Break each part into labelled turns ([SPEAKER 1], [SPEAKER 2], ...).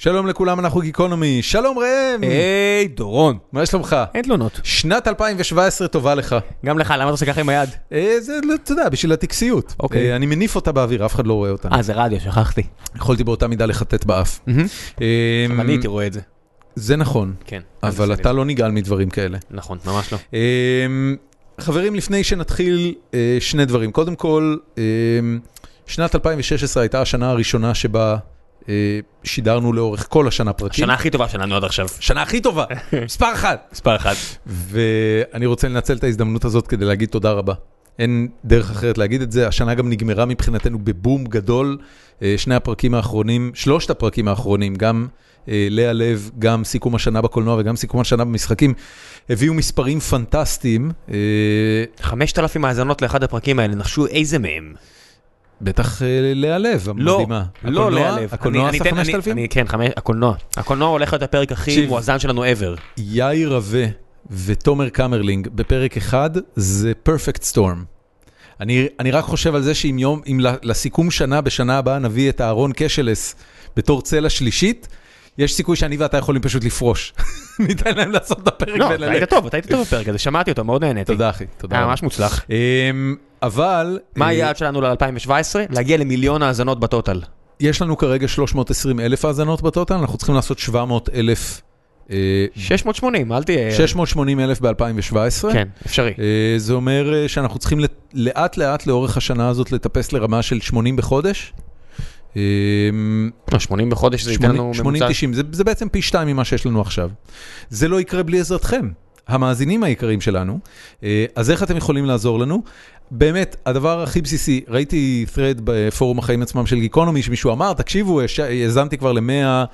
[SPEAKER 1] שלום לכולם, אנחנו גיקונומי. שלום ראם!
[SPEAKER 2] היי, דורון.
[SPEAKER 1] מה שלומך?
[SPEAKER 2] אין תלונות.
[SPEAKER 1] שנת 2017 טובה לך.
[SPEAKER 2] גם לך, למה אתה עושה ככה עם היד?
[SPEAKER 1] אה, זה, לא, אתה יודע, בשביל הטקסיות.
[SPEAKER 2] אוקיי.
[SPEAKER 1] אה, אני מניף אותה באוויר, אף אחד לא רואה אותה.
[SPEAKER 2] אה, זה רדיו, שכחתי.
[SPEAKER 1] יכולתי באותה מידה לחטט באף. אה,
[SPEAKER 2] אבל אני הייתי רואה את זה.
[SPEAKER 1] זה נכון,
[SPEAKER 2] כן.
[SPEAKER 1] אבל אתה לא נגעל מדברים כאלה.
[SPEAKER 2] נכון, ממש לא.
[SPEAKER 1] אמ, חברים, לפני שנתחיל, אה, שני דברים. קודם כל, אמ, שנת 2016 הייתה השנה הראשונה שבה אה, שידרנו לאורך כל השנה פרקים.
[SPEAKER 2] השנה הכי טובה שלנו עד עכשיו.
[SPEAKER 1] שנה הכי טובה, מספר אחת.
[SPEAKER 2] מספר אחת.
[SPEAKER 1] ואני רוצה לנצל את ההזדמנות הזאת כדי להגיד תודה רבה. אין דרך אחרת להגיד את זה. השנה גם נגמרה מבחינתנו בבום גדול. אה, שני הפרקים האחרונים, שלושת הפרקים האחרונים, גם אה, לאה לב, גם סיכום השנה בקולנוע וגם סיכום השנה במשחקים, הביאו מספרים פנטסטיים. אה,
[SPEAKER 2] 5,000 האזנות לאחד הפרקים האלה, נחשו איזה מהם.
[SPEAKER 1] בטח אה, לאה לב, המדהימה.
[SPEAKER 2] לא
[SPEAKER 1] הקולנוע-
[SPEAKER 2] להיעלב.
[SPEAKER 1] הקולנוע
[SPEAKER 2] אני-
[SPEAKER 1] עשה
[SPEAKER 2] אני אתן-
[SPEAKER 1] 5,000?
[SPEAKER 2] אני- אני- כן, חמש- הקולנוע. הקולנוע הולך להיות הפרק הכי
[SPEAKER 1] תקשיב.
[SPEAKER 2] מואזן שלנו ever.
[SPEAKER 1] יאיר רווה ותומר קמרלינג בפרק אחד זה perfect storm. אני, אני רק חושב על זה שאם יום, אם ל- לסיכום שנה בשנה הבאה נביא את אהרון קשלס בתור צלע שלישית, יש סיכוי שאני ואתה יכולים פשוט לפרוש. ניתן להם לעשות את הפרק
[SPEAKER 2] לא, אתה
[SPEAKER 1] וללכת.
[SPEAKER 2] היית טוב, אתה היית טוב בפרק הזה, שמעתי אותו, מאוד נהניתי.
[SPEAKER 1] תודה אחי, תודה.
[SPEAKER 2] היה
[SPEAKER 1] רבה.
[SPEAKER 2] ממש מוצלח.
[SPEAKER 1] אמ, אבל
[SPEAKER 2] מה
[SPEAKER 1] אה,
[SPEAKER 2] היעד שלנו ל-2017? להגיע למיליון האזנות בטוטל.
[SPEAKER 1] יש לנו כרגע 320 אלף האזנות בטוטל, אנחנו צריכים לעשות 700 אלף, אה,
[SPEAKER 2] 680, אל תהיה...
[SPEAKER 1] 680 אלף ב-2017.
[SPEAKER 2] כן, אפשרי.
[SPEAKER 1] אה, זה אומר אה, שאנחנו צריכים לת- לאט לאט לאורך השנה הזאת לטפס לרמה של 80 בחודש. אה,
[SPEAKER 2] לא, 80 בחודש זה ייתן לנו
[SPEAKER 1] 80
[SPEAKER 2] ממוצע.
[SPEAKER 1] 90, זה, זה בעצם פי שתיים ממה שיש לנו עכשיו. זה לא יקרה בלי עזרתכם, המאזינים העיקריים שלנו. אה, אז איך אתם יכולים לעזור לנו? באמת, הדבר הכי בסיסי, ראיתי thread בפורום החיים עצמם של גיקונומי, שמישהו אמר, תקשיבו, יש- האזנתי כבר ל-100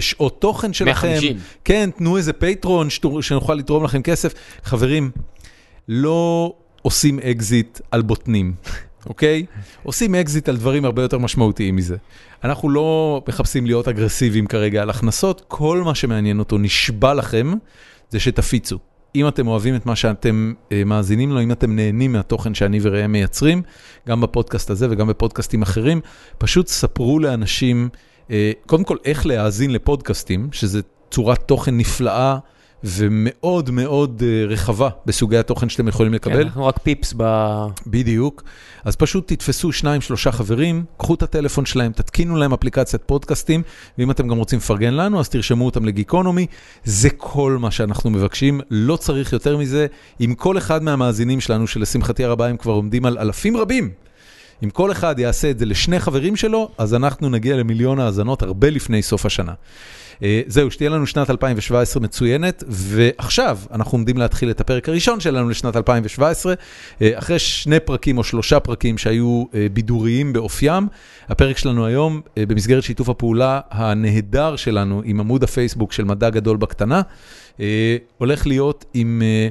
[SPEAKER 1] שעות תוכן שלכם.
[SPEAKER 2] 150.
[SPEAKER 1] כן, תנו איזה פטרון שתור- שנוכל לתרום לכם כסף. חברים, לא עושים אקזיט על בוטנים, אוקיי? עושים אקזיט על דברים הרבה יותר משמעותיים מזה. אנחנו לא מחפשים להיות אגרסיביים כרגע על הכנסות, כל מה שמעניין אותו, נשבע לכם, זה שתפיצו. אם אתם אוהבים את מה שאתם אה, מאזינים לו, אם אתם נהנים מהתוכן שאני וראם מייצרים, גם בפודקאסט הזה וגם בפודקאסטים אחרים, פשוט ספרו לאנשים, אה, קודם כל, איך להאזין לפודקאסטים, שזה צורת תוכן נפלאה ומאוד מאוד אה, רחבה בסוגי התוכן שאתם יכולים
[SPEAKER 2] כן,
[SPEAKER 1] לקבל.
[SPEAKER 2] אנחנו רק פיפס ב...
[SPEAKER 1] בדיוק. אז פשוט תתפסו שניים, שלושה חברים, קחו את הטלפון שלהם, תתקינו להם אפליקציית פודקאסטים, ואם אתם גם רוצים לפרגן לנו, אז תרשמו אותם לגיקונומי. זה כל מה שאנחנו מבקשים, לא צריך יותר מזה. אם כל אחד מהמאזינים שלנו, שלשמחתי הרבה הם כבר עומדים על אלפים רבים, אם כל אחד יעשה את זה לשני חברים שלו, אז אנחנו נגיע למיליון האזנות הרבה לפני סוף השנה. אה, זהו, שתהיה לנו שנת 2017 מצוינת, ועכשיו אנחנו עומדים להתחיל את הפרק הראשון שלנו לשנת 2017. אה, אחרי שני פרקים או שלושה פרקים שהיו אה, בידוריים באופיים, הפרק שלנו היום, אה, במסגרת שיתוף הפעולה הנהדר שלנו עם עמוד הפייסבוק של מדע גדול בקטנה, אה, הולך להיות עם אה,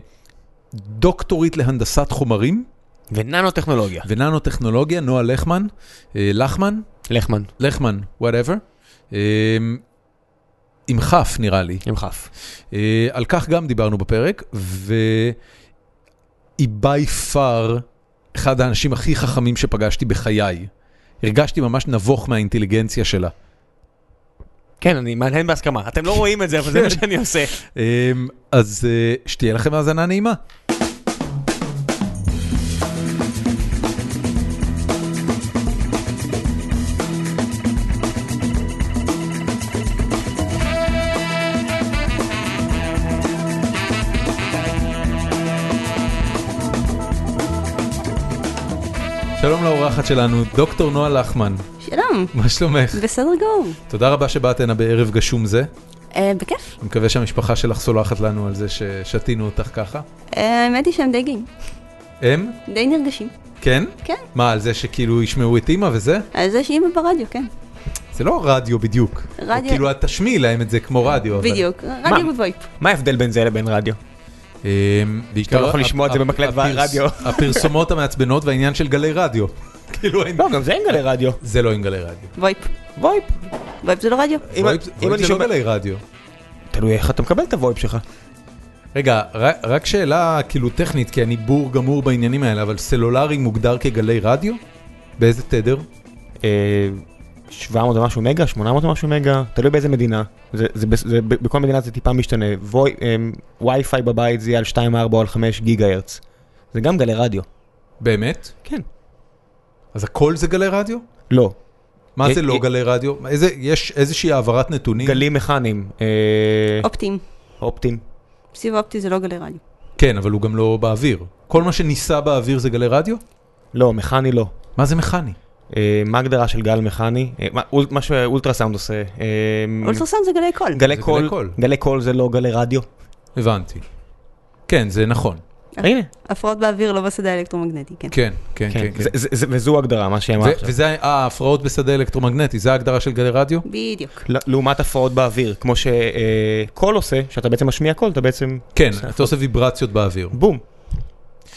[SPEAKER 1] דוקטורית להנדסת חומרים.
[SPEAKER 2] וננו-טכנולוגיה.
[SPEAKER 1] וננו-טכנולוגיה, נועה לחמן, אה, לחמן,
[SPEAKER 2] לחמן,
[SPEAKER 1] לחמן, whatever, אה, עם כף נראה לי.
[SPEAKER 2] עם כף.
[SPEAKER 1] אה, על כך גם דיברנו בפרק, והיא by far אחד האנשים הכי חכמים שפגשתי בחיי. הרגשתי ממש נבוך מהאינטליגנציה שלה.
[SPEAKER 2] כן, אני מהנהן בהסכמה. אתם לא רואים את זה, אבל זה מה שאני עושה.
[SPEAKER 1] אה, אז אה, שתהיה לכם האזנה נעימה. שלום לאורחת שלנו, דוקטור נועה לחמן,
[SPEAKER 3] שלום,
[SPEAKER 1] מה שלומך?
[SPEAKER 3] בסדר גמור.
[SPEAKER 1] תודה רבה שבאת הנה בערב גשום זה.
[SPEAKER 3] אה, בכיף.
[SPEAKER 1] אני מקווה שהמשפחה שלך סולחת לנו על זה ששתינו אותך ככה.
[SPEAKER 3] אה, האמת היא שהם די גאים,
[SPEAKER 1] הם?
[SPEAKER 3] די נרגשים.
[SPEAKER 1] כן?
[SPEAKER 3] כן.
[SPEAKER 1] מה, על זה שכאילו ישמעו את אימא וזה?
[SPEAKER 3] על אה, זה שאימא ברדיו, כן.
[SPEAKER 1] זה לא רדיו בדיוק.
[SPEAKER 3] רדיו-
[SPEAKER 1] כאילו, את תשמיעי להם את זה כמו רדיו. אבל-
[SPEAKER 3] בדיוק, רדיו בוויפ.
[SPEAKER 2] מה ההבדל בין זה לבין רדיו?
[SPEAKER 1] אמ, בעיקר...
[SPEAKER 2] לא יכול לשמוע את זה
[SPEAKER 1] הפ-
[SPEAKER 2] במקלט
[SPEAKER 1] הפרס-
[SPEAKER 2] ברדיו.
[SPEAKER 1] הפרסומות המעצבנות והעניין של גלי רדיו. כאילו, אין-
[SPEAKER 2] לא, גם זה אין גלי רדיו.
[SPEAKER 1] זה לא עם גלי רדיו.
[SPEAKER 3] וויפ.
[SPEAKER 2] וויפ.
[SPEAKER 3] וויפ זה לא רדיו.
[SPEAKER 2] אם-
[SPEAKER 1] וויפ-
[SPEAKER 2] אם
[SPEAKER 1] וויפ
[SPEAKER 2] אני
[SPEAKER 1] זה לא
[SPEAKER 2] שומע-
[SPEAKER 1] גלי רדיו.
[SPEAKER 2] תלוי איך אתה מקבל את הוויפ שלך.
[SPEAKER 1] רגע, ר- רק שאלה כאילו טכנית, כי אני בור גמור בעניינים האלה, אבל סלולרי מוגדר כגלי רדיו? באיזה תדר?
[SPEAKER 2] אה, 700 ומשהו מגה, 800 ומשהו מגה, תלוי באיזה מדינה. זה, זה, בס- זה, ב- בכל מדינה זה טיפה משתנה. ווי, אמ, וי-פיי בבית זה יהיה על 2.4 או על 5 גיגה הרץ. זה גם גלי רדיו.
[SPEAKER 1] באמת?
[SPEAKER 2] כן.
[SPEAKER 1] אז הכל זה גלי רדיו?
[SPEAKER 2] לא,
[SPEAKER 1] מה
[SPEAKER 2] אה,
[SPEAKER 1] זה לא
[SPEAKER 2] אה.
[SPEAKER 1] גלי רדיו? מה, איזה- יש איזושהי העברת נתונים?
[SPEAKER 2] גלים מכניים, אה,
[SPEAKER 3] אופטיים.
[SPEAKER 2] אופטיים.
[SPEAKER 3] סיב אופטי זה לא גלי רדיו.
[SPEAKER 1] כן, אבל הוא גם לא באוויר. כל מה שניסע באוויר זה גלי רדיו?
[SPEAKER 2] לא, מכני לא.
[SPEAKER 1] מה זה מכני?
[SPEAKER 2] אה, מה ההגדרה של גל מכני? אה, מה- אול- מה שאולטרסאונד עושה. אה,
[SPEAKER 3] אולטרסאונד אה, זה גלי קול.
[SPEAKER 2] גלי
[SPEAKER 1] זה גלי
[SPEAKER 2] קול,
[SPEAKER 1] קול.
[SPEAKER 2] גלי קול זה לא גלי רדיו.
[SPEAKER 1] הבנתי. כן, זה נכון.
[SPEAKER 2] הנה.
[SPEAKER 3] הפרעות באוויר לא בשדה האלקטרומגנטי, כן.
[SPEAKER 1] כן, כן,
[SPEAKER 2] כן,
[SPEAKER 1] כן. כן.
[SPEAKER 2] זה- זה- זה- וזו הגדרה, מה שהיא אמרה
[SPEAKER 1] ו-
[SPEAKER 2] עכשיו.
[SPEAKER 1] וזה אה, ההפרעות בשדה אלקטרומגנטי, זה ההגדרה של גלי רדיו?
[SPEAKER 3] בדיוק.
[SPEAKER 2] ל- לעומת הפרעות באוויר, כמו שקול עושה, שאתה בעצם משמיע קול, אתה בעצם...
[SPEAKER 1] כן,
[SPEAKER 2] עושה-
[SPEAKER 1] אתה עושה ויברציות באוויר.
[SPEAKER 2] בום.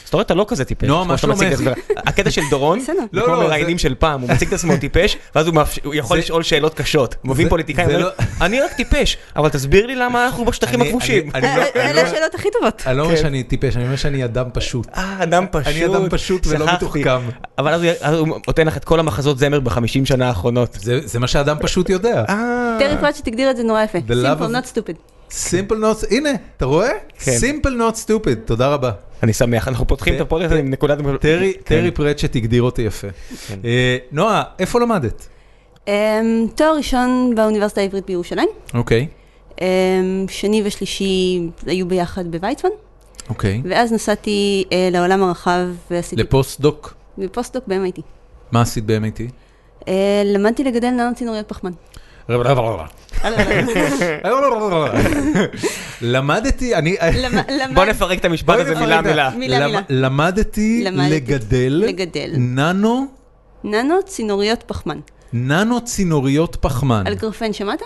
[SPEAKER 2] אז אתה רואה, אתה לא כזה טיפש.
[SPEAKER 1] נועה,
[SPEAKER 2] כמו
[SPEAKER 1] מה
[SPEAKER 2] שאתה מציג את
[SPEAKER 1] שלומך?
[SPEAKER 2] עצמך. הקטע של דורון,
[SPEAKER 3] בסדר.
[SPEAKER 2] זה
[SPEAKER 1] לא,
[SPEAKER 2] כמו
[SPEAKER 1] לא, זה-
[SPEAKER 2] מראיינים של פעם, הוא מציג את עצמו טיפש, ואז הוא מאפש- הוא יכול
[SPEAKER 1] זה-
[SPEAKER 2] לשאול שאלות קשות. מביאים
[SPEAKER 1] זה-
[SPEAKER 2] פוליטיקאים,
[SPEAKER 1] זה
[SPEAKER 2] אומר,
[SPEAKER 1] לא-
[SPEAKER 2] אני רק טיפש, אבל תסביר לי למה אנחנו בשטחים
[SPEAKER 1] אני-
[SPEAKER 2] הכבושים.
[SPEAKER 1] אני- אני לא-
[SPEAKER 3] אה,
[SPEAKER 1] אני לא-
[SPEAKER 3] אלה השאלות הכי טובות.
[SPEAKER 1] אני לא אומר
[SPEAKER 2] כן.
[SPEAKER 1] שאני טיפש, אני אומר שאני אדם פשוט.
[SPEAKER 2] אה, אדם פשוט.
[SPEAKER 1] אני אדם פשוט ולא
[SPEAKER 2] שכחתי.
[SPEAKER 1] מתוחכם.
[SPEAKER 2] אבל אז הוא- אז הוא נותן לך את כל המחזות זמר בחמישים שנה האחרונות.
[SPEAKER 1] זה זה מה שאדם פשוט יודע.
[SPEAKER 2] אה,
[SPEAKER 3] טרי פרט שתגדיר את זה נורא יפה.
[SPEAKER 1] The love
[SPEAKER 3] simple,
[SPEAKER 1] of-
[SPEAKER 3] not stupid.
[SPEAKER 1] simple not, הנה, אתה רואה?
[SPEAKER 2] כן.
[SPEAKER 1] simple not stupid, תודה רבה.
[SPEAKER 2] אני שמח, אנחנו פותחים את הפודקאסט עם נקודת...
[SPEAKER 1] טרי,
[SPEAKER 2] כן.
[SPEAKER 1] טרי פרצ'ט הגדיר אותי יפה.
[SPEAKER 2] כן.
[SPEAKER 1] אה, נועה, איפה למדת?
[SPEAKER 3] אמ, תואר ראשון באוניברסיטה העברית בירושלים.
[SPEAKER 1] אוקיי,
[SPEAKER 3] אמ, שני ושלישי היו ביחד בוויצמן.
[SPEAKER 1] אוקיי.
[SPEAKER 3] ואז נסעתי אה, לעולם הרחב ועשיתי
[SPEAKER 1] לפוסט-דוק,
[SPEAKER 3] פוסט-דוק ב-MIT.
[SPEAKER 1] מה עשית ב-MIT?
[SPEAKER 3] אה, למדתי לגדל ננו צינוריות פחמן.
[SPEAKER 1] אה, למדתי, אני...
[SPEAKER 3] למ- למד-
[SPEAKER 2] בוא נפרק את המשפט
[SPEAKER 1] בואי
[SPEAKER 2] הזה
[SPEAKER 1] נפרק
[SPEAKER 2] מילה
[SPEAKER 1] את ה-
[SPEAKER 2] מילה.
[SPEAKER 3] מילה,
[SPEAKER 1] למ-
[SPEAKER 3] מילה.
[SPEAKER 1] למדתי
[SPEAKER 3] למדתי
[SPEAKER 1] לגדל
[SPEAKER 3] לגדל.
[SPEAKER 1] ננו,
[SPEAKER 3] ננו צינוריות פחמן.
[SPEAKER 1] ננו צינוריות פחמן.
[SPEAKER 3] על גרפן שמעת?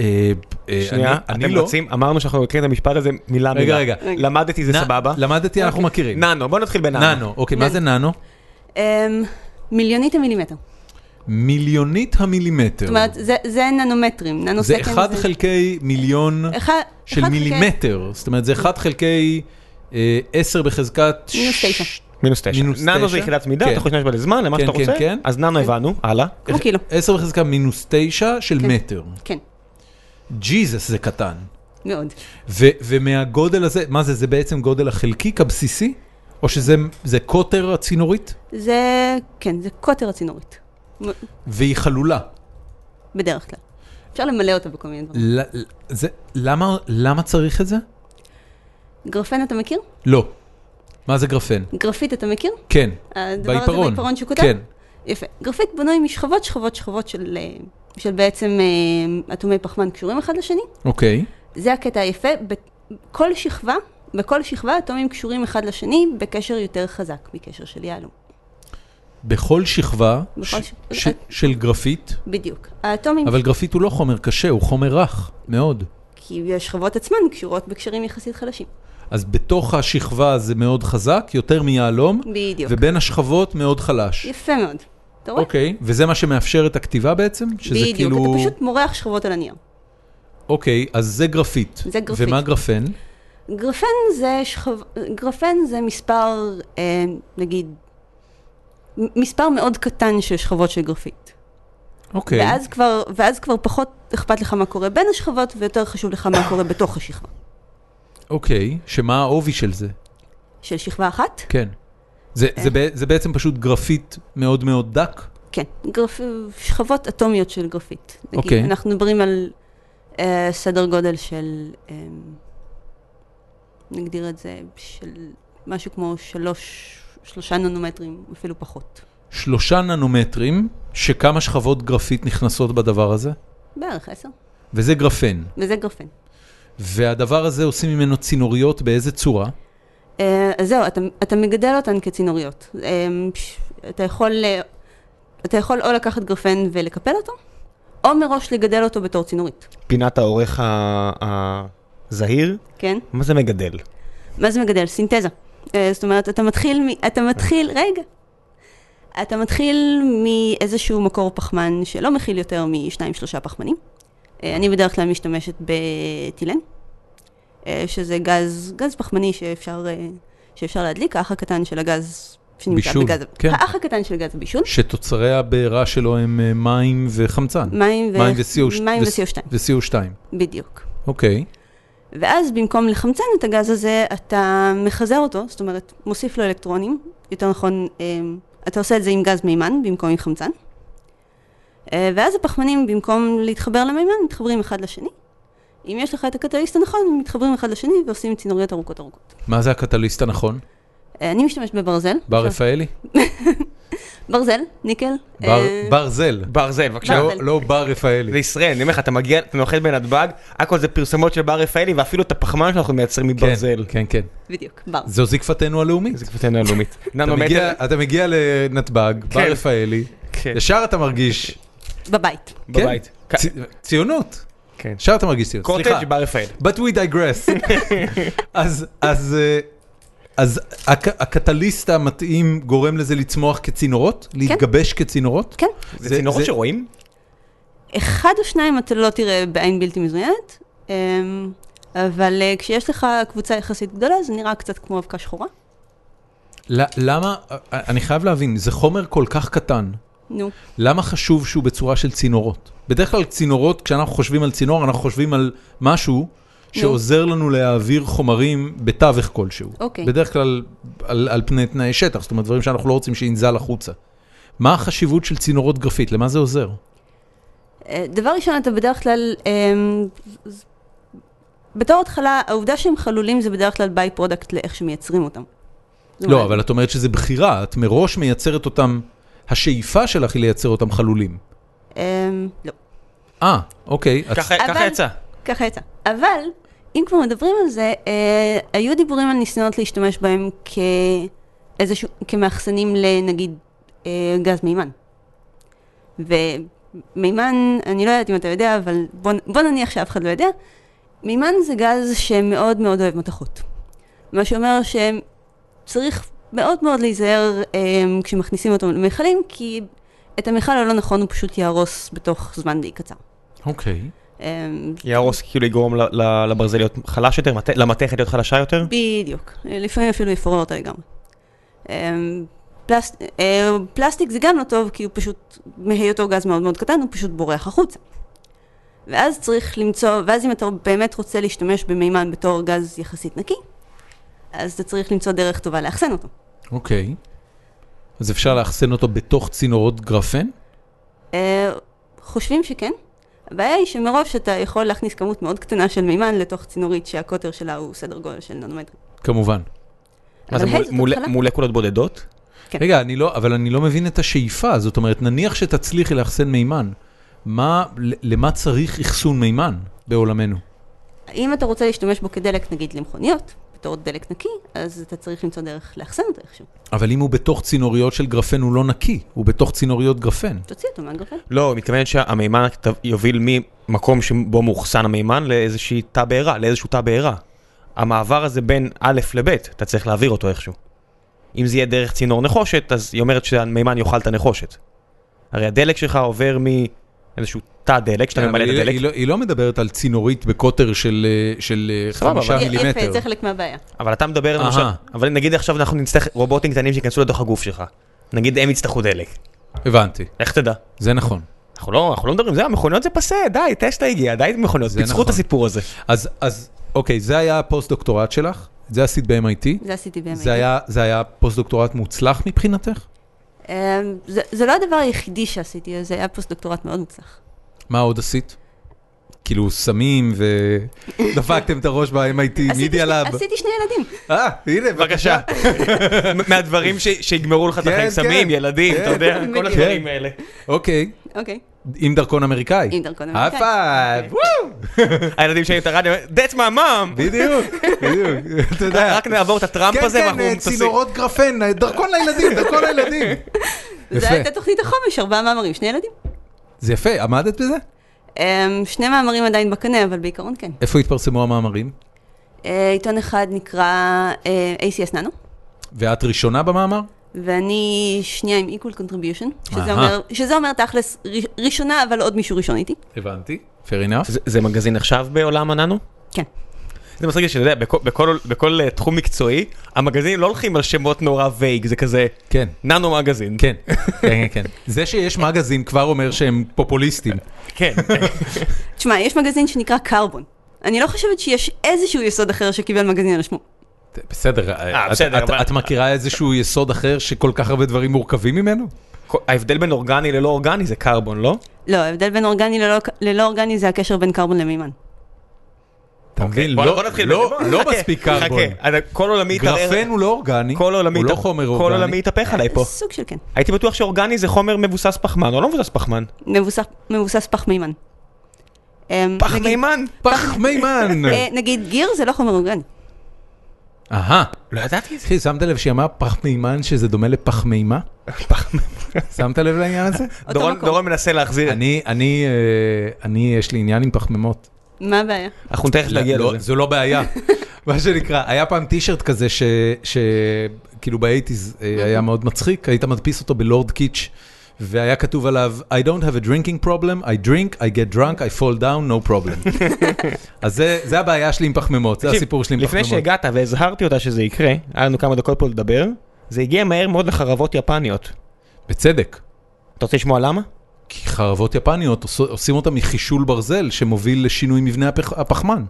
[SPEAKER 1] אה, אה,
[SPEAKER 2] שנייה,
[SPEAKER 1] אני- אני
[SPEAKER 2] אתם
[SPEAKER 1] לא.
[SPEAKER 2] רוצים, אמרנו שאנחנו נקריא את המשפט הזה מילה
[SPEAKER 1] רגע,
[SPEAKER 2] מילה.
[SPEAKER 1] רגע.
[SPEAKER 2] למדתי זה
[SPEAKER 1] נ-
[SPEAKER 2] סבבה.
[SPEAKER 1] למדתי, אנחנו
[SPEAKER 3] אוקיי.
[SPEAKER 1] מכירים.
[SPEAKER 2] ננו, בוא נתחיל בננו.
[SPEAKER 1] ננו, אוקיי, מה זה ננו?
[SPEAKER 3] אמ, מיליונית המילימטר.
[SPEAKER 1] מיליונית המילימטר.
[SPEAKER 3] זאת אומרת, זה- זה ננומטרים. ננו
[SPEAKER 1] זה
[SPEAKER 3] סקנד
[SPEAKER 1] אחד חלקי מיליון
[SPEAKER 3] אחד-
[SPEAKER 1] של
[SPEAKER 3] אחד חלקי-
[SPEAKER 1] מילימטר. זאת אומרת, זה אחד חלקי אה, עשר בחזקת...
[SPEAKER 3] מינוס
[SPEAKER 1] ש-
[SPEAKER 3] תשע.
[SPEAKER 2] מינוס תשע.
[SPEAKER 1] מינוס
[SPEAKER 2] ננו זה
[SPEAKER 1] תשע?
[SPEAKER 2] יחידת מידה,
[SPEAKER 1] כן.
[SPEAKER 2] אתה יכול להשתמש בה לזמן, למה
[SPEAKER 1] כן,
[SPEAKER 2] שאתה
[SPEAKER 1] כן,
[SPEAKER 2] רוצה.
[SPEAKER 1] כן.
[SPEAKER 2] אז ננו הבנו, הלאה.
[SPEAKER 3] כמו קילו.
[SPEAKER 1] עשר בחזקה מינוס תשע של
[SPEAKER 3] כן.
[SPEAKER 1] מטר.
[SPEAKER 3] כן,
[SPEAKER 1] ג'יזוס זה קטן.
[SPEAKER 3] מאוד.
[SPEAKER 1] ו- ומהגודל הזה, מה זה, זה בעצם גודל החלקיק הבסיסי? או שזה זה קוטר הצינורית?
[SPEAKER 3] זה, כן, זה קוטר הצינורית. מ-
[SPEAKER 1] והיא חלולה.
[SPEAKER 3] בדרך כלל. אפשר למלא אותה בכל מיני דברים.
[SPEAKER 1] ל- ל- זה- למה למה צריך את זה?
[SPEAKER 3] גרפן אתה מכיר?
[SPEAKER 1] לא. מה זה גרפן?
[SPEAKER 3] גרפית אתה מכיר?
[SPEAKER 1] כן.
[SPEAKER 3] הדבר הזה בעיפרון שקוטר?
[SPEAKER 1] כן.
[SPEAKER 3] יפה. גרפית בנוי משכבות, שכבות, שכבות של, אה, של בעצם אה, אטומי פחמן קשורים אחד לשני.
[SPEAKER 1] אוקיי.
[SPEAKER 3] זה הקטע היפה. בכל שכבה, בכל שכבה אטומים קשורים אחד לשני בקשר יותר חזק מקשר של יהלום.
[SPEAKER 1] בכל שכבה
[SPEAKER 3] בכל
[SPEAKER 1] ש-
[SPEAKER 3] ש-
[SPEAKER 1] ש- של גרפית,
[SPEAKER 3] בדיוק. האטומים,
[SPEAKER 1] אבל גרפית הוא לא חומר קשה, הוא חומר רך מאוד.
[SPEAKER 3] כי השכבות עצמן קשורות בקשרים יחסית חלשים.
[SPEAKER 1] אז בתוך השכבה זה מאוד חזק, יותר מיהלום,
[SPEAKER 3] בדיוק.
[SPEAKER 1] ובין השכבות מאוד חלש.
[SPEAKER 3] יפה מאוד. אתה רואה?
[SPEAKER 1] אוקיי, וזה מה שמאפשר את הכתיבה בעצם? שזה
[SPEAKER 3] בדיוק.
[SPEAKER 1] כאילו...
[SPEAKER 3] אתה פשוט מורח שכבות על הנייר.
[SPEAKER 1] אוקיי, אז זה גרפית.
[SPEAKER 3] זה גרפית.
[SPEAKER 1] ומה גרפן?
[SPEAKER 3] גרפן זה, שכב... גרפן זה מספר, אה, נגיד, מ- מספר מאוד קטן של שכבות של גרפית.
[SPEAKER 1] אוקיי.
[SPEAKER 3] ואז, כבר, ואז כבר פחות אכפת לך מה קורה בין השכבות, ויותר חשוב לך מה קורה בתוך השכבה.
[SPEAKER 1] אוקיי, שמה העובי של זה?
[SPEAKER 3] של שכבה אחת?
[SPEAKER 1] כן. זה,
[SPEAKER 3] אה.
[SPEAKER 1] זה, בע- זה בעצם פשוט גרפית מאוד מאוד דק?
[SPEAKER 3] כן. גרפ... שכבות אטומיות של גרפית. נגיד,
[SPEAKER 1] אוקיי.
[SPEAKER 3] אנחנו מדברים על אה, סדר גודל של, אה, נגדיר את זה, של משהו כמו שלוש, שלושה ננומטרים, אפילו פחות.
[SPEAKER 1] שלושה ננומטרים, שכמה שכבות גרפית נכנסות בדבר הזה?
[SPEAKER 3] בערך עשר.
[SPEAKER 1] וזה גרפן.
[SPEAKER 3] וזה גרפן.
[SPEAKER 1] והדבר הזה עושים ממנו צינוריות באיזה צורה?
[SPEAKER 3] אה, אז זהו, אתה, אתה מגדל אותן כצינוריות. אה, ש- אתה יכול, אה, אתה יכול או לקחת גרפן ולקפל אותו, או מראש לגדל אותו בתור צינורית,
[SPEAKER 2] פינת העורך ה- הזהיר,
[SPEAKER 3] כן?
[SPEAKER 2] מה זה מגדל?
[SPEAKER 3] מה זה מגדל? סינתזה. אה, זאת אומרת, אתה מתחיל, מ, אתה מתחיל, רגע. אתה מתחיל מאיזשהו מקור פחמן שלא מכיל יותר משניים שלושה פחמנים. אה, אני בדרך כלל משתמשת בטילן, אה, שזה גז, גז פחמני שאפשר, אה, שאפשר להדליק, האח הקטן של הגז שנמצא
[SPEAKER 1] בישול,
[SPEAKER 3] בגז,
[SPEAKER 1] כן.
[SPEAKER 3] האח הקטן של גז הבישול,
[SPEAKER 1] שתוצרי הבעירה שלו הם אה, מים וחמצן.
[SPEAKER 3] מים, ו...
[SPEAKER 1] מים ו-CO2.
[SPEAKER 3] מים ו-CO2,
[SPEAKER 1] ו-CO2,
[SPEAKER 3] בדיוק.
[SPEAKER 1] אוקיי.
[SPEAKER 3] ואז במקום לחמצן את הגז הזה, אתה מחזר אותו, זאת אומרת, מוסיף לו אלקטרונים, יותר נכון, אמ, אתה עושה את זה עם גז מימן במקום עם חמצן. אה, ואז הפחמנים, במקום להתחבר למימן, מתחברים אחד לשני. אם יש לך את הקטליסט הנכון, הם מתחברים אחד לשני ועושים צינוריות ארוכות ארוכות.
[SPEAKER 1] מה זה הקטליסט הנכון?
[SPEAKER 3] אה, אני משתמשת בברזל.
[SPEAKER 1] בר רפאלי?
[SPEAKER 3] אה, ברזל, ניקל.
[SPEAKER 1] בר-
[SPEAKER 3] אה,
[SPEAKER 1] ברזל.
[SPEAKER 2] ברזל, בבקשה.
[SPEAKER 1] לא- לא בר
[SPEAKER 2] זה
[SPEAKER 1] רפאלי.
[SPEAKER 2] ישראל, אני אומר לך, אתה מגיע, אתה נוחת בנתב"ג, הכל זה פרסומות של בר רפאלי, ואפילו את הפחמן שאנחנו מייצרים
[SPEAKER 1] כן,
[SPEAKER 2] מברזל.
[SPEAKER 1] כן, כן.
[SPEAKER 3] בדיוק, בר.
[SPEAKER 1] זו זקפתנו הלאומית.
[SPEAKER 2] זה קפטנה הלאומית.
[SPEAKER 1] אתה
[SPEAKER 2] ננומטר,
[SPEAKER 1] מגיע- אתה מגיע לנתב"ג, בר
[SPEAKER 2] כן.
[SPEAKER 1] רפאלי,
[SPEAKER 2] כן.
[SPEAKER 1] ישר אתה מרגיש...
[SPEAKER 3] בבית.
[SPEAKER 1] כן,
[SPEAKER 2] בבית.
[SPEAKER 1] צי- ציונות.
[SPEAKER 2] כן.
[SPEAKER 1] ישר אתה מרגיש ציונות. סליחה.
[SPEAKER 2] קוטג' בר רפאל.
[SPEAKER 1] But we digress. אז, אז, אה, אז הק, הקטליסט המתאים גורם לזה לצמוח כצינורות? להתגבש כצינורות?
[SPEAKER 3] כן.
[SPEAKER 2] זה צינורות
[SPEAKER 1] זה-
[SPEAKER 2] שרואים?
[SPEAKER 3] אחד או שניים אתה לא תראה בעין בלתי מזוינת, אמ, אבל אה, כשיש לך קבוצה יחסית גדולה, זה נראה קצת כמו אבקה שחורה.
[SPEAKER 1] ל- למה, אה, אני חייב להבין, זה חומר כל כך קטן,
[SPEAKER 3] נו,
[SPEAKER 1] למה חשוב שהוא בצורה של צינורות? בדרך כלל צינורות, כשאנחנו חושבים על צינור, אנחנו חושבים על משהו שעוזר לנו להעביר חומרים בתווך כלשהו.
[SPEAKER 3] אוקיי.
[SPEAKER 1] בדרך כלל על, על פני תנאי שטח, זאת אומרת דברים שאנחנו לא רוצים שינזל החוצה. מה החשיבות של צינורות גרפית? למה זה עוזר?
[SPEAKER 3] אה, דבר ראשון, אתה בדרך כלל, אמ, ז- בתור התחלה, העובדה שהם חלולים זה בדרך כלל ביי פרודקט לאיך שמייצרים אותם. זאת
[SPEAKER 1] לא,
[SPEAKER 3] אומרת,
[SPEAKER 1] אבל את אומרת שזה בחירה, את מראש מייצרת אותם, השאיפה שלך היא לייצר אותם חלולים.
[SPEAKER 3] אמ, לא,
[SPEAKER 1] אה, אוקיי. את-
[SPEAKER 2] ככה ככה
[SPEAKER 3] אבל-
[SPEAKER 2] יצא.
[SPEAKER 3] ככה יצא. אבל, אם כבר מדברים על זה, אה, היו דיבורים על ניסיונות להשתמש בהם כאיזשהו, כמאחסנים לנגיד אה, גז מימן. ומימן, אני לא יודעת אם אתה יודע, אבל בוא, בוא נניח שאף אחד לא יודע, מימן זה גז שמאוד מאוד אוהב מתכות. מה שאומר שצריך מאוד מאוד להיזהר אה, כשמכניסים אותו למכלים, כי את המכל הלא נכון הוא פשוט יהרוס בתוך זמן די קצר.
[SPEAKER 1] אוקיי.
[SPEAKER 3] אה,
[SPEAKER 2] יהרוס כאילו יגרום ל- ל- לברזל להיות חלש יותר, מט- למתכת להיות חלשה יותר?
[SPEAKER 3] בדיוק, לפעמים אפילו יפורר אותה לגמרי. אמ, פלס, אה, פלסטיק זה גם לא טוב, כי הוא פשוט, מהיותו גז מאוד מאוד קטן, הוא פשוט בורח החוצה. ואז צריך למצוא, ואז אם אתה באמת רוצה להשתמש במימן בתור גז יחסית נקי, אז אתה צריך למצוא דרך טובה לאחסן אותו.
[SPEAKER 1] אוקיי. אז אפשר לאחסן אותו בתוך צינורות גרפן?
[SPEAKER 3] אה, חושבים שכן? הבעיה היא שמרוב שאתה יכול להכניס כמות מאוד קטנה של מימן לתוך צינורית שהקוטר שלה הוא סדר גודל של ננומטרים.
[SPEAKER 1] כמובן.
[SPEAKER 2] מה זה,
[SPEAKER 3] אבל היי,
[SPEAKER 2] מול-
[SPEAKER 3] זאת
[SPEAKER 2] מול-
[SPEAKER 3] התחלה.
[SPEAKER 2] מולקולות בודדות?
[SPEAKER 3] כן.
[SPEAKER 1] רגע, אני לא, אבל אני לא מבין את השאיפה, זאת אומרת, נניח שתצליחי לאחסן מימן, מה, ל- למה צריך אחסון מימן בעולמנו?
[SPEAKER 3] אם אתה רוצה להשתמש בו כדלק, נגיד למכוניות, בתור דלק נקי, אז אתה צריך למצוא דרך לאחסן אותו איכשהו.
[SPEAKER 1] אבל אם הוא בתוך צינוריות של גרפן הוא לא נקי, הוא בתוך צינוריות גרפן.
[SPEAKER 3] תוציא אותו מהגרפן.
[SPEAKER 1] אה,
[SPEAKER 2] לא, היא מתכוונת שהמימן ת- יוביל ממקום שבו מאוחסן המימן לאיזושהי תא בעירה, לאיזשהו תא בעירה. המעבר הזה בין א' לב', אתה צריך להעביר אותו איכשהו. אם זה יהיה דרך צינור נחושת, אז היא אומרת שהמימן יאכל את הנחושת. הרי הדלק שלך עובר מאיזשהו תא דלק, שאתה
[SPEAKER 1] כן, אבל
[SPEAKER 2] ממלא את
[SPEAKER 1] היא-
[SPEAKER 2] הדלק.
[SPEAKER 1] היא לא- היא לא מדברת על צינורית בקוטר של אה, של, אה,
[SPEAKER 2] סבבה,
[SPEAKER 1] חמישה
[SPEAKER 2] אבל-
[SPEAKER 1] מילימטר.
[SPEAKER 3] יפה, זה חלק מהבעיה.
[SPEAKER 2] אבל אתה מדבר
[SPEAKER 1] אהה.
[SPEAKER 2] למשל, אבל נגיד עכשיו אנחנו נצטרך רובוטים קטנים שייכנסו לתוך הגוף שלך. נגיד הם יצטרכו דלק.
[SPEAKER 1] הבנתי,
[SPEAKER 2] איך תדע?
[SPEAKER 1] זה נכון.
[SPEAKER 2] אנחנו לא, אנחנו לא מדברים, זה המכוניות זה פסה, די, טסלה הגיעה, די עם מכוניות,
[SPEAKER 1] זה
[SPEAKER 2] פיצחו את
[SPEAKER 1] נכון.
[SPEAKER 2] הסיפור הזה.
[SPEAKER 1] אז, אז אוקיי, זה היה הפוסט-דוקטורט שלך, את זה עשית ב-MIT,
[SPEAKER 3] זה עשיתי באמת.
[SPEAKER 1] זה היה, זה היה פוסט-דוקטורט מוצלח מבחינתך?
[SPEAKER 3] אמ, זה- זה לא הדבר היחידי שעשיתי, זה היה פוסט-דוקטורט מאוד מוצלח.
[SPEAKER 1] מה עוד עשית? כאילו סמים ודפקתם את הראש ב-MIT,
[SPEAKER 3] עשיתי
[SPEAKER 1] מידיה
[SPEAKER 3] שני-
[SPEAKER 1] לאב.
[SPEAKER 3] עשיתי שני ילדים.
[SPEAKER 1] אה, הנה, בבקשה.
[SPEAKER 2] מהדברים ש- שיגמרו לך את
[SPEAKER 1] כן,
[SPEAKER 2] החיים,
[SPEAKER 1] כן.
[SPEAKER 2] סמים, ילדים, אתה יודע,
[SPEAKER 3] בדיוק.
[SPEAKER 2] כל הדברים האלה.
[SPEAKER 1] אוקיי,
[SPEAKER 3] אוקיי.
[SPEAKER 1] עם דרכון אמריקאי.
[SPEAKER 3] עם דרכון אמריקאי. אוקיי.
[SPEAKER 1] הפייב,
[SPEAKER 2] הילדים שלי את הרדיו, that's my mom!
[SPEAKER 1] בדיוק, בדיוק, אתה יודע.
[SPEAKER 2] רק נעבור את הטראמפ הזה
[SPEAKER 1] כן,
[SPEAKER 2] ואנחנו
[SPEAKER 1] כן,
[SPEAKER 2] מטוסים.
[SPEAKER 1] צינורות גרפן, אה, דרכון לילדים, דרכון לילדים.
[SPEAKER 3] זה
[SPEAKER 1] יפה.
[SPEAKER 3] הייתה תוכנית החומש, ארבעה מאמרים, שני ילדים.
[SPEAKER 1] זה יפה, עמדת בזה?
[SPEAKER 3] אמ, שני מאמרים עדיין בקנה, אבל בעיקרון כן.
[SPEAKER 1] איפה התפרסמו המאמרים?
[SPEAKER 3] אה, עיתון אחד נקרא אה, ACS ננו,
[SPEAKER 1] ואת ראשונה במאמר?
[SPEAKER 3] ואני שנייה עם equal contribution, שזה
[SPEAKER 1] אהה.
[SPEAKER 3] אומר- שזה אומר תכלס ראש- ראשונה, אבל עוד מישהו ראשון איתי.
[SPEAKER 1] הבנתי. fair enough.
[SPEAKER 2] זה- זה מגזין נחשב בעולם הננו?
[SPEAKER 3] כן.
[SPEAKER 2] זה מצחיק שאתה יודע, בכל- בכל- בכל אה, תחום מקצועי, המגזינים לא הולכים על שמות נורא וייג, זה כזה
[SPEAKER 1] כן.
[SPEAKER 2] ננו מגזין.
[SPEAKER 1] כן, כן, כן, כן. זה שיש מגזין כבר אומר שהם פופוליסטים.
[SPEAKER 2] כן.
[SPEAKER 3] תשמע, יש מגזין שנקרא קרבון. אני לא חושבת שיש איזשהו יסוד אחר שקיבל מגזין על שמו.
[SPEAKER 1] בסדר, אה, את-
[SPEAKER 2] אה, בסדר,
[SPEAKER 1] את-
[SPEAKER 2] אבל-
[SPEAKER 1] את מכירה איזשהו יסוד אחר שכל כך הרבה דברים מורכבים ממנו?
[SPEAKER 2] כל- ההבדל בין אורגני ללא אורגני זה קרבון, לא?
[SPEAKER 3] לא, ההבדל בין אורגני ללא, ללא אורגני זה הקשר בין קרבון למימן.
[SPEAKER 1] אתה מבין?
[SPEAKER 2] בוא-
[SPEAKER 1] לא-
[SPEAKER 2] בוא נתחיל
[SPEAKER 1] לא-
[SPEAKER 2] בזה, בוא,
[SPEAKER 1] לא
[SPEAKER 2] חכה,
[SPEAKER 1] מספיק קרבון.
[SPEAKER 2] חכה, אתה- כל עולמי התערער.
[SPEAKER 1] גרפן הוא לא אורגני,
[SPEAKER 2] כל עולמי
[SPEAKER 1] הוא לא
[SPEAKER 2] התערער-
[SPEAKER 1] חומר
[SPEAKER 2] כל
[SPEAKER 1] אורגני.
[SPEAKER 2] עולמי התהפך עליי פה.
[SPEAKER 3] סוג של כן.
[SPEAKER 2] הייתי בטוח שאורגני זה חומר מבוסס פחמן, או לא מבוסס פחמן?
[SPEAKER 3] מבוסס, מבוסס פח מימן. אמ,
[SPEAKER 2] פח
[SPEAKER 3] נגיד-
[SPEAKER 2] מימן?
[SPEAKER 1] פח מימן.
[SPEAKER 3] אה,
[SPEAKER 2] כן.
[SPEAKER 3] נגיד גיר זה לא חומר אורגני.
[SPEAKER 1] אהה.
[SPEAKER 2] לא ידעתי את זה.
[SPEAKER 1] אחי, שמת לב שהיא אמרה פח מימן שזה דומה לפח מימה?
[SPEAKER 2] פח מימן.
[SPEAKER 1] שמת לב לעניין הזה?
[SPEAKER 3] אותו
[SPEAKER 2] דורון
[SPEAKER 3] מקור.
[SPEAKER 2] דורון מנסה להחזיר.
[SPEAKER 1] אני, אני, אה, אני, יש לי עניין עם פחמימות.
[SPEAKER 3] מה הבעיה?
[SPEAKER 2] אנחנו תכף נגיע
[SPEAKER 1] לא,
[SPEAKER 2] לזה.
[SPEAKER 1] זו לא בעיה. מה שנקרא, היה פעם טישרט כזה ש... ש- כאילו באייטיז היה מאוד מצחיק, היית מדפיס אותו בלורד קיץ', והיה כתוב עליו, I don't have a drinking problem, I drink, I get drunk, I fall down, no problem. אז זה- זה הבעיה שלי עם פחמימות, זה
[SPEAKER 2] תקשיב,
[SPEAKER 1] הסיפור שלי עם
[SPEAKER 2] לפני
[SPEAKER 1] פחמימות.
[SPEAKER 2] שהגעת והזהרתי אותה שזה יקרה, היה לנו כמה דקות פה לדבר, זה הגיע מהר מאוד לחרבות יפניות.
[SPEAKER 1] בצדק.
[SPEAKER 2] אתה רוצה לשמוע למה?
[SPEAKER 1] כי חרבות יפניות עוש- עושים אותה מחישול ברזל שמוביל לשינוי מבנה הפח- הפחמן.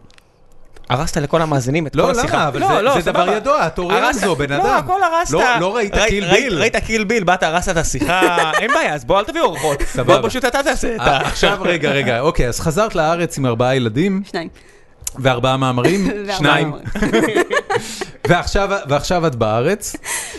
[SPEAKER 2] הרסת לכל המאזינים את כל
[SPEAKER 1] לא,
[SPEAKER 2] השיחה.
[SPEAKER 1] למה? אבל זה- זה דבר
[SPEAKER 2] סבבה.
[SPEAKER 1] ידוע, התעורר על
[SPEAKER 2] הרסת-
[SPEAKER 1] זו, בן
[SPEAKER 2] לא,
[SPEAKER 1] אדם.
[SPEAKER 2] הכל הרסת.
[SPEAKER 1] לא- לא ראית
[SPEAKER 2] ראי-
[SPEAKER 1] קיל
[SPEAKER 2] ראי-
[SPEAKER 1] ביל.
[SPEAKER 2] ראית קיל ביל, באת, הרסת את השיחה, אין בעיה, אז בוא, אל תביאו אורחות.
[SPEAKER 1] סבבה.
[SPEAKER 2] בוא, פשוט אתה תעשה את ה...
[SPEAKER 1] אה, עכשיו, רגע, רגע, אוקיי, אז חזרת לארץ עם ארבעה ילדים
[SPEAKER 3] שניים.
[SPEAKER 1] וארבעה מאמרים,
[SPEAKER 3] וארבעה
[SPEAKER 1] שניים,
[SPEAKER 3] מאמרים.
[SPEAKER 1] ועכשיו, ועכשיו את בארץ,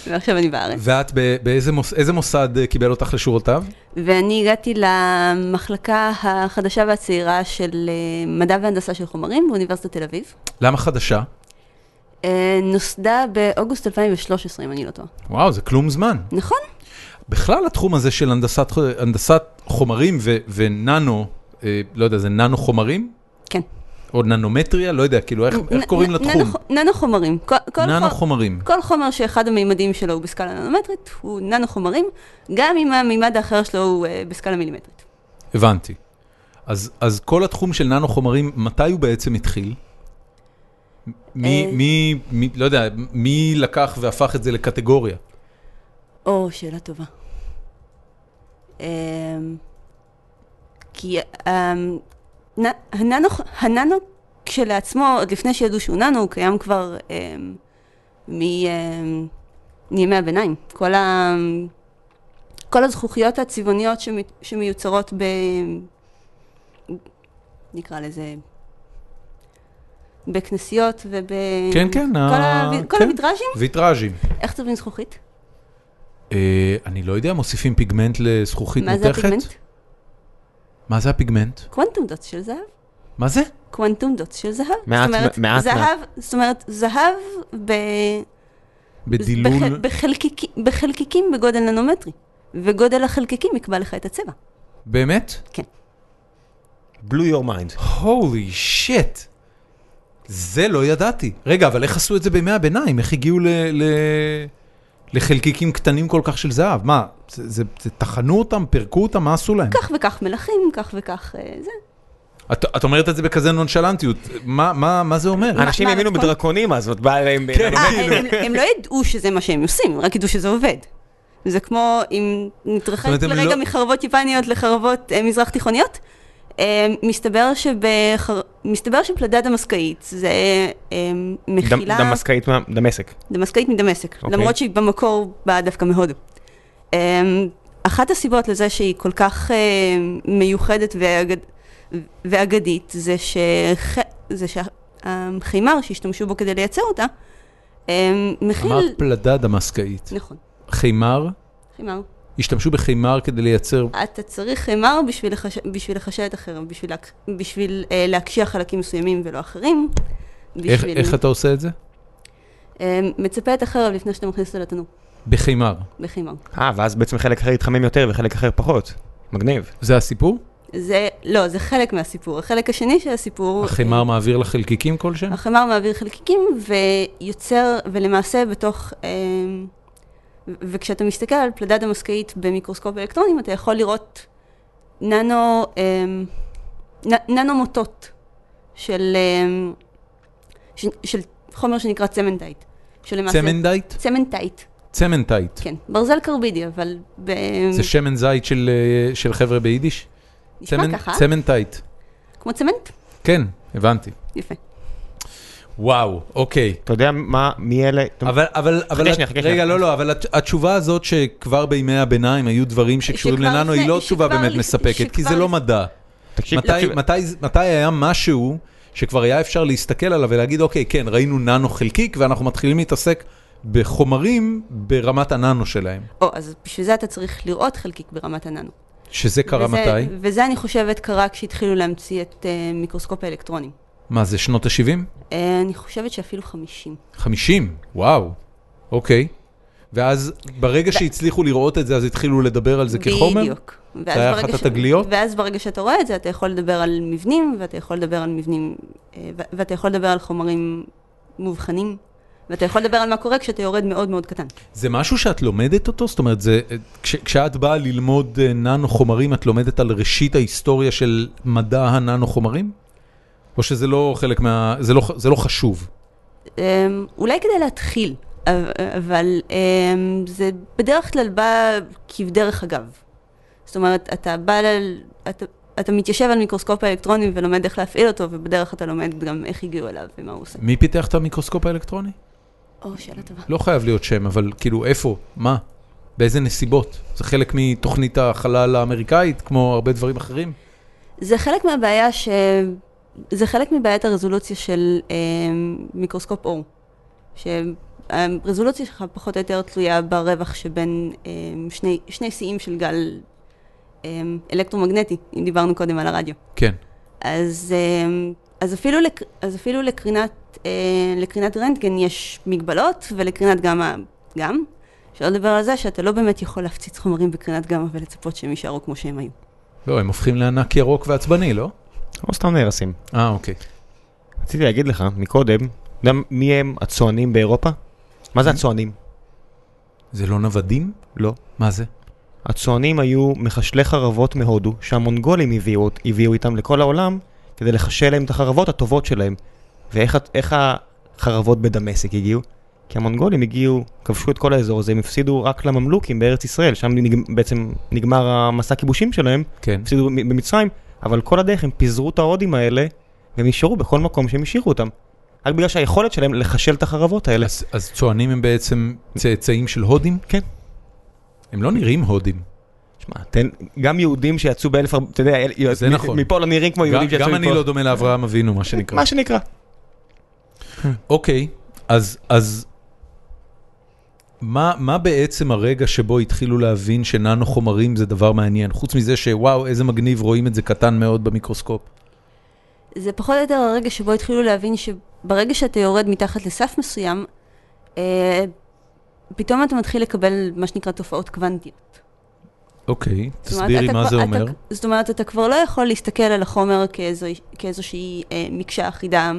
[SPEAKER 3] ועכשיו אני בארץ.
[SPEAKER 1] ואת ב- באיזה מוס, איזה מוסד אה, קיבל אותך לשורותיו?
[SPEAKER 3] ואני הגעתי למחלקה החדשה והצעירה של אה, מדע והנדסה של חומרים באוניברסיטת תל אביב.
[SPEAKER 1] למה חדשה?
[SPEAKER 3] אה, נוסדה באוגוסט 2013, אם אני לא טועה.
[SPEAKER 1] וואו, זה כלום זמן.
[SPEAKER 3] נכון?
[SPEAKER 1] בכלל התחום הזה של הנדסת, ח- הנדסת חומרים ו, וננו, אה, לא יודע, זה ננו חומרים?
[SPEAKER 3] כן.
[SPEAKER 1] או ננומטריה? לא יודע, כאילו, איך, איך
[SPEAKER 3] נ-
[SPEAKER 1] קוראים
[SPEAKER 3] נ-
[SPEAKER 1] לתחום?
[SPEAKER 3] ננו- ננו חומרים. כל- כל
[SPEAKER 1] ננו
[SPEAKER 3] חו-
[SPEAKER 1] חומרים.
[SPEAKER 3] כל חומר שאחד המימדים שלו הוא בסקאלה ננומטרית, הוא ננו חומרים, גם אם המימד האחר שלו הוא אה, בסקאלה מילימטרית.
[SPEAKER 1] הבנתי. אז, אז כל התחום של ננו חומרים, מתי הוא בעצם התחיל? מי,
[SPEAKER 3] אה.
[SPEAKER 1] מי, מי, לא יודע, מי לקח והפך את זה לקטגוריה?
[SPEAKER 3] או, שאלה טובה. אמ, כי אמ, נ- הננו, הננו כשלעצמו, עוד לפני שידעו שהוא ננו, הוא קיים כבר אמ, מ- אמ, מימי הביניים. כל, ה, כל הזכוכיות הצבעוניות שמי, שמיוצרות ב... נקרא לזה... בכנסיות וב...
[SPEAKER 1] כן, כן,
[SPEAKER 3] כל,
[SPEAKER 1] ה-
[SPEAKER 3] ה... כל
[SPEAKER 1] כן.
[SPEAKER 3] הוויטראז'ים?
[SPEAKER 1] ויטראז'ים.
[SPEAKER 3] איך צובעים זכוכית?
[SPEAKER 1] אה, אני לא יודע, מוסיפים פיגמנט לזכוכית
[SPEAKER 3] מה
[SPEAKER 1] מותכת?
[SPEAKER 3] זה הפיגמנט?
[SPEAKER 1] מה זה הפיגמנט?
[SPEAKER 3] קוונטום דוט של זהב.
[SPEAKER 1] מה זה?
[SPEAKER 3] קוונטום דוט של זהב.
[SPEAKER 2] מעט-
[SPEAKER 3] זאת אומרת,
[SPEAKER 2] מעט-
[SPEAKER 3] זהב, זאת אומרת, זהב ב...
[SPEAKER 1] בדילול...
[SPEAKER 3] בח- בחלקיק- בחלקיקים בגודל ננומטרי. וגודל החלקיקים יקבע לך את הצבע.
[SPEAKER 1] באמת?
[SPEAKER 2] בלו יור מיינד.
[SPEAKER 1] הולי שיט. זה לא ידעתי. רגע, אבל איך עשו את זה בימי הביניים? איך הגיעו ל... ל... לחלקיקים קטנים כל כך של זהב? מה, זה, זה, זה, טחנו אותם, פירקו אותם, מה עשו להם?
[SPEAKER 3] כך וכך מלחים, כך וכך אה, זה.
[SPEAKER 1] את, את אומרת את זה בכזה נונשלנטיות, מה, מה, מה זה אומר?
[SPEAKER 2] אנשים
[SPEAKER 3] מה
[SPEAKER 2] האמינו
[SPEAKER 3] הכל?
[SPEAKER 2] בדרקונים אז, עוד בא אליהם...
[SPEAKER 1] כן.
[SPEAKER 3] אה, הם- הם- הם לא ידעו שזה מה שהם עושים, הם רק ידעו שזה עובד. זה כמו אם נתרחק
[SPEAKER 1] זאת אומרת, הם
[SPEAKER 3] לרגע
[SPEAKER 1] לא-
[SPEAKER 3] מחרבות יפניות לחרבות אה, מזרח תיכוניות. אה, מסתבר שבחר- מסתבר שפלדת דמסקאית זה אה, מכילה...
[SPEAKER 2] דמשקאית מה- דמשק.
[SPEAKER 3] דמשקאית מדמשק,
[SPEAKER 2] אוקיי.
[SPEAKER 3] אוקיי. למרות שהיא במקור באה דווקא מהודו. Um, אחת הסיבות לזה שהיא כל כך uh, מיוחדת ואגד... ואגדית זה, שח... זה שהחימר שהשתמשו בו כדי לייצר אותה, um, מכיל...
[SPEAKER 1] אמרת פלדה דמסקאית.
[SPEAKER 3] נכון,
[SPEAKER 1] חימר?
[SPEAKER 3] חימר.
[SPEAKER 1] השתמשו בחימר כדי לייצר...
[SPEAKER 3] אתה צריך חימר בשביל, לחש... בשביל לחשת אחרים, בשביל, להק... בשביל uh, להקשיח חלקים מסוימים ולא אחרים.
[SPEAKER 1] איך, איך אתה עושה את זה?
[SPEAKER 3] um, מצפה את החרב לפני שאתה מכניס אותו לתנור,
[SPEAKER 1] בחימר.
[SPEAKER 3] בחימר.
[SPEAKER 2] אה, ואז בעצם חלק אחר יתחמם יותר וחלק אחר פחות. מגניב.
[SPEAKER 1] זה הסיפור?
[SPEAKER 3] זה, לא, זה חלק מהסיפור. החלק השני של הסיפור...
[SPEAKER 1] החימר מעביר לחלקיקים כלשהם?
[SPEAKER 3] החמר מעביר חלקיקים ויוצר, ולמעשה בתוך... אה, ו- וכשאתה מסתכל על פלדה דמסקאית במיקרוסקופ אלקטרונים, אתה יכול לראות ננו, אמ, אה, נ, ננו מוטות של, אה, אמ, ש- של חומר שנקרא צמנטייט. שלמעשה...
[SPEAKER 1] צמנדייט?
[SPEAKER 3] צמנטייט,
[SPEAKER 1] צמנטייט.
[SPEAKER 3] כן. ברזל קרבידי, אבל... ב...
[SPEAKER 1] זה שמן זית של, אה, של חבר'ה ביידיש?
[SPEAKER 3] נשמע
[SPEAKER 1] צמנ-
[SPEAKER 3] ככה,
[SPEAKER 1] צמנטייט.
[SPEAKER 3] כמו צמנט?
[SPEAKER 1] כן, הבנתי.
[SPEAKER 3] יפה.
[SPEAKER 1] וואו, אוקיי.
[SPEAKER 2] אתה יודע מה, מי אלה?
[SPEAKER 1] אבל, אבל, אבל,
[SPEAKER 2] חכה שנייה,
[SPEAKER 1] את-
[SPEAKER 2] חכה
[SPEAKER 1] רגע,
[SPEAKER 2] שנייה.
[SPEAKER 1] לא, לא, אבל הת- התשובה הזאת שכבר בימי הביניים היו דברים שקשורים
[SPEAKER 3] שכבר
[SPEAKER 1] לנו,
[SPEAKER 3] לפני-
[SPEAKER 1] היא לא תשובה
[SPEAKER 3] שכבר
[SPEAKER 1] באמת
[SPEAKER 3] לפ-
[SPEAKER 1] מספקת, כי
[SPEAKER 3] שכבר
[SPEAKER 1] זה לא
[SPEAKER 3] לפ-
[SPEAKER 1] מדע.
[SPEAKER 2] תקשיב,
[SPEAKER 1] מתי,
[SPEAKER 2] תקשיב.
[SPEAKER 1] מתי, זה- מתי היה משהו שכבר היה אפשר להסתכל עליו ולהגיד, אוקיי, כן, ראינו ננו חלקיק ואנחנו מתחילים להתעסק בחומרים ברמת הננו שלהם.
[SPEAKER 3] או, אז בשביל זה אתה צריך לראות חלקיק ברמת הננו.
[SPEAKER 1] שזה קרה
[SPEAKER 3] וזה,
[SPEAKER 1] מתי?
[SPEAKER 3] וזה אני חושבת קרה כשהתחילו להמציא את uh, מיקרוסקופ האלקטרונים.
[SPEAKER 1] מה, זה שנות ה-70?
[SPEAKER 3] Uh, אני חושבת שאפילו 50.
[SPEAKER 1] 50? וואו, אוקיי. ואז ברגע שהצליחו לראות את זה, אז התחילו לדבר על זה כחומר?
[SPEAKER 3] בדיוק. ואז
[SPEAKER 1] היה
[SPEAKER 3] ברגע
[SPEAKER 1] אחת התגליות?
[SPEAKER 3] ואז ברגע שאתה רואה את זה, אתה יכול לדבר על מבנים, ואתה יכול לדבר על מבנים, אה, ו- ואתה יכול לדבר על חומרים מאובחנים, ואתה יכול לדבר על מה קורה כשאתה יורד מאוד מאוד קטן.
[SPEAKER 1] זה משהו שאת לומדת אותו? זאת אומרת, זה, כש, כשאת באה ללמוד אה, ננו חומרים, את לומדת על ראשית ההיסטוריה של מדע הננו חומרים? או שזה לא חלק מה... זה לא, ח- זה לא חשוב.
[SPEAKER 3] אה, אולי כדי להתחיל, אב- אבל אה, זה בדרך כלל בא כבדרך אגב. זאת אומרת, אתה בא ל... אתה, אתה מתיישב על מיקרוסקופ האלקטרוני ולומד איך להפעיל אותו, ובדרך אתה לומד גם איך הגיעו אליו ומה הוא עושה.
[SPEAKER 1] מי פיתח את המיקרוסקופ האלקטרוני?
[SPEAKER 3] או, שאלה טובה.
[SPEAKER 1] לא חייב להיות שם, אבל כאילו, איפה? מה? באיזה נסיבות? זה חלק מתוכנית החלל האמריקאית, כמו הרבה דברים אחרים?
[SPEAKER 3] זה חלק מהבעיה ש... זה חלק מבעיית הרזולוציה של אה, מיקרוסקופ אור. שהרזולוציה שלך פחות או יותר תלויה ברווח שבין אה, שני, שני שיאים של גל אה, אלקטרומגנטי, אם דיברנו קודם על הרדיו.
[SPEAKER 1] כן.
[SPEAKER 3] אז, אה, אז אפילו, לק, אז אפילו לקרינת, אה, לקרינת רנטגן יש מגבלות, ולקרינת גמא גם. שלא לדבר על זה שאתה לא באמת יכול להפציץ חומרים בקרינת גמא ולצפות שהם יישארו כמו שהם היו.
[SPEAKER 1] לא, הם הופכים לענק ירוק ועצבני, לא?
[SPEAKER 2] או סתם נהרסים.
[SPEAKER 1] אה, אוקיי.
[SPEAKER 2] רציתי להגיד לך מקודם, אתה יודע מי הם הצוענים באירופה? מה זה הצוענים?
[SPEAKER 1] זה לא נוודים?
[SPEAKER 2] לא.
[SPEAKER 1] מה זה?
[SPEAKER 2] הצוענים היו מחשלי חרבות מהודו, שהמונגולים הביאו, הביאו איתם לכל העולם, כדי לחשל להם את החרבות הטובות שלהם. ואיך ה- איך החרבות בדמשק הגיעו? כי המונגולים הגיעו, כבשו את כל האזור הזה, הם הפסידו רק לממלוכים בארץ ישראל, שם נג, בעצם נגמר המסע כיבושים שלהם,
[SPEAKER 1] כן.
[SPEAKER 2] הפסידו מ- במצרים, אבל כל הדרך הם פיזרו את ההודים האלה, והם נשארו בכל מקום שהם השאירו אותם. רק בגלל שהיכולת שלהם לחשל את החרבות האלה.
[SPEAKER 1] אז, אז צוענים הם בעצם צאצאים של הודים?
[SPEAKER 2] כן.
[SPEAKER 1] הם לא נראים הודים.
[SPEAKER 2] שמע, תן, גם יהודים שיצאו באלף, ארבע- אתה יודע, אל-
[SPEAKER 1] זה
[SPEAKER 2] מ-
[SPEAKER 1] נכון.
[SPEAKER 2] מפה לא נראים כמו
[SPEAKER 1] גם,
[SPEAKER 2] יהודים שיצאו
[SPEAKER 1] גם
[SPEAKER 2] מפה.
[SPEAKER 1] אני לא דומה לאברהם אבינו, מה שנקרא.
[SPEAKER 2] מה שנקרא.
[SPEAKER 1] אוקיי, אז, אז מה, מה בעצם הרגע שבו התחילו להבין שננו חומרים זה דבר מעניין? חוץ מזה שוואו, איזה מגניב, רואים את זה קטן מאוד במיקרוסקופ.
[SPEAKER 3] זה פחות או יותר הרגע שבו התחילו להבין שברגע שאתה יורד מתחת לסף מסוים, אה, פתאום אתה מתחיל לקבל מה שנקרא תופעות קוונטיות.
[SPEAKER 1] אוקיי,
[SPEAKER 3] זאת אומרת,
[SPEAKER 1] תסבירי
[SPEAKER 3] אתה
[SPEAKER 1] מה
[SPEAKER 3] כבר-
[SPEAKER 1] זה
[SPEAKER 3] אתה-
[SPEAKER 1] אומר.
[SPEAKER 3] זאת אומרת, אתה כבר לא יכול להסתכל על החומר כאיזו, כאיזושהי אה, מקשה אחידה,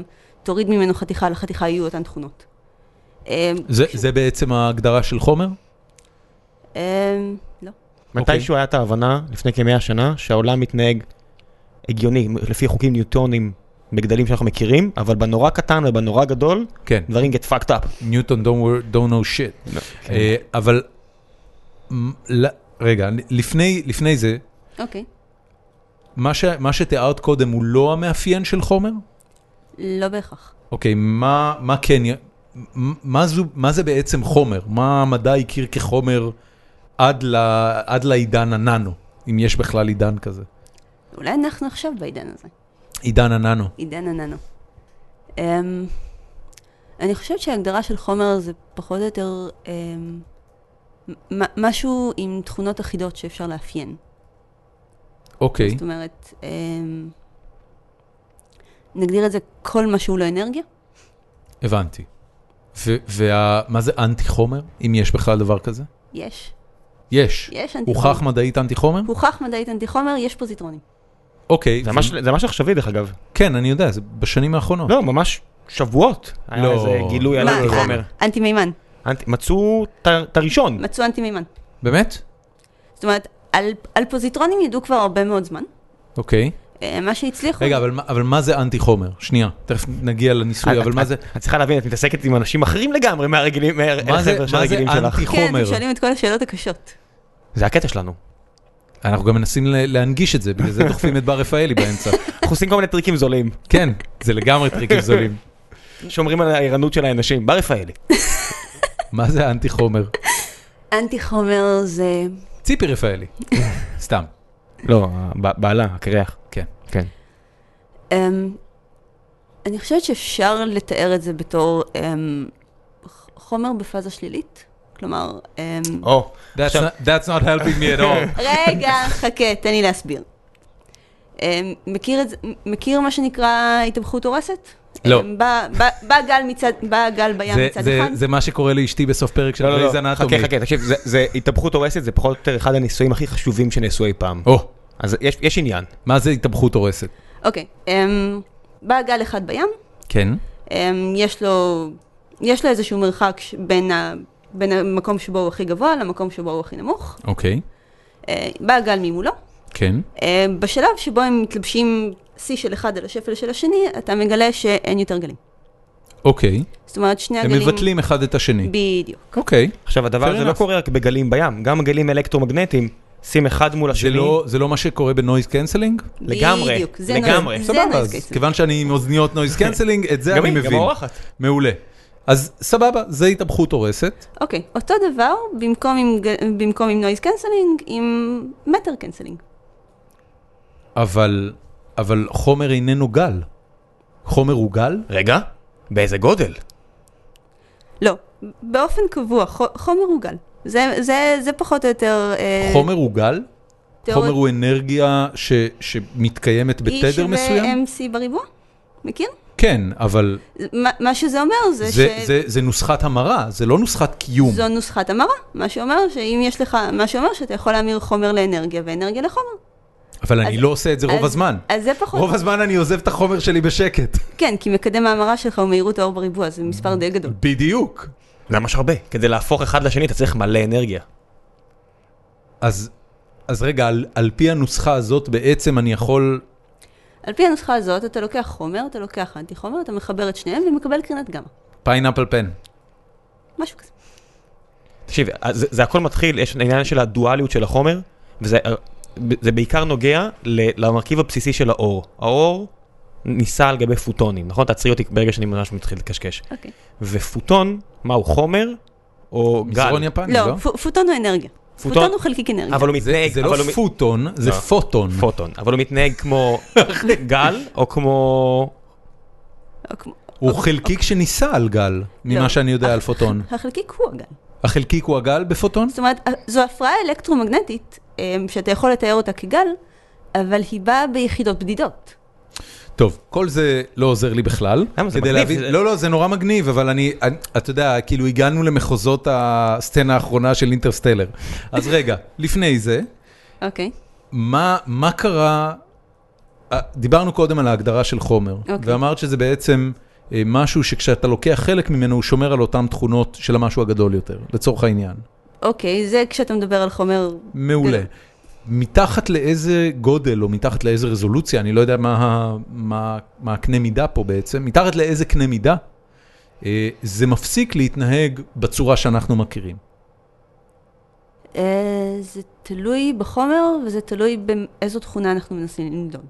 [SPEAKER 3] תוריד ממנו חתיכה, לחתיכה יהיו אותן תכונות. אה,
[SPEAKER 1] זה, זה בעצם ההגדרה של חומר?
[SPEAKER 3] אה, לא.
[SPEAKER 1] אוקיי.
[SPEAKER 2] מתישהו היה את ההבנה, לפני כמאה שנה, שהעולם מתנהג הגיוני, לפי חוקים ניוטונים בגדלים שאנחנו מכירים, אבל בנורא קטן ובנורא גדול,
[SPEAKER 1] כן.
[SPEAKER 2] דברים get fucked up.
[SPEAKER 1] ניוטון don't, wor- don't know shit.
[SPEAKER 2] לא, כן.
[SPEAKER 1] אה, אבל, מ- ל- רגע, לפני, לפני זה,
[SPEAKER 3] אוקיי.
[SPEAKER 1] מה, ש, מה שתיארת קודם הוא לא המאפיין של חומר?
[SPEAKER 3] לא בהכרח.
[SPEAKER 1] אוקיי, מה, מה כן, י- מ- מה, זו, מה זה בעצם חומר? מה המדע הכיר כחומר עד, ל, עד לעידן הננו, אם יש בכלל עידן כזה?
[SPEAKER 3] אולי אנחנו עכשיו בעידן הזה.
[SPEAKER 1] עידן הננו.
[SPEAKER 3] עידן הננו. Um, אני חושבת שההגדרה של חומר זה פחות או יותר um, מ- משהו עם תכונות אחידות שאפשר לאפיין.
[SPEAKER 1] אוקיי,
[SPEAKER 3] זאת אומרת, um, נגדיר את זה כל מה שהוא לא אנרגיה.
[SPEAKER 1] הבנתי. ומה זה אנטי חומר, אם יש בכלל דבר כזה?
[SPEAKER 3] יש.
[SPEAKER 1] יש.
[SPEAKER 3] יש אנטי חומר.
[SPEAKER 1] הוכח מדעית אנטי חומר?
[SPEAKER 3] הוכח מדעית אנטי חומר, יש פוזיטרונים.
[SPEAKER 1] אוקיי.
[SPEAKER 2] זה
[SPEAKER 1] ו-
[SPEAKER 2] ממש- זה ממש עכשווי דרך אגב.
[SPEAKER 1] כן, אני יודע, זה בשנים האחרונות.
[SPEAKER 2] לא, ממש שבועות. היה
[SPEAKER 1] לא.
[SPEAKER 2] איזה גילוי על
[SPEAKER 1] מה,
[SPEAKER 2] אנטי
[SPEAKER 1] אה?
[SPEAKER 2] חומר.
[SPEAKER 3] אנטי מימן.
[SPEAKER 2] אנטי- מצאו את ה- את הראשון.
[SPEAKER 3] מצאו אנטי מימן.
[SPEAKER 1] באמת?
[SPEAKER 3] זאת אומרת, על, על פוזיטרונים ידעו כבר הרבה מאוד זמן.
[SPEAKER 1] אוקיי.
[SPEAKER 3] Um, אה, מה
[SPEAKER 2] נכון.
[SPEAKER 3] שהצליחו...
[SPEAKER 1] רגע, אבל מה- אבל מה זה אנטי חומר? שנייה, תכף נגיע לניסוי,
[SPEAKER 2] את-
[SPEAKER 1] אבל
[SPEAKER 2] את-
[SPEAKER 1] מה זה...
[SPEAKER 2] את צריכה להבין, את מתעסקת עם אנשים אחרים לגמרי מהרגילים,
[SPEAKER 1] מה זה-
[SPEAKER 2] מהחבר'ה של
[SPEAKER 1] מה זה
[SPEAKER 2] הרגילים שלך.
[SPEAKER 1] אנטי
[SPEAKER 3] כן,
[SPEAKER 1] חומר?
[SPEAKER 3] אתם שואלים את כל השאלות הקשות.
[SPEAKER 2] זה הקטע שלנו.
[SPEAKER 1] אנחנו גם מנסים ל- להנגיש את זה, בגלל זה דוחפים את בר רפאלי באמצע.
[SPEAKER 2] אנחנו עושים כל מיני טריקים זולים,
[SPEAKER 1] כן, זה לגמרי טריקים זולים.
[SPEAKER 2] שומרים על הערנות של האנשים. בר רפאלי.
[SPEAKER 1] מה זה אנטי חומר?
[SPEAKER 3] אנטי חומר זה...
[SPEAKER 1] ציפי רפאלי. סתם,
[SPEAKER 2] לא, הב- בעלה, הקרח.
[SPEAKER 1] כן.
[SPEAKER 2] כן.
[SPEAKER 3] אמ, אני חושבת שאפשר לתאר את זה בתור אמ, ח- חומר בפאזה שלילית. כלומר, אמ,
[SPEAKER 2] או,
[SPEAKER 1] That's
[SPEAKER 2] עכשיו-
[SPEAKER 1] not- that's not helping me at all.
[SPEAKER 3] רגע, חכה, תן לי להסביר. אמ, מכיר, את, זה- מכיר מה שנקרא התאבכות הורסת?
[SPEAKER 1] לא.
[SPEAKER 3] אמ, בא- בא- בא גל מצד- בא גל בים
[SPEAKER 1] זה-
[SPEAKER 3] מצד
[SPEAKER 1] זה-
[SPEAKER 3] אחד.
[SPEAKER 1] זה מה שקורה לאשתי בסוף פרק של
[SPEAKER 2] לא, לא,
[SPEAKER 1] גרייז
[SPEAKER 2] לא,
[SPEAKER 1] אנטומי.
[SPEAKER 2] חכה, חכה, תקשיב, זה- זה התהפכות הורסת, זה פחות או יותר אחד הניסויים הכי חשובים שנעשו אי פעם.
[SPEAKER 1] או,
[SPEAKER 2] אז יש- יש עניין.
[SPEAKER 1] מה זה התאבכות הורסת?
[SPEAKER 3] אוקיי, אמ, בא גל אחד בים,
[SPEAKER 1] כן.
[SPEAKER 3] אמ, יש לו, יש לו איזשהו מרחק ש- בין, ה, בין המקום שבו הוא הכי גבוה למקום שבו הוא הכי נמוך.
[SPEAKER 1] אוקיי,
[SPEAKER 3] אה, בא הגל ממולו.
[SPEAKER 1] כן.
[SPEAKER 3] אה, בשלב שבו הם מתלבשים שיא של אחד על השפל של השני, אתה מגלה שאין יותר גלים.
[SPEAKER 1] אוקיי.
[SPEAKER 3] זאת אומרת, שני
[SPEAKER 1] הם
[SPEAKER 3] הגלים...
[SPEAKER 1] מבטלים אחד את השני.
[SPEAKER 3] בדיוק.
[SPEAKER 1] אוקיי.
[SPEAKER 2] עכשיו, הדבר
[SPEAKER 1] Fair
[SPEAKER 2] הזה לא
[SPEAKER 1] enough.
[SPEAKER 2] קורה רק בגלים בים, גם גלים אלקטרומגנטיים, שים אחד מול
[SPEAKER 1] זה
[SPEAKER 2] השני.
[SPEAKER 1] לא- זה לא מה שקורה בנויז קנסלינג?
[SPEAKER 2] לגמרי,
[SPEAKER 3] בדיוק. זה
[SPEAKER 2] לגמרי.
[SPEAKER 3] נויז- זה
[SPEAKER 1] סבבה,
[SPEAKER 3] נויז
[SPEAKER 1] אז
[SPEAKER 3] קייסים.
[SPEAKER 1] כיוון שאני עם אוזניות נויז קנסלינג, את זה
[SPEAKER 2] גם
[SPEAKER 1] אני
[SPEAKER 2] היא, גם
[SPEAKER 1] מבין.
[SPEAKER 2] האורחת.
[SPEAKER 1] מעולה. אז סבבה, זה התאבכות הורסת.
[SPEAKER 3] אוקיי, אותו דבר, במקום עם, ג- במקום עם נויז קנסלינג, עם מטר קנסלינג.
[SPEAKER 1] אבל, אבל חומר איננו גל. חומר הוא גל?
[SPEAKER 2] רגע, באיזה גודל?
[SPEAKER 3] לא, באופן קבוע, חו- חומר הוא גל. זה, זה, זה פחות או יותר... אה,
[SPEAKER 1] חומר הוא גל?
[SPEAKER 3] תיאוריה-
[SPEAKER 1] חומר הוא אנרגיה ש, שמתקיימת
[SPEAKER 3] E
[SPEAKER 1] בתדר
[SPEAKER 3] שווה
[SPEAKER 1] מסוים?
[SPEAKER 3] MC בריבוע? מכיר?
[SPEAKER 1] כן, אבל
[SPEAKER 3] מה- מה שזה אומר זה,
[SPEAKER 1] זה,
[SPEAKER 3] ש...
[SPEAKER 1] זה, זה, זה נוסחת המרה, זה לא נוסחת קיום.
[SPEAKER 3] זו נוסחת המרה, מה שאומר שאם יש לך, מה שאומר שאתה יכול להמיר חומר לאנרגיה ואנרגיה לחומר.
[SPEAKER 1] אבל אני
[SPEAKER 3] אז-
[SPEAKER 1] לא עושה את זה רוב
[SPEAKER 3] אז-
[SPEAKER 1] הזמן.
[SPEAKER 3] אז זה פחות,
[SPEAKER 1] רוב הזמן אני עוזב את החומר שלי בשקט.
[SPEAKER 3] כן, כי מקדם ההמרה שלך הוא מהירות האור בריבוע, זה מספר די גדול.
[SPEAKER 1] בדיוק.
[SPEAKER 2] זה ממש הרבה. כדי להפוך אחד לשני אתה צריך מלא אנרגיה.
[SPEAKER 1] אז, אז רגע, על, על פי הנוסחה הזאת בעצם אני יכול...
[SPEAKER 3] על פי הנוסחה הזאת, אתה לוקח חומר, אתה לוקח אנטי חומר, אתה מחבר את שניהם ומקבל קרינת גמא,
[SPEAKER 1] פיינאפל פן.
[SPEAKER 3] משהו כזה.
[SPEAKER 2] תקשיב, אז זה, זה הכל מתחיל, יש עניין של הדואליות של החומר, וזה אה, ב- זה בעיקר נוגע ל, למרכיב הבסיסי של האור. האור נישא על גבי פוטונים, נכון? תעצרי אותי ברגע שאני ממש מתחיל לקשקש.
[SPEAKER 3] אוקיי.
[SPEAKER 2] ופוטון, מה הוא, חומר או גל?
[SPEAKER 1] מזרון יפני, לא?
[SPEAKER 3] לא, פו- פוטון הוא אנרגיה.
[SPEAKER 2] פוטון-
[SPEAKER 3] פוטון הוא חלקיק אנרגיה.
[SPEAKER 2] אבל הוא
[SPEAKER 1] זה,
[SPEAKER 2] מתנהג,
[SPEAKER 1] זה לא
[SPEAKER 2] אבל הוא מת-
[SPEAKER 1] פוטון, זה
[SPEAKER 2] לא.
[SPEAKER 1] פוטון.
[SPEAKER 2] פוטון, אבל הוא מתנהג כמו גל, או כמו...
[SPEAKER 3] או אה, כמו-
[SPEAKER 1] הוא חלקיק שנישא על גל, ממה
[SPEAKER 3] לא.
[SPEAKER 1] שאני יודע על פוטון.
[SPEAKER 3] החלקיק הוא הגל.
[SPEAKER 1] החלקיק הוא הגל בפוטון?
[SPEAKER 3] זאת אומרת, אה, זו הפרעה אלקטרומגנטית, אמ, שאתה יכול לתאר אותה כגל, אבל היא באה ביחידות בדידות.
[SPEAKER 1] טוב, כל זה לא עוזר לי בכלל.
[SPEAKER 2] למה? זה
[SPEAKER 1] כדי
[SPEAKER 2] מגניב,
[SPEAKER 1] להבין-
[SPEAKER 2] זה-
[SPEAKER 1] לא, לא, זה נורא מגניב, אבל אני, אני- אתה יודע, כאילו הגענו למחוזות הסצנה האחרונה של אינטרסטלר. אז רגע, לפני זה,
[SPEAKER 3] אוקיי.
[SPEAKER 1] מה, מה קרה, אה, דיברנו קודם על ההגדרה של חומר, okay.
[SPEAKER 3] אוקיי.
[SPEAKER 1] ואמרת שזה בעצם אה, משהו שכשאתה לוקח חלק ממנו, הוא שומר על אותן תכונות של המשהו הגדול יותר, לצורך העניין.
[SPEAKER 3] אוקיי, זה כשאתה מדבר על חומר...
[SPEAKER 1] מעולה.
[SPEAKER 3] גדול.
[SPEAKER 1] מתחת לאיזה גודל או מתחת לאיזה רזולוציה, אני לא יודע מה, ה- מה, מה הקנה מידה פה בעצם, מתחת לאיזה קנה מידה, אה, זה מפסיק להתנהג בצורה שאנחנו מכירים.
[SPEAKER 3] אה, זה תלוי בחומר וזה תלוי באיזו תכונה אנחנו מנסים למדוד.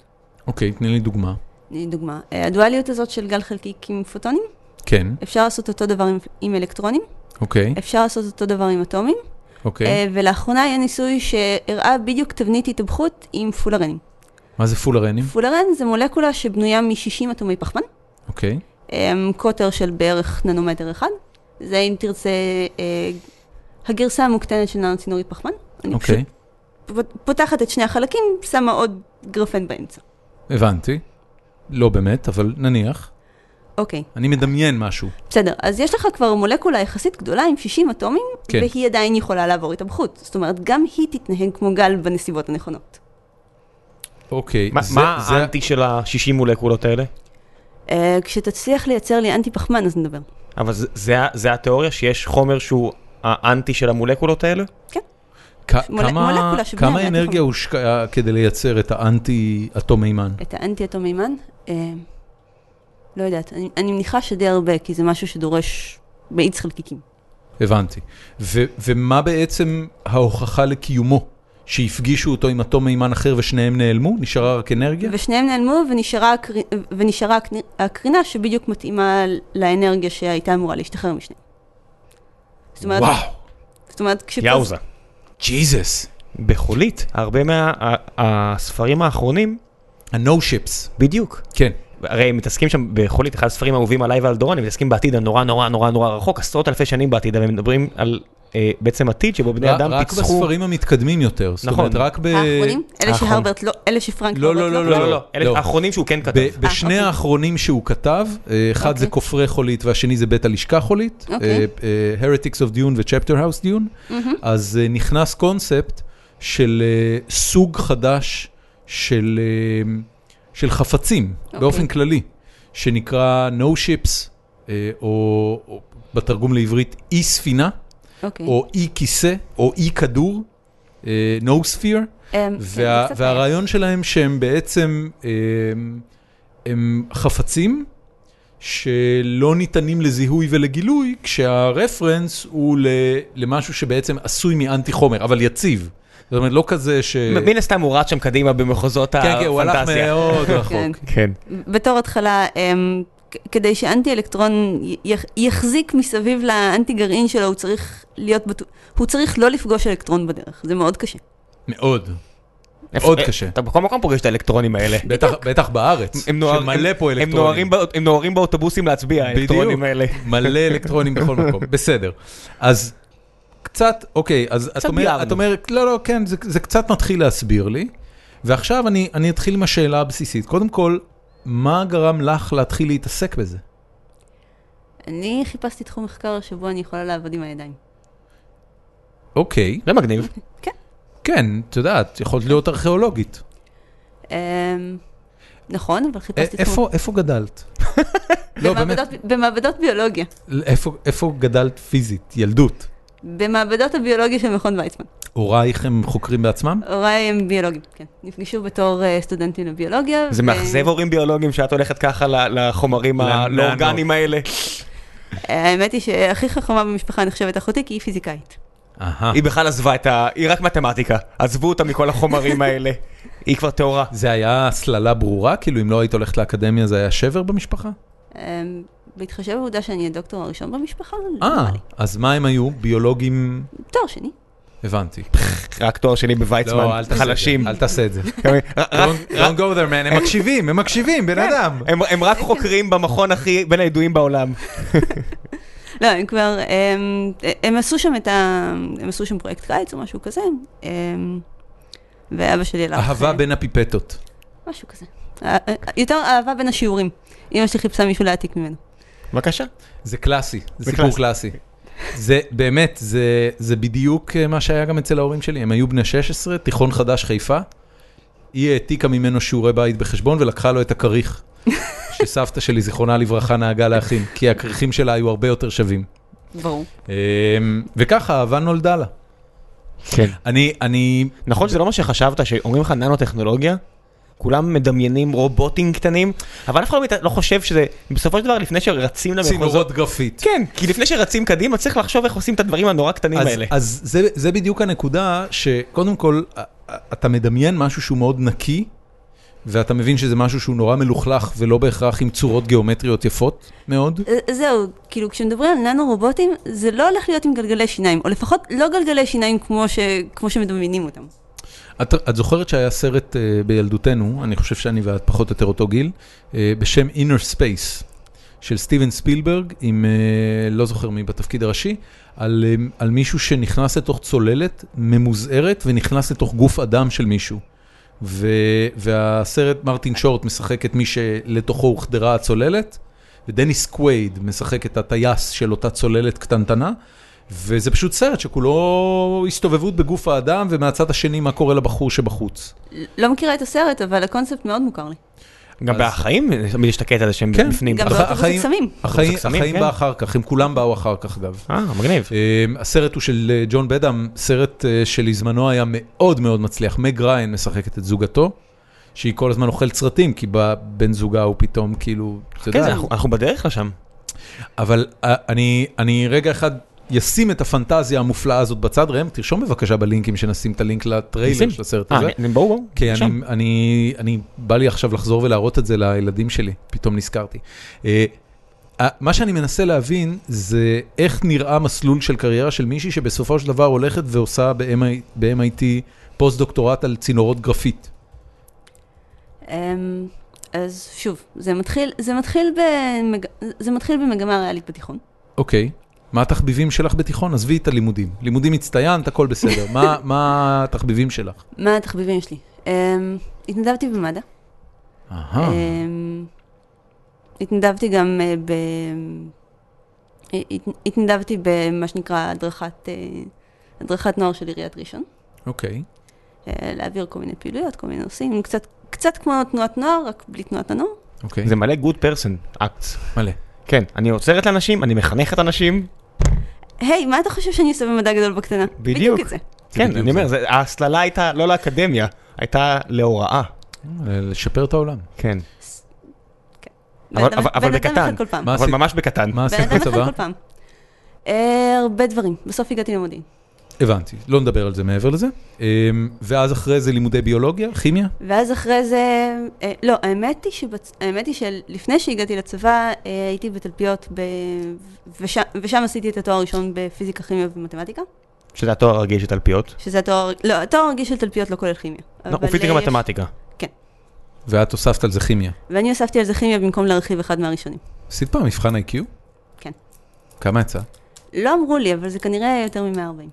[SPEAKER 1] אוקיי, תני לי דוגמה.
[SPEAKER 3] הנה דוגמה, אה, הדואליות הזאת של גל חלקיק עם פוטונים,
[SPEAKER 1] כן,
[SPEAKER 3] אפשר לעשות אותו דבר עם, עם אלקטרונים,
[SPEAKER 1] אוקיי,
[SPEAKER 3] אפשר לעשות אותו דבר עם אטומים,
[SPEAKER 1] אוקיי.
[SPEAKER 3] אה, ולאחרונה היה ניסוי שהראה בדיוק תבנית התאבכות עם פולרנים.
[SPEAKER 1] מה זה פולרנים?
[SPEAKER 3] פולרן זה מולקולה שבנויה מ-60 אטומי פחמן,
[SPEAKER 1] אוקיי,
[SPEAKER 3] אמ, קוטר של בערך ננומטר אחד. זה אם תרצה אה, הגרסה המוקטנת של ננו-צינורית פחמן. אני פשוט
[SPEAKER 1] אוקיי,
[SPEAKER 3] פות- פותחת את שני החלקים, שמה עוד גרפן באמצע.
[SPEAKER 1] הבנתי. לא באמת, אבל נניח.
[SPEAKER 3] אוקיי,
[SPEAKER 1] אני מדמיין משהו.
[SPEAKER 3] בסדר. אז יש לך כבר מולקולה יחסית גדולה עם 60 אטומים,
[SPEAKER 1] כן.
[SPEAKER 3] והיא עדיין יכולה לעבור התאבכות. זאת אומרת, גם היא תתנהג כמו גל בנסיבות הנכונות.
[SPEAKER 1] אוקיי,
[SPEAKER 2] מה-
[SPEAKER 1] זה-
[SPEAKER 2] מה
[SPEAKER 1] זה-
[SPEAKER 2] האנטי של ה-60 מולקולות האלה?
[SPEAKER 3] אה, כשתצליח לייצר לי אנטי פחמן, אז נדבר.
[SPEAKER 2] אבל זה- זה ה- זה התיאוריה שיש חומר שהוא האנטי של המולקולות האלה?
[SPEAKER 1] כ-
[SPEAKER 3] מול-
[SPEAKER 1] כמה,
[SPEAKER 3] מולקולה שבנויה
[SPEAKER 1] כמה
[SPEAKER 3] מאטום.
[SPEAKER 1] אנרגיה הושקעה כדי לייצר את האנטי-אטום מימן?
[SPEAKER 3] את האנטי-אטום מימן? אה, לא יודעת, אני, אני מניחה שדי הרבה, כי זה משהו שדורש מאיץ חלקיקים.
[SPEAKER 1] הבנתי. ו- ומה בעצם ההוכחה לקיומו? שהפגישו אותו עם אטום מימן אחר ושניהם נעלמו? נשארה רק אנרגיה?
[SPEAKER 3] ושניהם נעלמו ונשארה, הקר... ונשארה הקנ- הקרינה שבדיוק מתאימה לאנרגיה שהייתה אמורה להשתחרר משניהם. זאת אומרת,
[SPEAKER 1] וואו,
[SPEAKER 3] זאת אומרת
[SPEAKER 1] כן,
[SPEAKER 3] כשפז...
[SPEAKER 2] יאוזה.
[SPEAKER 1] ג'יזוס.
[SPEAKER 2] בחולית, הרבה מהספרים מה, ה- האחרונים,
[SPEAKER 1] ה-No ships.
[SPEAKER 2] בדיוק.
[SPEAKER 1] כן.
[SPEAKER 2] הרי הם מתעסקים שם בחולית, אחד הספרים האהובים עליי ועל דורון, הם מתעסקים בעתיד הנורא נורא נורא נורא רחוק, עשרות אלפי שנים בעתיד, והם מדברים על אה, בעצם עתיד שבו בני
[SPEAKER 1] ר-
[SPEAKER 2] אדם
[SPEAKER 1] לא, כן. רק
[SPEAKER 2] פיצחו...
[SPEAKER 1] בספרים המתקדמים יותר. זאת
[SPEAKER 2] נכון.
[SPEAKER 1] אומרת, רק ב...
[SPEAKER 3] האחרונים? אלה
[SPEAKER 2] האחרון.
[SPEAKER 3] שהרברט לא, אלה שפרנק
[SPEAKER 1] אה, לא,
[SPEAKER 3] הרברט
[SPEAKER 1] לא,
[SPEAKER 2] לא, לא, לא, אלה
[SPEAKER 1] לא.
[SPEAKER 2] האחרונים שהוא כן כתב.
[SPEAKER 1] ב- בשני
[SPEAKER 3] אוקיי.
[SPEAKER 1] האחרונים שהוא כתב, אה, אחד זה
[SPEAKER 3] אוקיי.
[SPEAKER 1] כופרי חולית והשני זה בית הלשכה חולית,
[SPEAKER 3] אוקיי.
[SPEAKER 1] אה, אה, Heretics of Dune ו-Chapter House Dune, אז אה, נכנס קונספט של אה, סוג חדש של אה, של חפצים,
[SPEAKER 3] אוקיי.
[SPEAKER 1] באופן כללי, שנקרא No Ships, אה, או או בתרגום לעברית אי ספינה,
[SPEAKER 3] אוקיי.
[SPEAKER 1] או אי כיסא, או אי כדור, אה, No Sphere.
[SPEAKER 3] אמ,
[SPEAKER 1] וה,
[SPEAKER 3] כן, זה קצת בעיה.
[SPEAKER 1] והרעיון שלהם שהם בעצם הם, הם חפצים שלא ניתנים לזיהוי ולגילוי, כשהרפרנס הוא ל, למשהו שבעצם עשוי מאנטי חומר, אבל יציב. זאת אומרת, לא כזה ש...
[SPEAKER 2] מן הסתם הוא רץ שם קדימה במחוזות
[SPEAKER 1] כן, כן, הוא הלך
[SPEAKER 2] הפנטזיה.
[SPEAKER 1] מאוד
[SPEAKER 3] כן.
[SPEAKER 1] רחוק.
[SPEAKER 2] כן.
[SPEAKER 3] בתור התחלה, אמ, כ- כדי שאנטי-אלקטרון י- יח- יחזיק מסביב לאנטי גרעין שלו, הוא צריך להיות בטוח, הוא צריך לא לפגוש אלקטרון בדרך, זה מאוד קשה.
[SPEAKER 1] מאוד.
[SPEAKER 2] איפה-
[SPEAKER 1] מאוד
[SPEAKER 2] אה,
[SPEAKER 1] קשה.
[SPEAKER 2] אתה בכל מקום פוגש את האלקטרונים האלה.
[SPEAKER 1] בטח, בטח בארץ,
[SPEAKER 2] הם נוהר-
[SPEAKER 1] שמלא
[SPEAKER 2] הם-
[SPEAKER 1] פה אלקטרונים.
[SPEAKER 2] הם נוהרים בא- הם נוהרים באוטובוסים להצביע, האלקטרונים האלה.
[SPEAKER 1] בדיוק, מלא אלקטרונים בכל מקום, בסדר. אז קצת, אוקיי, אז את
[SPEAKER 2] קצת
[SPEAKER 1] אומרת,
[SPEAKER 2] ביארנו.
[SPEAKER 1] את אומרת, לא, לא, כן, זה, זה קצת מתחיל להסביר לי. ועכשיו אני, אני אתחיל עם השאלה הבסיסית. קודם כל, מה גרם לך להתחיל להתעסק בזה?
[SPEAKER 3] אני חיפשתי תחום מחקר שבו אני יכולה לעבוד עם הידיים.
[SPEAKER 1] אוקיי,
[SPEAKER 2] זה מגניב.
[SPEAKER 1] כן, את יודעת, יכולת להיות ארכיאולוגית.
[SPEAKER 3] אמ, נכון, אבל
[SPEAKER 1] א-
[SPEAKER 3] חיפשתי תחום...
[SPEAKER 1] אה, איפה, איפה גדלת? לא, באמת,
[SPEAKER 3] במעבדות- במעבדות ביולוגיה.
[SPEAKER 1] איפה, איפה גדלת פיזית? ילדות.
[SPEAKER 3] במעבדות הביולוגיה של מכון ויצמן.
[SPEAKER 1] הורייך הם חוקרים בעצמם?
[SPEAKER 3] הוריי הם ביולוגים, כן. נפגשו בתור אה, סטודנטים לביולוגיה.
[SPEAKER 2] זה
[SPEAKER 3] ו-
[SPEAKER 2] מאכזב הורים ביולוגיים שאת הולכת ככה ל- לחומרים ה-
[SPEAKER 1] לננו. אה.
[SPEAKER 2] לאורגניים האלה.
[SPEAKER 3] האמת היא שהכי חכמה במשפחה נחשבת אחותי, כי היא פיזיקאית.
[SPEAKER 1] אהה.
[SPEAKER 2] היא בכלל עזבה את ה... היא רק מתמטיקה. עזבו אותה מכל החומרים האלה. היא כבר טהורה.
[SPEAKER 1] זה היה הסללה ברורה? כאילו, אם לא היית הולכת לאקדמיה זה היה שבר במשפחה?
[SPEAKER 3] אמ, בהתחשב בעובדה שאני הדוקטור הראשון במשפחה, לא
[SPEAKER 1] אה,
[SPEAKER 3] נראה לי.
[SPEAKER 1] אז מה הם היו? ביולוגים...
[SPEAKER 3] תואר שני.
[SPEAKER 1] הבנתי.
[SPEAKER 2] רק תואר שני
[SPEAKER 1] לא,
[SPEAKER 2] בוויצמן.
[SPEAKER 1] אל תעשה את זה.
[SPEAKER 2] חלשים.
[SPEAKER 1] אל לא- תעשה את זה.
[SPEAKER 2] רק-
[SPEAKER 1] Don't don't go there, man. הם מקשיבים, הם מקשיבים, בן אדם.
[SPEAKER 2] הם- הם רק חוקרים במכון הכי בין הידועים בעולם.
[SPEAKER 3] לא, הם כבר, הם, הם עשו שם את ה... הם עשו שם פרויקט קיץ או משהו כזה, אמ, ואבא שלי הלך...
[SPEAKER 1] אהבה
[SPEAKER 3] אה,
[SPEAKER 1] בין הפיפטות.
[SPEAKER 3] משהו כזה. אה, אה, יותר אהבה בין השיעורים. אמא שלי חיפשה מישהו להעתיק ממנו.
[SPEAKER 2] בבקשה.
[SPEAKER 1] זה קלאסי, זה
[SPEAKER 2] זה
[SPEAKER 1] סיפור קלאסי. זה באמת, זה- זה בדיוק אה, מה שהיה גם אצל ההורים שלי. הם היו בני 16, תיכון חדש חיפה. היא העתיקה ממנו שיעורי בית בחשבון ולקחה לו את הכריך. שסבתא שלי, זיכרונה לברכה, נהגה להכין, כי הכריכים שלה היו הרבה יותר שווים.
[SPEAKER 3] ברור.
[SPEAKER 1] אמ, וככה האהבה נולדה לה.
[SPEAKER 2] כן.
[SPEAKER 1] אני, אני,
[SPEAKER 2] נכון שזה לא מה שחשבת, שאומרים לך ננו-טכנולוגיה, כולם מדמיינים רובוטים קטנים, אבל אף אחד לא מת- לא חושב שזה, בסופו של דבר, לפני שרצים למחוזות...
[SPEAKER 1] צינורות גרפית.
[SPEAKER 2] כן, כי לפני שרצים קדימה צריך לחשוב איך עושים את הדברים הנורא קטנים
[SPEAKER 1] אז,
[SPEAKER 2] האלה.
[SPEAKER 1] אז זה, זה בדיוק הנקודה שקודם כל, א- א- אתה מדמיין משהו שהוא מאוד נקי, ואתה מבין שזה משהו שהוא נורא מלוכלך ולא בהכרח עם צורות גיאומטריות יפות מאוד.
[SPEAKER 3] אה, זהו, כאילו כשמדברים על ננו רובוטים, זה לא הולך להיות עם גלגלי שיניים, או לפחות לא גלגלי שיניים כמו, ש... כמו שמדמיינים אותם.
[SPEAKER 1] את, את זוכרת שהיה סרט uh, בילדותנו, אני חושב שאני ואת פחות או יותר אותו גיל, uh, בשם Inner Space, של סטיבן ספילברג, עם uh, לא זוכר מי בתפקיד הראשי, על, um, על מישהו שנכנס לתוך צוללת ממוזערת ונכנס לתוך גוף אדם של מישהו. ו, והסרט מרטין שורט משחק את מי שלתוכו הוחדרה הצוללת, ודניס קווייד משחק את הטייס של אותה צוללת קטנטנה. וזה פשוט סרט שכולו הסתובבות בגוף האדם, ומהצד השני מה קורה לבחור שבחוץ.
[SPEAKER 3] לא מכירה את הסרט, אבל הקונספט מאוד מוכר לי.
[SPEAKER 2] גם
[SPEAKER 1] אז-
[SPEAKER 2] בחיים תמיד יש את הקטע הזה שהם
[SPEAKER 1] כן.
[SPEAKER 2] בפנים.
[SPEAKER 3] גם
[SPEAKER 1] הח-
[SPEAKER 3] באוטובוס
[SPEAKER 1] החיים-
[SPEAKER 3] הקסמים.
[SPEAKER 1] החיים-
[SPEAKER 2] הקסמים,
[SPEAKER 1] החיים
[SPEAKER 2] כן.
[SPEAKER 1] בא אחר כך, הם כולם באו אחר כך אגב.
[SPEAKER 2] אה, מגניב.
[SPEAKER 1] אמ, הסרט הוא של אה, ג'ון בדאם, סרט אה, שלזמנו היה מאוד מאוד מצליח. מג ריין משחקת את זוגתו, שהיא כל הזמן אוכלת סרטים, כי בא- בן זוגה הוא פתאום כאילו, אתה
[SPEAKER 2] כן,
[SPEAKER 1] יודע,
[SPEAKER 2] זה- אנחנו- אנחנו בדרך לשם.
[SPEAKER 1] אבל אה, אני, אני רגע אחד אשים את הפנטזיה המופלאה הזאת בצד, ראם, תרשום בבקשה בלינקים שנשים את הלינק לטריילר
[SPEAKER 2] נשים.
[SPEAKER 1] של הסרט
[SPEAKER 2] אה,
[SPEAKER 1] הזה.
[SPEAKER 2] אני- בואו, בואו.
[SPEAKER 1] כי
[SPEAKER 2] לשם.
[SPEAKER 1] כן, אני, אני, אני, בא לי עכשיו לחזור ולהראות את זה לילדים שלי, פתאום נזכרתי. אה, אה, מה שאני מנסה להבין זה איך נראה מסלול של קריירה של מישהי שבסופו של דבר הולכת ועושה ב-MI- ב-MIT פוסט-דוקטורט על צינורות גרפית.
[SPEAKER 3] אמ, אז שוב, זה מתחיל, זה מתחיל, במג... זה מתחיל במגמה ריאלית בתיכון.
[SPEAKER 1] אוקיי, מה התחביבים שלך בתיכון? עזבי את הלימודים. לימודים הצטיינת, הכל בסדר. מה, מה התחביבים שלך?
[SPEAKER 3] מה התחביבים שלי? אמ, התנדבתי במד"א.
[SPEAKER 2] אה.
[SPEAKER 1] אהה.
[SPEAKER 3] אמ, התנדבתי גם אה, ב... אה, הת- התנדבתי במה שנקרא הדרכת, אה, הדרכת נוער של עיריית ראשון.
[SPEAKER 1] אוקיי.
[SPEAKER 3] אה, להעביר כל מיני פעילויות, כל מיני נושאים, קצת, קצת כמו תנועת נוער, רק בלי תנועת הנוער.
[SPEAKER 1] אוקיי,
[SPEAKER 2] זה מלא good person acts.
[SPEAKER 1] מלא.
[SPEAKER 2] כן, אני עוצרת לאנשים, אני מחנכת אנשים.
[SPEAKER 3] היי, מה אתה חושב שאני עושה במדע גדול בקטנה?
[SPEAKER 2] בדיוק.
[SPEAKER 3] את זה.
[SPEAKER 2] כן,
[SPEAKER 1] בדיוק
[SPEAKER 2] אני אומר,
[SPEAKER 1] זה.
[SPEAKER 2] זה- ההסללה הייתה לא לאקדמיה, הייתה להוראה.
[SPEAKER 1] לשפר את העולם.
[SPEAKER 2] כן.
[SPEAKER 3] בן
[SPEAKER 2] אבל-
[SPEAKER 3] אדם-
[SPEAKER 2] אבל
[SPEAKER 3] בן אדם
[SPEAKER 2] בקטן.
[SPEAKER 3] אחד כל פעם.
[SPEAKER 1] מה
[SPEAKER 2] אבל
[SPEAKER 1] עשית?
[SPEAKER 2] ממש בקטן.
[SPEAKER 1] מה
[SPEAKER 3] בן
[SPEAKER 1] עשית
[SPEAKER 3] אדם אחד
[SPEAKER 1] בצבא?
[SPEAKER 3] כל פעם. אה, הרבה דברים. בסוף הגעתי למודיעין.
[SPEAKER 1] הבנתי, לא נדבר על זה מעבר לזה. אמ, ואז אחרי זה לימודי ביולוגיה, כימיה?
[SPEAKER 3] ואז אחרי זה, אה, לא, האמת היא, שבצ... האמת היא שלפני שהגעתי לצבא, אה, הייתי בתלפיות, ב... ושם, ושם עשיתי את התואר הראשון בפיזיקה, כימיה ומתמטיקה,
[SPEAKER 2] שזה התואר הרגיל של תלפיות.
[SPEAKER 3] שזה התואר, לא, התואר הרגיל של תלפיות לא כולל כימיה.
[SPEAKER 2] לא,
[SPEAKER 3] אבל,
[SPEAKER 2] ופיזיקה
[SPEAKER 3] אה, יש-
[SPEAKER 2] מתמטיקה.
[SPEAKER 1] ואת הוספת על זה כימיה.
[SPEAKER 3] ואני הוספתי על זה כימיה במקום להרחיב אחד מהראשונים.
[SPEAKER 1] עשית פעם מבחן IQ?
[SPEAKER 3] כן.
[SPEAKER 1] כמה יצא?
[SPEAKER 3] לא אמרו לי, אבל זה כנראה היה יותר מ-140.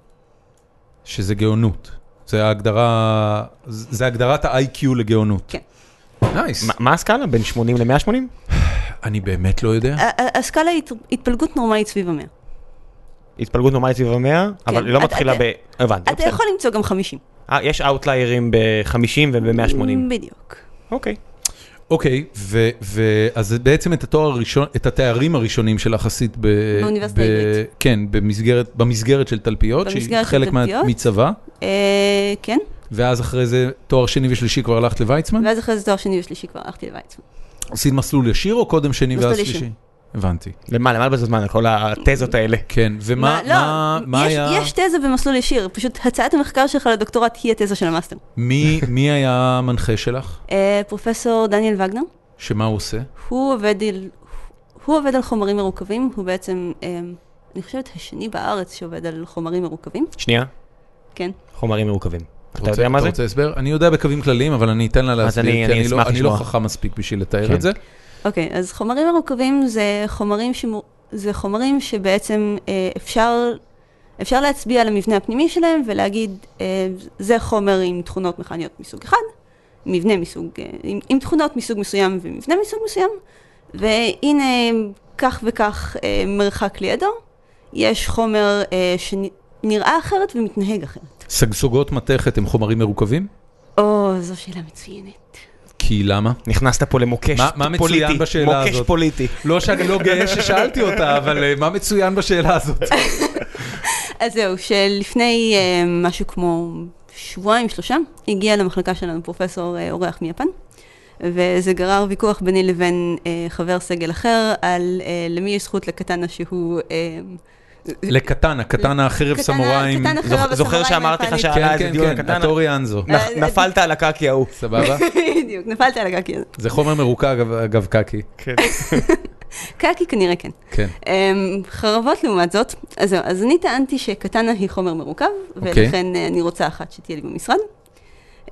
[SPEAKER 1] שזה גאונות. זה ההגדרה, זה הגדרת ה-IQ לגאונות.
[SPEAKER 3] כן.
[SPEAKER 1] נייס.
[SPEAKER 2] מה- מה הסקאלה? בין 80 ל-180?
[SPEAKER 1] אני באמת לא יודע.
[SPEAKER 3] ה- ה- הסקאלה היא הת- התפלגות נורמלית סביב המאה.
[SPEAKER 2] התפלגות נורמלית סביב המאה, אבל היא לא
[SPEAKER 3] כן, אתה-
[SPEAKER 2] מתחילה
[SPEAKER 3] אתה-
[SPEAKER 2] ב... הבנתי,
[SPEAKER 3] אתה
[SPEAKER 2] בסדר.
[SPEAKER 3] יכול למצוא גם 50.
[SPEAKER 2] אה, יש אאוטליירים ב-50 וב-180.
[SPEAKER 3] בדיוק.
[SPEAKER 2] אוקיי.
[SPEAKER 1] אוקיי, ו- ו- אז זה בעצם את התואר הראשון, את התארים הראשונים שלך עשית ב...
[SPEAKER 3] באוניברסיטה
[SPEAKER 1] ב-
[SPEAKER 3] העברית.
[SPEAKER 1] כן, במסגרת, במסגרת של תלפיות, שהיא
[SPEAKER 3] במסגרת של
[SPEAKER 1] חלק מה-
[SPEAKER 3] תלפיות.
[SPEAKER 1] מצבא,
[SPEAKER 3] אה, כן,
[SPEAKER 1] ואז אחרי זה תואר שני ושלישי כבר הלכת לוויצמן?
[SPEAKER 3] ואז אחרי זה תואר שני ושלישי כבר הלכתי לוויצמן.
[SPEAKER 1] עשית מסלול ישיר או קודם שני
[SPEAKER 3] מסלול
[SPEAKER 1] ואז
[SPEAKER 3] ישיר.
[SPEAKER 1] שלישי? הבנתי.
[SPEAKER 2] למה, למה לבזבז זמן על כל התזות האלה?
[SPEAKER 1] כן, ומה
[SPEAKER 3] לא,
[SPEAKER 1] מה, מה
[SPEAKER 3] יש-
[SPEAKER 1] היה,
[SPEAKER 3] יש תזה במסלול ישיר, פשוט הצעת המחקר שלך לדוקטורט היא התזה של המאסטר.
[SPEAKER 1] מי, מי היה המנחה שלך?
[SPEAKER 3] אה, פרופסור דניאל וגנר,
[SPEAKER 1] שמה הוא עושה?
[SPEAKER 3] הוא עובד על- הוא עובד על חומרים מרוכבים, הוא בעצם, אה, אני חושבת, השני בארץ שעובד על חומרים מרוכבים,
[SPEAKER 2] שנייה,
[SPEAKER 3] כן.
[SPEAKER 2] חומרים מורכבים. אתה
[SPEAKER 1] רוצה-
[SPEAKER 2] יודע מה זה?
[SPEAKER 1] אתה רוצה הסבר? אני יודע בקווים כלליים, אבל אני אתן לה להסביר,
[SPEAKER 2] אני-
[SPEAKER 1] כי
[SPEAKER 2] אני
[SPEAKER 1] אני לא-
[SPEAKER 2] אשמח
[SPEAKER 1] אני לא
[SPEAKER 2] לשמוע.
[SPEAKER 1] חכם מספיק בשביל לתאר
[SPEAKER 2] כן.
[SPEAKER 1] את זה.
[SPEAKER 3] אוקיי, okay, אז חומרים מרוכבים זה חומרים, שמו, זה חומרים שבעצם אה, אפשר, אפשר להצביע על המבנה הפנימי שלהם ולהגיד, אה, זה חומר עם תכונות מכניות מסוג אחד, מבנה מסוג, אה, עם, עם תכונות מסוג מסוים ומבנה מסוג מסוים, והנה כך וכך אה, מרחק לידו, יש חומר אה, שנראה אחרת ומתנהג אחרת.
[SPEAKER 1] סגסוגות מתכת הם חומרים מרוכבים?
[SPEAKER 3] או, זו שאלה מצוינת.
[SPEAKER 1] כי למה?
[SPEAKER 2] נכנסת פה למוקש
[SPEAKER 1] מה- מה מצוין
[SPEAKER 2] פוליטי.
[SPEAKER 1] בשאלה
[SPEAKER 2] מוקש
[SPEAKER 1] הזאת?
[SPEAKER 2] פוליטי.
[SPEAKER 1] לא שאני לא גאה ששאלתי אותה, אבל אה, מה מצוין בשאלה הזאת?
[SPEAKER 3] אז זהו, שלפני אה, משהו כמו שבועיים, שלושה, הגיע למחלקה שלנו פרופסור אה, אורח מיפן, וזה גרר ויכוח ביני לבין אה, חבר סגל אחר על אה, למי יש זכות לקטנה שהוא... אה,
[SPEAKER 1] לקטן, הקטן החרב
[SPEAKER 3] קטנה-
[SPEAKER 1] סמוראים.
[SPEAKER 3] קטנה
[SPEAKER 2] זוכ-
[SPEAKER 3] חרב
[SPEAKER 2] זוכר
[SPEAKER 3] הסמוראי
[SPEAKER 2] שאמרתי לך
[SPEAKER 3] מהפנית.
[SPEAKER 2] שה-
[SPEAKER 1] כן,
[SPEAKER 2] עלה איזה
[SPEAKER 1] כן,
[SPEAKER 2] דיון
[SPEAKER 1] כן,
[SPEAKER 2] הקטן.
[SPEAKER 1] הטורי אנזו.
[SPEAKER 3] אה, אה,
[SPEAKER 2] נפלת על הקקי ההוא.
[SPEAKER 1] סבבה?
[SPEAKER 3] בדיוק, נפלת על הגג הזה.
[SPEAKER 1] זה חומר מרוכב, אגב- אגב, קקי.
[SPEAKER 3] קקי כנראה כן.
[SPEAKER 1] כן.
[SPEAKER 3] אמ, חרבות לעומת זאת, אז זהו, אז אני טענתי שקטנה היא חומר מרוכב,
[SPEAKER 2] אוקיי.
[SPEAKER 3] ולכן אה, אני רוצה אחת שתהיה לי במשרד.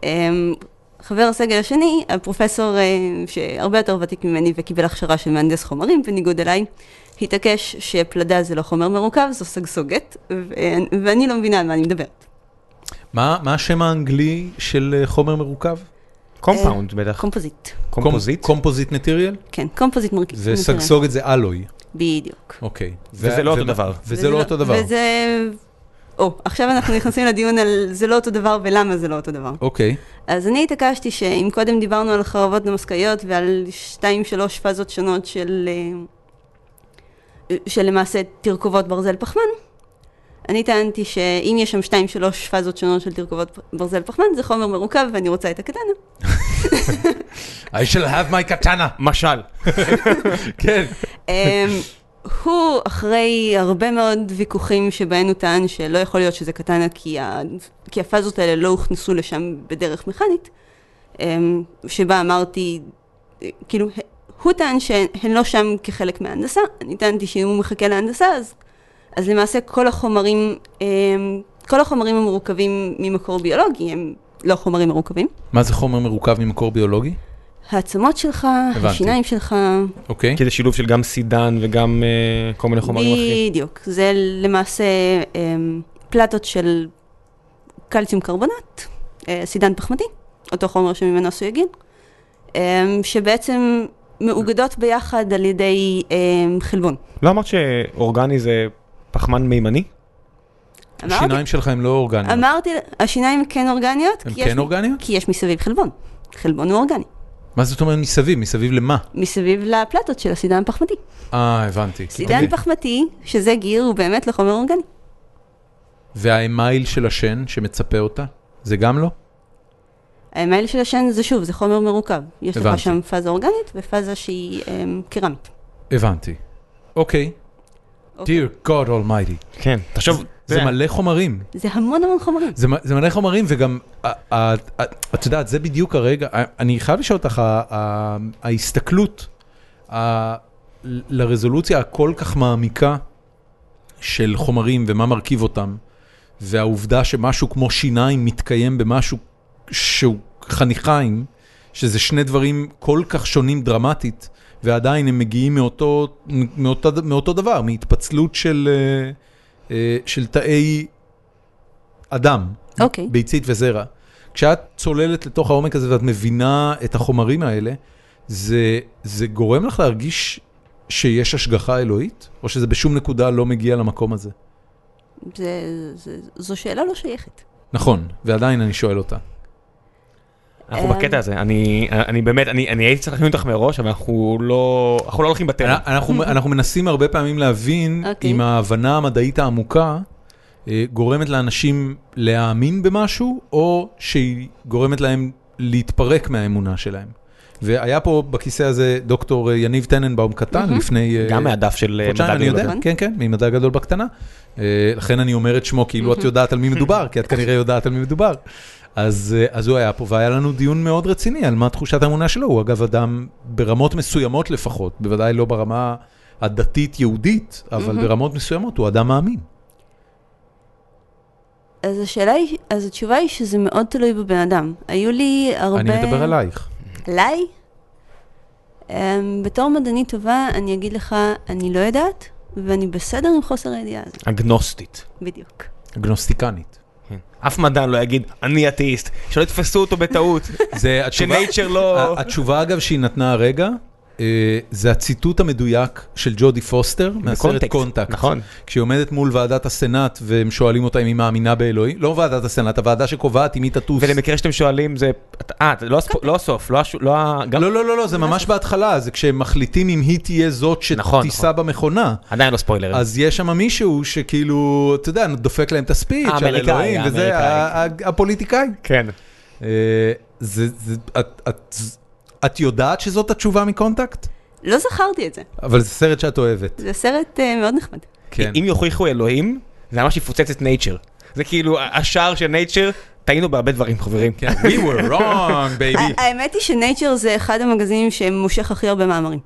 [SPEAKER 3] אמ, חבר הסגל השני, הפרופסור אה, שהרבה יותר ותיק ממני וקיבל הכשרה של מהנדס חומרים, בניגוד אליי, התעקש שפלדה זה לא חומר מרוכב, זו סגסוגת, ו- ואני לא מבינה על מה אני מדברת.
[SPEAKER 1] מה מה השם האנגלי של אה, חומר מרוכב?
[SPEAKER 2] קומפאונד בטח.
[SPEAKER 3] קומפוזיט,
[SPEAKER 2] קומפוזיט.
[SPEAKER 1] קומפוזיט מטריאל?
[SPEAKER 3] כן, קומפוזיט מרכיב.
[SPEAKER 1] זה
[SPEAKER 3] מרכיב.
[SPEAKER 1] סגסוגת זה אלוי.
[SPEAKER 3] בדיוק.
[SPEAKER 1] אוקיי.
[SPEAKER 2] וזה
[SPEAKER 1] ו-
[SPEAKER 2] לא אותו
[SPEAKER 1] ומה-
[SPEAKER 2] דבר.
[SPEAKER 1] וזה לא אותו דבר.
[SPEAKER 3] וזה... או, עכשיו אנחנו נכנסים לדיון על זה לא אותו דבר ולמה זה לא אותו דבר.
[SPEAKER 1] אוקיי,
[SPEAKER 3] אז אני התעקשתי שאם קודם דיברנו על חרבות נמסקאיות ועל שתיים, שלוש פאזות שונות של, אה, של למעשה תרכובות ברזל פחמן, אני טענתי שאם יש שם שתיים, שלוש פאזות שונות של תרכובות ברזל פחמן, זה חומר מרוכב ואני רוצה את הקטנה.
[SPEAKER 1] I shall have my katana.
[SPEAKER 2] משל.
[SPEAKER 1] כן.
[SPEAKER 3] אמ, הוא, אחרי הרבה מאוד ויכוחים שבהם הוא טען שלא יכול להיות שזה קטנה כי, ה... כי הפאזות האלה לא הוכנסו לשם בדרך מכנית, אמ, שבה אמרתי, אה, כאילו, הוא טען שהן לא שם כחלק מההנדסה, אני טענתי שאם הוא מחכה להנדסה אז, אז למעשה כל החומרים, אמ, כל החומרים המורכבים ממקור ביולוגי הם לא חומרים מורכבים.
[SPEAKER 1] מה זה חומר מרוכב ממקור ביולוגי?
[SPEAKER 3] העצמות שלך,
[SPEAKER 1] הבנתי.
[SPEAKER 3] השיניים שלך,
[SPEAKER 1] אוקיי.
[SPEAKER 2] כי זה שילוב של גם סידן וגם אה, כל מיני חומרים אחרים.
[SPEAKER 3] בדיוק. זה למעשה אמ, פלטות של קלציום קרבונט, אה, סידן פחמתי, אותו חומר שממנו עשוי הגיל, אמ, שבעצם מאוגדות ביחד על ידי אמ, חלבון.
[SPEAKER 2] לא אמרת שאורגני זה פחמן מימני?
[SPEAKER 3] אמרתי,
[SPEAKER 1] השיניים שלך הם לא אורגניות.
[SPEAKER 3] אמרתי, השיניים כן אורגניות,
[SPEAKER 1] הם
[SPEAKER 3] כי יש-
[SPEAKER 1] כן אורגניות?
[SPEAKER 3] כי יש מסביב חלבון. חלבון הוא אורגני.
[SPEAKER 1] מה זאת אומרת מסביב? מסביב למה?
[SPEAKER 3] מסביב לפלטות של הסידן פחמתי.
[SPEAKER 1] אה, הבנתי.
[SPEAKER 3] סידן
[SPEAKER 1] אוקיי.
[SPEAKER 3] פחמתי, שזה גיר, הוא באמת לא חומר אורגני.
[SPEAKER 1] והאמייל של השן שמצפה אותה? זה גם לא?
[SPEAKER 3] המייל של השן זה שוב, זה חומר מרוכב. יש לך
[SPEAKER 1] הבנתי.
[SPEAKER 3] שם פאזה אורגנית ופאזה שהיא אמ, קרמית.
[SPEAKER 1] הבנתי. אוקיי.
[SPEAKER 3] אוקיי.
[SPEAKER 1] Dear God Almighty.
[SPEAKER 2] כן. תחשוב,
[SPEAKER 1] זה מלא חומרים.
[SPEAKER 3] זה המון המון חומרים.
[SPEAKER 1] זה, מ- זה מלא חומרים, וגם, ה- ה- ה- את יודעת, זה בדיוק הרגע, ה- אני חייב לשאול אותך, ה- ה- ההסתכלות ה- ל- לרזולוציה הכל כך מעמיקה של חומרים ומה מרכיב אותם, והעובדה שמשהו כמו שיניים מתקיים במשהו שהוא חניכיים, שזה שני דברים כל כך שונים דרמטית, ועדיין הם מגיעים מאותו, מאותו, מאותו דבר, מהתפצלות של, אה, אה, של תאי אדם,
[SPEAKER 3] אוקיי.
[SPEAKER 1] ביצית וזרע. כשאת צוללת לתוך העומק הזה ואת מבינה את החומרים האלה, זה, זה גורם לך להרגיש שיש השגחה אלוהית, או שזה בשום נקודה לא מגיע למקום הזה?
[SPEAKER 3] זה- זה- זו שאלה לא שייכת.
[SPEAKER 1] נכון, ועדיין אני שואל אותה.
[SPEAKER 2] אנחנו בקטע הזה, אני, אני באמת, אני, אני הייתי צריך להכין אותך מראש, אבל אנחנו לא, אנחנו לא הולכים בטבע.
[SPEAKER 1] אנ- אנחנו, אנחנו מנסים הרבה פעמים להבין
[SPEAKER 3] אוקיי.
[SPEAKER 1] אם ההבנה המדעית העמוקה אה, גורמת לאנשים להאמין במשהו, או שהיא גורמת להם להתפרק מהאמונה שלהם. והיה פה בכיסא הזה דוקטור אה, יניב טננבאום קטן לפני... אה,
[SPEAKER 2] גם מהדף של אה,
[SPEAKER 1] חודשיים,
[SPEAKER 2] מדע
[SPEAKER 1] אני יודע,
[SPEAKER 2] ביולוגיה.
[SPEAKER 3] ביולוגיה.
[SPEAKER 1] כן, כן, ממדע גדול בקטנה. אה, לכן אני אומר את שמו, כאילו את יודעת על מי מדובר, כי את כנראה יודעת על מי מדובר. אז, אה, אז הוא היה פה, והיה לנו דיון מאוד רציני על מה תחושת האמונה שלו. הוא אגב אדם ברמות מסוימות לפחות, בוודאי לא ברמה הדתית-יהודית, אבל ברמות מסוימות הוא אדם מאמין.
[SPEAKER 3] אז השאלה היא, אז התשובה היא שזה מאוד תלוי בבן אדם. היו לי הרבה...
[SPEAKER 1] אני מדבר עלייך.
[SPEAKER 3] עליי? אמ, בתור מדענית טובה, אני אגיד לך, אני לא יודעת, ואני בסדר עם חוסר הידיעה הזאת.
[SPEAKER 2] אגנוסטית.
[SPEAKER 3] בדיוק.
[SPEAKER 1] אגנוסטיקנית.
[SPEAKER 2] אף מדען לא יגיד, אני אתאיסט, שלא יתפסו אותו בטעות,
[SPEAKER 1] זה התשובה...
[SPEAKER 2] שנייצ'ר לא...
[SPEAKER 1] ה- התשובה אגב שהיא נתנה הרגע, אה, זה הציטוט המדויק של ג'ודי פוסטר, מהסרט
[SPEAKER 2] בקונטקסט,
[SPEAKER 1] קונטקט.
[SPEAKER 2] נכון.
[SPEAKER 1] כשהיא עומדת מול ועדת הסנאט והם שואלים אותה אם היא מאמינה באלוהים, לא ועדת הסנאט, הוועדה שקובעת אם היא תטוס.
[SPEAKER 2] ולמקרה שאתם שואלים, זה... את- אה, זה לא הספו- לא הסוף, לא הש- לא ה... גם-
[SPEAKER 1] לא, לא, לא, לא, זה ממש בהתחלה, זה כשהם מחליטים אם היא תהיה זאת
[SPEAKER 2] נכון,
[SPEAKER 1] שתיסע במכונה.
[SPEAKER 2] עדיין לא ספוילרים.
[SPEAKER 1] אז יש שם מישהו שכאילו, אתה יודע, דופק להם את הספיץ' על
[SPEAKER 2] האמריקאי,
[SPEAKER 1] אלוהים, וזה
[SPEAKER 2] האמריקאי.
[SPEAKER 1] ה- ה- הפוליטיקאי.
[SPEAKER 2] כן.
[SPEAKER 1] אה, זה- זה- את- את- את יודעת שזאת התשובה מקונטקט?
[SPEAKER 3] לא זכרתי את זה.
[SPEAKER 1] אבל זה סרט שאת אוהבת.
[SPEAKER 3] זה סרט אה, מאוד נחמד.
[SPEAKER 1] כן.
[SPEAKER 2] אם יוכיחו אלוהים, זה ממש יפוצץ את נייצ'ר. זה כאילו השער של נייצ'ר, טעינו בהרבה דברים, חברים.
[SPEAKER 1] כן, we were wrong, baby.
[SPEAKER 3] ה- האמת היא שנייצ'ר זה אחד המגזינים שמושך הכי הרבה מאמרים.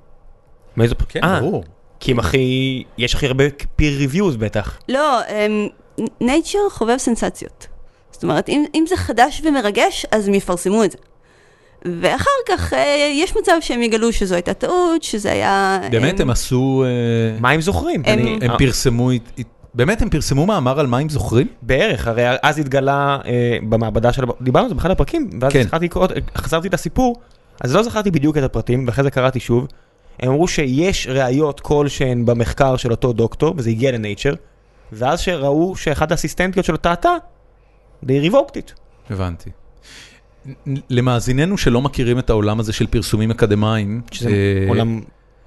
[SPEAKER 2] מאיזו...
[SPEAKER 1] כן,
[SPEAKER 2] אה,
[SPEAKER 1] ברור.
[SPEAKER 2] כי הם הכי... יש הכי הרבה peer reviews בטח.
[SPEAKER 3] לא, נייצ'ר חובב סנסציות. זאת אומרת, אם, אם זה חדש ומרגש, אז הם יפרסמו את זה. ואחר כך אה, יש מצב שהם יגלו שזו הייתה טעות, שזה היה...
[SPEAKER 1] באמת,
[SPEAKER 3] אה,
[SPEAKER 1] הם עשו... אה,
[SPEAKER 2] מה הם זוכרים?
[SPEAKER 3] הם-
[SPEAKER 2] אני-
[SPEAKER 1] הם
[SPEAKER 2] אה,
[SPEAKER 1] פרסמו, הת- הת- באמת הם פרסמו מאמר על מים זוכרים?
[SPEAKER 2] בערך, הרי אז התגלה אה, במעבדה של... דיברנו על זה באחד הפרקים, ואז
[SPEAKER 1] כן.
[SPEAKER 2] זכרתי לקרוא, חזרתי את הסיפור, אז לא זכרתי בדיוק את הפרטים, ואחרי זה קראתי שוב. הם אמרו שיש ראיות כלשהן במחקר של אותו דוקטור, וזה הגיע לנייצ'ר, ואז שראו שאחת האסיסטנטיות שלו טעתה, they revoked it.
[SPEAKER 1] הבנתי. נ- למאזיננו שלא מכירים את העולם הזה של פרסומים אקדמיים,
[SPEAKER 2] שזה
[SPEAKER 1] אה,
[SPEAKER 2] עולם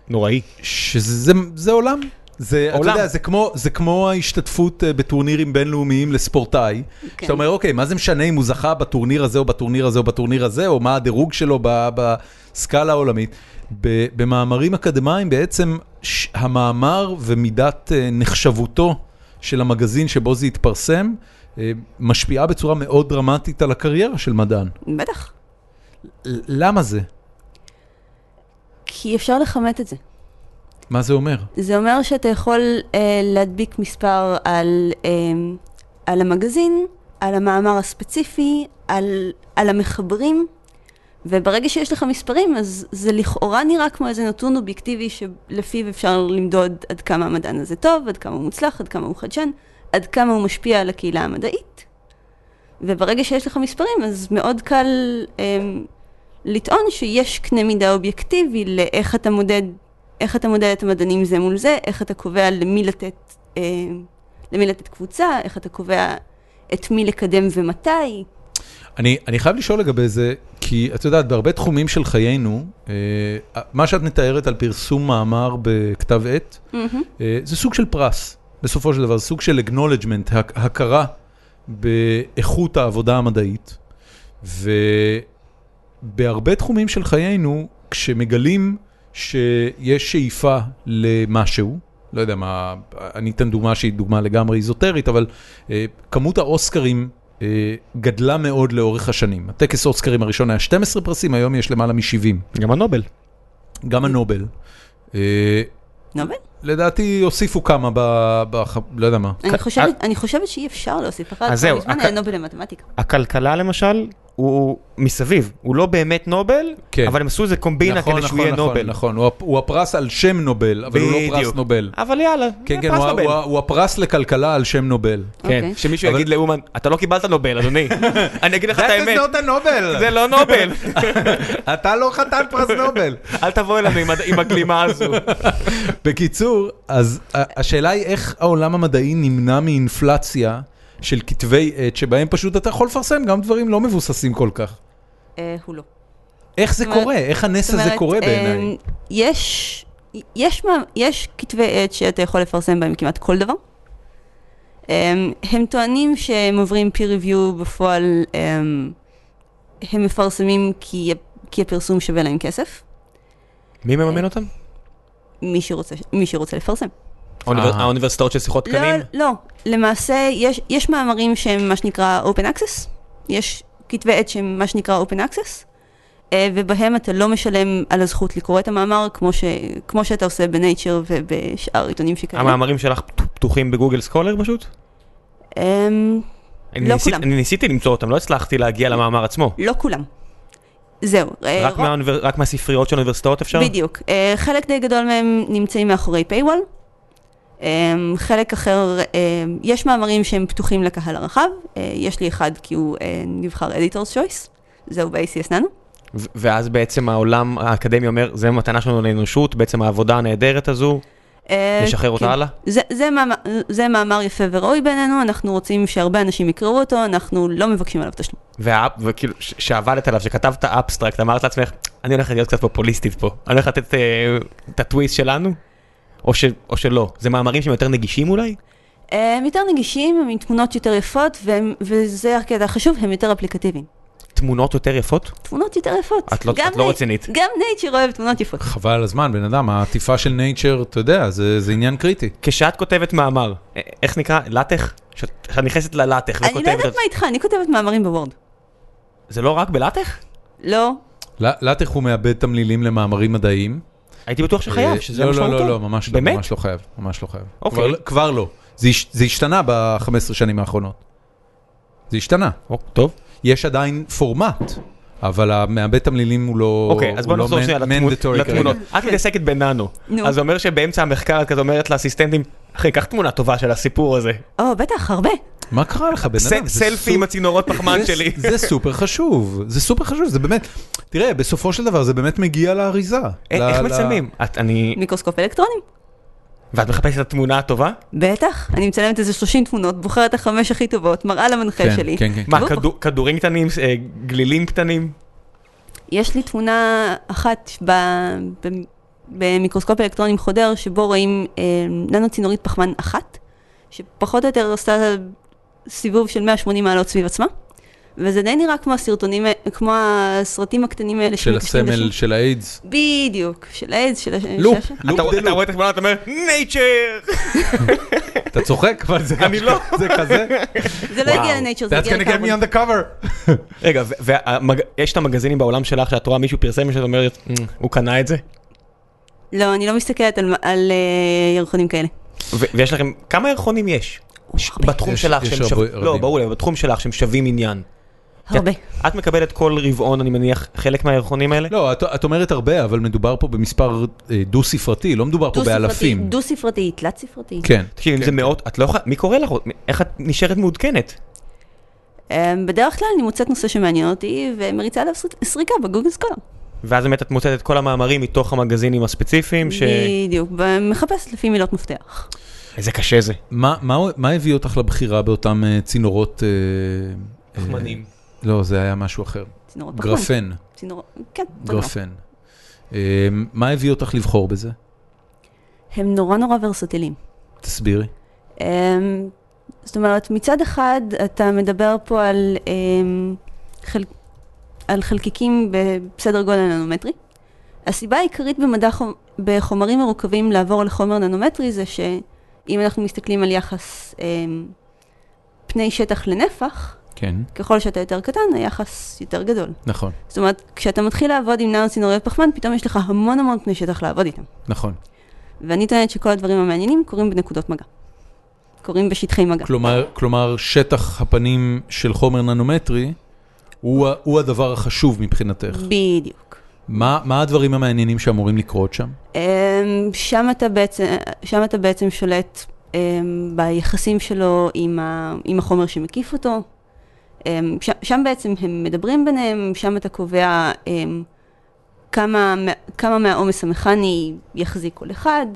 [SPEAKER 2] נוראי.
[SPEAKER 1] שזה זה עולם. זה, אתה
[SPEAKER 2] עולם.
[SPEAKER 1] יודע, זה כמו, זה כמו ההשתתפות אה, בטורנירים בינלאומיים לספורטאי.
[SPEAKER 3] כן.
[SPEAKER 1] שאתה אומר, אוקיי, מה זה משנה אם הוא זכה בטורניר הזה או בטורניר הזה או בטורניר הזה, או מה הדירוג שלו ב- בסקאלה העולמית. ב- במאמרים אקדמיים בעצם ש- המאמר ומידת אה, נחשבותו של המגזין שבו זה התפרסם, אה, משפיעה בצורה מאוד דרמטית על הקריירה של מדען.
[SPEAKER 3] בטח.
[SPEAKER 1] ל- למה זה?
[SPEAKER 3] כי אפשר לכמת את זה.
[SPEAKER 1] מה זה אומר?
[SPEAKER 3] זה אומר שאתה יכול אה, להדביק מספר על, אה, על המגזין, על המאמר הספציפי, על, על המחברים, וברגע שיש לך מספרים, אז זה לכאורה נראה כמו איזה נתון אובייקטיבי שלפיו אפשר למדוד עד כמה המדען הזה טוב, עד כמה הוא מוצלח, עד כמה הוא חדשן, עד כמה הוא משפיע על הקהילה המדעית. וברגע שיש לך מספרים, אז מאוד קל אה, לטעון שיש קנה מידה אובייקטיבי לאיך אתה מודד, איך אתה מודד את המדענים זה מול זה, איך אתה קובע למי לתת, אה, למי לתת קבוצה, איך אתה קובע את מי לקדם ומתי.
[SPEAKER 1] אני, אני חייב לשאול לגבי זה, כי את יודעת, בהרבה תחומים של חיינו, אה, מה שאת מתארת על פרסום מאמר בכתב עת, אה, זה סוג של פרס, בסופו של דבר, זה סוג של acknowledgement, הק- הכרה באיכות העבודה המדעית. ובהרבה תחומים של חיינו, כשמגלים שיש שאיפה למשהו, לא יודע מה, אני אתן דוגמה שהיא דוגמה לגמרי איזוטרית, אבל אה, כמות האוסקרים אה, גדלה מאוד לאורך השנים. הטקס אוסקרים הראשון היה 12 פרסים, היום יש למעלה מ-70.
[SPEAKER 2] גם הנובל.
[SPEAKER 1] גם הנובל. אה,
[SPEAKER 3] נובל?
[SPEAKER 1] לדעתי הוסיפו כמה ב... ב... לא יודע מה.
[SPEAKER 3] אני חושבת, אני חושבת שאי אפשר להוסיף אחת,
[SPEAKER 2] אז
[SPEAKER 3] כבר
[SPEAKER 2] זהו,
[SPEAKER 3] מזמן
[SPEAKER 2] הכ-
[SPEAKER 3] היה נובל למתמטיקה.
[SPEAKER 2] הכלכלה למשל, הוא מסביב, הוא לא באמת נובל,
[SPEAKER 1] כן.
[SPEAKER 2] אבל הם עשו איזה קומבינה כדי שהוא יהיה
[SPEAKER 1] נכון,
[SPEAKER 2] נובל.
[SPEAKER 1] נכון, הוא, הפ- הוא הפרס על שם נובל, אבל הוא לא פרס
[SPEAKER 2] בדיוק.
[SPEAKER 1] נובל.
[SPEAKER 2] אבל יאללה,
[SPEAKER 1] כן,
[SPEAKER 2] זה
[SPEAKER 1] כן,
[SPEAKER 2] פרס
[SPEAKER 1] הוא, ה-
[SPEAKER 2] נובל.
[SPEAKER 1] הוא, ה- הוא הפרס לכלכלה על שם נובל.
[SPEAKER 2] כן,
[SPEAKER 3] אוקיי.
[SPEAKER 2] שמישהו יגיד לאומן, אתה לא קיבלת נובל, אדוני. אני אגיד לך את האמת,
[SPEAKER 1] הנובל!
[SPEAKER 2] זה לא נובל.
[SPEAKER 1] אתה לא חתן פרס נובל.
[SPEAKER 2] אל תבוא אלינו עם הד- עם הגלימה הזו.
[SPEAKER 1] בקיצור, אז ה- השאלה היא איך העולם המדעי נמנע מאינפלציה של כתבי עת, שבהם פשוט אתה יכול לפרסם גם דברים לא מבוססים כל כך.
[SPEAKER 3] אה, הוא לא.
[SPEAKER 1] איך זה
[SPEAKER 3] זאת אומרת-
[SPEAKER 1] קורה? איך הנס הזה
[SPEAKER 3] זאת
[SPEAKER 1] קורה
[SPEAKER 3] אומרת, אה,
[SPEAKER 1] בעיניי?
[SPEAKER 3] יש, יש, מה- יש כתבי עת שאתה יכול לפרסם בהם כמעט כל דבר. אה, הם טוענים שהם עוברים peer review בפועל, אה, הם מפרסמים כי, כי הפרסום שווה להם כסף,
[SPEAKER 2] מי מממן אותם?
[SPEAKER 3] מי שרוצה, מי שרוצה לפרסם.
[SPEAKER 1] האוניבר- אה.
[SPEAKER 2] האוניברסיטאות של שיחות
[SPEAKER 3] לא, לא, למעשה יש, יש מאמרים שהם מה שנקרא open access, יש כתבי עת שהם מה שנקרא open access, אה, ובהם אתה לא משלם על הזכות לקרוא את המאמר, כמו, ש, כמו שאתה עושה בנייצ'ר ובשאר עיתונים שכאלה.
[SPEAKER 2] המאמרים שלך פת- פתוחים בגוגל סקולר פשוט?
[SPEAKER 3] אמ,
[SPEAKER 2] אני
[SPEAKER 3] לא
[SPEAKER 2] ניסי-
[SPEAKER 3] כולם.
[SPEAKER 2] אני ניסיתי למצוא אותם, לא הצלחתי להגיע למאמר עצמו.
[SPEAKER 3] לא כולם. זהו. אה,
[SPEAKER 2] רק
[SPEAKER 3] רוב-
[SPEAKER 2] מהאוניבר- רק מהספריות של האוניברסיטאות אפשר?
[SPEAKER 3] בדיוק. אה, חלק די גדול מהם נמצאים מאחורי paywall. אה, חלק אחר, אה, יש מאמרים שהם פתוחים לקהל הרחב, אה, יש לי אחד כי הוא אה, נבחר Editor's Choice, זהו ב-ACS ננו.
[SPEAKER 2] ו- ואז בעצם העולם האקדמי אומר, זה מתנה שלנו לאנושות, בעצם העבודה הנהדרת הזו,
[SPEAKER 3] אה,
[SPEAKER 2] נשחרר אותה
[SPEAKER 3] כן.
[SPEAKER 2] הלאה?
[SPEAKER 3] זה, זה, מאמר, זה מאמר יפה וראוי בעינינו, אנחנו רוצים שהרבה אנשים יקראו אותו, אנחנו לא מבקשים עליו תשלום.
[SPEAKER 2] והאפ- וכאילו, ש- שעבדת עליו, שכתבת אפסטרקט, אמרת לעצמך, אני הולך להיות קצת פופוליסטית פה, אני הולך לתת אה, את הטוויסט שלנו, או ש- או שלא. זה מאמרים שהם יותר נגישים אולי?
[SPEAKER 3] אה, הם יותר נגישים, הם עם תמונות יותר יפות, והם, וזה הקטע החשוב, הם יותר אפליקטיביים.
[SPEAKER 2] תמונות יותר יפות?
[SPEAKER 3] תמונות יותר יפות.
[SPEAKER 2] את לא-
[SPEAKER 3] גם
[SPEAKER 2] את לא
[SPEAKER 3] ני-
[SPEAKER 2] רצינית.
[SPEAKER 3] גם נייצ'ר אוהב תמונות יפות.
[SPEAKER 1] חבל על הזמן, בן אדם, העטיפה של נייצ'ר, אתה יודע, זה זה עניין קריטי.
[SPEAKER 2] כשאת כותבת מאמר, א- איך נקרא? לטח? שאת שאת נכנסת ללטח וכותבת...
[SPEAKER 3] אני לא יודעת
[SPEAKER 2] אותו.
[SPEAKER 3] מה איתך, אני כותבת מאמרים בוורד.
[SPEAKER 2] זה לא רק בלטח?
[SPEAKER 3] לא,
[SPEAKER 1] ל- לטח הוא מאבד תמלילים למאמרים מדעיים.
[SPEAKER 2] הייתי בטוח שחייב,
[SPEAKER 1] אה,
[SPEAKER 2] שזה
[SPEAKER 1] לא,
[SPEAKER 2] משמעותו.
[SPEAKER 1] לא, לא, לא, ממש לא,
[SPEAKER 2] באמת?
[SPEAKER 1] ממש לא חייב, ממש לא חייב.
[SPEAKER 2] אוקיי.
[SPEAKER 1] כבר- כבר לא. זה הש- זה השתנה ב-15 שנים האחרונות. זה השתנה.
[SPEAKER 2] או, טוב.
[SPEAKER 1] יש עדיין פורמט, אבל המעבד תמלילים הוא לא...
[SPEAKER 2] אוקיי, אז
[SPEAKER 1] הוא
[SPEAKER 2] בוא
[SPEAKER 1] לא
[SPEAKER 2] נחזור
[SPEAKER 1] man-
[SPEAKER 2] שנייה לתמונות.
[SPEAKER 1] mandatory כרגע.
[SPEAKER 2] לתמונות. את מתעסקת בננו.
[SPEAKER 3] נו.
[SPEAKER 2] אז זה אומר שבאמצע המחקר את כזה אומרת לאסיסטנטים, אחי, קח תמונה טובה של הסיפור הזה.
[SPEAKER 3] או, בטח, הרבה.
[SPEAKER 1] מה קרה לך, בן
[SPEAKER 2] ס-
[SPEAKER 1] אדם? זה
[SPEAKER 2] סלפי עם הצינורות פחמן
[SPEAKER 1] זה-
[SPEAKER 2] שלי.
[SPEAKER 1] זה סופר חשוב, זה סופר חשוב, זה באמת... תראה, בסופו של דבר זה באמת מגיע לאריזה.
[SPEAKER 2] א-
[SPEAKER 1] ל-
[SPEAKER 2] אה, איך
[SPEAKER 1] ל-
[SPEAKER 2] מצלמים? את- אני...
[SPEAKER 3] מיקרוסקופ אלקטרונים.
[SPEAKER 2] ואת מחפשת את התמונה הטובה?
[SPEAKER 3] בטח, אני מצלמת איזה 30 תמונות, בוחרת החמש הכי טובות, מראה למנחה
[SPEAKER 1] כן,
[SPEAKER 3] שלי.
[SPEAKER 1] כן, כן.
[SPEAKER 2] מה,
[SPEAKER 3] בוא.
[SPEAKER 2] כדור- כדורים קטנים, אה, גלילים קטנים?
[SPEAKER 3] יש לי תמונה אחת ב... ב... במיקרוסקופ אלקטרונים חודר, שבו רואים אה, ננו צינורית פחמן אחת, שפחות או יותר עושה סיבוב של 180 מעלות סביב עצמה, וזה די נראה כמו הסרטונים, ה- כמו הסרטים הקטנים האלה
[SPEAKER 1] של
[SPEAKER 3] שמקשרים
[SPEAKER 1] הסמל
[SPEAKER 3] לשם.
[SPEAKER 1] של האיידס.
[SPEAKER 3] בדיוק, של האיידס, של הש...
[SPEAKER 1] לופ.
[SPEAKER 3] של הש-
[SPEAKER 2] אתה
[SPEAKER 1] לופ דה
[SPEAKER 2] אתה רואה את התמונה, אתה אומר, נייצ'ר!
[SPEAKER 1] אתה צוחק, אבל זה
[SPEAKER 2] אני לא.
[SPEAKER 1] זה כזה.
[SPEAKER 3] זה לא הגיע לנייצ'ר, זה
[SPEAKER 1] That's
[SPEAKER 3] הגיע
[SPEAKER 1] gonna get
[SPEAKER 3] לקרבון.
[SPEAKER 1] me on the cover.
[SPEAKER 2] רגע, ויש את המגזינים בעולם שלך שאת רואה מישהו פרסם ושאת אומרת, "מ, הוא קנה את זה?
[SPEAKER 3] לא, אני לא מסתכלת על, על אה, ירחונים כאלה.
[SPEAKER 2] ו- ויש לכם, כמה ירחונים יש? ש-
[SPEAKER 3] הרבה.
[SPEAKER 2] בתחום
[SPEAKER 1] יש-
[SPEAKER 2] שלך
[SPEAKER 1] יש
[SPEAKER 2] שהם
[SPEAKER 1] הרבה-
[SPEAKER 2] שווים, לא,
[SPEAKER 1] רבים.
[SPEAKER 2] ברור לי, אבל בתחום שלך שהם שווים עניין.
[SPEAKER 1] כן,
[SPEAKER 3] הרבה.
[SPEAKER 2] את מקבלת כל רבעון, אני מניח, חלק מהירחונים האלה?
[SPEAKER 1] לא, את- את אומרת הרבה, אבל מדובר פה במספר אה, דו-ספרתי, לא מדובר פה
[SPEAKER 3] דו-ספרתי,
[SPEAKER 1] באלפים.
[SPEAKER 3] דו-ספרתי, תלת-ספרתי.
[SPEAKER 1] כן.
[SPEAKER 2] תקשיבי, אם זה מאות, את לא יכולה, מי קורא לך? איך את נשארת מעודכנת?
[SPEAKER 3] אמ, בדרך כלל אני מוצאת נושא שמעניין אותי ומריצה עליו סר- סריקה בגוגל סקולר.
[SPEAKER 2] ואז באמת את מוצאת את כל המאמרים מתוך המגזינים הספציפיים, ש...
[SPEAKER 3] בדיוק, ב- מחפשת לפי מילות מפתח.
[SPEAKER 2] איזה קשה זה.
[SPEAKER 1] מה- מה מה הביא אותך לבחירה באותם אה, צינורות... אה, אה, לא, זה היה משהו אחר.
[SPEAKER 3] צינורות פחמן.
[SPEAKER 1] גרפן.
[SPEAKER 3] צינור... כן, אותו דבר.
[SPEAKER 1] גרפן. אה, מה הביא אותך לבחור בזה?
[SPEAKER 3] הם נורא נורא ורסטיליים.
[SPEAKER 1] תסבירי.
[SPEAKER 3] אמ, זאת אומרת, מצד אחד אתה מדבר פה על, אמ, חל... על חלקיקים בסדר גודל ננומטרי. הסיבה העיקרית במדע חומ... בחומרים מרוכבים לעבור לחומר ננומטרי זה שאם אנחנו מסתכלים על יחס אמ, פני שטח לנפח,
[SPEAKER 1] כן.
[SPEAKER 3] ככל שאתה יותר קטן, היחס יותר גדול.
[SPEAKER 1] נכון,
[SPEAKER 3] זאת אומרת, כשאתה מתחיל לעבוד עם ננו-צינוריות פחמן, פתאום יש לך המון המון פני שטח לעבוד איתם.
[SPEAKER 1] נכון.
[SPEAKER 3] ואני טוענת שכל הדברים המעניינים קורים בנקודות מגע. קורים בשטחי מגע.
[SPEAKER 1] כלומר, כלומר, שטח הפנים של חומר ננומטרי הוא, ה- הוא הדבר החשוב מבחינתך.
[SPEAKER 3] בדיוק.
[SPEAKER 1] מה, מה הדברים המעניינים שאמורים לקרות שם?
[SPEAKER 3] אמ, שם אתה בעצם, שם אתה בעצם שולט אמ, ביחסים שלו עם, ה, עם החומר שמקיף אותו. אמ, ש, שם בעצם הם מדברים ביניהם, שם אתה קובע אמ, כמה, מה- כמה מהעומס המכני יחזיק כל אחד,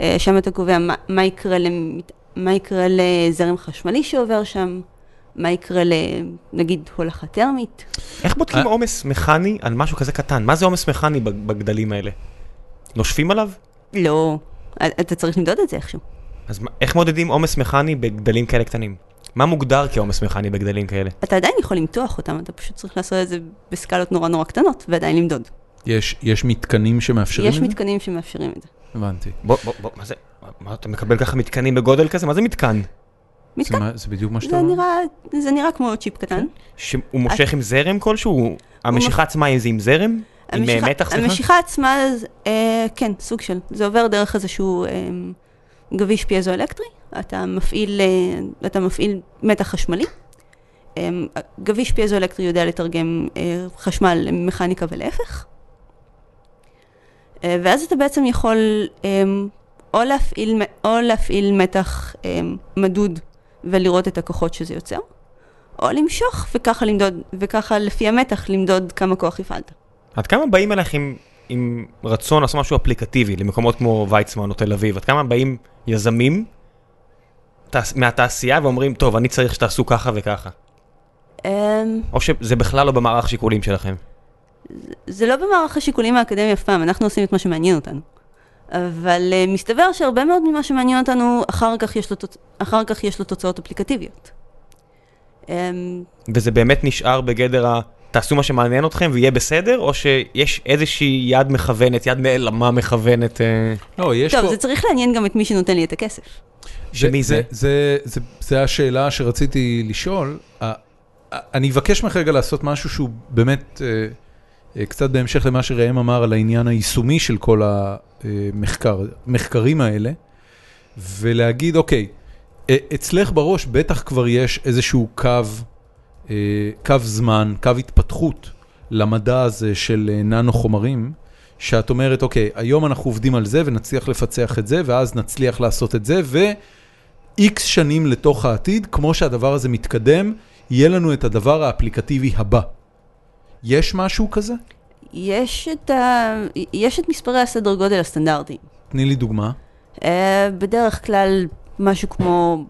[SPEAKER 3] אה, שם אתה קובע מה, מה, יקרה למת, מה יקרה לזרם חשמלי שעובר שם, מה יקרה לנגיד הולכה טרמית.
[SPEAKER 2] איך בודקים
[SPEAKER 1] אה?
[SPEAKER 2] עומס מכני על משהו כזה קטן? מה זה עומס מכני בג- בגדלים האלה? נושפים עליו?
[SPEAKER 3] לא, אתה צריך למדוד את זה איכשהו.
[SPEAKER 2] אז מה- איך מודדים עומס מכני בגדלים כאלה קטנים? מה מוגדר כעומס מכני בגדלים כאלה?
[SPEAKER 3] אתה עדיין יכול למתוח אותם, אתה פשוט צריך לעשות את זה בסקלות נורא נורא קטנות, ועדיין למדוד.
[SPEAKER 1] יש, יש מתקנים שמאפשרים
[SPEAKER 3] יש
[SPEAKER 1] את
[SPEAKER 3] מתקנים שמאפשרים את זה.
[SPEAKER 1] זה? הבנתי.
[SPEAKER 2] בוא, בוא, בוא, מה זה? מה- מה, אתה מקבל ככה מתקנים בגודל כזה? מה זה מתקן?
[SPEAKER 1] זה,
[SPEAKER 3] מתקן,
[SPEAKER 1] מה, זה בדיוק מה שאתה
[SPEAKER 3] זה
[SPEAKER 1] אומר?
[SPEAKER 3] נראה, זה נראה כמו צ'יפ קטן.
[SPEAKER 2] שהוא מושך עם זרם כלשהו? המשיכה עצמה היא זה עם זרם? עם אה,
[SPEAKER 3] המשיכה-
[SPEAKER 2] מתח, סליחה?
[SPEAKER 3] המשיכה עצמה, אז, אה, כן, סוג של, זה עובר דרך איזשהו אה, גביש פיזואלקטרי, אתה מפעיל, אה, אתה מפעיל מתח חשמלי. אה, גביש פיזואלקטרי יודע לתרגם אה, חשמל למכניקה ולהפך. אה, ואז אתה בעצם יכול אה, או, להפעיל, מ- או להפעיל מתח אה, מדוד ולראות את הכוחות שזה יוצר, או למשוך וככה למדוד, וככה לפי המתח למדוד כמה כוח הפעלת.
[SPEAKER 2] עד כמה באים אליך עם, עם רצון לעשות משהו אפליקטיבי למקומות כמו ויצמן או תל אביב? עד כמה באים יזמים תעש, מהתעשייה ואומרים, טוב, אני צריך שתעשו ככה וככה?
[SPEAKER 3] אמ,
[SPEAKER 2] או שזה בכלל לא במערך שיקולים שלכם?
[SPEAKER 3] זה לא במערך השיקולים האקדמי אף פעם, אנחנו עושים את מה שמעניין אותנו. אבל אה, מסתבר שהרבה מאוד ממה שמעניין אותנו, אחר כך יש לו, תוצ... אחר כך יש לו תוצאות אפליקטיביות. אמ,
[SPEAKER 2] וזה באמת נשאר בגדר ה... תעשו מה שמעניין אתכם ויהיה בסדר, או שיש איזושהי יד מכוונת, יד נעלמה מכוונת? אה,
[SPEAKER 1] לא, יש
[SPEAKER 3] טוב,
[SPEAKER 1] פה...
[SPEAKER 3] זה צריך לעניין גם את מי שנותן לי את הכסף.
[SPEAKER 2] שמי זה?
[SPEAKER 1] זה, זה, זה השאלה שרציתי לשאול. ה- ה- אני אבקש ממך רגע לעשות משהו שהוא באמת, אה, אה, קצת בהמשך למה שראם אמר על העניין היישומי של כל המחקרים האלה, ולהגיד, אוקיי, אה, אצלך בראש בטח כבר יש איזשהו קו, אה, קו זמן, קו התפתחות למדע הזה של אה, ננו חומרים. שאת אומרת, אוקיי, היום אנחנו עובדים על זה ונצליח לפצח את זה, ואז נצליח לעשות את זה, ו... איקס שנים לתוך העתיד, כמו שהדבר הזה מתקדם, יהיה לנו את הדבר האפליקטיבי הבא. יש משהו כזה?
[SPEAKER 3] יש את, ה... יש את מספרי הסדר גודל הסטנדרטיים.
[SPEAKER 1] תני לי דוגמה.
[SPEAKER 3] אה, בדרך כלל משהו כמו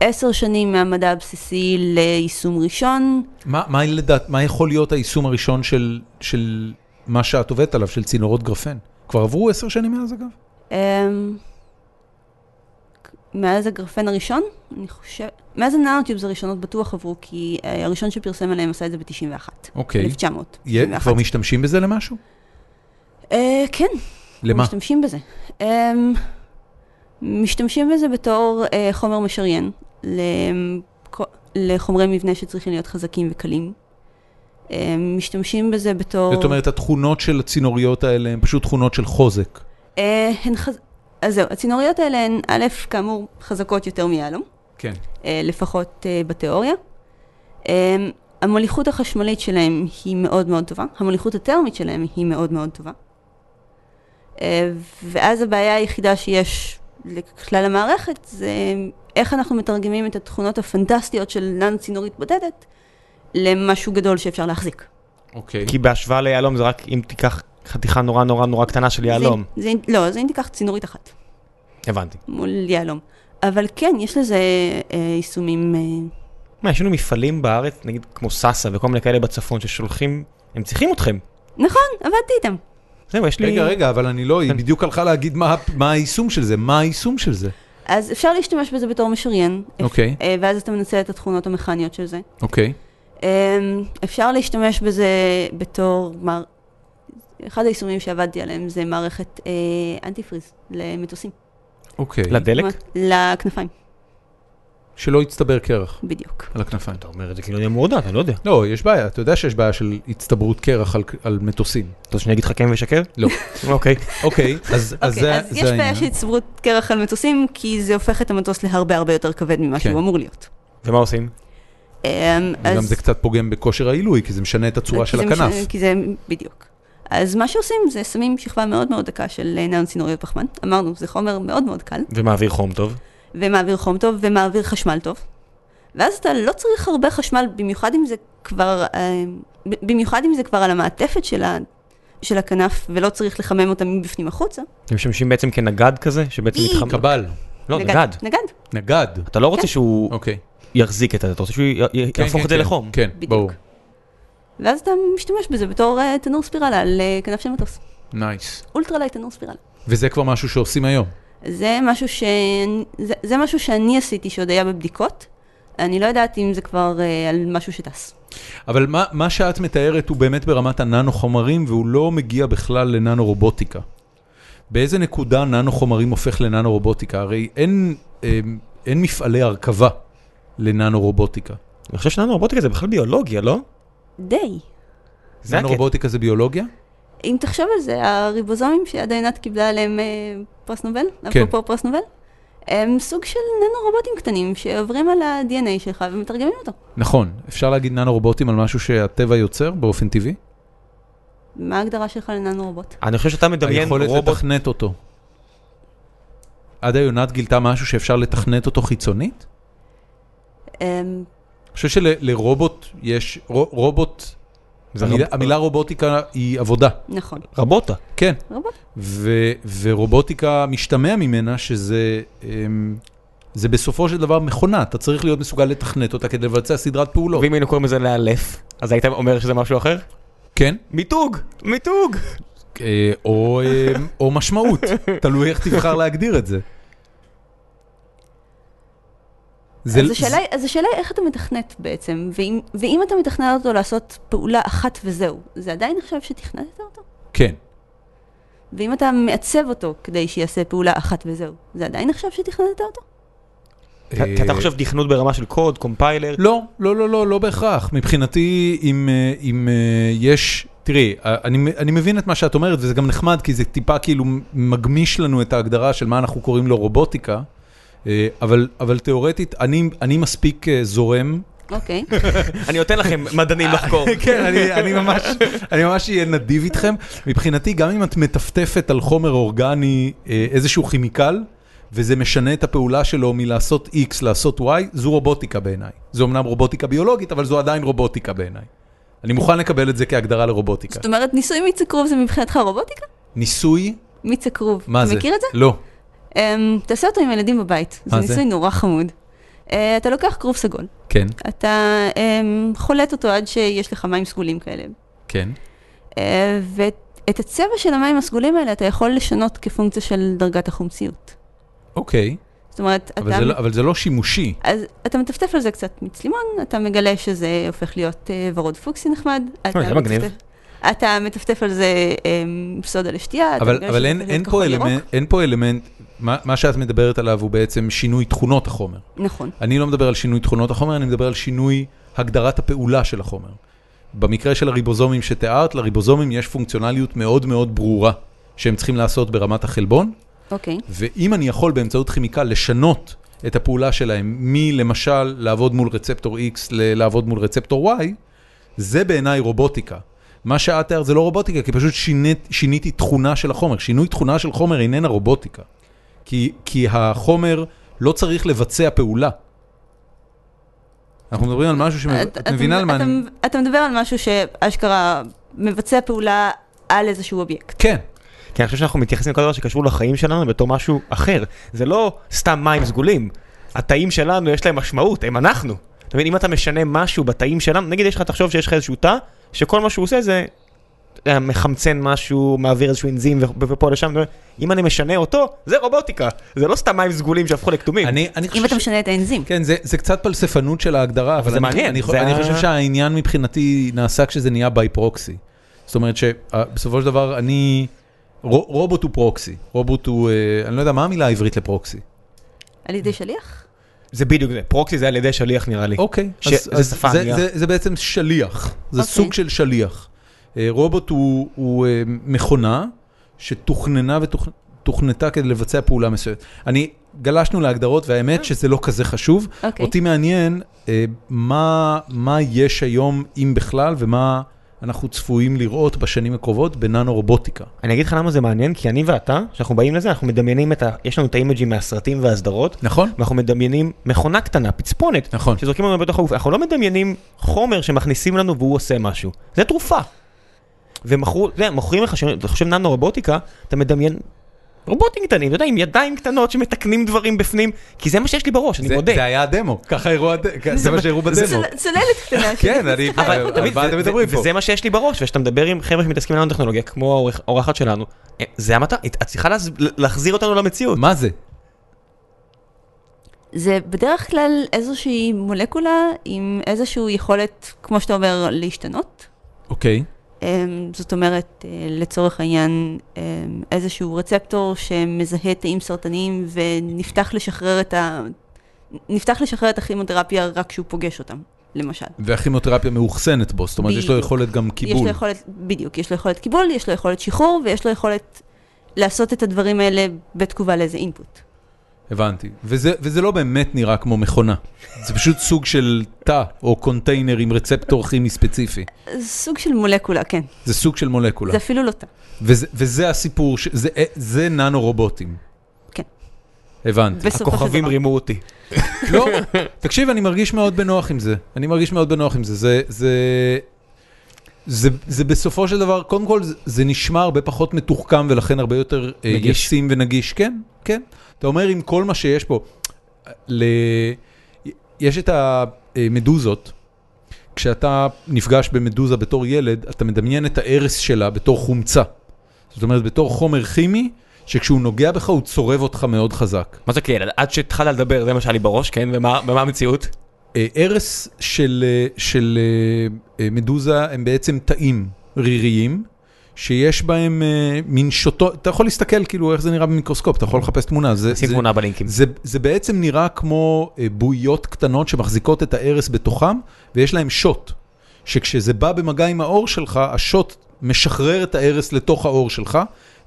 [SPEAKER 3] עשר שנים מהמדע הבסיסי ליישום ראשון.
[SPEAKER 1] מה, מה, לדעת, מה יכול להיות היישום הראשון של, של מה שאת עובדת עליו, של צינורות גרפן? כבר עברו עשר שנים מאז אגב?
[SPEAKER 3] אה, מאז הגרפן הראשון, אני חושבת, מאז הנאוטיובס הראשונות בטוח עברו, כי אה, הראשון שפרסם עליהם עשה את זה ב-91.
[SPEAKER 1] אוקיי.
[SPEAKER 3] 1900.
[SPEAKER 1] יה- כבר משתמשים בזה למשהו?
[SPEAKER 3] אה, כן,
[SPEAKER 1] למה?
[SPEAKER 3] משתמשים בזה. אה, משתמשים בזה בתור אה, חומר משריין לכ- לחומרי מבנה שצריכים להיות חזקים וקלים. אה, משתמשים בזה בתור...
[SPEAKER 1] זאת אומרת, התכונות של הצינוריות האלה הן פשוט תכונות של חוזק.
[SPEAKER 3] אה, הן חז... אז זהו, הצינוריות האלה הן, א', כאמור, חזקות יותר מיהלום,
[SPEAKER 1] כן.
[SPEAKER 3] אה, לפחות אה, בתיאוריה. אה, המוליכות החשמלית שלהם היא מאוד מאוד טובה, המוליכות הטרמית שלהם היא מאוד מאוד טובה. אה, ואז הבעיה היחידה שיש לכלל המערכת זה איך אנחנו מתרגמים את התכונות הפנטסטיות של ננו צינורית בודדת למשהו גדול שאפשר להחזיק.
[SPEAKER 1] אוקיי.
[SPEAKER 2] כי בהשוואה ליהלום זה רק אם תיקח חתיכה נורא נורא נורא קטנה של יהלום.
[SPEAKER 3] זה, זה, לא, זה אם תיקח צינורית אחת.
[SPEAKER 2] הבנתי.
[SPEAKER 3] מול יהלום. אבל כן, יש לזה אה, יישומים... אה,
[SPEAKER 2] מה, יש לנו מפעלים בארץ, נגיד כמו סאסא וכל מיני כאלה בצפון ששולחים, הם צריכים אתכם.
[SPEAKER 3] נכון, עבדתי איתם.
[SPEAKER 2] זהו, יש לי...
[SPEAKER 1] רגע, רגע, אבל אני לא, היא בדיוק הלכה להגיד מה הפ- מה היישום של זה, מה היישום של זה.
[SPEAKER 3] אז אפשר להשתמש בזה בתור משריין. אפ-
[SPEAKER 1] אוקיי.
[SPEAKER 3] אה, ואז אתה מנצל את התכונות המכניות של זה.
[SPEAKER 1] אוקיי.
[SPEAKER 3] אמ, אפשר להשתמש בזה בתור... מר... אחד היישומים שעבדתי עליהם זה מערכת אה, אנטי פריז למטוסים.
[SPEAKER 1] אוקיי.
[SPEAKER 2] לדלק?
[SPEAKER 3] כלומר, לכנפיים,
[SPEAKER 1] שלא יצטבר קרח
[SPEAKER 3] בדיוק.
[SPEAKER 1] על הכנפיים.
[SPEAKER 2] אתה אומר את זה כאילו אני מורדף, אני לא יודע.
[SPEAKER 1] לא, יש בעיה, אתה יודע שיש בעיה של הצטברות קרח על- על מטוסים.
[SPEAKER 2] אתה רוצה שאני אגיד לך כן ושקר?
[SPEAKER 1] לא.
[SPEAKER 2] אוקיי.
[SPEAKER 1] אוקיי, אז אז
[SPEAKER 3] אוקיי,
[SPEAKER 1] זה
[SPEAKER 3] אז
[SPEAKER 1] זה
[SPEAKER 3] יש בעיה
[SPEAKER 1] העניין.
[SPEAKER 3] של הצטברות קרח על מטוסים, כי זה הופך את המטוס להרבה הרבה יותר כבד ממה
[SPEAKER 1] כן.
[SPEAKER 3] שהוא אמור להיות.
[SPEAKER 2] ומה עושים?
[SPEAKER 3] אמ,
[SPEAKER 1] וגם
[SPEAKER 3] אז-
[SPEAKER 1] זה קצת פוגם בכושר העילוי, כי זה משנה את הצורה
[SPEAKER 3] כי
[SPEAKER 1] של
[SPEAKER 3] זה כן.
[SPEAKER 1] הכנף.
[SPEAKER 3] מש- כי זה, בדיוק. אז מה שעושים זה שמים שכבה מאוד מאוד דקה של אה, ננו צינוריות פחמן. אמרנו, זה חומר מאוד מאוד קל,
[SPEAKER 2] ומעביר חום טוב.
[SPEAKER 3] ומעביר חום טוב, ומעביר חשמל טוב. ואז אתה לא צריך הרבה חשמל, במיוחד אם זה כבר, אה, ב- במיוחד אם זה כבר על המעטפת של, ה, של הכנף, ולא צריך לחמם אותה מבפנים החוצה.
[SPEAKER 2] הם משמשים בעצם כנגד כזה, שבעצם
[SPEAKER 3] אי.
[SPEAKER 2] מתחמם.
[SPEAKER 1] קבל,
[SPEAKER 2] לא, נגד.
[SPEAKER 3] נגד,
[SPEAKER 1] נגד.
[SPEAKER 2] אתה לא
[SPEAKER 3] כן.
[SPEAKER 2] רוצה שהוא
[SPEAKER 1] אוקיי.
[SPEAKER 2] יחזיק את זה, אתה רוצה שהוא י- י-
[SPEAKER 1] כן,
[SPEAKER 2] יהפוך
[SPEAKER 1] כן,
[SPEAKER 2] את זה
[SPEAKER 1] כן,
[SPEAKER 2] לחום.
[SPEAKER 1] כן,
[SPEAKER 3] בדיוק.
[SPEAKER 1] ברור.
[SPEAKER 3] ואז אתה משתמש בזה בתור אה, תנור ספירלה על אה, כנף של מטוס.
[SPEAKER 1] נייס.
[SPEAKER 3] אולטרה לייט תנור ספירלה.
[SPEAKER 1] וזה כבר משהו שעושים היום.
[SPEAKER 3] זה משהו, ש... זה, זה משהו שאני עשיתי שעוד היה בבדיקות. אני לא יודעת אם זה כבר אה, על משהו שטס.
[SPEAKER 1] אבל מה, מה שאת מתארת הוא באמת ברמת הננו חומרים, והוא לא מגיע בכלל לננו רובוטיקה. באיזה נקודה ננו חומרים הופך לננו רובוטיקה? הרי אין, אין, אין מפעלי הרכבה לננו רובוטיקה.
[SPEAKER 2] אני חושב שננו רובוטיקה זה בכלל ביולוגיה, לא?
[SPEAKER 3] די.
[SPEAKER 2] זה
[SPEAKER 1] ננו
[SPEAKER 2] הקטע.
[SPEAKER 1] רובוטיקה זה ביולוגיה?
[SPEAKER 3] אם תחשוב על זה, הריבוזומים שעד עינת קיבלה עליהם אה, פרס נובל,
[SPEAKER 1] כן.
[SPEAKER 3] אפרופו פרס נובל, הם סוג של ננו-רובוטים קטנים שעוברים על ה-DNA שלך ומתרגמים אותו.
[SPEAKER 1] נכון. אפשר להגיד ננו רובוטים על משהו שהטבע יוצר באופן טבעי?
[SPEAKER 3] מה ההגדרה שלך לננו-רובוט?
[SPEAKER 2] אני חושב שאתה מדמיין
[SPEAKER 1] היכולת
[SPEAKER 2] רובוט...
[SPEAKER 1] לתכנת אותו. עד היונת גילתה משהו שאפשר לתכנת אותו חיצונית?
[SPEAKER 3] אמ,
[SPEAKER 1] אני חושב שלרובוט יש, רו- רובוט,
[SPEAKER 2] זה
[SPEAKER 1] המילה,
[SPEAKER 2] רב-
[SPEAKER 1] המילה רובוטיקה היא עבודה,
[SPEAKER 3] נכון,
[SPEAKER 2] רבוטה.
[SPEAKER 1] כן.
[SPEAKER 3] רובוט.
[SPEAKER 1] ו, ורובוטיקה משתמע ממנה שזה אמ, זה בסופו של דבר מכונה, אתה צריך להיות מסוגל לתכנת אותה כדי לבצע סדרת פעולות.
[SPEAKER 2] ואם היינו קוראים לזה לאלף, אז היית אומר שזה משהו אחר?
[SPEAKER 1] כן,
[SPEAKER 2] מיתוג! מיתוג!
[SPEAKER 1] אה, או, אמ, או משמעות, תלוי איך תבחר להגדיר את זה. זה-
[SPEAKER 3] אז השאלה היא- אז השאלה היא איך אתה מתכנת בעצם, ואם- ואם אתה מתכנן אותו לעשות פעולה אחת וזהו, זה עדיין נחשב שתכננת אותו?
[SPEAKER 1] כן.
[SPEAKER 3] ואם אתה מעצב אותו כדי שיעשה פעולה אחת וזהו, זה עדיין נחשב שתכננת אותו?
[SPEAKER 2] כי
[SPEAKER 1] אה,
[SPEAKER 2] כי אתה חושב תכנות ברמה של קוד, קומפיילר,
[SPEAKER 1] לא, לא, לא, לא, לא בהכרח. מבחינתי, אם, אה, אם אה, יש... תראי, אה, אני, אני מבין את מה שאת אומרת, וזה גם נחמד, כי זה טיפה כאילו מגמיש לנו את ההגדרה של מה אנחנו קוראים לו רובוטיקה, אה, אבל, אבל תיאורטית, אני, אני מספיק אה, זורם.
[SPEAKER 3] אוקיי.
[SPEAKER 2] אני נותן לכם מדענים לחקור.
[SPEAKER 1] כן, אני, אני ממש אני ממש אהיה נדיב איתכם. מבחינתי, גם אם את מטפטפת על חומר אורגני אה, איזשהו כימיקל, וזה משנה את הפעולה שלו מלעשות X לעשות Y, זו רובוטיקה בעיניי. זו אמנם רובוטיקה ביולוגית, אבל זו עדיין רובוטיקה בעיניי. אני מוכן לקבל את זה כהגדרה לרובוטיקה.
[SPEAKER 3] זאת אומרת, ניסוי מיץ הכרוב זה מבחינתך רובוטיקה?
[SPEAKER 1] ניסוי,
[SPEAKER 3] מיץ הכרוב.
[SPEAKER 1] מה
[SPEAKER 3] אתה
[SPEAKER 1] זה?
[SPEAKER 3] מכיר את זה?
[SPEAKER 1] לא.
[SPEAKER 3] אמ, תעשה אותו עם הילדים בבית, זה
[SPEAKER 1] מה זה?
[SPEAKER 3] ניסוי נורא חמוד. אה, אתה לוקח כרוב סגול,
[SPEAKER 1] כן,
[SPEAKER 3] אתה אמ, חולט אותו עד שיש לך מים סגולים כאלה,
[SPEAKER 1] כן.
[SPEAKER 3] אה, ואת הצבע של המים הסגולים האלה אתה יכול לשנות כפונקציה של דרגת החומציות.
[SPEAKER 1] אוקיי,
[SPEAKER 3] זאת אומרת,
[SPEAKER 1] אבל
[SPEAKER 3] אתה...
[SPEAKER 1] זה לא- אבל זה לא שימושי.
[SPEAKER 3] אז אתה מטפטף על זה קצת מצלימון, אתה מגלה שזה הופך להיות אה, ורוד פוקסי נחמד. אתה
[SPEAKER 2] זה מגניב.
[SPEAKER 3] מטפטף- אתה מטפטף על זה אמ, סודה לשתייה. אתה
[SPEAKER 1] אבל,
[SPEAKER 3] מגלה
[SPEAKER 1] אבל
[SPEAKER 3] שזה
[SPEAKER 1] אין,
[SPEAKER 3] הופך
[SPEAKER 1] אין,
[SPEAKER 3] להיות
[SPEAKER 1] פה
[SPEAKER 3] כחול ירוק.
[SPEAKER 1] אלמנט, אין פה אלמנט, מה, מה שאת מדברת עליו הוא בעצם שינוי תכונות החומר.
[SPEAKER 3] נכון.
[SPEAKER 1] אני לא מדבר על שינוי תכונות החומר, אני מדבר על שינוי הגדרת הפעולה של החומר. במקרה של הריבוזומים שתיארת, לריבוזומים יש פונקציונליות מאוד מאוד ברורה שהם צריכים לעשות ברמת החלבון,
[SPEAKER 3] אוקיי.
[SPEAKER 1] ואם אני יכול באמצעות כימיקל לשנות את הפעולה שלהם, מלמשל לעבוד מול רצפטור X לעבוד מול רצפטור Y, זה בעיניי רובוטיקה. מה שאת תיארת זה לא רובוטיקה, כי פשוט שינית, שיניתי תכונה של החומר. שינוי תכונה של חומר איננה רובוטיקה. כי, כי החומר לא צריך לבצע פעולה. אנחנו מדברים על משהו ש... את,
[SPEAKER 3] אתה-
[SPEAKER 1] מבינה על מה
[SPEAKER 3] אתה-
[SPEAKER 1] אני...
[SPEAKER 3] אתה מדבר על משהו שאשכרה מבצע פעולה על איזשהו אובייקט.
[SPEAKER 1] כן,
[SPEAKER 2] כי אני חושב שאנחנו מתייחסים לכל דבר שקשור לחיים שלנו בתור משהו אחר. זה לא סתם מים סגולים. התאים שלנו יש להם משמעות, הם אנחנו. אתה מבין, אם אתה משנה משהו בתאים שלנו, נגיד יש לך, תחשוב שיש לך איזשהו תא, שכל מה שהוא עושה זה אה, מחמצן משהו, מעביר איזשהו אנזים ו- ופה לשם, אם אני משנה אותו, זה רובוטיקה. זה לא סתם מים סגולים שהפכו לכתומים.
[SPEAKER 1] אני, אני חושב
[SPEAKER 3] אם אתה
[SPEAKER 1] ש-
[SPEAKER 3] משנה את האנזים.
[SPEAKER 1] כן, זה, זה קצת פלספנות של ההגדרה, אבל
[SPEAKER 2] זה
[SPEAKER 1] אני,
[SPEAKER 2] מעניין,
[SPEAKER 1] אני,
[SPEAKER 2] זה
[SPEAKER 1] חו- אני
[SPEAKER 2] ה-
[SPEAKER 1] חושב שהעניין מבחינתי נעשה כשזה נהיה ביי פרוקסי. זאת אומרת שבסופו של דבר אני, רו- רובוט הוא פרוקסי, רובוט הוא, אה, אני לא יודע מה המילה העברית לפרוקסי.
[SPEAKER 3] על ידי שליח?
[SPEAKER 2] זה בדיוק זה, פרוקסי זה על ידי שליח נראה לי.
[SPEAKER 1] אוקיי,
[SPEAKER 2] ש-
[SPEAKER 1] אז,
[SPEAKER 2] זה
[SPEAKER 1] אז
[SPEAKER 2] שפה
[SPEAKER 1] זה,
[SPEAKER 2] ענייה.
[SPEAKER 1] זה, זה בעצם שליח, זה
[SPEAKER 3] אוקיי.
[SPEAKER 1] סוג של שליח. אה, רובוט הוא, הוא אה, מכונה שתוכננה ותוכנתה כדי לבצע פעולה מסוימת. אני, גלשנו להגדרות והאמת שזה לא כזה חשוב.
[SPEAKER 3] אה. אוקיי.
[SPEAKER 1] אותי מעניין אה, מה, מה יש היום, אם בכלל, ומה אנחנו צפויים לראות בשנים הקרובות בננו רובוטיקה.
[SPEAKER 2] אני אגיד לך למה זה מעניין, כי אני ואתה, כשאנחנו באים לזה, אנחנו מדמיינים את ה... יש לנו את האימג'ים מהסרטים והסדרות,
[SPEAKER 1] נכון?
[SPEAKER 2] ואנחנו מדמיינים מכונה קטנה, פצפונת,
[SPEAKER 1] נכון.
[SPEAKER 2] שזורקים לנו בתוך הגוף. אנחנו לא מדמיינים חומר שמכניסים לנו והוא עושה משהו. זה תרופה. ומכרו, אתה יודע, מוכרים לך, שאתה חושב ננו רובוטיקה, אתה מדמיין רובוטים קטנים, אתה יודע, עם ידיים קטנות שמתקנים דברים בפנים, כי זה מה שיש לי בראש, אני
[SPEAKER 1] זה,
[SPEAKER 2] מודה.
[SPEAKER 1] זה היה הדמו, ככה הראו, הד- זה מה שהראו בדמו.
[SPEAKER 3] צול- צוללת קטנה.
[SPEAKER 1] כן, אני,
[SPEAKER 2] אבל אתה
[SPEAKER 1] על
[SPEAKER 2] מבין,
[SPEAKER 1] מה אתם
[SPEAKER 2] זה-
[SPEAKER 1] מדברים
[SPEAKER 2] זה-
[SPEAKER 1] פה?
[SPEAKER 2] וזה מה שיש לי בראש, וכשאתה מדבר עם חבר'ה שמתעסקים עם טכנולוגיה, כמו האורח- האורחת שלנו, אה, זה המטרה, את את צריכה להז- להחזיר אותנו למציאות.
[SPEAKER 1] מה זה?
[SPEAKER 3] זה בדרך כלל איזושהי מולקולה עם איזושהי יכולת, כמו שאתה אומר, להשתנות.
[SPEAKER 1] אוקיי.
[SPEAKER 3] אמ, זאת אומרת, אה, לצורך העניין, אמ, איזשהו רצפטור שמזהה תאים סרטניים ונפתח לשחרר את ה... נפתח לשחרר את הכימותרפיה רק כשהוא פוגש אותם, למשל.
[SPEAKER 1] והכימותרפיה מאוחסנת בו, זאת אומרת, יש לו
[SPEAKER 3] בדיוק.
[SPEAKER 1] יכולת גם
[SPEAKER 3] יש לו
[SPEAKER 1] קיבול.
[SPEAKER 3] יכולת, בדיוק, יש לו יכולת קיבול, יש לו יכולת שחרור, ויש לו יכולת לעשות את הדברים האלה בתגובה לאיזה אינפוט.
[SPEAKER 1] הבנתי. וזה וזה לא באמת נראה כמו מכונה. זה פשוט סוג של תא או קונטיינר עם רצפטור כימי ספציפי.
[SPEAKER 3] סוג של מולקולה, כן.
[SPEAKER 1] זה סוג של מולקולה.
[SPEAKER 3] זה אפילו לא תא.
[SPEAKER 1] וזה, וזה הסיפור, ש... זה, אה, זה ננו רובוטים.
[SPEAKER 3] כן.
[SPEAKER 1] הבנתי.
[SPEAKER 3] בסופו של
[SPEAKER 2] הכוכבים
[SPEAKER 3] דבר.
[SPEAKER 2] רימו אותי.
[SPEAKER 1] לא, תקשיב, אני מרגיש מאוד בנוח עם זה. אני מרגיש מאוד בנוח עם זה. זה, זה, זה, זה בסופו של דבר, קודם כל, זה, זה נשמע הרבה פחות מתוחכם ולכן הרבה יותר אה,
[SPEAKER 2] נגיש.
[SPEAKER 1] ישים ונגיש. כן, כן. אתה אומר עם כל מה שיש פה, ל... יש את המדוזות. כשאתה נפגש במדוזה בתור ילד, אתה מדמיין את הארס שלה בתור חומצה. זאת אומרת, בתור חומר כימי, שכשהוא נוגע בך הוא צורב אותך מאוד חזק.
[SPEAKER 2] מה זה כאילו? עד שהתחלת לדבר, זה מה שהיה לי בראש, כן? ומה ומה המציאות?
[SPEAKER 1] אה, ערס של, אה, של אה, אה, מדוזה הם בעצם תאים ריריים, שיש בהם אה, מין שוטו, אתה יכול להסתכל כאילו איך זה נראה במיקרוסקופ, אתה יכול לחפש תמונה. זה,
[SPEAKER 2] שים
[SPEAKER 1] זה,
[SPEAKER 2] תמונה בלינקים.
[SPEAKER 1] זה, זה בעצם נראה כמו אה, בועיות קטנות שמחזיקות את הערס בתוכם, ויש להם שוט, שכשזה בא במגע עם האור שלך, השוט משחרר את הערס לתוך האור שלך,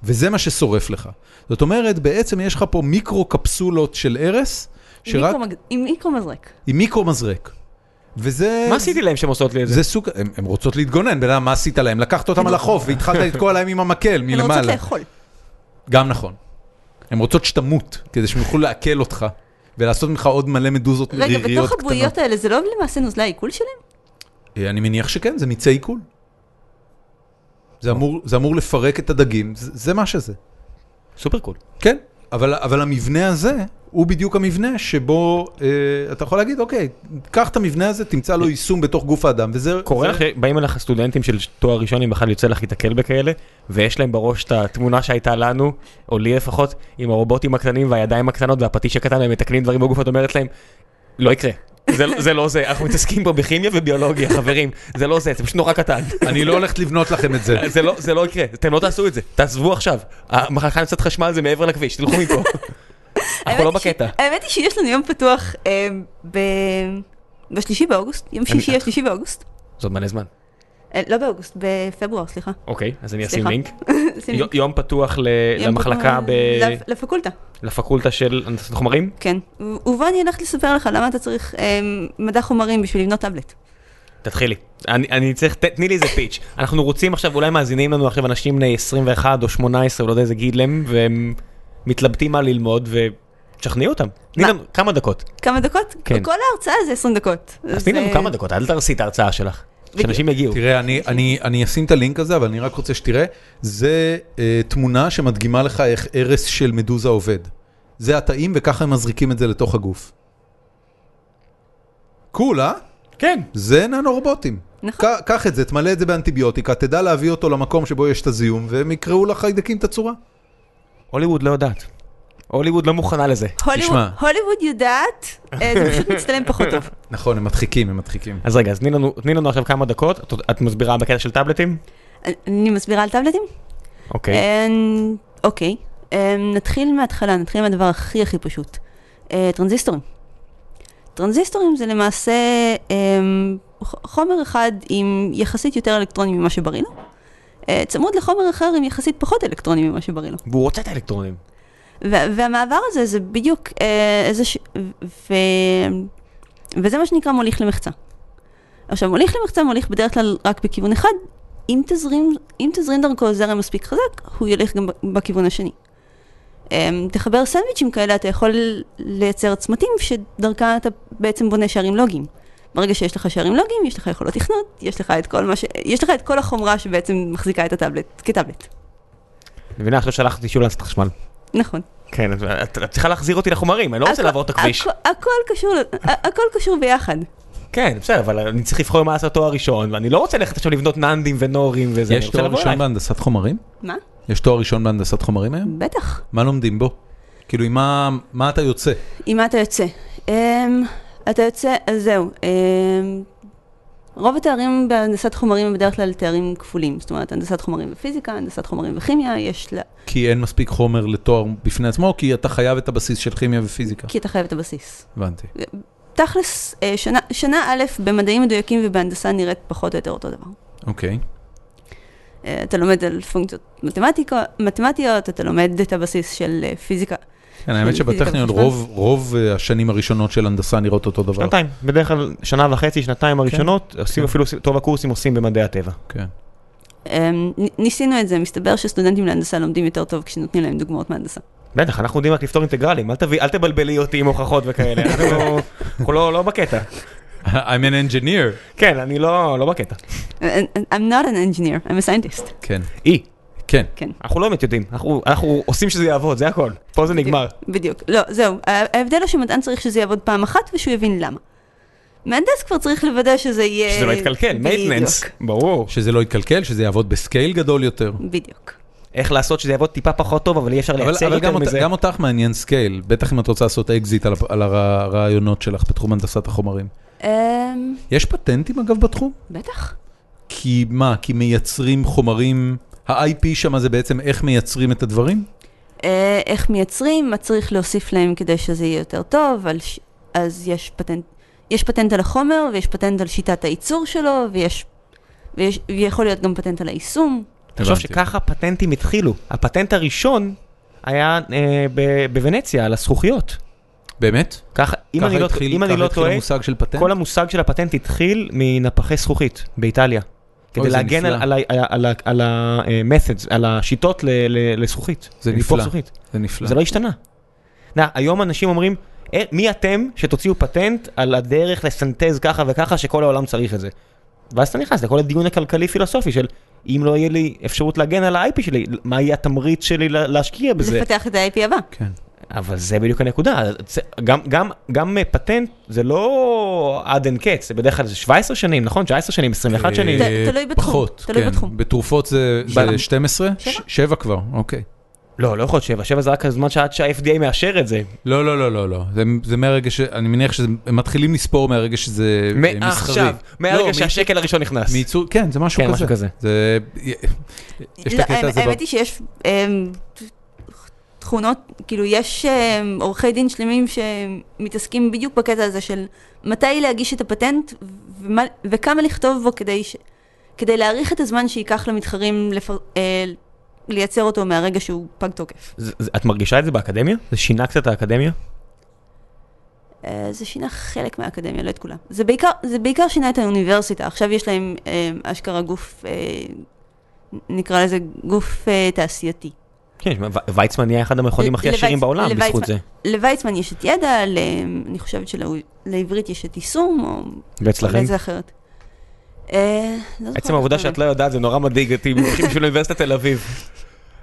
[SPEAKER 1] וזה מה ששורף לך. זאת אומרת, בעצם יש לך פה מיקרו קפסולות של ערס,
[SPEAKER 3] עם
[SPEAKER 1] שרק...
[SPEAKER 3] מיקרומג- עם מיקרומזרק.
[SPEAKER 1] עם מיקרו מזרק. וזה...
[SPEAKER 2] מה עשיתי להם שהם עושות לי את זה?
[SPEAKER 1] זה סוג, הן, הן רוצות להתגונן, בן אדם, מה עשית להם? לקחת אותם על החוף והתחלת לתקוע להם עם המקל
[SPEAKER 3] הן
[SPEAKER 1] מלמעלה.
[SPEAKER 3] רוצות לאכול.
[SPEAKER 1] גם נכון. הן רוצות שתמות, כדי שהם יוכלו לעכל אותך, ולעשות ממך עוד מלא מדוזות
[SPEAKER 3] רגע,
[SPEAKER 1] ריריות
[SPEAKER 3] בתוך הבועיות
[SPEAKER 1] קטנות.
[SPEAKER 3] האלה זה לא למעשה נוזלי העיכול שלהם?
[SPEAKER 1] אה, אני מניח שכן, זה מיצי עיכול. זה אמור, זה אמור לפרק את הדגים, זה, זה מה שזה.
[SPEAKER 2] סופר קול.
[SPEAKER 1] כן. אבל, אבל המבנה הזה, הוא בדיוק המבנה שבו אה, אתה יכול להגיד, אוקיי, קח את המבנה הזה, תמצא לו יישום בתוך גוף האדם, וזה...
[SPEAKER 2] אה, קורה
[SPEAKER 1] זה-
[SPEAKER 2] לך, באים אליך סטודנטים של תואר ראשון, אם בכלל יוצא לך להתקל בכאלה, ויש להם בראש את התמונה שהייתה לנו, או לי לפחות, עם הרובוטים הקטנים והידיים הקטנות והפטיש הקטן, הם מתקנים דברים בגוף, את אומרת להם, לא יקרה. זה, לא- זה לא זה, אנחנו מתעסקים פה בכימיה וביולוגיה, חברים, זה לא זה, זה פשוט נורא קטן.
[SPEAKER 1] אני לא הולכת לבנות לכם את זה.
[SPEAKER 2] זה לא, זה לא יקרה, אתם לא תעשו את זה, תעזבו עכשיו. המחלקה נמצאת חשמל זה מעבר לכביש, תלכו מפה. אנחנו לא
[SPEAKER 3] האמת היא
[SPEAKER 2] בקטע.
[SPEAKER 3] ש- האמת היא שיש לנו יום פתוח אה, ב- בשלישי באוגוסט, יום
[SPEAKER 2] אני- אה,
[SPEAKER 3] שישי, השלישי באוגוסט.
[SPEAKER 2] זה עוד מלא זמן.
[SPEAKER 3] אה, לא באוגוסט, בפברואר, סליחה.
[SPEAKER 2] אוקיי, אז אני אשים
[SPEAKER 3] סליחה.
[SPEAKER 2] לינק.
[SPEAKER 3] שים
[SPEAKER 2] יו- יום פתוח ל-
[SPEAKER 3] יום
[SPEAKER 2] למחלקה,
[SPEAKER 3] פתוח-
[SPEAKER 2] ב-
[SPEAKER 3] לפ- לפקולטה,
[SPEAKER 2] לפקולטה של הנדסת חומרים.
[SPEAKER 3] כן. ו- ובוני הולכת לספר לך למה אתה צריך אה, מדע חומרים בשביל לבנות טאבלט.
[SPEAKER 2] תתחילי. אני, אני צריך, ת, תני לי איזה פיץ'. אנחנו רוצים עכשיו, אולי מאזינים לנו עכשיו אנשים בני 21 או 18, או לא יודע איזה גיל הם, והם מתלבטים מה ללמוד, ותשכנעי אותם. תני
[SPEAKER 3] מה?
[SPEAKER 2] לנו כמה דקות.
[SPEAKER 3] כמה דקות?
[SPEAKER 2] כן.
[SPEAKER 3] כל ההרצאה זה 20 דקות.
[SPEAKER 2] אז תני לנו
[SPEAKER 3] זה-
[SPEAKER 2] כמה דקות, אל תרסי את ההרצאה שלך. שאנשים יגיעו.
[SPEAKER 1] תראה, אני, אני, אני אשים את הלינק הזה, אבל אני רק רוצה שתראה. זה אה, תמונה שמדגימה לך איך ערס של מדוזה עובד. זה התאים, וככה הם מזריקים את זה לתוך הגוף. קול, אה?
[SPEAKER 2] כן.
[SPEAKER 1] זה ננו-רובוטים.
[SPEAKER 3] נכון.
[SPEAKER 1] ק- קח את זה, תמלא את זה באנטיביוטיקה, תדע להביא אותו למקום שבו יש את הזיהום, והם יקראו לחיידקים את הצורה.
[SPEAKER 2] הוליווד לא יודעת. הוליווד לא מוכנה לזה.
[SPEAKER 3] הוליווד-
[SPEAKER 1] תשמע.
[SPEAKER 3] הוליווד יודעת, אה, זה פשוט מצטלם פחות טוב.
[SPEAKER 1] נכון, הם מדחיקים, הם מדחיקים.
[SPEAKER 2] אז רגע, אז תני לנו, תני לנו עכשיו כמה דקות. את, את מסבירה בקטע של טאבלטים?
[SPEAKER 3] אני מסבירה על טאבלטים?
[SPEAKER 2] אוקיי.
[SPEAKER 3] אמ, אוקיי. אמ, נתחיל מההתחלה, נתחיל מהדבר הכי הכי פשוט. אה, טרנזיסטורים. טרנזיסטורים זה למעשה אמ, ח- חומר אחד עם יחסית יותר אלקטרונים ממה שבריא לו, אה, צמוד לחומר אחר עם יחסית פחות אלקטרונים ממה שבריא לו.
[SPEAKER 2] והוא רוצה את האלקטרונים.
[SPEAKER 3] ו- והמעבר הזה זה בדיוק אה, איזה ש... ו- ו- וזה מה שנקרא מוליך למחצה. עכשיו, מוליך למחצה מוליך בדרך כלל רק בכיוון אחד, אם תזרים, אם תזרים דרכו זרם מספיק חזק, הוא ילך גם ב- בכיוון השני. אמ, תחבר סנדוויצ'ים כאלה, אתה יכול לייצר צמתים שדרכם אתה בעצם בונה שערים לוגיים. ברגע שיש לך שערים לוגיים, יש לך יכולות תכנות, יש לך את כל, מה ש... יש לך את כל החומרה שבעצם מחזיקה את הטאבלט כטאבלט.
[SPEAKER 2] מבינה, עכשיו שלחתי שוב להנדסת חשמל.
[SPEAKER 3] נכון.
[SPEAKER 2] כן, את, את, את צריכה להחזיר אותי לחומרים, אני לא רוצה
[SPEAKER 3] הכל-
[SPEAKER 2] לעבור את הכביש.
[SPEAKER 3] הכ- הכל קשור, ה- הכל קשור ביחד.
[SPEAKER 2] כן, בסדר, אבל אני צריך לבחור מה לעשות תואר ראשון, ואני לא רוצה ללכת עכשיו לבנות ננדים ונורים וזה.
[SPEAKER 1] יש
[SPEAKER 2] אני רוצה
[SPEAKER 1] תואר
[SPEAKER 2] לבוא
[SPEAKER 1] ראשון
[SPEAKER 2] אלייך.
[SPEAKER 1] בהנדסת חומרים?
[SPEAKER 3] מה?
[SPEAKER 1] יש תואר ראשון בהנדסת חומרים היום?
[SPEAKER 3] בטח.
[SPEAKER 1] מה לומדים בו? כאילו, עם מה, מה אתה יוצא?
[SPEAKER 3] עם מה אתה יוצא? אמ, אתה יוצא, אז זהו. אמ, רוב התארים בהנדסת חומרים הם בדרך כלל תארים כפולים. זאת אומרת, הנדסת חומרים ופיזיקה, הנדסת חומרים וכימיה, יש לה...
[SPEAKER 2] כן.
[SPEAKER 1] כי אין מספיק חומר לתואר בפני עצמו, או כי אתה חייב את הבסיס של כימיה ופיזיקה.
[SPEAKER 3] כי אתה חייב את הבסיס.
[SPEAKER 1] הבנתי.
[SPEAKER 3] תכלס, אה, שנה, שנה א' במדעים מדויקים ובהנדסה נראית פחות או יותר אותו דבר.
[SPEAKER 1] אוקיי.
[SPEAKER 3] אה, אתה לומד על פונקציות מתמטיקה, מתמטיות, אתה לומד את הבסיס של אה, פיזיקה.
[SPEAKER 1] כן, האמת
[SPEAKER 3] פיזיקה
[SPEAKER 1] שבטכניון
[SPEAKER 3] וחשמל.
[SPEAKER 1] רוב, רוב אה, השנים הראשונות של הנדסה נראות אותו דבר.
[SPEAKER 2] שנתיים, בדרך כלל שנה וחצי, שנתיים הראשונות, עושים אפילו טוב הקורסים עושים במדעי הטבע.
[SPEAKER 1] כן.
[SPEAKER 3] אמ, נ- ניסינו את זה, מסתבר שסטודנטים להנדסה לומדים יותר טוב כשנותנים להם דוגמאות מהנדסה.
[SPEAKER 2] בטח, אנחנו יודעים רק לפתור אינטגרלים, אל תביא- אל תבלבלי אותי עם הוכחות וכאלה, אנחנו- אנחנו לא לא בקטע.
[SPEAKER 1] I'm an engineer.
[SPEAKER 2] כן, אני לא לא בקטע.
[SPEAKER 3] אה, I'm not an engineer, I'm a scientist.
[SPEAKER 1] כן.
[SPEAKER 2] אי,
[SPEAKER 1] כן.
[SPEAKER 3] כן.
[SPEAKER 2] אנחנו לא באמת יודעים, אנחנו- אנחנו עושים שזה יעבוד, זה הכל. פה זה נגמר.
[SPEAKER 3] בדיוק. לא, זהו. ה- ההבדל הוא שמדען צריך שזה יעבוד פעם אחת ושהוא יבין למה. מהנדס כבר צריך לוודא שזה יהיה...
[SPEAKER 2] שזה לא יתקלקל, מייטננס,
[SPEAKER 3] אה, בדיוק.
[SPEAKER 2] ברור.
[SPEAKER 1] שזה לא יתקלקל, שזה יעבוד בסקייל גדול יותר.
[SPEAKER 2] לא,
[SPEAKER 3] בדיוק.
[SPEAKER 2] איך לעשות שזה יעבוד טיפה פחות טוב, אבל אי אפשר
[SPEAKER 1] אבל,
[SPEAKER 2] לייצר
[SPEAKER 1] אבל גם,
[SPEAKER 2] יותר
[SPEAKER 1] אות,
[SPEAKER 2] מזה.
[SPEAKER 1] גם אותך מעניין סקייל, בטח אם את רוצה לעשות אקזיט על, הפ- על הר- הרעיונות שלך בתחום הנדסת החומרים.
[SPEAKER 3] אמ,
[SPEAKER 1] יש פטנטים אגב בתחום?
[SPEAKER 3] בטח.
[SPEAKER 1] כי מה, כי מייצרים חומרים, ה-IP שם זה בעצם איך מייצרים את הדברים?
[SPEAKER 3] אה, איך מייצרים, מה צריך להוסיף להם כדי שזה יהיה יותר טוב, על ש- אז יש פטנט, יש פטנט על החומר, ויש פטנט על שיטת הייצור שלו, ויש, ויש, ויכול להיות גם פטנט על היישום.
[SPEAKER 2] תחשוב
[SPEAKER 1] הבנתי.
[SPEAKER 2] שככה פטנטים התחילו. הפטנט הראשון היה אה, ב- בוונציה, על הזכוכיות.
[SPEAKER 1] באמת?
[SPEAKER 2] ככה, אם
[SPEAKER 1] ככה
[SPEAKER 2] אני לא-
[SPEAKER 1] התחיל-
[SPEAKER 2] אם אני
[SPEAKER 1] ככה
[SPEAKER 2] לא
[SPEAKER 1] התחיל
[SPEAKER 2] טועה,
[SPEAKER 1] המושג של פטנט?
[SPEAKER 2] כל המושג של הפטנט התחיל מנפחי זכוכית באיטליה. כדי
[SPEAKER 1] זה
[SPEAKER 2] להגן על-
[SPEAKER 1] נפלא.
[SPEAKER 2] על ה- על ה- על ה- על ה-methods, על השיטות ל- ל- לזכוכית.
[SPEAKER 1] זה
[SPEAKER 2] לנפוח
[SPEAKER 1] נפלא.
[SPEAKER 2] זכוכית.
[SPEAKER 1] זה נפלא.
[SPEAKER 2] זה לא השתנה. נע, היום אנשים אומרים, "אה, מי אתם שתוציאו פטנט על הדרך לסנטז ככה וככה שכל העולם צריך את זה. ואז אתה נכנס לכל הדיון הכלכלי-פילוסופי של אם לא יהיה לי אפשרות להגן על ה-IP שלי, מה יהיה התמריץ שלי לה- להשקיע בזה?
[SPEAKER 3] לפתח את ה-IP הבא.
[SPEAKER 1] כן.
[SPEAKER 2] אבל זה בדיוק הנקודה, זה- גם, גם, גם אה, פטנט זה לא עד אין קץ, זה בדרך כלל זה 17 שנים, נכון? 19 שנים,
[SPEAKER 1] אה,
[SPEAKER 2] 21 שנים.
[SPEAKER 3] זה- תלוי בתחום,
[SPEAKER 1] פחות,
[SPEAKER 3] תלוי
[SPEAKER 1] כן.
[SPEAKER 3] בתחום.
[SPEAKER 1] בתרופות זה זה
[SPEAKER 2] שבע.
[SPEAKER 1] 12?
[SPEAKER 3] שבע.
[SPEAKER 1] 7 כבר, אוקיי.
[SPEAKER 2] לא, לא יכול להיות 7, 7 זה רק הזמן שעד שה-FDA מאשר את זה.
[SPEAKER 1] לא, לא, לא, לא, לא. זה, זה מהרגע ש... אני מניח שהם מתחילים לספור מהרגע שזה אה, מסחרי.
[SPEAKER 2] מעכשיו,
[SPEAKER 1] לא,
[SPEAKER 2] מהרגע
[SPEAKER 1] מייצור-
[SPEAKER 2] שהשקל הראשון נכנס.
[SPEAKER 1] מייצור, כן, זה משהו
[SPEAKER 2] כן,
[SPEAKER 1] כזה.
[SPEAKER 2] משהו כזה.
[SPEAKER 1] זה... יש את
[SPEAKER 3] לא,
[SPEAKER 1] הקטע הזה
[SPEAKER 3] האמת היא שיש אמ, תכונות, כאילו יש אמ, עורכי דין שלמים שמתעסקים בדיוק בקטע הזה של מתי להגיש את הפטנט ומה- וכמה לכתוב בו כדי, ש- כדי להאריך את הזמן שייקח למתחרים לפר- אה, לייצר אותו מהרגע שהוא פג תוקף.
[SPEAKER 2] זה- זה- את מרגישה את זה באקדמיה? זה שינה קצת האקדמיה?
[SPEAKER 3] אה, זה שינה חלק מהאקדמיה, לא את כולם. זה בעיקר, זה בעיקר שינה את האוניברסיטה. עכשיו יש להם אה, אשכרה גוף, אה, נקרא לזה גוף אה, תעשייתי.
[SPEAKER 2] כן, שמע, ו- ויצמן נהיה אחד המכונים הכי
[SPEAKER 3] לויצ-
[SPEAKER 2] עשירים בעולם
[SPEAKER 3] לויצמן-
[SPEAKER 2] בזכות זה.
[SPEAKER 3] לויצמן יש את ידע, ל... אני חושבת שלעברית יש את יישום, או
[SPEAKER 2] ואצלכם?
[SPEAKER 3] איזה אחרת. אה, לא זוכרת
[SPEAKER 2] עצם העובדה
[SPEAKER 3] איך קוראים
[SPEAKER 2] שאת לא יודעת זה נורא מדאיג אותי, הם הולכים בשביל אוניברסיטת תל אביב.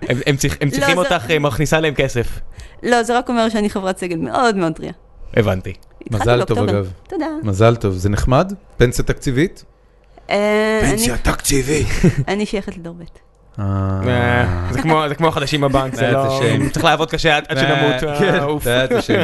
[SPEAKER 2] הם- הם צריכ- הם צריכים
[SPEAKER 3] לא, זה-
[SPEAKER 2] אותך אה, מכניסה להם כסף.
[SPEAKER 3] להם. לא, זה רק אומר שאני חברת סגל מאוד מאוד טריה.
[SPEAKER 2] הבנתי.
[SPEAKER 3] התחלתי
[SPEAKER 1] מזל טוב,
[SPEAKER 3] באוקטובר.
[SPEAKER 1] אגב.
[SPEAKER 3] תודה.
[SPEAKER 1] מזל טוב, זה נחמד? פנסיה תקציבית?
[SPEAKER 3] אה, אני-
[SPEAKER 1] תקציבית.
[SPEAKER 3] אני שייכת לדור ב'.
[SPEAKER 1] אה,
[SPEAKER 2] זה כמו- זה כמו החדשים בבנק, זה
[SPEAKER 1] זה
[SPEAKER 2] לא...
[SPEAKER 1] השם.
[SPEAKER 2] צריך לעבוד קשה עד עד שנמות. אה,
[SPEAKER 1] כן,
[SPEAKER 2] אוף.
[SPEAKER 1] זה היה את השם.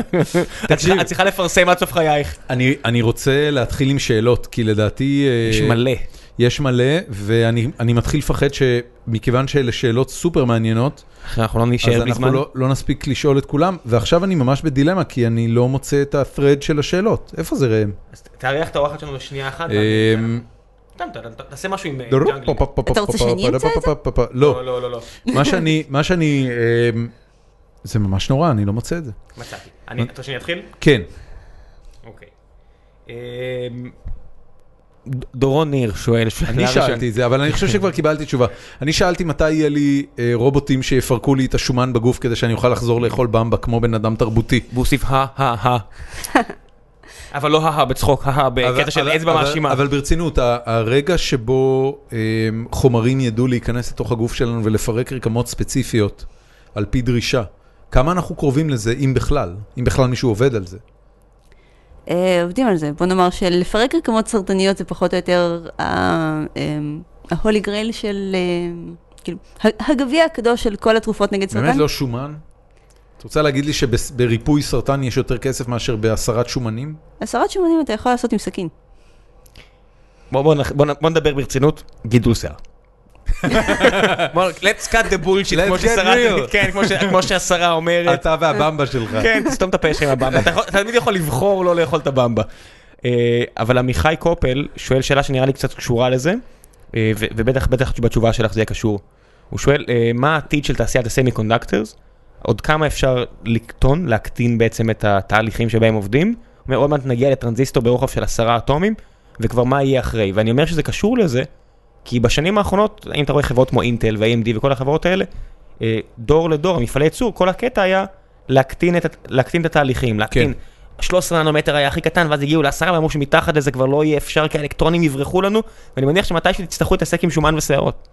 [SPEAKER 2] את צריכה- את צריכה לפרסם עד סוף חייך.
[SPEAKER 1] אני- אני רוצה להתחיל עם שאלות, כי לדעתי... אה,
[SPEAKER 2] יש מלא.
[SPEAKER 1] יש מלא, ואני אני מתחיל לפחד שמכיוון שאלה שאלות סופר מעניינות,
[SPEAKER 2] אנחנו לא
[SPEAKER 1] אז
[SPEAKER 2] נישאר בלי
[SPEAKER 1] אנחנו
[SPEAKER 2] זמן.
[SPEAKER 1] לא, לא נספיק לשאול את כולם, ועכשיו אני ממש בדילמה, כי אני לא מוצא את ה-thread של השאלות. איפה זה ראם?
[SPEAKER 2] אז תארח את האורחת שלנו בשנייה אחת.
[SPEAKER 1] אמ,
[SPEAKER 2] סתם, ת- ת- תעשה משהו עם אה,
[SPEAKER 1] לא, לא,
[SPEAKER 2] ג'אנגלים.
[SPEAKER 1] פה, פה, פה, פה,
[SPEAKER 3] אתה רוצה
[SPEAKER 1] פה,
[SPEAKER 3] שאני
[SPEAKER 1] פה,
[SPEAKER 3] אמצא
[SPEAKER 1] פה,
[SPEAKER 3] את זה?
[SPEAKER 1] פה, פה, פה, לא,
[SPEAKER 2] לא, לא, לא.
[SPEAKER 1] מה שאני, מה שאני, אמ, זה ממש נורא, אני לא מוצא את זה.
[SPEAKER 2] מצאתי. אני- אתה רוצה שאני אתחיל?
[SPEAKER 1] כן,
[SPEAKER 2] אוקיי. אמ, ד- דורון ניר שואל, שאלה
[SPEAKER 1] אני
[SPEAKER 2] ראשונה.
[SPEAKER 1] שאלתי את זה, אבל אני חושב שכבר קיבלתי תשובה. אני שאלתי מתי יהיה לי אה, רובוטים שיפרקו לי את השומן בגוף כדי שאני אוכל לחזור לאכול במבה כמו בן אדם תרבותי.
[SPEAKER 2] והוסיף הא הא הא. אבל לא הא הא בצחוק, הא הא בקטע של אצבע
[SPEAKER 1] אבל-
[SPEAKER 2] מאשימה.
[SPEAKER 1] אבל ברצינות, ה- הרגע שבו אה, חומרים ידעו להיכנס לתוך הגוף שלנו ולפרק רקמות ספציפיות על פי דרישה, כמה אנחנו קרובים לזה, אם בכלל? אם בכלל מישהו עובד על זה.
[SPEAKER 3] אה, עובדים על זה. בוא נאמר שלפרק רקמות סרטניות זה פחות או יותר ההולי גרייל של, אה, כאילו, ה- הגביע הקדוש של כל התרופות נגד סרטן.
[SPEAKER 1] באמת לא שומן? את רוצה להגיד לי שבריפוי סרטן יש יותר כסף מאשר בהסרת שומנים?
[SPEAKER 3] הסרת שומנים אתה יכול לעשות עם סכין.
[SPEAKER 2] בוא- בוא נח- בוא נ- בוא נדבר ברצינות, גידול שיער. בוא, let's cut the bullshit,
[SPEAKER 1] Let's
[SPEAKER 2] כמו
[SPEAKER 1] get
[SPEAKER 2] ששרה-
[SPEAKER 1] real.
[SPEAKER 2] כן, כמו ש- כמו שהשרה אומרת.
[SPEAKER 1] אתה והבמבה שלך.
[SPEAKER 2] כן, תסתום את הפה שלך עם הבמבה. אתה יכול- אתה תמיד יכול לבחור לא לאכול את הבמבה. אה, אבל עמיחי קופל שואל שאלה שנראה לי קצת קשורה לזה, אה, ו- ובטח בטח בתשובה שלך זה יהיה קשור. הוא שואל, אה, מה העתיד של תעשיית הסמי קונדקטורס? עוד כמה אפשר לקטון, להקטין בעצם את התהליכים שבהם עובדים? הוא אומר, עוד מעט נגיע לטרנזיסטור ברוחב של עשרה אטומים, וכבר מה יהיה אחרי? ואני אומר שזה קשור לזה, כי בשנים האחרונות, אם אתה רואה חברות כמו אינטל ו-AMD וכל החברות האלה, אה, דור לדור, המפעלי ייצור, כל הקטע היה להקטין את, הת- להקטין את התהליכים, להקטין.
[SPEAKER 1] כן.
[SPEAKER 2] 13 ננומטר היה הכי קטן, ואז הגיעו לעשרה, ואמרו שמתחת לזה כבר לא יהיה אפשר, כי האלקטרונים יברחו לנו, ואני מניח שמתישהו תצטרכו להתעסק עם שומן ושערות.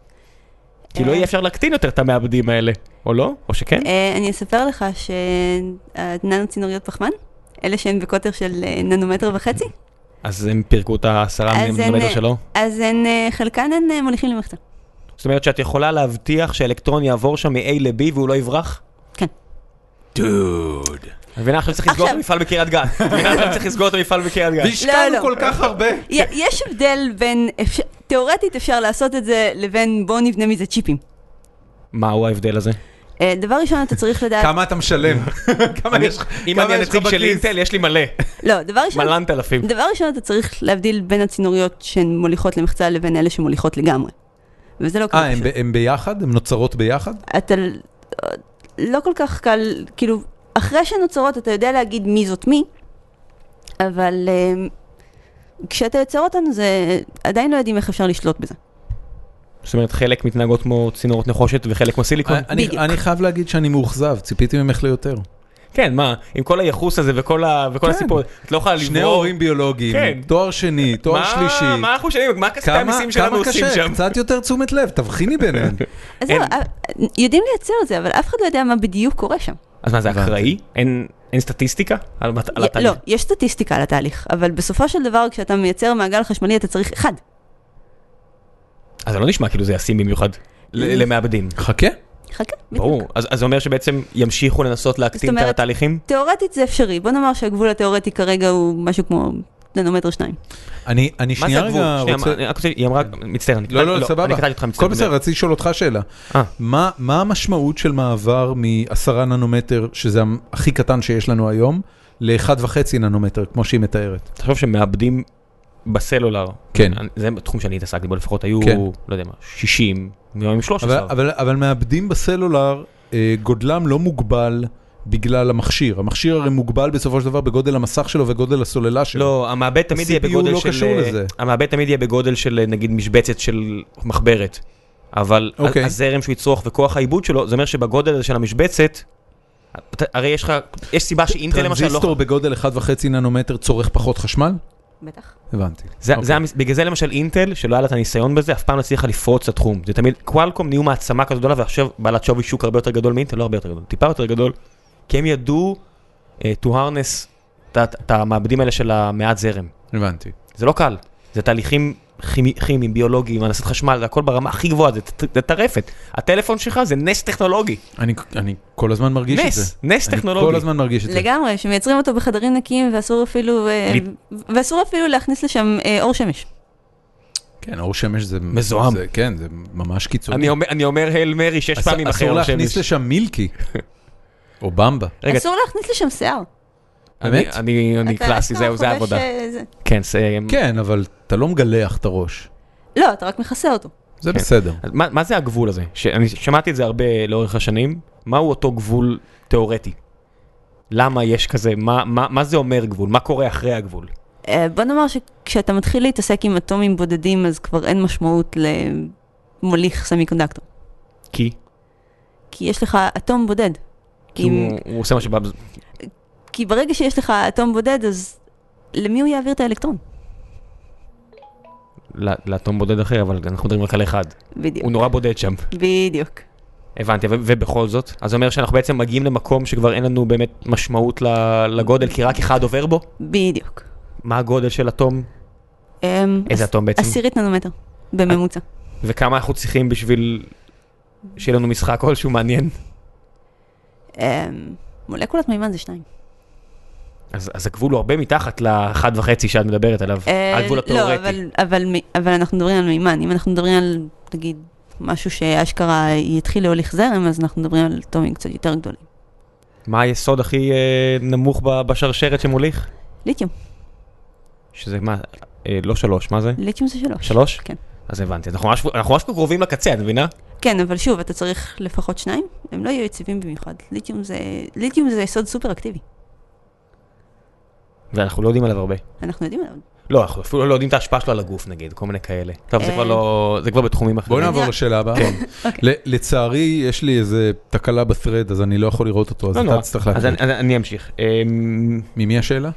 [SPEAKER 2] כי לא יהיה אפשר להקטין יותר את המעבדים האלה, או לא? או שכן?
[SPEAKER 3] אה, אני אספר לך שהננו צינוריות פחמן, אלה שהן בקוטר של אה, ננומטר וחצי,
[SPEAKER 2] אז הם פירקו את העשרה
[SPEAKER 3] אז הן,
[SPEAKER 2] ננומטר
[SPEAKER 3] אה,
[SPEAKER 2] שלו?
[SPEAKER 3] אז הן, אה, חלקן הן אה, מוליכים למחצה.
[SPEAKER 2] זאת אומרת שאת יכולה להבטיח שהאלקטרון יעבור שם מ-A ל-B והוא לא יברח?
[SPEAKER 3] כן.
[SPEAKER 1] דוד.
[SPEAKER 2] את מבינה? עכשיו צריך לסגור את
[SPEAKER 3] עכשיו.
[SPEAKER 2] המפעל בקריית גת. את מבינה? עכשיו צריך לסגור את המפעל בקריית גת.
[SPEAKER 1] והשקענו
[SPEAKER 3] לא, לא.
[SPEAKER 1] כל כך הרבה.
[SPEAKER 3] י- יש הבדל בין, אפשר- תיאורטית אפשר לעשות את זה, לבין בואו נבנה מזה צ'יפים.
[SPEAKER 2] מהו ההבדל הזה?
[SPEAKER 3] אה, דבר ראשון אתה צריך לדעת,
[SPEAKER 1] כמה אתה משלם? כמה יש לך
[SPEAKER 2] אם אני
[SPEAKER 1] כמה יש לך
[SPEAKER 2] הנציג של
[SPEAKER 1] בכיס?
[SPEAKER 2] אינטל, יש לי מלא.
[SPEAKER 3] לא, דבר ראשון,
[SPEAKER 2] מלנת אלפים.
[SPEAKER 3] דבר ראשון אתה צריך להבדיל בין הצינוריות שהן מוליכות למחצה לבין אלה שמוליכות לגמרי. וזה לא
[SPEAKER 1] אה,
[SPEAKER 3] כזה
[SPEAKER 1] הם
[SPEAKER 3] פשוט.
[SPEAKER 1] ב- הם ביחד? הם נוצרות ביחד?
[SPEAKER 3] אתה ל- לא כל כך קל, כאילו, אחרי שנוצרות אתה יודע להגיד מי זאת מי, אבל אמ, כשאתה יוצר אותן זה, עדיין לא יודעים איך אפשר לשלוט בזה.
[SPEAKER 2] זאת אומרת, חלק מתנהגות כמו צינורות נחושת וחלק כמו סיליקון.
[SPEAKER 1] אני-
[SPEAKER 3] אה, בדיוק.
[SPEAKER 1] אני חייב להגיד שאני מאוכזב, ציפיתי ממך ליותר.
[SPEAKER 2] כן, מה, עם כל הייחוס הזה וכל ה- וכל
[SPEAKER 1] כן.
[SPEAKER 2] הסיפור, את לא יכולה לברור.
[SPEAKER 1] שני הורים
[SPEAKER 2] כן.
[SPEAKER 1] ביולוגיים, תואר שני, תואר
[SPEAKER 2] מה-
[SPEAKER 1] שלישי.
[SPEAKER 2] מה אנחנו שומעים? מה כספי
[SPEAKER 1] כמה
[SPEAKER 2] המיסים שלנו
[SPEAKER 1] כמה
[SPEAKER 2] עושים
[SPEAKER 1] קשה,
[SPEAKER 2] שם?
[SPEAKER 1] קצת יותר תשומת לב, תבחיני ביניהם.
[SPEAKER 3] אז זהו,
[SPEAKER 2] אין.
[SPEAKER 3] אה, יודעים לייצר את זה, אבל אף אחד לא יודע מה בדיוק קורה שם.
[SPEAKER 2] אז מה, זה
[SPEAKER 1] הבנתי.
[SPEAKER 2] אקראי? אין אין סטטיסטיקה על מת- על התהליך?
[SPEAKER 3] לא, יש סטטיסטיקה על התהליך, אבל בסופו של דבר כשאתה מייצר מעגל חשמלי אתה צריך אחד.
[SPEAKER 2] אז זה לא נשמע כאילו זה ישים במיוחד ל- למעבדים.
[SPEAKER 1] חכה.
[SPEAKER 3] חכה, בדיוק.
[SPEAKER 2] ברור. אז אז זה אומר שבעצם ימשיכו לנסות להקטין את
[SPEAKER 3] אומרת-
[SPEAKER 2] התהליכים?
[SPEAKER 3] תיאורטית זה אפשרי, בוא נאמר שהגבול התיאורטי כרגע הוא משהו כמו ננומטר שניים.
[SPEAKER 1] אני אני
[SPEAKER 2] מה זה
[SPEAKER 1] שנייה
[SPEAKER 2] הגבול?
[SPEAKER 1] רגע
[SPEAKER 2] שנייה, מה-
[SPEAKER 1] רוצה...
[SPEAKER 2] אני רק רוצה, היא אמרה, מצטער, אני
[SPEAKER 1] לא, לא,
[SPEAKER 2] אני
[SPEAKER 1] סבבה.
[SPEAKER 2] קטעתי אותך, מצטער.
[SPEAKER 1] הכל בסדר, רציתי לשאול אותך שאלה.
[SPEAKER 2] אה.
[SPEAKER 1] מה מה המשמעות של מעבר מ-10 ננומטר, שזה המ- הכי קטן שיש לנו היום, ל-1.5 ננומטר, כמו שהיא מתארת?
[SPEAKER 2] תחשוב שמאבדים בסלולר.
[SPEAKER 1] כן.
[SPEAKER 2] אני- זה תחום שאני התעסקתי בו, לפחות היו,
[SPEAKER 1] כן.
[SPEAKER 2] לא יודע מה, 60, היום עם
[SPEAKER 1] אבל,
[SPEAKER 2] 13.
[SPEAKER 1] אבל, אבל מאבדים בסלולר, אה, גודלם לא מוגבל בגלל המכשיר. המכשיר הרי מוגבל בסופו של דבר בגודל המסך שלו וגודל הסוללה שלו.
[SPEAKER 2] לא, המעבד תמיד יהיה
[SPEAKER 1] ה-CPU
[SPEAKER 2] בגודל
[SPEAKER 1] לא
[SPEAKER 2] של...
[SPEAKER 1] קשור לזה.
[SPEAKER 2] המעבד תמיד יהיה בגודל של אה, נגיד משבצת של מחברת. אבל ה-
[SPEAKER 1] אוקיי.
[SPEAKER 2] הזרם שהוא יצרוך וכוח העיבוד שלו, זה אומר שבגודל הזה של המשבצת, אתה- הרי יש לך, יש סיבה שאינטל למשל לא...
[SPEAKER 1] טרנזיסטור בגודל 1.5 ננומטר צורך פחות חשמל?
[SPEAKER 3] בטח.
[SPEAKER 1] הבנתי.
[SPEAKER 2] זה,
[SPEAKER 1] אוקיי.
[SPEAKER 2] זה, המס- בגלל זה למשל אינטל, שלא היה לה את הניסיון בזה, אף פעם לא הצליחה לפרוץ את התחום. זה תמיד, קוואלקום נהיו מעצמה כזו גדולה, ועכשיו בעלת שווי שוק הרבה יותר גדול מאינטל, לא הרבה יותר גדול, טיפה יותר גדול, כי הם ידעו uh, to harness את ה- את המעבדים האלה של המעט זרם.
[SPEAKER 1] הבנתי.
[SPEAKER 2] זה לא קל, זה תהליכים כימי- כימיים, ביולוגיים, הנדסת חשמל, זה הכל ברמה הכי גבוהה, זה ט- זה טרפת. הטלפון שלך זה נס טכנולוגי,
[SPEAKER 1] אני, אני כל הזמן מרגיש את זה.
[SPEAKER 2] נס, נס
[SPEAKER 1] אני כל
[SPEAKER 2] טכנולוגי.
[SPEAKER 1] הזמן מרגיש את זה.
[SPEAKER 3] לגמרי, שמייצרים אותו בחדרים נקיים ואסור אפילו, אה, ואסור אפילו להכניס לשם אה, אור שמש.
[SPEAKER 1] כן, אור שמש זה...
[SPEAKER 2] מזוהם.
[SPEAKER 1] זה, כן, זה ממש קיצוני.
[SPEAKER 2] אני אומר- אני אומר הייל מרי שש
[SPEAKER 1] אס-
[SPEAKER 2] פעמים אחרי
[SPEAKER 1] אסור
[SPEAKER 2] השמש.
[SPEAKER 1] להכניס לשם מילקי. או במבה.
[SPEAKER 2] רגע,
[SPEAKER 3] אסור להכניס לשם שיער.
[SPEAKER 2] אני-
[SPEAKER 1] באמת?
[SPEAKER 2] אני אני
[SPEAKER 3] אתה
[SPEAKER 2] קלאסי,
[SPEAKER 3] אשכרה
[SPEAKER 2] זהו, זה
[SPEAKER 3] חובש,
[SPEAKER 2] העבודה.
[SPEAKER 3] אה, זה-
[SPEAKER 2] כן, זה...
[SPEAKER 1] כן, אבל אתה לא מגלח את הראש.
[SPEAKER 3] לא, אתה רק מכסה אותו.
[SPEAKER 1] זה
[SPEAKER 2] כן.
[SPEAKER 1] בסדר.
[SPEAKER 2] אז מה, מה זה הגבול הזה? שאני שמעתי את זה הרבה לאורך השנים, מהו אותו גבול תיאורטי? למה יש כזה, מה, מה, מה זה אומר גבול? מה קורה אחרי הגבול?
[SPEAKER 3] אה, בוא נאמר שכשאתה מתחיל להתעסק עם אטומים בודדים, אז כבר אין משמעות למוליך סמי קונדקטור.
[SPEAKER 2] כי?
[SPEAKER 3] כי יש לך אטום בודד.
[SPEAKER 2] כי
[SPEAKER 3] עם-
[SPEAKER 2] הוא, הוא עושה מה שבא... בז-
[SPEAKER 3] כי ברגע שיש לך אטום בודד, אז למי הוא יעביר את האלקטרון?
[SPEAKER 2] ל- לאטום בודד אחר, אבל אנחנו מדברים רק על אחד.
[SPEAKER 3] בדיוק.
[SPEAKER 2] הוא נורא בודד שם.
[SPEAKER 3] בדיוק.
[SPEAKER 2] הבנתי, ו- ובכל זאת, אז זה אומר שאנחנו בעצם מגיעים למקום שכבר אין לנו באמת משמעות ל- לגודל, כי רק אחד עובר בו?
[SPEAKER 3] בדיוק.
[SPEAKER 2] מה הגודל של אטום?
[SPEAKER 3] אמ,
[SPEAKER 2] איזה
[SPEAKER 3] עש-
[SPEAKER 2] אטום בעצם?
[SPEAKER 3] עשירית ננומטר, בממוצע.
[SPEAKER 2] וכמה אנחנו צריכים בשביל שיהיה לנו משחק כלשהו מעניין?
[SPEAKER 3] אמ, מולקולת מימן זה שניים.
[SPEAKER 2] אז, אז הגבול הוא הרבה מתחת לאחד וחצי שאת מדברת עליו,
[SPEAKER 3] אה,
[SPEAKER 2] הגבול התיאורטי.
[SPEAKER 3] לא, אבל- אבל מ- אבל אנחנו מדברים על מימן. אם אנחנו מדברים על, נגיד, משהו שאשכרה יתחיל להוליך זרם, אז אנחנו מדברים על אטומים קצת יותר גדולים.
[SPEAKER 2] מה היסוד הכי אה, נמוך ב- בשרשרת שמוליך?
[SPEAKER 3] ליתיום.
[SPEAKER 2] שזה מה, אה, לא שלוש, מה זה?
[SPEAKER 3] ליתיום זה שלוש.
[SPEAKER 2] שלוש?
[SPEAKER 3] כן.
[SPEAKER 2] אז הבנתי, אז אנחנו ממש- אנחנו ממש קרובים לקצה, את מבינה?
[SPEAKER 3] כן, אבל שוב, אתה צריך לפחות שניים, הם לא יהיו יציבים במיוחד. ליתיום זה, ליתיום זה יסוד סופר אקטיבי.
[SPEAKER 2] ואנחנו לא יודעים עליו הרבה.
[SPEAKER 3] אנחנו יודעים עליו.
[SPEAKER 2] לא, אנחנו אפילו לא יודעים את ההשפעה שלו על הגוף נגיד, כל מיני כאלה. טוב, זה
[SPEAKER 3] אה.
[SPEAKER 2] כבר לא, זה כבר בתחומים אחרים.
[SPEAKER 1] בואו נעבור
[SPEAKER 3] אני-
[SPEAKER 1] לשאלה הבאה.
[SPEAKER 2] כן.
[SPEAKER 1] ל- לצערי, יש לי איזה תקלה ב-thread, אז אני לא יכול לראות אותו, אז
[SPEAKER 2] לא
[SPEAKER 1] אתה
[SPEAKER 2] נורא.
[SPEAKER 1] תצטרך
[SPEAKER 2] אז
[SPEAKER 1] להגיד.
[SPEAKER 2] אני- אז אני אמשיך. אמ,
[SPEAKER 1] ממי השאלה?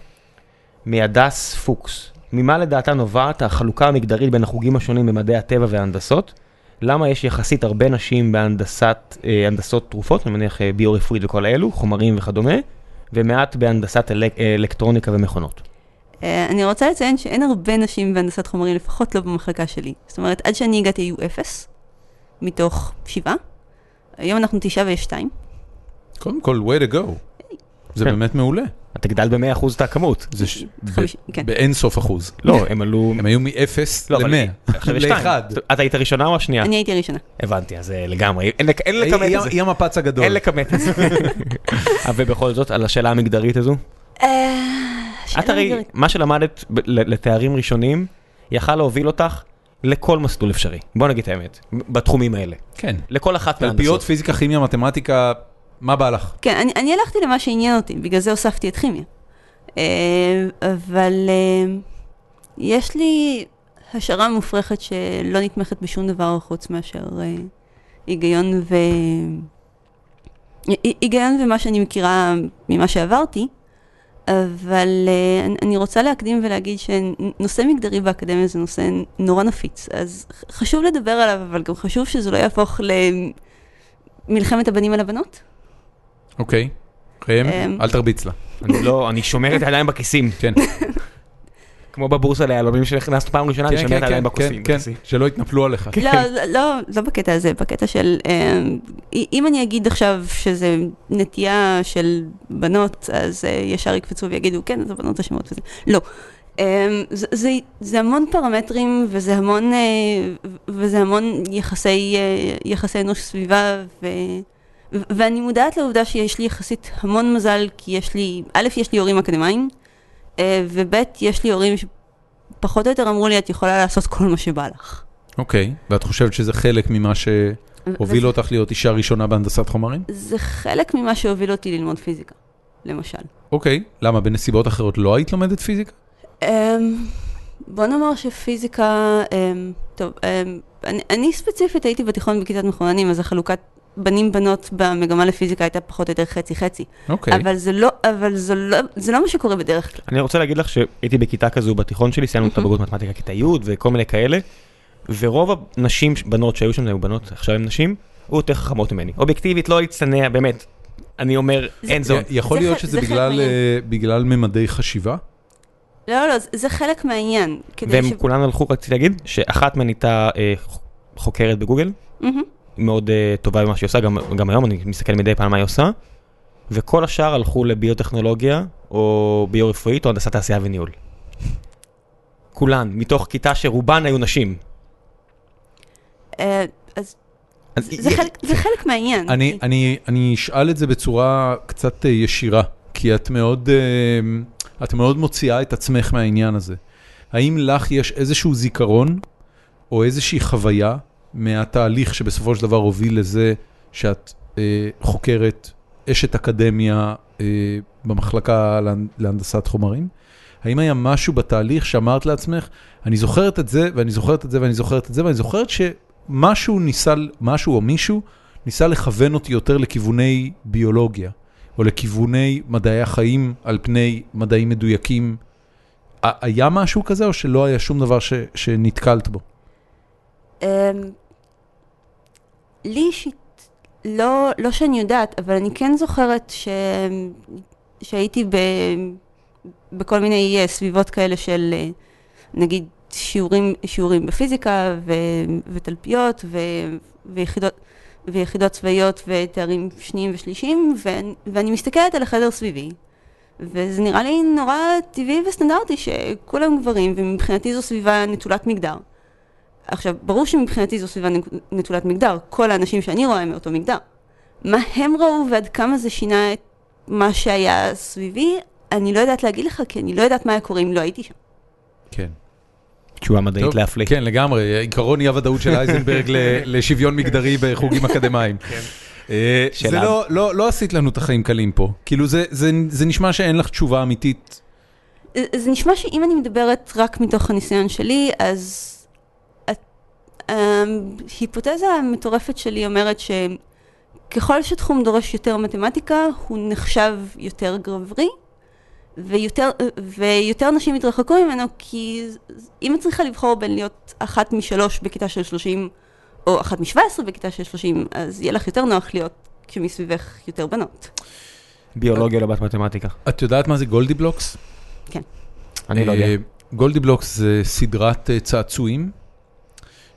[SPEAKER 2] מהדס פוקס, ממה לדעתה נובעת החלוקה המגדרית בין החוגים השונים במדעי הטבע וההנדסות? למה יש יחסית הרבה נשים בהנדסת אה, הנדסות תרופות, אני מניח אה, ביו-רפואית וכל האלו, חומרים וכדומה, ומעט בהנדסת אלק, אה, אלקטרוניקה ומכונות?
[SPEAKER 3] אה, אני רוצה לציין שאין הרבה נשים בהנדסת חומרים, לפחות לא במחלקה שלי. זאת אומרת, עד שאני הגעתי היו אפס, מתוך שבעה. היום אנחנו תשעה ויש שתיים.
[SPEAKER 1] קודם כל, way to go. זה
[SPEAKER 2] כן.
[SPEAKER 1] באמת מעולה.
[SPEAKER 2] את תגדל ב-100% את הכמות.
[SPEAKER 1] זה ש-
[SPEAKER 3] חמיש-
[SPEAKER 1] ב-
[SPEAKER 3] כן.
[SPEAKER 1] באין סוף אחוז.
[SPEAKER 2] לא, הם עלו...
[SPEAKER 1] הם היו מ-0
[SPEAKER 2] לא, אבל
[SPEAKER 1] ל-100.
[SPEAKER 2] עכשיו יש שתיים. את היית הראשונה או השנייה?
[SPEAKER 3] אני הייתי הראשונה.
[SPEAKER 2] הבנתי, אז אה, לגמרי. אין לק- אין לכמת את זה.
[SPEAKER 1] היא המפץ הגדול.
[SPEAKER 2] אין לכמת את זה. אבל אה, ובכל זאת, על השאלה המגדרית הזו? את
[SPEAKER 3] שאלה
[SPEAKER 2] הרי,
[SPEAKER 3] מגדרית.
[SPEAKER 2] מה שלמדת ב- ל- לתארים ראשונים, יכל להוביל אותך לכל מסלול אפשרי. בוא נגיד את האמת, בתחומים האלה.
[SPEAKER 1] כן.
[SPEAKER 2] לכל אחת
[SPEAKER 1] תלפיות,
[SPEAKER 2] מההנדסות.
[SPEAKER 1] פיזיקה, כימיה, מתמטיקה, מה בא לך?
[SPEAKER 3] כן, אני, אני הלכתי למה שעניין אותי, בגלל זה הוספתי את כימיה. אה, אבל אה, יש לי השערה מופרכת שלא נתמכת בשום דבר חוץ מאשר אה, היגיון ו... הי- היגיון ומה שאני מכירה ממה שעברתי, אבל אה, אני- אני רוצה להקדים ולהגיד שנושא מגדרי באקדמיה זה נושא נורא נפיץ, אז ח- חשוב לדבר עליו, אבל גם חשוב שזה לא יהפוך למלחמת הבנים על הבנות.
[SPEAKER 1] אוקיי. ראם,
[SPEAKER 3] אמ. אה,
[SPEAKER 1] אל תרביץ לה.
[SPEAKER 2] אני לא, אני שומר את הידיים בכיסים.
[SPEAKER 1] כן,
[SPEAKER 2] כמו בבורסה ליהלומים שנכנסנו פעם ראשונה, אני
[SPEAKER 1] כן,
[SPEAKER 2] שומר את
[SPEAKER 1] כן,
[SPEAKER 2] הידיים
[SPEAKER 1] כן,
[SPEAKER 2] בכיסים.
[SPEAKER 1] כן, כן, שלא יתנפלו עליך.
[SPEAKER 3] לא, לא- לא, לא בקטע הזה, בקטע של... אה, אם אני אגיד עכשיו שזה נטייה של בנות, אז אה, ישר יקפצו ויגידו, כן, זה בנות אשמות וזה. לא. אה, זה, זה, זה המון פרמטרים וזה המון, אה, ו- וזה המון יחסי, אה, יחסי אנוש סביבה, ו, ו- ואני מודעת לעובדה שיש לי יחסית המון מזל, כי יש לי, א', יש לי הורים אקדמאים, אה, וב', יש לי הורים שפחות או יותר אמרו לי, את יכולה לעשות כל מה שבא לך.
[SPEAKER 1] אוקיי, ואת חושבת שזה חלק ממה שהוביל
[SPEAKER 3] ו-
[SPEAKER 1] אותך להיות אישה ראשונה בהנדסת חומרים?
[SPEAKER 3] זה חלק ממה שהוביל אותי ללמוד פיזיקה, למשל.
[SPEAKER 1] אוקיי, למה בנסיבות אחרות לא היית לומדת פיזיקה?
[SPEAKER 3] Um, בוא נאמר שפיזיקה, um, טוב, um, אני, אני ספציפית הייתי בתיכון בכיתת מחוננים, אז החלוקת בנים-בנות במגמה לפיזיקה הייתה פחות או יותר חצי-חצי.
[SPEAKER 1] אוקיי,
[SPEAKER 3] Okay. אבל, זה לא, אבל זה, לא, זה לא מה שקורה בדרך כלל.
[SPEAKER 2] אני רוצה להגיד לך שהייתי בכיתה כזו בתיכון שלי, סיימנו את הבגרות מתמטיקה כיתה י' וכל מיני כאלה, ורוב הנשים, בנות שהיו שם, היו בנות, עכשיו הן נשים, היו יותר חכמות ממני. אובייקטיבית, לא להצטנע, באמת. אני אומר, אין זאת.
[SPEAKER 1] י- יכול
[SPEAKER 3] זה
[SPEAKER 1] להיות
[SPEAKER 3] ח-
[SPEAKER 1] שזה
[SPEAKER 3] זה חלק
[SPEAKER 1] בגלל,
[SPEAKER 3] מהעניין.
[SPEAKER 1] אה, בגלל ממדי חשיבה?
[SPEAKER 3] לא, לא, זה- זה חלק מהעניין. כדי
[SPEAKER 2] והם
[SPEAKER 3] ש-
[SPEAKER 2] כולם הלכו, רציתי להגיד, שאחת מהן הייתה אה, ח- חוקרת בגוגל,
[SPEAKER 3] מהמם.
[SPEAKER 2] מאוד אה, טובה במה שהיא עושה, גם, גם היום אני מסתכל מדי פעם מה היא עושה, וכל השאר הלכו לביוטכנולוגיה, או ביו-רפואית, או הנדסת תעשייה וניהול. כולן, מתוך כיתה שרובן היו נשים.
[SPEAKER 3] אה, אז
[SPEAKER 2] אז
[SPEAKER 3] זה
[SPEAKER 2] היא-
[SPEAKER 3] חלק- זה חלק מהעניין.
[SPEAKER 1] אני, אני, אני אשאל את זה בצורה קצת אה, ישירה, כי את מאוד, אה, את מאוד מוציאה את עצמך מהעניין הזה. האם לך יש איזשהו זיכרון או איזושהי חוויה מהתהליך שבסופו של דבר הוביל לזה שאת אה, חוקרת, אשת אקדמיה אה, במחלקה להנ- להנדסת חומרים? האם היה משהו בתהליך שאמרת לעצמך, אני זוכרת את זה, ואני זוכרת את זה, ואני זוכרת את זה, ואני זוכרת שמשהו ניסה, משהו או מישהו ניסה לכוון אותי יותר לכיווני ביולוגיה, או לכיווני מדעי החיים על פני מדעים מדויקים. ה- היה משהו כזה, או שלא היה שום דבר ש, שנתקלת בו?
[SPEAKER 3] אמ, לי אישית, לא, לא שאני יודעת, אבל אני כן זוכרת ש... שהייתי ב... בכל מיני אה, סביבות כאלה של אה, נגיד שיעורים, שיעורים בפיזיקה ו... ותלפיות ו... ויחידות, ויחידות צבאיות ותארים שניים ושלישיים, ואני, ואני מסתכלת על החדר סביבי. וזה נראה לי נורא טבעי וסטנדרטי שכולם גברים, ומבחינתי זו סביבה נטולת מגדר. עכשיו, ברור שמבחינתי זו סביבה נק- נטולת מגדר, כל האנשים שאני רואה הם מאותו מגדר. מה הם ראו ועד כמה זה שינה את מה שהיה סביבי, אני לא יודעת להגיד לך, כי אני לא יודעת מה היה קורה אם לא הייתי שם.
[SPEAKER 1] כן.
[SPEAKER 2] תשובה מדעית להפליא.
[SPEAKER 1] כן, לגמרי. עיקרון אי הוודאות של אייזנברג ל- לשוויון מגדרי בחוגים אקדמיים. אה,
[SPEAKER 2] כן. שאלה.
[SPEAKER 1] זה לא, לא, לא עשית לנו את החיים קלים פה. כאילו, זה, זה, זה נשמע שאין לך תשובה אמיתית.
[SPEAKER 3] זה- זה נשמע שאם אני מדברת רק מתוך הניסיון שלי, אז... את- אמ, היפותזה המטורפת שלי אומרת שככל שתחום דורש יותר מתמטיקה, הוא נחשב יותר גברי, ויותר, ויותר נשים יתרחקו ממנו, כי ז- אם את צריכה לבחור בין להיות אחת משלוש בכיתה של 30, או אחת משבע עשרה בכיתה של 30, אז יהיה לך יותר נוח להיות כשמסביבך יותר בנות.
[SPEAKER 2] ביולוגיה לא בת מתמטיקה.
[SPEAKER 1] את יודעת מה זה גולדי בלוקס?
[SPEAKER 2] אני לא יודע.
[SPEAKER 1] אה, גולדי בלוקס זה סדרת אה, צעצועים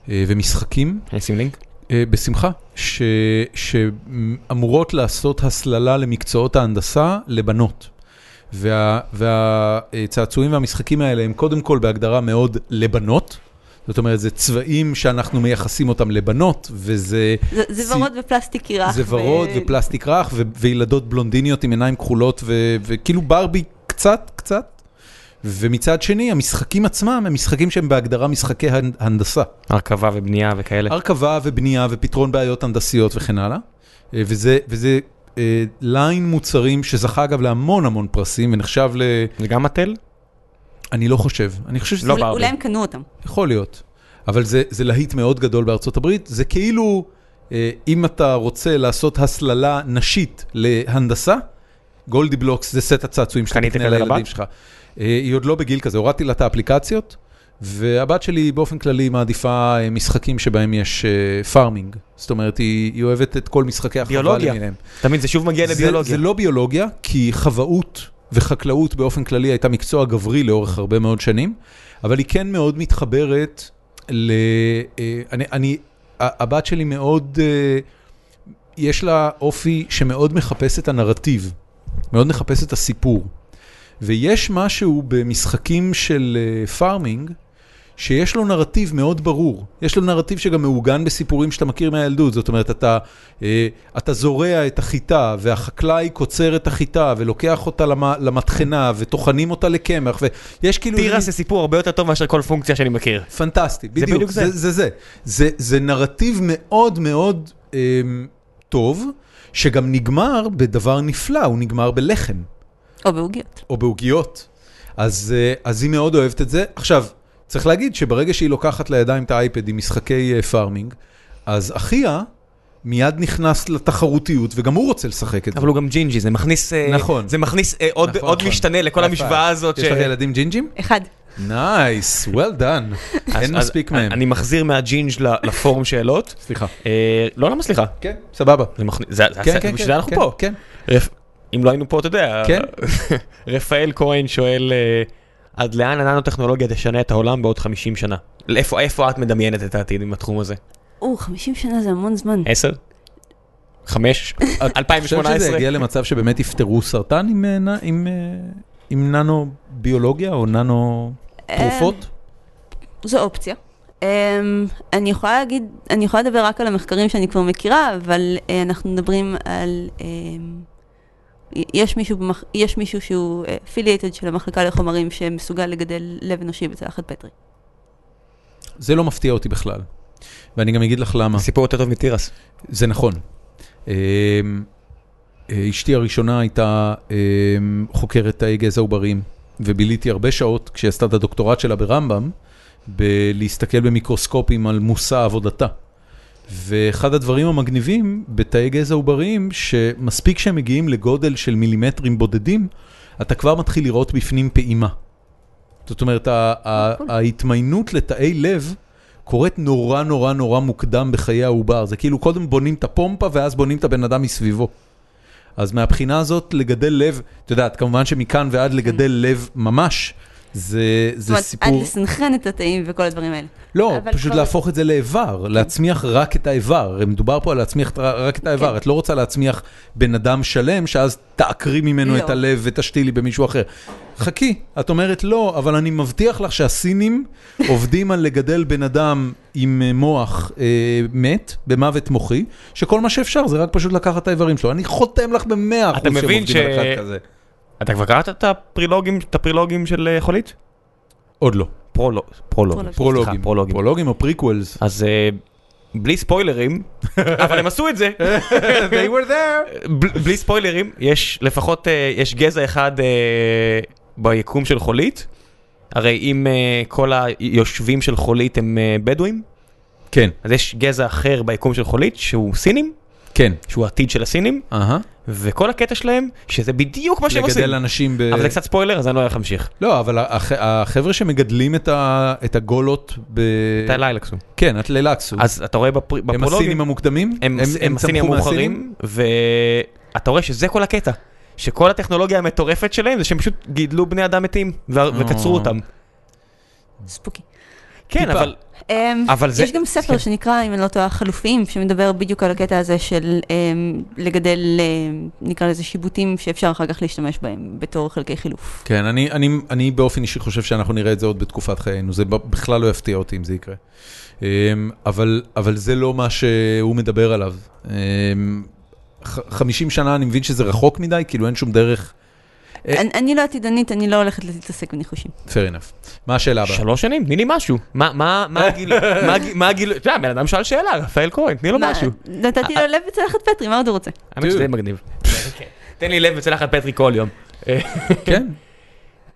[SPEAKER 1] אה, ומשחקים,
[SPEAKER 2] אני אשים לינק?
[SPEAKER 1] אה, בשמחה, ש- שאמורות לעשות הסללה למקצועות ההנדסה לבנות. והצעצועים והמשחקים האלה הם קודם כל בהגדרה מאוד לבנות. זאת אומרת, זה צבעים שאנחנו מייחסים אותם לבנות, וזה
[SPEAKER 3] זה, זה
[SPEAKER 1] סי-
[SPEAKER 3] ורוד ופלסטיק קירח.
[SPEAKER 1] זה ורוד ופלסטיק רך ו- וילדות בלונדיניות עם עיניים כחולות ו- וכאילו ברבי קצת, קצת. ומצד שני, המשחקים עצמם הם משחקים שהם בהגדרה משחקי הנ- הנדסה.
[SPEAKER 2] הרכבה ובנייה וכאלה.
[SPEAKER 1] הרכבה ובנייה ופתרון בעיות הנדסיות וכן הלאה. אה, וזה, וזה אה, ליין מוצרים שזכה אגב להמון המון פרסים ונחשב ל...
[SPEAKER 2] זה גם מטל?
[SPEAKER 1] אני לא חושב, אני חושב שזה
[SPEAKER 2] לא
[SPEAKER 3] אולי-
[SPEAKER 2] ברבי.
[SPEAKER 3] אולי הם קנו אותם.
[SPEAKER 1] יכול להיות. אבל זה, זה להיט מאוד גדול בארצות הברית. זה כאילו, אה, אם אתה רוצה לעשות הסללה נשית להנדסה, גולדי בלוקס זה סט הצעצועים שאתה
[SPEAKER 2] קנית
[SPEAKER 1] תקנה
[SPEAKER 2] כזה
[SPEAKER 1] לילדים
[SPEAKER 2] לבת?
[SPEAKER 1] שלך. אה, היא עוד לא בגיל כזה, הורדתי לה את האפליקציות, והבת שלי באופן כללי מעדיפה אה, משחקים שבהם יש אה, פארמינג. זאת אומרת, היא, היא אוהבת את כל משחקי החווה
[SPEAKER 2] ביולוגיה.
[SPEAKER 1] למיניהם.
[SPEAKER 2] תמיד זה שוב מגיע
[SPEAKER 1] זה,
[SPEAKER 2] לביולוגיה.
[SPEAKER 1] זה לא ביולוגיה, כי חוואות וחקלאות באופן כללי הייתה מקצוע גברי לאורך הרבה מאוד שנים, אבל היא כן מאוד מתחברת ל... אה, אני, אני, ה- הבת שלי מאוד, אה, יש לה אופי שמאוד מחפש את הנרטיב, מאוד מחפש את הסיפור. ויש משהו במשחקים של אה, פארמינג, שיש לו נרטיב מאוד ברור. יש לו נרטיב שגם מעוגן בסיפורים שאתה מכיר מהילדות. זאת אומרת, אתה, אה, אתה זורע את החיטה, והחקלאי קוצר את החיטה, ולוקח אותה למ- למטחנה, וטוחנים אותה לקמח, ויש כאילו...
[SPEAKER 2] תירס זה סיפור הרבה יותר טוב מאשר כל פונקציה שאני מכיר.
[SPEAKER 1] פנטסטי, בדיוק.
[SPEAKER 2] בדיוק זה.
[SPEAKER 1] זה זה. זה, זה, זה נרטיב מאוד מאוד אה, טוב, שגם נגמר בדבר נפלא, הוא נגמר בלחם.
[SPEAKER 3] או בעוגיות.
[SPEAKER 1] או בעוגיות. אז, אה, אז היא מאוד אוהבת את זה. עכשיו, צריך להגיד שברגע שהיא לוקחת לידיים את האייפד עם משחקי אה, פארמינג, אז אחיה מיד נכנס לתחרותיות, וגם הוא רוצה לשחק את זה.
[SPEAKER 2] אבל הוא גם ג'ינג'י, זה מכניס... אה,
[SPEAKER 1] נכון.
[SPEAKER 2] זה מכניס אה, עוד-
[SPEAKER 1] נכון,
[SPEAKER 2] עוד
[SPEAKER 1] נכון.
[SPEAKER 2] משתנה לכל
[SPEAKER 1] יפה.
[SPEAKER 2] המשוואה הזאת.
[SPEAKER 1] יש
[SPEAKER 2] ש-
[SPEAKER 1] לך ילדים ג'ינג'ים?
[SPEAKER 3] אחד.
[SPEAKER 1] נייס, well done.
[SPEAKER 2] אז-
[SPEAKER 1] אין
[SPEAKER 2] אז
[SPEAKER 1] מספיק
[SPEAKER 2] אני-
[SPEAKER 1] מהם.
[SPEAKER 2] אני מחזיר מהג'ינג' ל- לפורום שאלות.
[SPEAKER 1] סליחה.
[SPEAKER 2] אה, לא, למה סליחה?
[SPEAKER 1] כן, סבבה.
[SPEAKER 2] זה מכניס... זה זה-
[SPEAKER 1] כן, כן,
[SPEAKER 2] זה- בשביל
[SPEAKER 1] כן,
[SPEAKER 2] זה אנחנו
[SPEAKER 1] כן,
[SPEAKER 2] פה.
[SPEAKER 1] כן.
[SPEAKER 2] רפ- אם לא היינו פה, אתה יודע.
[SPEAKER 1] כן.
[SPEAKER 2] רפאל כהן שואל, אה, עד לאן הננו-טכנולוגיה תשנה את העולם בעוד 50 שנה? לאיפה- איפה את מדמיינת את העתיד עם התחום הזה?
[SPEAKER 3] או, 50 שנה זה המון זמן.
[SPEAKER 2] 10? 5?
[SPEAKER 1] אני חושב
[SPEAKER 2] 2018?
[SPEAKER 1] שזה יגיע למצב שבאמת יפתרו סרטן עם, אה, נ- עם, אה, עם ננו ביולוגיה או ננו אה,
[SPEAKER 3] אה,
[SPEAKER 1] תרופות?
[SPEAKER 3] זו אופציה. Um, אני יכולה להגיד, אני יכולה לדבר רק על המחקרים שאני כבר מכירה, אבל uh, אנחנו מדברים על... Um, יש מישהו, במח... יש מישהו שהוא אפילייטד של המחלקה לחומרים שמסוגל לגדל לב אנושי בצלחת פטרי.
[SPEAKER 1] זה לא מפתיע אותי בכלל. ואני גם אגיד לך למה.
[SPEAKER 2] סיפור יותר טוב מתירס.
[SPEAKER 1] זה נכון. אמ, אה, אשתי הראשונה הייתה אמ, חוקרת תאי גזע עוברים, וביליתי הרבה שעות כשהיא עשתה את הדוקטורט שלה ברמב"ם, בלהסתכל במיקרוסקופים על מושא עבודתה. ואחד הדברים המגניבים בתאי גזע עוברים, שמספיק שהם מגיעים לגודל של מילימטרים בודדים, אתה כבר מתחיל לראות בפנים פעימה. זאת אומרת, ה- ה-
[SPEAKER 3] נכון.
[SPEAKER 1] ההתמיינות לתאי לב קורית נורא נורא נורא מוקדם בחיי העובר. זה כאילו קודם בונים את הפומפה ואז בונים את הבן אדם מסביבו. אז מהבחינה הזאת, לגדל לב, את יודעת, כמובן שמכאן ועד לגדל לב ממש, זה,
[SPEAKER 3] כן. זאת
[SPEAKER 1] זה
[SPEAKER 3] אומרת, עד
[SPEAKER 1] סיפור...
[SPEAKER 3] לסנכרן את התאים וכל הדברים האלה.
[SPEAKER 1] לא,
[SPEAKER 3] אבל
[SPEAKER 1] פשוט
[SPEAKER 3] כבר- כן.
[SPEAKER 1] להפוך את זה לאיבר, להצמיח רק את האיבר. מדובר פה על להצמיח את- רק את האיבר.
[SPEAKER 3] כן.
[SPEAKER 1] את לא רוצה להצמיח בן אדם שלם, שאז תעקרי ממנו
[SPEAKER 3] לא.
[SPEAKER 1] את הלב ותשתילי במישהו אחר. חכי, את אומרת לא, אבל אני מבטיח לך שהסינים עובדים על לגדל בן אדם עם אה, מוח אה, מת, במוות מוחי, שכל מה שאפשר זה רק פשוט לקחת את האיברים שלו. אני חותם לך במאה אחוז שהם
[SPEAKER 2] מבין
[SPEAKER 1] עובדים על
[SPEAKER 2] ש-
[SPEAKER 1] אחד כזה.
[SPEAKER 2] אתה כבר קראת את הפרילוגים, את הפרילוגים של אה, חולית?
[SPEAKER 1] עוד לא.
[SPEAKER 2] פרולוג. פרולוגים.
[SPEAKER 3] פרולוגים.
[SPEAKER 1] פרולוגים.
[SPEAKER 2] סליחה, פרולוגים.
[SPEAKER 1] פרולוגים או פריקוולס.
[SPEAKER 2] אז אה, בלי ספוילרים, אבל הם עשו את זה,
[SPEAKER 1] They were there.
[SPEAKER 2] בל- בלי ספוילרים, יש לפחות, אה, יש גזע אחד אה, ביקום של חולית. הרי אם אה, כל היושבים של חולית הם אה, בדואים,
[SPEAKER 1] כן,
[SPEAKER 2] אז יש גזע אחר ביקום של חולית שהוא סינים,
[SPEAKER 1] כן.
[SPEAKER 2] שהוא העתיד של הסינים,
[SPEAKER 1] אהה.
[SPEAKER 2] וכל הקטע שלהם, שזה בדיוק מה שהם עושים.
[SPEAKER 1] לגדל אנשים ב...
[SPEAKER 2] אבל זה קצת ספוילר, אז אני לא הולך להמשיך.
[SPEAKER 1] לא, אבל הח- החבר'ה שמגדלים את, ה... את הגולות ב...
[SPEAKER 2] אתה ליילקסום.
[SPEAKER 1] כן, את לילקסו.
[SPEAKER 2] אז אתה רואה בפר-
[SPEAKER 1] הם
[SPEAKER 2] בפרולוגים,
[SPEAKER 1] הסינים המוקדמים?
[SPEAKER 2] הם, הם, הם הסינים
[SPEAKER 1] צמחו
[SPEAKER 2] המאוחרים, ואתה רואה שזה כל הקטע. שכל הטכנולוגיה המטורפת שלהם זה שהם פשוט גידלו בני אדם מתים ו- וקצרו אותם.
[SPEAKER 3] ספוקי.
[SPEAKER 2] כן,
[SPEAKER 1] טיפה.
[SPEAKER 2] אבל...
[SPEAKER 3] Um,
[SPEAKER 2] אבל זה-
[SPEAKER 3] יש גם ספר
[SPEAKER 2] כן.
[SPEAKER 3] שנקרא, אם אני לא טועה, חלופיים, שמדבר בדיוק על הקטע הזה של um, לגדל, um, נקרא לזה שיבוטים שאפשר אחר כך להשתמש בהם בתור חלקי חילוף.
[SPEAKER 1] כן, אני, אני, אני באופן אישי חושב שאנחנו נראה את זה עוד בתקופת חיינו, זה ב- בכלל לא יפתיע אותי אם זה יקרה. אמ, אבל, אבל זה לא מה שהוא מדבר עליו. אמ, ח- 50 שנה אני מבין שזה רחוק מדי, כאילו אין שום דרך, אה.
[SPEAKER 3] אני, אני לא עתידנית, אני לא הולכת להתעסק בניחושים.
[SPEAKER 1] fair enough. מה השאלה הבאה?
[SPEAKER 2] שלוש שנים, תני לי משהו. מה- מה מה הגיל... מה הגיל- מה הגיל... אתה יודע, בן אדם שאל שאלה, רפאל כהן, תני לו
[SPEAKER 3] מה,
[SPEAKER 2] לא משהו. אה,
[SPEAKER 3] נתתי לו לב בצלחת פטרי, מה עוד הוא רוצה?
[SPEAKER 2] האמת שזה מגניב. כן. תן לי לב וצלחת פטרי כל יום.
[SPEAKER 1] כן,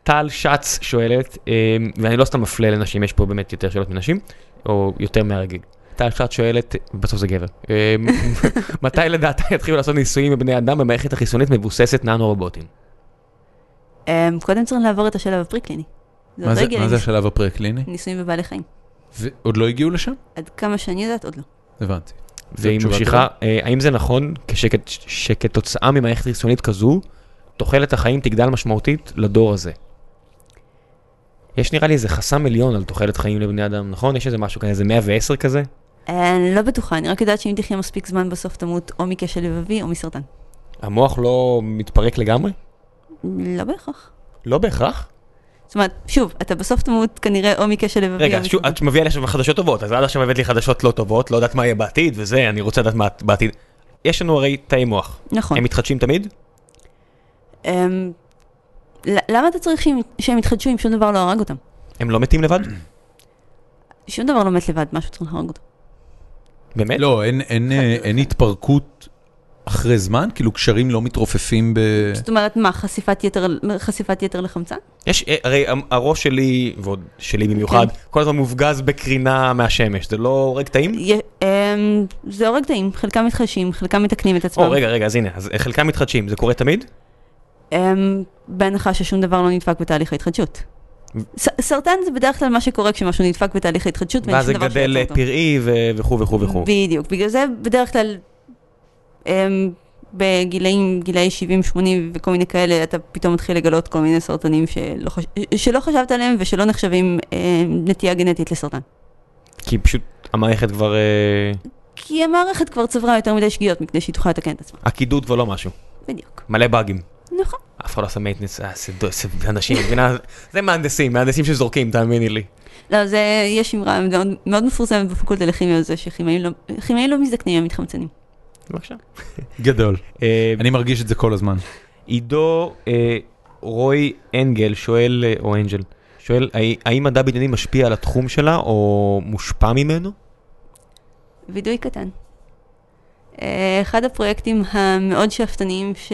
[SPEAKER 2] טל שץ שואלת, אה, ואני לא סתם מפלה לנשים, יש פה באמת יותר שאלות מנשים, או יותר מהרגיל. טל שץ שואלת, בסוף זה גבר, אה, מתי לדעתה יתחילו לעשות ניסויים בבני אדם במערכת החיסונית מבוססת ננו-רובוטים?
[SPEAKER 3] אמ, קודם צריך לעבור את השלב הפרי-קליני.
[SPEAKER 1] מה
[SPEAKER 3] זה עוד לא
[SPEAKER 1] זה-
[SPEAKER 3] הגיע
[SPEAKER 1] מה זה
[SPEAKER 3] לניס-
[SPEAKER 1] השלב הפרה-קליני?
[SPEAKER 3] ניסויים בבעלי חיים.
[SPEAKER 1] עוד לא הגיעו לשם?
[SPEAKER 3] עד כמה שאני יודעת, עוד לא.
[SPEAKER 1] הבנתי. זאת
[SPEAKER 2] והיא
[SPEAKER 1] תשובה
[SPEAKER 2] ממשיכה, אה, האם זה נכון כשכת- שכתוצאה ממערכת חיסונית כזו, תוחלת החיים תגדל משמעותית לדור הזה? יש נראה לי איזה חסם עליון על תוחלת חיים לבני אדם, נכון? יש איזה משהו כזה, איזה 110 כזה?
[SPEAKER 3] אה, אני לא בטוחה, אני רק יודעת שאם תחיה מספיק זמן בסוף תמות או מכשל לבבי או מסרטן.
[SPEAKER 2] המוח לא מתפרק לגמרי?
[SPEAKER 3] לא בהכרח.
[SPEAKER 2] לא בהכרח.
[SPEAKER 3] זאת אומרת, שוב, אתה בסוף תמות כנראה או מכשל לבבי או מסרטן.
[SPEAKER 2] רגע, אז שוב, את מביאה לי עכשיו חדשות טובות, אז עד עכשיו הבאת לי חדשות לא טובות, לא יודעת מה יהיה בעתיד וזה, אני רוצה לדעת מה בעתיד. יש לנו הרי תאי מוח.
[SPEAKER 3] נכון.
[SPEAKER 2] הם מתחדשים תמיד?
[SPEAKER 3] אמ, ל- למה אתה צריך שהם- שהם יתחדשו אם שום דבר לא הרג אותם?
[SPEAKER 2] הם לא מתים לבד?
[SPEAKER 3] שום דבר לא מת לבד, משהו צריך להרוג אותו.
[SPEAKER 2] באמת?
[SPEAKER 1] לא, אין- אין אה, אין התפרקות אחרי זמן? כאילו קשרים לא מתרופפים ב...
[SPEAKER 2] כן.
[SPEAKER 3] זאת אומרת, מה, חשיפת יתר, חשיפת יתר לחמצן?
[SPEAKER 2] יש, אה, הרי המ- הראש שלי, ועוד שלי במיוחד,
[SPEAKER 3] כן.
[SPEAKER 2] כל הזמן מופגז בקרינה מהשמש, זה לא הורג תאים?
[SPEAKER 3] י- אמ, זה הורג תאים, חלקם מתחדשים, חלקם מתקנים את עצמם.
[SPEAKER 2] או רגע, רגע, אז הנה, אז חלקם מתחדשים, זה קורה
[SPEAKER 3] כן,
[SPEAKER 2] תמיד?
[SPEAKER 3] אמ, בהנחה ששום דבר לא נדפק בתהליך ההתחדשות. ס- סרטן זה בדרך כלל מה שקורה כשמשהו נדפק בתהליך ההתחדשות, ואין
[SPEAKER 2] ואז זה
[SPEAKER 3] שום דבר שיעצור
[SPEAKER 2] גדל אה,
[SPEAKER 3] אותו.
[SPEAKER 2] פראי ו- וכו' וכו' וכו'.
[SPEAKER 3] בדיוק, בגלל זה בדרך כלל אמ, בגילאים, גילאי 70-80 וכל מיני כאלה, אתה פתאום מתחיל לגלות כל מיני סרטנים שלא, חש... שלא חשבת עליהם ושלא נחשבים אמ, נטייה גנטית לסרטן.
[SPEAKER 2] כי פשוט המערכת כבר... אה,
[SPEAKER 3] כי המערכת כבר צברה יותר מדי שגיאות מכדי שהיא תוכל לתקן את עצמה.
[SPEAKER 2] הקידוד ולא משהו.
[SPEAKER 3] בדיוק.
[SPEAKER 2] מלא באגים.
[SPEAKER 3] נכון.
[SPEAKER 2] אף אחד לא עושה מייטנס, אה, זה דו- זה אנשים, את מבינה? זה מהנדסים, מהנדסים שזורקים, תאמיני לי.
[SPEAKER 3] לא, זה, יש אמרה מאוד, מאוד מפורסמת בפקולטה לכימיה על זה שכימאים לא, כימאים לא מזדקנים, הם מתחמצנים.
[SPEAKER 2] בבקשה.
[SPEAKER 1] גדול.
[SPEAKER 2] אה,
[SPEAKER 1] אני מרגיש את זה כל הזמן.
[SPEAKER 2] עידו אה, רוי אנגל שואל, אה, או אנג'ל, שואל, האי- האם מדע בדיוני משפיע על התחום שלה או מושפע ממנו?
[SPEAKER 3] וידוי קטן. אה, אחד הפרויקטים המאוד שאפתניים ש...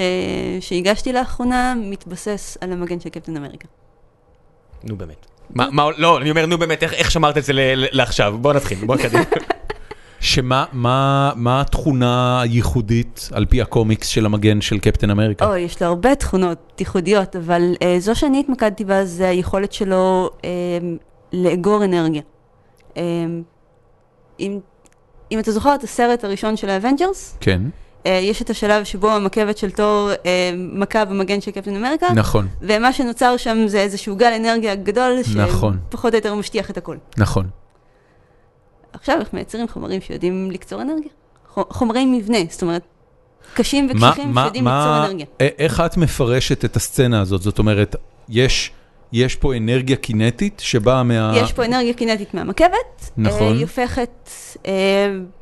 [SPEAKER 3] שהגשתי לאחרונה מתבסס על המגן של קפטן אמריקה.
[SPEAKER 2] נו באמת. מה, מה, לא, אני אומר, נו באמת, איך, איך שמרת את זה ל- ל- לעכשיו? בוא נתחיל, בוא נתחיל.
[SPEAKER 1] שמה מה, מה התכונה הייחודית על פי הקומיקס של המגן של קפטן אמריקה?
[SPEAKER 3] אוי, יש לו הרבה תכונות ייחודיות, אבל אה, זו שאני התמקדתי בה זה היכולת שלו אה, לאגור אנרגיה. אה, אם, אם אתה זוכר את הסרט הראשון של האבנג'רס,
[SPEAKER 1] כן,
[SPEAKER 3] אה, יש את השלב שבו המקבת של תור אה, מכה במגן של קפטן אמריקה,
[SPEAKER 1] נכון,
[SPEAKER 3] ומה שנוצר שם זה איזשהו גל אנרגיה גדול,
[SPEAKER 1] נכון.
[SPEAKER 3] שפחות או יותר משטיח את הכל.
[SPEAKER 1] נכון.
[SPEAKER 3] עכשיו אנחנו מייצרים חומרים שיודעים לקצור אנרגיה. חו- חומרי מבנה, זאת אומרת, קשים
[SPEAKER 1] מה,
[SPEAKER 3] וקשיחים
[SPEAKER 1] מה,
[SPEAKER 3] שיודעים
[SPEAKER 1] מה,
[SPEAKER 3] לקצור אנרגיה.
[SPEAKER 1] א- איך את מפרשת את הסצנה הזאת? זאת אומרת, יש, יש פה אנרגיה קינטית שבאה מה...
[SPEAKER 3] יש פה אנרגיה קינטית מהמרכבת, אה,
[SPEAKER 1] אה. נכון,
[SPEAKER 3] היא הופכת אה,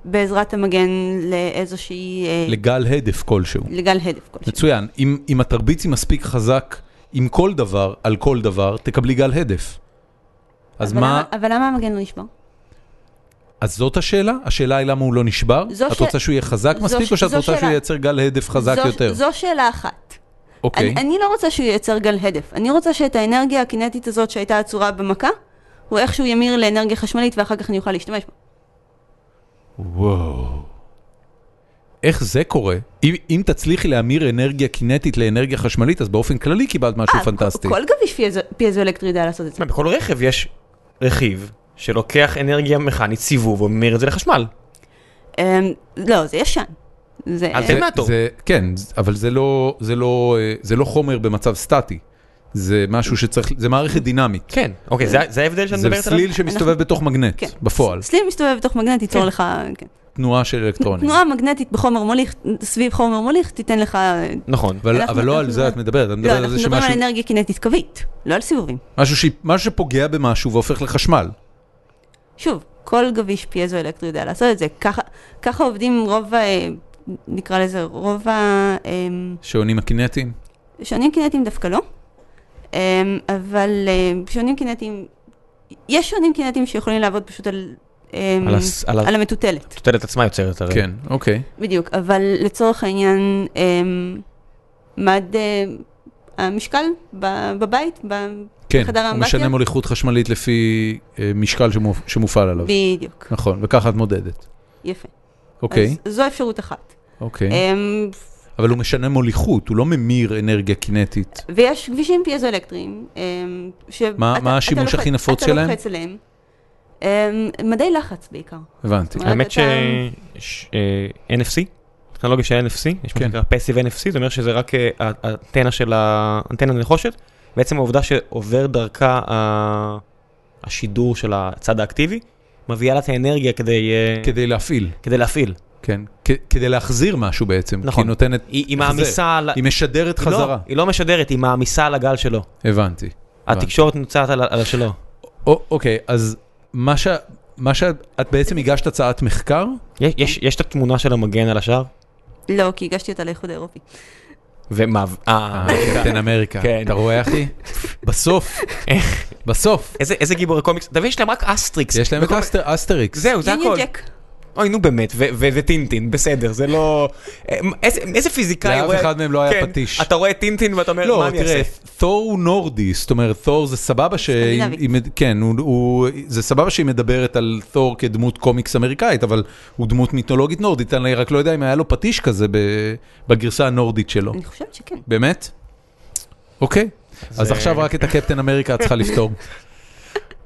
[SPEAKER 3] בעזרת המגן לאיזושהי... אה,
[SPEAKER 1] לגל הדף כלשהו.
[SPEAKER 3] לגל הדף כלשהו.
[SPEAKER 1] מצוין, אם, אם את תרביצי מספיק חזק עם כל דבר, על כל דבר, תקבלי גל הדף. אז
[SPEAKER 3] אבל
[SPEAKER 1] מה,
[SPEAKER 3] למה- אבל למה המגן לא נשבר?
[SPEAKER 1] אז זאת השאלה? השאלה היא למה הוא לא נשבר?
[SPEAKER 3] זו
[SPEAKER 1] את
[SPEAKER 3] ש-
[SPEAKER 1] רוצה שהוא יהיה חזק
[SPEAKER 3] זו
[SPEAKER 1] מספיק
[SPEAKER 3] ש-
[SPEAKER 1] או שאת
[SPEAKER 3] זו
[SPEAKER 1] רוצה שהוא
[SPEAKER 3] שאלה.
[SPEAKER 1] ייצר גל הדף חזק
[SPEAKER 3] זו-
[SPEAKER 1] יותר?
[SPEAKER 3] זו שאלה אחת.
[SPEAKER 1] אוקיי.
[SPEAKER 3] אני, אני לא רוצה שהוא ייצר גל הדף, אני רוצה שאת האנרגיה הקינטית הזאת שהייתה אצורה במכה, הוא איכשהו ימיר לאנרגיה חשמלית ואחר כך אני אוכל להשתמש בה.
[SPEAKER 1] וואו. איך זה קורה? אם, אם תצליחי להמיר אנרגיה קינטית לאנרגיה חשמלית, אז באופן כללי קיבלת משהו
[SPEAKER 3] אה,
[SPEAKER 1] פנטסטי.
[SPEAKER 3] כל גביש פיזו- פיזואלקטרי יודע לעשות את זה.
[SPEAKER 2] תשמע, בכל רכב יש רכיב שלוקח אנרגיה מכנית, סיבוב, וממיר את זה לחשמל.
[SPEAKER 3] אמ, לא, זה ישן. זה...
[SPEAKER 2] אל
[SPEAKER 1] זה-
[SPEAKER 2] אלמטור.
[SPEAKER 1] זה, כן, זה- אבל זה לא, זה, לא, אה, זה לא חומר במצב סטטי. זה משהו שצריך, זה מערכת דינמית.
[SPEAKER 2] כן, אוקיי, זה, זה ההבדל שאת
[SPEAKER 1] זה
[SPEAKER 2] מדברת עליו?
[SPEAKER 1] סליל שמסתובב
[SPEAKER 3] אנחנו-
[SPEAKER 1] בתוך מגנט,
[SPEAKER 3] כן.
[SPEAKER 1] בפועל.
[SPEAKER 3] סליל מסתובב בתוך מגנט, ייצור לך... כן.
[SPEAKER 1] תנועה של אלקטרונים.
[SPEAKER 3] תנועה מגנטית בחומר מוליך, סביב חומר מוליך, תיתן לך...
[SPEAKER 2] נכון.
[SPEAKER 1] אבל,
[SPEAKER 3] אנחנו-
[SPEAKER 1] אבל לא על
[SPEAKER 3] אנחנו-
[SPEAKER 1] זה את מדברת, את
[SPEAKER 3] לא,
[SPEAKER 1] מדברת על
[SPEAKER 3] אנחנו
[SPEAKER 1] זה
[SPEAKER 3] מדברים
[SPEAKER 1] שמשהו
[SPEAKER 3] על אנרגיה קינטית קווית, לא על סיבובים.
[SPEAKER 1] משהו ש- משהו שפוגע במשהו והופך לחשמל.
[SPEAKER 3] שוב, כל גביש פיזואלקטרי יודע לעשות את זה. ככה- ככה עובדים רוב ה... נקרא לזה, רוב ה... אמ,
[SPEAKER 1] שעונים הקינטיים.
[SPEAKER 2] כן.
[SPEAKER 3] שעונים קינטיים דווקא לא, אמ, אבל אמ, שעונים קינטיים, יש שעונים קינטיים שיכולים לעבוד פשוט על, אמ,
[SPEAKER 2] על הס- על ה-
[SPEAKER 3] על המטוטלת,
[SPEAKER 2] הטוטלת עצמה יוצרת הרי.
[SPEAKER 1] כן, אוקיי.
[SPEAKER 3] בדיוק, אבל לצורך העניין, אמ, מד אמ, המשקל ב- בבית, ב- בחדר
[SPEAKER 1] כן, הוא
[SPEAKER 3] האמבטיה?
[SPEAKER 1] משנה מוליכות חשמלית לפי אה, משקל שמופ- שמופעל עליו.
[SPEAKER 3] בדיוק,
[SPEAKER 1] נכון, וככה את מודדת.
[SPEAKER 3] יפה.
[SPEAKER 1] אוקיי,
[SPEAKER 3] אז זו אפשרות אחת.
[SPEAKER 1] אוקיי.
[SPEAKER 3] אמ,
[SPEAKER 1] אבל הוא משנה מוליכות, הוא לא ממיר אנרגיה קינטית.
[SPEAKER 3] ויש כבישים פייזואלקטריים, אמ, ש...
[SPEAKER 1] מה
[SPEAKER 3] אתה- אתה
[SPEAKER 1] השימוש
[SPEAKER 3] לוחץ-
[SPEAKER 1] הכי נפוץ שלהם?
[SPEAKER 3] אתה לוחץ עליהם. אמ, מדי לחץ בעיקר.
[SPEAKER 1] הבנתי.
[SPEAKER 3] אומרת,
[SPEAKER 2] האמת ש...
[SPEAKER 3] אתה-
[SPEAKER 2] ש- אה, NFC, טכנולוגיה של NFC, יש מה
[SPEAKER 1] כן.
[SPEAKER 2] שנקרא פסיב NFC, זה אומר שזה רק אה, ה- האנטנה של ה- האנטנה לנחושת, בעצם העובדה שעובר דרכה ה- השידור של הצד האקטיבי, מביאה לה את האנרגיה כדי אה,
[SPEAKER 1] כדי להפעיל,
[SPEAKER 2] כדי להפעיל.
[SPEAKER 1] כן. כ- כדי להחזיר משהו בעצם.
[SPEAKER 2] נכון.
[SPEAKER 1] כי היא נותנת...
[SPEAKER 2] היא היא
[SPEAKER 1] החזר.
[SPEAKER 2] מעמיסה על... ה-
[SPEAKER 1] היא משדרת
[SPEAKER 2] היא לא-
[SPEAKER 1] חזרה.
[SPEAKER 2] היא לא משדרת, היא מעמיסה על הגל שלו.
[SPEAKER 1] הבנתי.
[SPEAKER 2] התקשורת נוצרת על ה- על שלו.
[SPEAKER 1] או- אוקיי, אז מה ש... מה שאת את בעצם הגשת הצעת מחקר,
[SPEAKER 2] יש- יש יש את התמונה של המגן על השער?
[SPEAKER 3] לא, כי הגשתי אותה לאיחוד האירופי.
[SPEAKER 2] ומה... אה,
[SPEAKER 1] קפטן אמריקה,
[SPEAKER 2] כן.
[SPEAKER 1] אתה רואה אחי? בסוף, בסוף,
[SPEAKER 2] איזה איזה גיבורי קומיקס? אתה מבין, יש להם רק אסטריקס.
[SPEAKER 1] יש להם את
[SPEAKER 2] וכל-
[SPEAKER 1] אסטר- אסטריקס.
[SPEAKER 2] זהו, זה
[SPEAKER 3] יוניון
[SPEAKER 2] הכל.
[SPEAKER 3] ג'ק.
[SPEAKER 2] אוי, נו באמת, ו- ו- וטינטין, בסדר, זה לא... איזה- איזה פיזיקאי
[SPEAKER 1] לאף
[SPEAKER 2] רואה...
[SPEAKER 1] אחד מהם לא היה פטיש.
[SPEAKER 2] כן, אתה רואה טינטין ואתה אומר, מה
[SPEAKER 1] לא,
[SPEAKER 2] אני
[SPEAKER 1] תראה,
[SPEAKER 2] אעשה?
[SPEAKER 1] תור הוא נורדי, זאת אומרת, תור זה סבבה ש...
[SPEAKER 3] סקנדינבי.
[SPEAKER 1] היא מד- כן, הוא- הוא- זה סבבה שהיא מדברת על תור כדמות קומיקס אמריקאית, אבל הוא דמות מיתולוגית נורדית, אני רק לא יודע אם היה לו פטיש כזה ב- בגרסה הנורדית שלו.
[SPEAKER 3] אני חושבת שכן.
[SPEAKER 1] באמת? אוקיי. אז
[SPEAKER 2] זה-
[SPEAKER 1] עכשיו רק את הקפטן אמריקה את צריכה לפתור.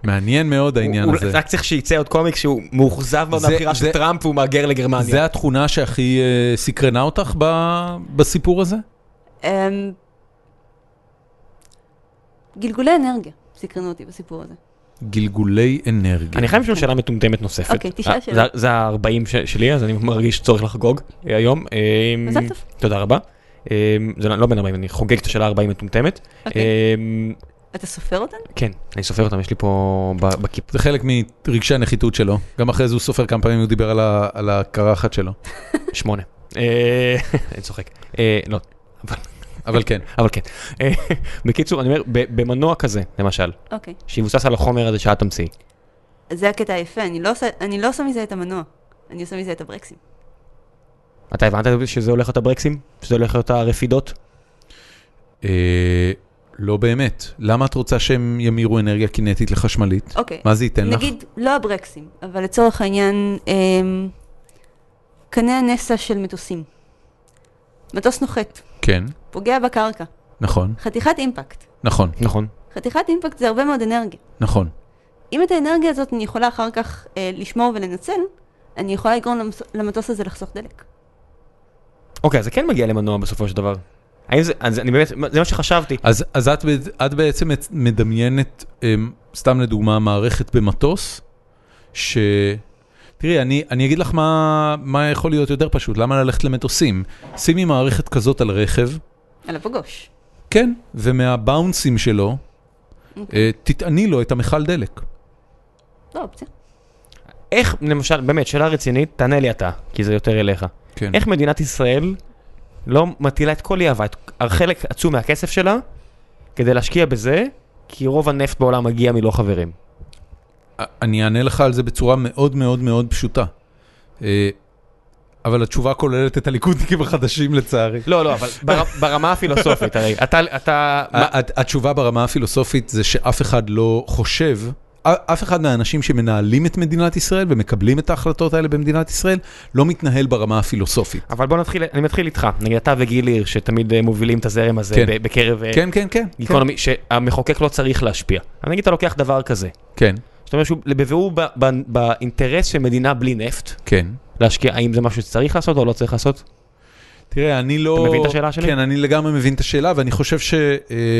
[SPEAKER 1] מעניין מאוד העניין
[SPEAKER 2] הוא-
[SPEAKER 1] הזה.
[SPEAKER 2] רק צריך שייצא עוד קומיקס שהוא מאוכזב מאוד
[SPEAKER 1] זה-
[SPEAKER 2] מהבחירה
[SPEAKER 1] זה-
[SPEAKER 2] של טראמפ והוא מהגר לגרמניה.
[SPEAKER 1] זה התכונה שהכי אה, סקרנה אותך ב- בסיפור הזה?
[SPEAKER 3] אמ, גלגולי אנרגיה סקרנו אותי בסיפור הזה.
[SPEAKER 1] גלגולי אנרגיה.
[SPEAKER 2] אני חייב לשאול שאלה מטומטמת נוספת.
[SPEAKER 3] אוקיי, תשאל
[SPEAKER 2] אה,
[SPEAKER 3] שאלה.
[SPEAKER 2] זה- זה ה-40 ש- שלי, אז אני מרגיש צורך לחגוג אה, היום. אה,
[SPEAKER 3] מזל טוב.
[SPEAKER 2] תודה רבה. אה, זה לא לא בן 40, אני חוגג את השאלה 40 מטומטמת.
[SPEAKER 3] אוקיי.
[SPEAKER 2] אה,
[SPEAKER 3] אתה סופר אותן?
[SPEAKER 2] כן, אני סופר אותם, יש לי פה ב- בכיפ.
[SPEAKER 1] זה חלק מרגשי הנחיתות שלו. גם אחרי זה הוא סופר כמה פעמים הוא דיבר על ה- על הקרחת שלו.
[SPEAKER 2] שמונה. אה, אני צוחק. אה, לא,
[SPEAKER 1] אבל כן.
[SPEAKER 2] אבל כן. אה, בקיצור, אני אומר, ב- במנוע כזה, למשל,
[SPEAKER 3] אוקיי.
[SPEAKER 2] שיבוסס על החומר הזה שאת תמציאי.
[SPEAKER 3] זה הקטע היפה, אני לא עושה- אני לא עושה מזה את המנוע. אני עושה מזה את הברקסים.
[SPEAKER 2] אתה הבנת שזה הולך להיות הברקסים? שזה הולך להיות הרפידות?
[SPEAKER 1] אה, לא באמת. למה את רוצה שהם ימירו אנרגיה קינטית לחשמלית?
[SPEAKER 3] אוקיי.
[SPEAKER 1] מה זה ייתן לך?
[SPEAKER 3] נגיד, לא הברקסים, אבל לצורך העניין, אמ, קנה הנסע של מטוסים. מטוס נוחת,
[SPEAKER 1] כן,
[SPEAKER 3] פוגע בקרקע,
[SPEAKER 1] נכון,
[SPEAKER 3] חתיכת אימפקט.
[SPEAKER 1] נכון,
[SPEAKER 2] נכון.
[SPEAKER 3] חתיכת אימפקט זה הרבה מאוד אנרגיה.
[SPEAKER 1] נכון.
[SPEAKER 3] אם את האנרגיה הזאת אני יכולה אחר כך אה, לשמור ולנצל, אני יכולה לגרום למס- למטוס הזה לחסוך דלק.
[SPEAKER 2] אוקיי, אז זה כן מגיע למנוע בסופו של דבר. האם זה, אז אני באמת, זה מה שחשבתי.
[SPEAKER 1] אז, אז את, את בעצם מדמיינת, אמ, סתם לדוגמה, מערכת במטוס, ש... תראי, אני, אני אגיד לך מה, מה יכול להיות יותר פשוט, למה ללכת למטוסים? שימי מערכת כזאת על רכב,
[SPEAKER 3] על הפגוש.
[SPEAKER 1] כן, ומהבאונסים שלו, אה, תטעני לו את המכל דלק.
[SPEAKER 3] לא אופציה.
[SPEAKER 2] איך, למשל, באמת, שאלה רצינית, תענה לי אתה, כי זה יותר אליך.
[SPEAKER 1] כן.
[SPEAKER 2] איך מדינת ישראל לא מטילה את כל יהבה, את חלק עצום מהכסף שלה, כדי להשקיע בזה, כי רוב הנפט בעולם מגיע מלא חברים.
[SPEAKER 1] אני אענה לך על זה בצורה מאוד מאוד מאוד פשוטה. אה, אבל התשובה כוללת את הליכודניקים החדשים לצערי.
[SPEAKER 2] לא, לא, אבל בר- ברמה הפילוסופית, הרי אתה, אתה, מה-
[SPEAKER 1] הת- התשובה ברמה הפילוסופית זה שאף אחד לא חושב, א- אף אחד מהאנשים שמנהלים את מדינת ישראל ומקבלים את ההחלטות האלה במדינת ישראל, לא מתנהל ברמה הפילוסופית.
[SPEAKER 2] אבל בוא נתחיל, אני מתחיל איתך, נגיד אתה וגיל הירש, שתמיד אה, מובילים את הזרם הזה
[SPEAKER 1] כן.
[SPEAKER 2] ב- בקרב אה,
[SPEAKER 1] כן, כן, כן. כן,
[SPEAKER 2] גיקונומי, שהמחוקק לא צריך להשפיע. אבל נגיד אתה לוקח דבר כזה,
[SPEAKER 1] כן,
[SPEAKER 2] זאת אומרת שהוא בבירור ב- ב- באינטרס של מדינה בלי נפט,
[SPEAKER 1] כן.
[SPEAKER 2] להשקיע, האם זה משהו שצריך לעשות או לא צריך לעשות?
[SPEAKER 1] תראה, אני לא...
[SPEAKER 2] אתה מבין את השאלה שלי?
[SPEAKER 1] כן, אני לגמרי מבין את השאלה, ואני חושב ש...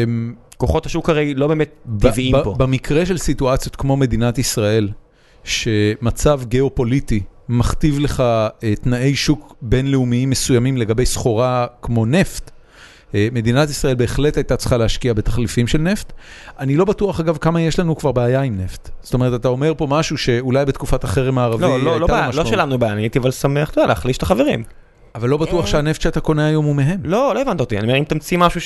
[SPEAKER 1] אמ,
[SPEAKER 2] כוחות השוק הרי לא באמת
[SPEAKER 1] ב-
[SPEAKER 2] טבעיים
[SPEAKER 1] ב-
[SPEAKER 2] פה.
[SPEAKER 1] במקרה של סיטואציות כמו מדינת ישראל, שמצב גיאופוליטי מכתיב לך אה, תנאי שוק בינלאומיים מסוימים לגבי סחורה כמו נפט, אה, מדינת ישראל בהחלט הייתה צריכה להשקיע בתחליפים של נפט. אני לא בטוח, אגב, כמה יש לנו כבר בעיה עם נפט. זאת אומרת, אתה אומר פה משהו שאולי בתקופת החרם הערבי
[SPEAKER 2] לא,
[SPEAKER 1] הייתה
[SPEAKER 2] לא,
[SPEAKER 1] לו
[SPEAKER 2] לא, בעיה, לא
[SPEAKER 1] משמעות.
[SPEAKER 2] שלנו בעיה, אני הייתי אבל שמח, אתה יודע, להחליש את החברים.
[SPEAKER 1] אבל לא בטוח
[SPEAKER 3] אה.
[SPEAKER 1] שהנפט שאתה קונה היום הוא מהם.
[SPEAKER 2] לא, לא הבנת אותי, אני אומר, אם תמציא משהו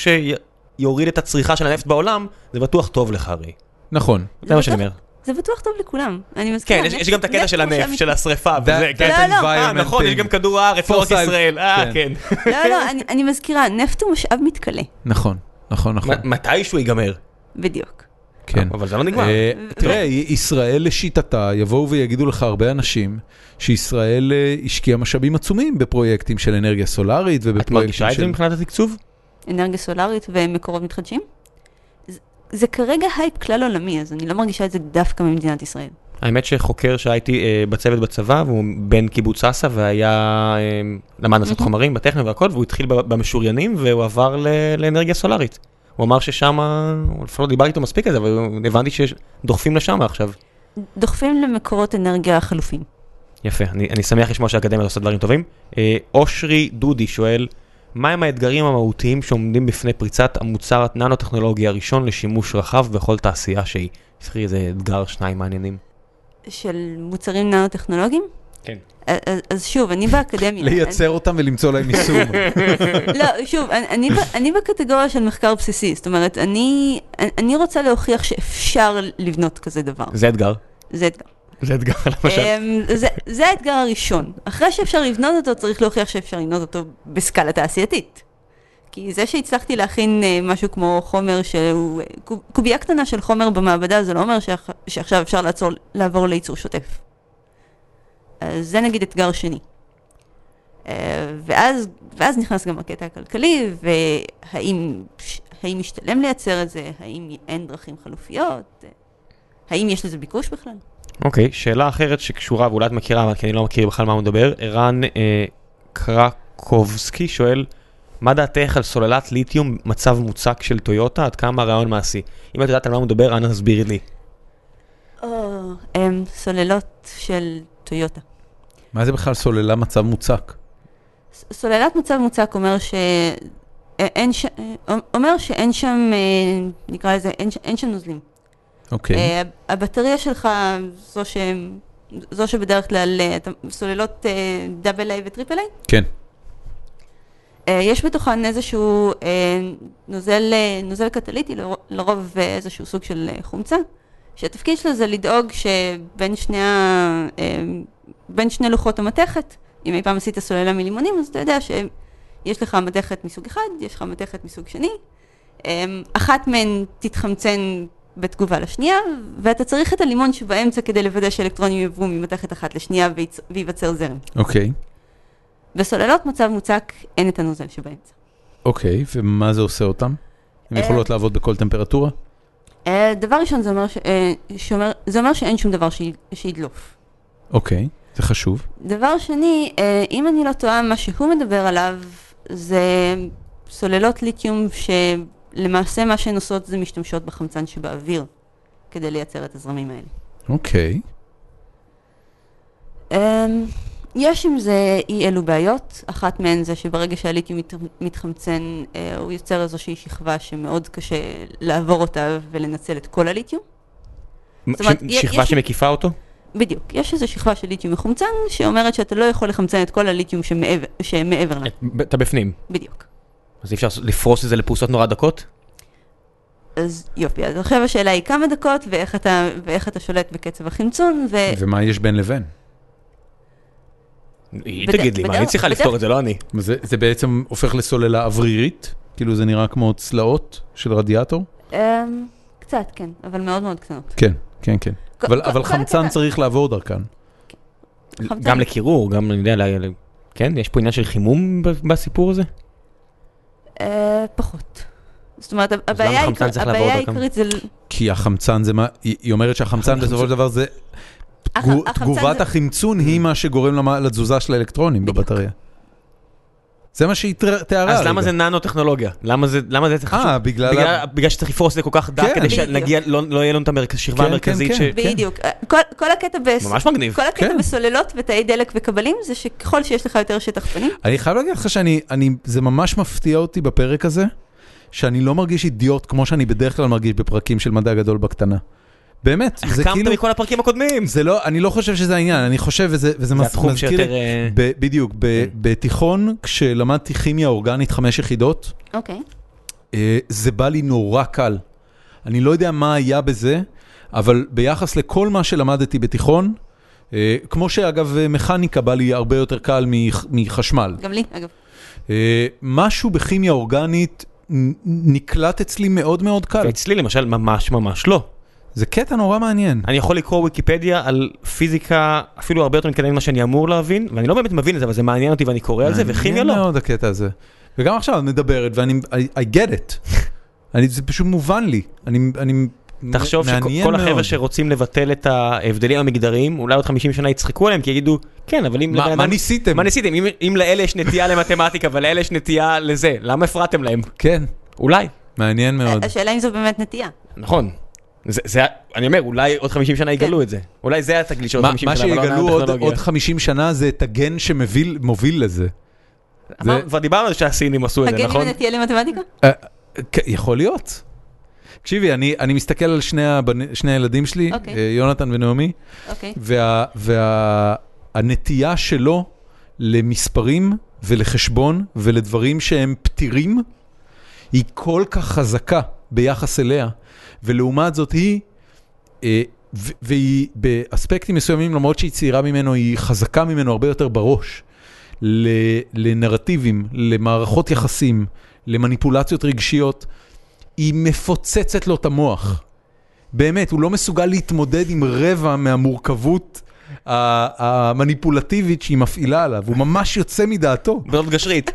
[SPEAKER 2] שיוריד את הצריכה של הנפט בעולם, זה בטוח טוב לך הרי.
[SPEAKER 1] נכון.
[SPEAKER 2] זה מה שאני אומר.
[SPEAKER 3] זה בטוח טוב לכולם. אני
[SPEAKER 2] כן,
[SPEAKER 3] מזכירה.
[SPEAKER 2] יש-
[SPEAKER 3] נפט-
[SPEAKER 2] יש גם את הקטע
[SPEAKER 3] נפט
[SPEAKER 2] של
[SPEAKER 3] כמו
[SPEAKER 2] הנפט,
[SPEAKER 3] שהמת-
[SPEAKER 2] של השריפה,
[SPEAKER 1] That-
[SPEAKER 2] וזה, כן.
[SPEAKER 1] that
[SPEAKER 3] לא, לא.
[SPEAKER 2] אה,
[SPEAKER 1] environment
[SPEAKER 2] נכון, יש
[SPEAKER 1] thing.
[SPEAKER 2] גם כדור הארץ, לא רק
[SPEAKER 1] Fossil.
[SPEAKER 2] ישראל, אה,
[SPEAKER 1] כן.
[SPEAKER 2] כן.
[SPEAKER 3] לא, לא, אני- אני מזכירה, נפט הוא משאב מתכלה.
[SPEAKER 1] נכון, נכון, נכון.
[SPEAKER 2] מ- מתישהו ייגמר.
[SPEAKER 3] בדיוק.
[SPEAKER 1] כן.
[SPEAKER 2] אבל זה לא נגמר.
[SPEAKER 1] אה, תראה, ישראל לשיטתה, יבואו ויגידו לך הרבה אנשים שישראל אה, השקיעה משאבים עצומים בפרויקטים של אנרגיה סולארית
[SPEAKER 2] את
[SPEAKER 1] ובפרויקטים של...
[SPEAKER 2] מרגישה את זה מבחינת התקצוב?
[SPEAKER 3] אנרגיה סולארית ומקורות מתחדשים. זה- זה כרגע הייפ כלל עולמי, אז אני לא מרגישה את זה דווקא ממדינת ישראל.
[SPEAKER 2] האמת שחוקר שהייתי אה, בצוות בצבא, והוא בן קיבוץ סאסא, והיה... אה, למד לעשות חומרים בטכנו והכל, והוא התחיל ב- במשוריינים, והוא עבר ל- לאנרגיה סולארית. הוא אמר ששם, הוא לפחות לא דיברתי איתו מספיק על זה, אבל הוא- הבנתי שדוחפים לשם עכשיו.
[SPEAKER 3] דוחפים למקורות אנרגיה חלופים.
[SPEAKER 2] יפה, אני, אני שמח לשמוע שהאקדמיה עושה דברים טובים. אה, אושרי דודי שואל, מהם האתגרים המהותיים שעומדים בפני פריצת המוצר הננו-טכנולוגי הראשון לשימוש רחב בכל תעשייה שהיא? תזכרי איזה אתגר שניים מעניינים.
[SPEAKER 3] של מוצרים ננו-טכנולוגיים?
[SPEAKER 2] כן.
[SPEAKER 3] אז, אז שוב, אני באקדמיה.
[SPEAKER 1] לייצר אותם ולמצוא להם יישום.
[SPEAKER 3] אני, לא, שוב, אני, אני, ב- אני בקטגוריה של מחקר בסיסי, זאת אומרת, אני, אני רוצה להוכיח שאפשר לבנות כזה דבר.
[SPEAKER 2] זה אתגר.
[SPEAKER 3] זה אתגר.
[SPEAKER 2] זה אתגר, למשל.
[SPEAKER 3] אמ, זה, זה האתגר הראשון. אחרי שאפשר לבנות אותו, צריך להוכיח שאפשר לבנות אותו בסקאלה תעשייתית. כי זה שהצלחתי להכין אה, משהו כמו חומר שהוא... אה, קוב- קובייה קטנה של חומר במעבדה, זה לא אומר שאח, שעכשיו אפשר לעצור, לעבור לייצור שוטף. אז זה נגיד אתגר שני. אה, ואז, ואז נכנס גם הקטע הכלכלי, והאם האם משתלם לייצר את זה, האם אין דרכים חלופיות, אה, האם יש לזה ביקוש בכלל?
[SPEAKER 2] אוקיי, שאלה אחרת שקשורה, ואולי את מכירה, אבל כי אני לא מכיר בכלל מה הוא מדבר. ערן אה, קרקובסקי שואל, מה דעתך על סוללת ליתיום מצב מוצק של טויוטה? עד כמה הרעיון מעשי? אם את יודעת על מה הוא מדבר, אנא הסבירי לי.
[SPEAKER 3] או, אה, הם סוללות של טויוטה.
[SPEAKER 1] מה זה בכלל סוללה מצב מוצק?
[SPEAKER 3] ס- סוללת מצב מוצק אומר ש... אה, אין ש... אה, אומר שאין שם, אה, נקרא לזה, אין, ש... אין שם נוזלים.
[SPEAKER 1] אוקיי.
[SPEAKER 3] אה, הבטריה שלך, זו, ש... זו שבדרך כלל, אה, אתה- סוללות דאבל איי וטריפל איי,
[SPEAKER 1] כן.
[SPEAKER 3] יש בתוכן איזשהו אה, נוזל, אה, נוזל קטליטי, לר- לרוב אה, איזשהו סוג של אה, חומצה, שהתפקיד שלו זה לדאוג שבין שני, ה- אה, בין שני לוחות המתכת, אם אי פעם עשית סוללה מלימונים, אז אתה יודע שיש לך מתכת מסוג אחד, יש לך מתכת מסוג שני, אה, אחת מהן תתחמצן בתגובה לשנייה, ואתה צריך את הלימון שבאמצע כדי לוודא שאלקטרונים יעברו ממתכת אחת לשנייה וייצ- וייווצר זרם.
[SPEAKER 1] אוקיי.
[SPEAKER 3] בסוללות מצב מוצק אין את הנוזל שבאמצע.
[SPEAKER 1] אוקיי, ומה זה עושה אותם? הן
[SPEAKER 3] אה.
[SPEAKER 1] יכולות לעבוד בכל טמפרטורה?
[SPEAKER 3] אה, דבר ראשון, זה אומר, ש... אה, שאומר... זה אומר שאין שום דבר ש... שידלוף.
[SPEAKER 1] אוקיי, זה חשוב.
[SPEAKER 3] דבר שני, אה, אם אני לא טועה, מה שהוא מדבר עליו זה סוללות ליתיום שלמעשה מה שהן עושות זה משתמשות בחמצן שבאוויר כדי לייצר את הזרמים האלה.
[SPEAKER 1] אוקיי.
[SPEAKER 3] אמ, יש עם זה אי אלו בעיות, אחת מהן זה שברגע שהליתיום מת, מתחמצן, אה, הוא יוצר איזושהי שכבה שמאוד קשה לעבור אותה ולנצל את כל הליתיום.
[SPEAKER 2] זאת
[SPEAKER 3] אומרת,
[SPEAKER 2] אומרת,
[SPEAKER 3] יש-
[SPEAKER 2] שכבה
[SPEAKER 3] יש-
[SPEAKER 2] שמקיפה אותו?
[SPEAKER 3] בדיוק, יש איזו שכבה של ליתיום מחומצן, שאומרת שאתה לא יכול לחמצן את כל הליתיום שמעבר, שמעבר
[SPEAKER 1] כן.
[SPEAKER 3] לה,
[SPEAKER 2] ב- אתה בפנים.
[SPEAKER 3] בדיוק.
[SPEAKER 2] אז אי אפשר לפרוס את זה לפרוסות נורא דקות?
[SPEAKER 3] אז יופי, אז עכשיו השאלה היא כמה דקות, ואיך אתה, ואיך אתה שולט בקצב החמצון,
[SPEAKER 2] אה.
[SPEAKER 3] ו...
[SPEAKER 1] ומה יש בין לבין?
[SPEAKER 2] היא
[SPEAKER 3] בדרך-
[SPEAKER 2] תגיד לי, מה,
[SPEAKER 3] בדרך-
[SPEAKER 2] היא צריכה
[SPEAKER 3] בדרך-
[SPEAKER 2] לפתור את זה, לא אני.
[SPEAKER 1] זה זה בעצם הופך לסוללה אוורירית? כאילו זה נראה כמו צלעות של רדיאטור?
[SPEAKER 3] אמ, קצת, כן, אבל מאוד מאוד קטנות.
[SPEAKER 1] כן, כן, כן.
[SPEAKER 3] כל-
[SPEAKER 1] אבל
[SPEAKER 3] כל-
[SPEAKER 1] אבל
[SPEAKER 3] כל
[SPEAKER 1] חמצן
[SPEAKER 3] הקטע-
[SPEAKER 1] צריך לעבור דרכן.
[SPEAKER 3] חמצן-
[SPEAKER 2] גם לקירור, גם, אני יודע, ל- ל- כן, יש פה עניין של חימום ב- בסיפור הזה?
[SPEAKER 3] אה, פחות. זאת אומרת, הבעיה
[SPEAKER 2] למה חמצן
[SPEAKER 3] העיקר-
[SPEAKER 2] צריך לעבור
[SPEAKER 3] הבעיה
[SPEAKER 2] דרכם?
[SPEAKER 3] העיקרית זה...
[SPEAKER 1] כי החמצן זה מה, היא היא אומרת שהחמצן בסופו של דבר זה,
[SPEAKER 3] הח-
[SPEAKER 1] תגו-
[SPEAKER 3] החמצן
[SPEAKER 1] תגובת
[SPEAKER 3] זה-
[SPEAKER 1] החמצון היא מה שגורם למ- לתזוזה של האלקטרונים בבטריה. זה מה שהיא תיארה.
[SPEAKER 2] אז
[SPEAKER 1] הרגע.
[SPEAKER 2] למה זה ננו-טכנולוגיה? למה זה למה זה צריך
[SPEAKER 1] לא, אה, בגלל... ה-
[SPEAKER 2] בגלל- בגלל שצריך לפרוס את זה כל כך דק,
[SPEAKER 1] כן.
[SPEAKER 2] כדי שנגיע, לא לא יהיה לנו את המרכז-
[SPEAKER 1] כן,
[SPEAKER 2] השכבה
[SPEAKER 1] כן,
[SPEAKER 2] המרכזית ש...
[SPEAKER 1] כן.
[SPEAKER 3] בדיוק. אה, כל- כל הקטע בס-
[SPEAKER 2] ממש מגניב.
[SPEAKER 3] כל הקטע
[SPEAKER 1] כן.
[SPEAKER 3] בסוללות ותאי דלק וכבלים זה שככל שיש לך יותר שטח פנים,
[SPEAKER 1] אני חייב להגיד לך שאני, אני, זה ממש מפתיע אותי בפרק הזה, שאני לא מרגיש אידיוט כמו שאני בדרך כלל מרגיש בפרקים של מדע גדול בקטנה. באמת, זה
[SPEAKER 2] קמת
[SPEAKER 1] כאילו,
[SPEAKER 2] אה, מכל הפרקים הקודמים!
[SPEAKER 1] זה לא, אני לא חושב שזה העניין, אני חושב, וזה, וזה
[SPEAKER 2] זה
[SPEAKER 1] מז-
[SPEAKER 2] התחום
[SPEAKER 1] מזכיר לי-
[SPEAKER 2] שיותר... אה,
[SPEAKER 1] ב, בדיוק, ב, בתיכון, כשלמדתי כימיה אורגנית חמש יחידות,
[SPEAKER 3] אוקיי.
[SPEAKER 1] אה, זה בא לי נורא קל. אני לא יודע מה היה בזה, אבל ביחס לכל מה שלמדתי בתיכון, אה, כמו שאגב אה, מכניקה בא לי הרבה יותר קל מח- מחשמל.
[SPEAKER 3] גם לי, אגב.
[SPEAKER 1] אה, משהו בכימיה אורגנית נ- נקלט אצלי מאוד מאוד קל.
[SPEAKER 2] אוקיי. ואצלי למשל ממש ממש לא.
[SPEAKER 1] זה קטע נורא מעניין.
[SPEAKER 2] אני יכול לקרוא ויקיפדיה על פיזיקה אפילו הרבה יותר מתקדם ממה שאני אמור להבין, ואני לא באמת מבין את זה, אבל זה מעניין אותי ואני קורא על זה, וכימיה
[SPEAKER 1] מעניין
[SPEAKER 2] לא.
[SPEAKER 1] מאוד הקטע הזה. וגם עכשיו את מדברת ואני, I, I get it. אני, זה פשוט מובן לי. אני, אני,
[SPEAKER 2] תחשוב
[SPEAKER 1] מעניין
[SPEAKER 2] שכל החבר'ה
[SPEAKER 1] מאוד.
[SPEAKER 2] שרוצים לבטל את ההבדלים המגדריים, אולי עוד 50 שנה יצחקו עליהם, כי יגידו, כן, אבל אם...
[SPEAKER 1] מה-
[SPEAKER 2] לבן
[SPEAKER 1] מה
[SPEAKER 2] אדם-
[SPEAKER 1] ניסיתם?"
[SPEAKER 2] מה ניסיתם? אם- אם לאלה יש נטייה למתמטיקה ולאלה יש נטייה לזה, למה הפרעתם להם?
[SPEAKER 1] כן,
[SPEAKER 2] אולי.
[SPEAKER 1] מעניין מאוד.
[SPEAKER 3] השאלה אם זו באמת נטייה.
[SPEAKER 2] נכון. זה, זה, אני אומר, אולי עוד 50 שנה יגלו את זה. אולי זה התגלית של עוד
[SPEAKER 1] מה,
[SPEAKER 2] 50
[SPEAKER 1] מה
[SPEAKER 2] שנה, אבל לא
[SPEAKER 1] שיגלו עוד,
[SPEAKER 2] הטכנולוגיה.
[SPEAKER 1] עוד 50 שנה זה את הגן שמוביל מוביל לזה.
[SPEAKER 2] אמר-
[SPEAKER 1] זה-
[SPEAKER 2] כבר דיברנו על שהסינים עשו את זה,
[SPEAKER 3] הגנים
[SPEAKER 2] נכון?
[SPEAKER 3] הנטייה למתמטיקה?
[SPEAKER 1] אה, כן, יכול להיות. תקשיבי, אני, אני מסתכל על שני, הבנ... שני הילדים שלי,
[SPEAKER 3] אוקיי.
[SPEAKER 1] אה, יונתן ונעמי,
[SPEAKER 3] אוקיי.
[SPEAKER 1] והנטייה וה, הנטייה שלו למספרים ולחשבון ולדברים שהם פתירים, היא כל כך חזקה ביחס אליה, ולעומת זאת היא, אה, ו- והיא באספקטים מסוימים, למרות שהיא צעירה ממנו, היא חזקה ממנו הרבה יותר בראש, ל- לנרטיבים, למערכות יחסים, למניפולציות רגשיות, היא מפוצצת לו את המוח. באמת, הוא לא מסוגל להתמודד עם רבע מהמורכבות ה- המניפולטיבית שהיא מפעילה עליו, הוא ממש יוצא מדעתו.
[SPEAKER 2] בנות גשרית.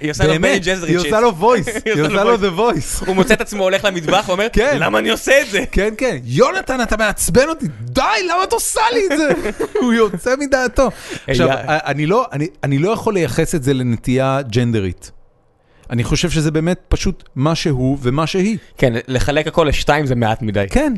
[SPEAKER 2] היא עושה לו בני
[SPEAKER 1] באמת,
[SPEAKER 2] ג'זריט
[SPEAKER 1] היא
[SPEAKER 2] שיט.
[SPEAKER 1] עושה לו וויס,
[SPEAKER 2] היא
[SPEAKER 1] היא
[SPEAKER 2] עושה
[SPEAKER 1] עושה
[SPEAKER 2] לו
[SPEAKER 1] לו the voice.
[SPEAKER 2] הוא מוצא את עצמו הולך למטבח ואומר,
[SPEAKER 1] כן.
[SPEAKER 2] למה אני עושה את זה?
[SPEAKER 1] כן, כן, יונתן, אתה מעצבן אותי, די, למה את עושה לי את זה? הוא יוצא מדעתו. עכשיו,
[SPEAKER 2] יא-
[SPEAKER 1] אני לא, אני, אני לא יכול לייחס את זה לנטייה ג'נדרית. אני חושב שזה באמת פשוט מה שהוא ומה שהיא.
[SPEAKER 2] כן, לחלק הכל לשתיים זה מעט מדי.
[SPEAKER 1] כן,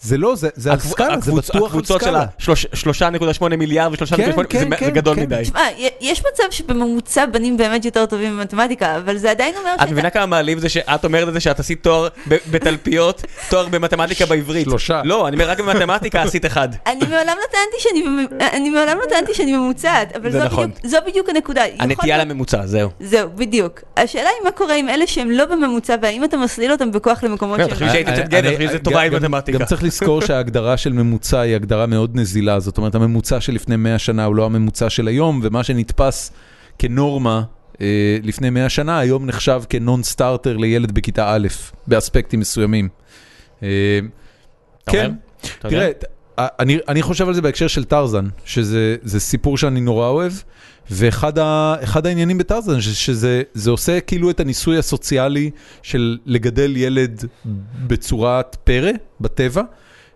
[SPEAKER 1] זה לא, זה, זה על
[SPEAKER 2] הקבוצ-
[SPEAKER 1] סקאלה, זה
[SPEAKER 2] הקבוצ-
[SPEAKER 1] בטוח על
[SPEAKER 2] הקבוצות של
[SPEAKER 1] סקאלה.
[SPEAKER 2] ה-3.8 מיליארד ו-3.8,
[SPEAKER 1] כן,
[SPEAKER 2] זה
[SPEAKER 1] כן,
[SPEAKER 2] גדול
[SPEAKER 1] כן.
[SPEAKER 2] מדי.
[SPEAKER 3] תשמע, י- יש מצב שבממוצע בנים באמת יותר טובים במתמטיקה, אבל זה עדיין אומר
[SPEAKER 2] את מבינה כמה מעליב זה שאת אומרת את זה שאת עשית תואר ב- בתלפיות, תואר במתמטיקה בעברית.
[SPEAKER 1] שלושה.
[SPEAKER 2] לא, אני אומר רק במתמטיקה עשית אחד.
[SPEAKER 3] אני מעולם לא טענתי שאני, במ- אני מעולם לא טענתי שאני ממוצעת, אבל
[SPEAKER 2] זה
[SPEAKER 3] זו,
[SPEAKER 2] נכון.
[SPEAKER 3] בדיוק, זו בדיוק הנקודה. יכול
[SPEAKER 2] הנטייה
[SPEAKER 3] להיות-
[SPEAKER 2] לממוצע, זהו.
[SPEAKER 3] זהו, בדיוק. השאלה היא מה קורה עם אלה שהם לא בממוצע, והאם אתה מסליל אותם בכוח למקומות
[SPEAKER 2] לא,
[SPEAKER 3] שהם...
[SPEAKER 2] תחשבי שהייתי
[SPEAKER 1] אני-
[SPEAKER 2] קצת גבר,
[SPEAKER 1] אה, אני-
[SPEAKER 2] חשבתי שזה
[SPEAKER 1] גם-
[SPEAKER 2] תורה עם
[SPEAKER 1] גם-
[SPEAKER 2] מתמטיקה.
[SPEAKER 1] גם צריך לזכור שההגדרה של ממוצע היא הגדרה מאוד נזילה, זאת אומרת הממוצע של לפני 100 שנה הוא לא הממוצע של היום, ומה שנתפס כנורמה אה, לפני 100 שנה, היום נחשב כנון סטארטר לילד בכיתה א', באספקטים מסוימים. אה,
[SPEAKER 2] אתה
[SPEAKER 1] כן,
[SPEAKER 2] אומר? אתה יודע?
[SPEAKER 1] תראה, ת- אני, אני חושב על זה בהקשר של טרזן, שזה זה סיפור שאני נורא אוהב, ואחד ה, אחד העניינים בטרזן, ש, שזה זה עושה כאילו את הניסוי הסוציאלי של לגדל ילד בצורת פרא, בטבע,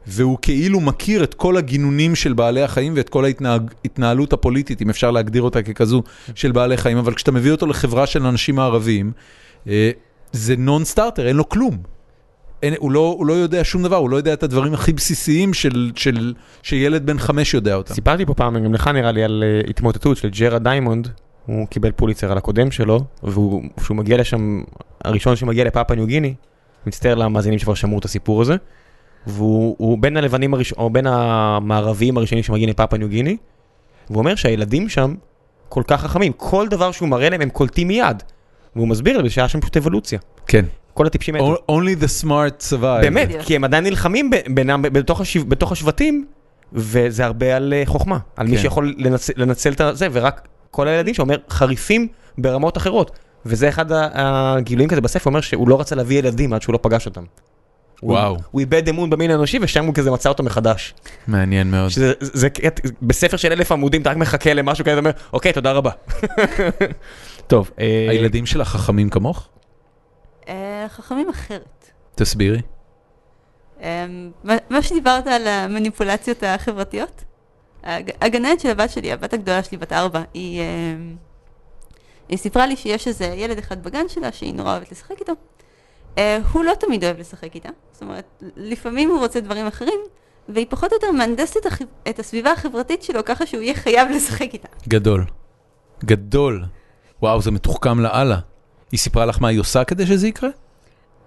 [SPEAKER 1] והוא כאילו מכיר את כל הגינונים של בעלי החיים ואת כל ההתנהג- ההתנהלות הפוליטית, אם אפשר להגדיר אותה ככזו, של בעלי חיים, אבל כשאתה מביא אותו לחברה של אנשים הערבים, אה, זה נון סטארטר, אין לו כלום. אין, הוא, לא, הוא לא יודע שום דבר, הוא לא יודע את הדברים הכי בסיסיים של, של, שילד בן חמש יודע אותם.
[SPEAKER 2] סיפרתי פה פעם, גם לך נראה לי, על אה, התמוטטות של ג'רה דיימונד. הוא קיבל פוליצר על הקודם שלו, והוא- כשהוא מגיע לשם, הראשון שמגיע לפאפה ניו גיני, מצטער למאזינים שכבר שמעו את הסיפור הזה, והוא הוא בין הלבנים הראשונים, או בין המערביים הראשונים שמגיעים לפאפה ניו גיני, והוא אומר שהילדים שם כל כך חכמים, כל דבר שהוא מראה להם הם קולטים מיד. והוא מסביר לזה שהיה שם פשוט אבולוציה.
[SPEAKER 1] כן.
[SPEAKER 2] כל הטיפשים האלה.
[SPEAKER 1] Only the smart survive.
[SPEAKER 2] באמת,
[SPEAKER 3] בדיוק.
[SPEAKER 2] כי הם עדיין נלחמים ב- בינם, ב- בתוך, השב, בתוך השבטים, וזה הרבה על אה, חוכמה, על מי
[SPEAKER 1] כן.
[SPEAKER 2] שיכול לנצל, לנצל את זה, ורק כל הילדים שאומר חריפים ברמות אחרות. וזה אחד ה- הגילויים כזה בספר, אומר שהוא לא רצה להביא ילדים עד שהוא לא פגש אותם. הוא-
[SPEAKER 1] וואו.
[SPEAKER 2] הוא איבד אמון במין האנושי, ושם הוא כזה מצא אותו מחדש.
[SPEAKER 1] מעניין מאוד.
[SPEAKER 2] שזה, זה, זה, קט- בספר של אלף עמודים, אתה רק מחכה למשהו כזה, אתה אומר, אוקיי, תודה רבה. טוב, אה,
[SPEAKER 1] הילדים שלך חכמים כמוך?
[SPEAKER 3] אה, חכמים אחרת.
[SPEAKER 1] תסבירי.
[SPEAKER 3] אה, מה- מה שדיברת על המניפולציות החברתיות, הג- הגננת של הבת שלי, הבת הגדולה שלי, בת ארבע, היא, אה, היא סיפרה לי שיש איזה ילד אחד בגן שלה שהיא נורא אוהבת לשחק איתו. אה, הוא לא תמיד אוהב לשחק איתה, זאת אומרת, לפעמים הוא רוצה דברים אחרים, והיא פחות או יותר מהנדסת את, הח... את הסביבה החברתית שלו ככה שהוא יהיה חייב לשחק איתה.
[SPEAKER 1] גדול. גדול. וואו, זה מתוחכם לאללה. היא סיפרה לך מה היא עושה כדי שזה יקרה?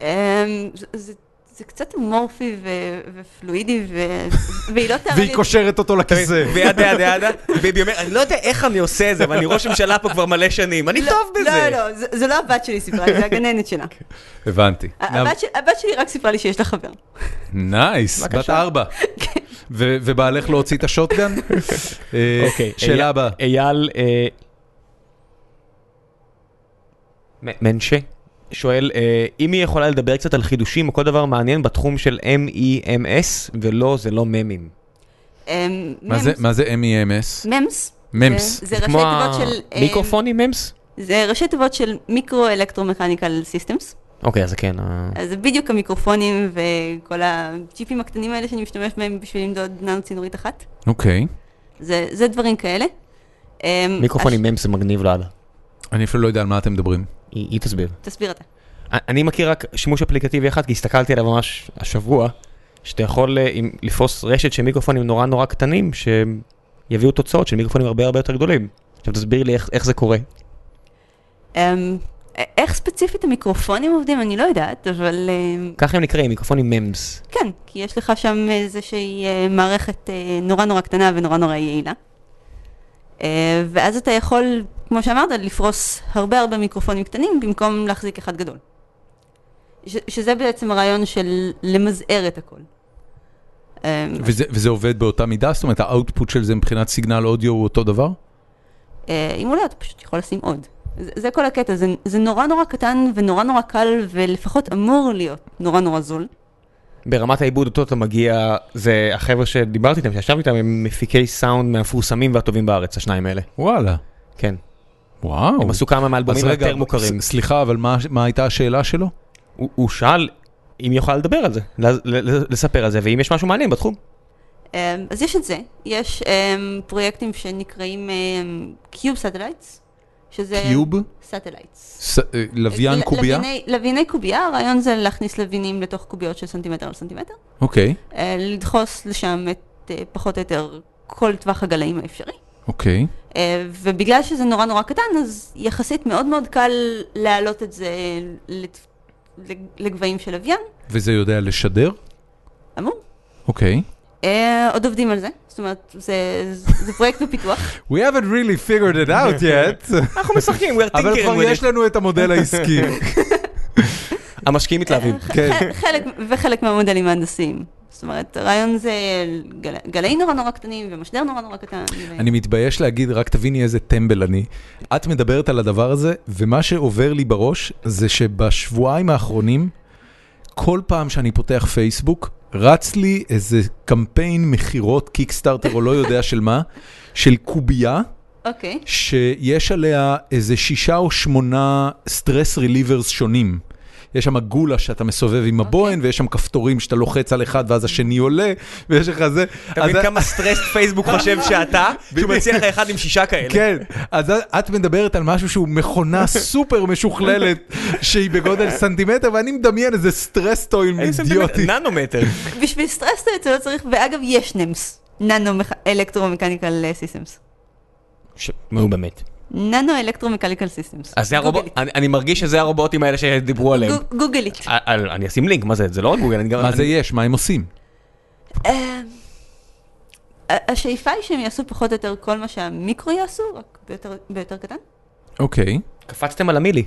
[SPEAKER 3] אה, זה, זה, זה קצת אמורפי ו... ופלואידי, ו... והיא לא תארה לי...
[SPEAKER 1] והיא קושרת אותו לכיסא.
[SPEAKER 2] וידה ידה ידה, ביבי אומר, אני לא יודע איך אני עושה את זה, אבל אני ראש ממשלה פה כבר מלא שנים, אני טוב בזה. אוקיי.
[SPEAKER 3] לא, לא, זה- זה לא הבת שלי סיפרה לי, זה הגננת שלה.
[SPEAKER 1] הבנתי.
[SPEAKER 3] הבת של- הבת שלי רק סיפרה לי שיש לה חבר.
[SPEAKER 1] נייס, בת ארבע. ו- ובעלך לא הוציא את השוטגן? אה,
[SPEAKER 2] אוקיי, אייל-
[SPEAKER 1] שאלה הבאה.
[SPEAKER 2] אייל... אה, מ- מנשה? שואל, אה, אם היא יכולה לדבר קצת על חידושים או כל דבר מעניין בתחום של MEMS, ולא, זה לא ממים.
[SPEAKER 3] אמ,
[SPEAKER 1] מה זה-
[SPEAKER 3] ממס.
[SPEAKER 1] מה זה E MEMS?
[SPEAKER 3] ממס.
[SPEAKER 1] ממס.
[SPEAKER 3] זה- זה ראשי תיבות של...
[SPEAKER 2] כמו
[SPEAKER 3] אה,
[SPEAKER 2] המיקרופונים MEMS?
[SPEAKER 3] זה ראשי תיבות של מיקרו אלקטרומכניקל סיסטמס.
[SPEAKER 2] אוקיי, אז זה כן. ה-
[SPEAKER 3] אז זה בדיוק המיקרופונים וכל הצ'יפים הקטנים האלה שאני משתמש בהם בשביל למדוד ננו צינורית אחת.
[SPEAKER 1] אוקיי.
[SPEAKER 3] זה, זה דברים כאלה. אמ,
[SPEAKER 2] מיקרופונים MEMS זה מגניב לאללה.
[SPEAKER 1] אני אפילו לא יודע על מה אתם מדברים.
[SPEAKER 2] היא היא תסביר.
[SPEAKER 3] הש- תסביר אתה.
[SPEAKER 2] אני מכיר רק שימוש אפליקטיבי אחד, כי הסתכלתי עליו ממש השבוע, שאתה יכול אה, עם- לפרוס רשת של מיקרופונים נורא נורא קטנים, שיביאו תוצאות של מיקרופונים הרבה הרבה יותר גדולים. עכשיו תסביר לי איך, איך זה קורה.
[SPEAKER 3] אמ, איך ספציפית המיקרופונים עובדים, אני לא יודעת, אבל אמ,
[SPEAKER 2] ככה הם נקראים, מיקרופונים MEMS.
[SPEAKER 3] כן, כי יש לך שם איזושהי אה, מערכת אה, נורא נורא קטנה ונורא נורא יעילה. אה, ואז אתה יכול, כמו שאמרת, לפרוס הרבה הרבה מיקרופונים קטנים במקום להחזיק אחד גדול. ש- שזה בעצם הרעיון של למזער את הכל. אה,
[SPEAKER 1] וזה וזה עובד באותה מידה? זאת אומרת, האוטפוט של זה מבחינת סיגנל אודיו הוא אותו דבר?
[SPEAKER 3] אה, אם הוא לא, אתה פשוט יכול לשים עוד. זה, זה כל הקטע, זה, זה נורא נורא קטן ונורא נורא קל ולפחות אמור להיות נורא נורא זול.
[SPEAKER 2] ברמת העיבוד אותו אתה מגיע, זה החבר'ה שדיברתי איתם, שישבתי איתם, הם מפיקי סאונד מהמפורסמים והטובים בארץ, השניים האלה.
[SPEAKER 1] וואלה.
[SPEAKER 2] כן.
[SPEAKER 1] וואו.
[SPEAKER 2] הם עשו כמה מהאלבומים
[SPEAKER 1] אז רגע,
[SPEAKER 2] היותר מוכרים.
[SPEAKER 1] ס- סליחה, אבל מה- מה הייתה השאלה שלו?
[SPEAKER 2] הוא הוא שאל אם היא יכולה לדבר על זה, ל- ל- לספר על זה, ואם יש משהו מעניין בתחום.
[SPEAKER 3] אה, אז יש את זה, יש אה, פרויקטים שנקראים קיוב סאטלייטס, שזה...
[SPEAKER 1] קיוב?
[SPEAKER 3] סאטלייטס.
[SPEAKER 1] ס- אה, לוויין קובייה?
[SPEAKER 3] לוויני קובייה, הרעיון זה להכניס לווינים לתוך קוביות של סנטימטר על סנטימטר,
[SPEAKER 1] אוקיי,
[SPEAKER 3] אה, לדחוס לשם את אה, פחות או יותר כל טווח הגלאים האפשרי.
[SPEAKER 1] אוקיי.
[SPEAKER 3] אה, ובגלל שזה נורא נורא קטן, אז יחסית מאוד מאוד קל להעלות את זה לת- לג- לגבהים של לוויין,
[SPEAKER 1] וזה יודע לשדר?
[SPEAKER 3] אמור.
[SPEAKER 1] אוקיי.
[SPEAKER 3] אה, עוד עובדים על זה, זאת אומרת, זה, זה פרויקט בפיתוח.
[SPEAKER 1] We haven't really figured it out yet,
[SPEAKER 2] אנחנו משחקים, we are
[SPEAKER 1] אבל
[SPEAKER 2] thinking
[SPEAKER 1] כבר
[SPEAKER 2] with
[SPEAKER 1] יש
[SPEAKER 2] it.
[SPEAKER 1] לנו את המודל העסקי.
[SPEAKER 2] המשקיעים מתלהבים.
[SPEAKER 1] כן.
[SPEAKER 3] ח- חלק, וחלק מהמודלים ההנדסיים. זאת אומרת, הרעיון זה גל, גלאים נורא נורא קטנים ומשדר נורא נורא קטן.
[SPEAKER 2] כן.
[SPEAKER 3] ו...
[SPEAKER 1] אני מתבייש להגיד, רק תביני איזה טמבל אני. את מדברת על הדבר הזה, ומה שעובר לי בראש זה שבשבועיים האחרונים, כל פעם שאני פותח פייסבוק, רץ לי איזה קמפיין מכירות קיקסטארטר או לא יודע של מה, של קובייה,
[SPEAKER 3] אוקיי.
[SPEAKER 1] שיש עליה איזה שישה או שמונה סטרס ריליברס שונים. יש שם גולה שאתה מסובב עם הבוהן,
[SPEAKER 2] אוקיי.
[SPEAKER 1] ויש שם כפתורים שאתה לוחץ על אחד ואז השני עולה, ויש לך זה.
[SPEAKER 2] אתה מבין
[SPEAKER 1] אז-
[SPEAKER 2] כמה סטרס פייסבוק חושב שאתה, שהוא מציע לך אחד עם שישה כאלה.
[SPEAKER 1] כן, אז את מדברת על משהו שהוא מכונה סופר משוכללת, שהיא בגודל סנטימטר, ואני מדמיין איזה סטרסטואים
[SPEAKER 2] איזה סנטימטר,
[SPEAKER 1] אידיוטי.
[SPEAKER 2] ננומטר.
[SPEAKER 3] בשביל סטרסטו את זה לא צריך, ואגב, יש נמס, ננו אלקטרומקניקל סיסטמס.
[SPEAKER 2] ש- נו באמת.
[SPEAKER 3] ננו אלקטרומקניקל סיסטמס.
[SPEAKER 2] אז זה הרובוט, אני אני מרגיש שזה הרובוטים האלה שדיברו עליהם.
[SPEAKER 3] גוגלית.
[SPEAKER 2] א- א- אני אשים לינק, מה זה? זה לא רק גוגל, אני גם...
[SPEAKER 1] מה זה
[SPEAKER 2] אני-
[SPEAKER 1] יש? מה הם עושים?
[SPEAKER 3] אה, ה- השאיפה היא שהם יעשו פחות או יותר כל מה שהמיקרו יעשו, רק ביותר- ביותר קטן.
[SPEAKER 1] אוקיי.
[SPEAKER 2] קפצתם על המילי.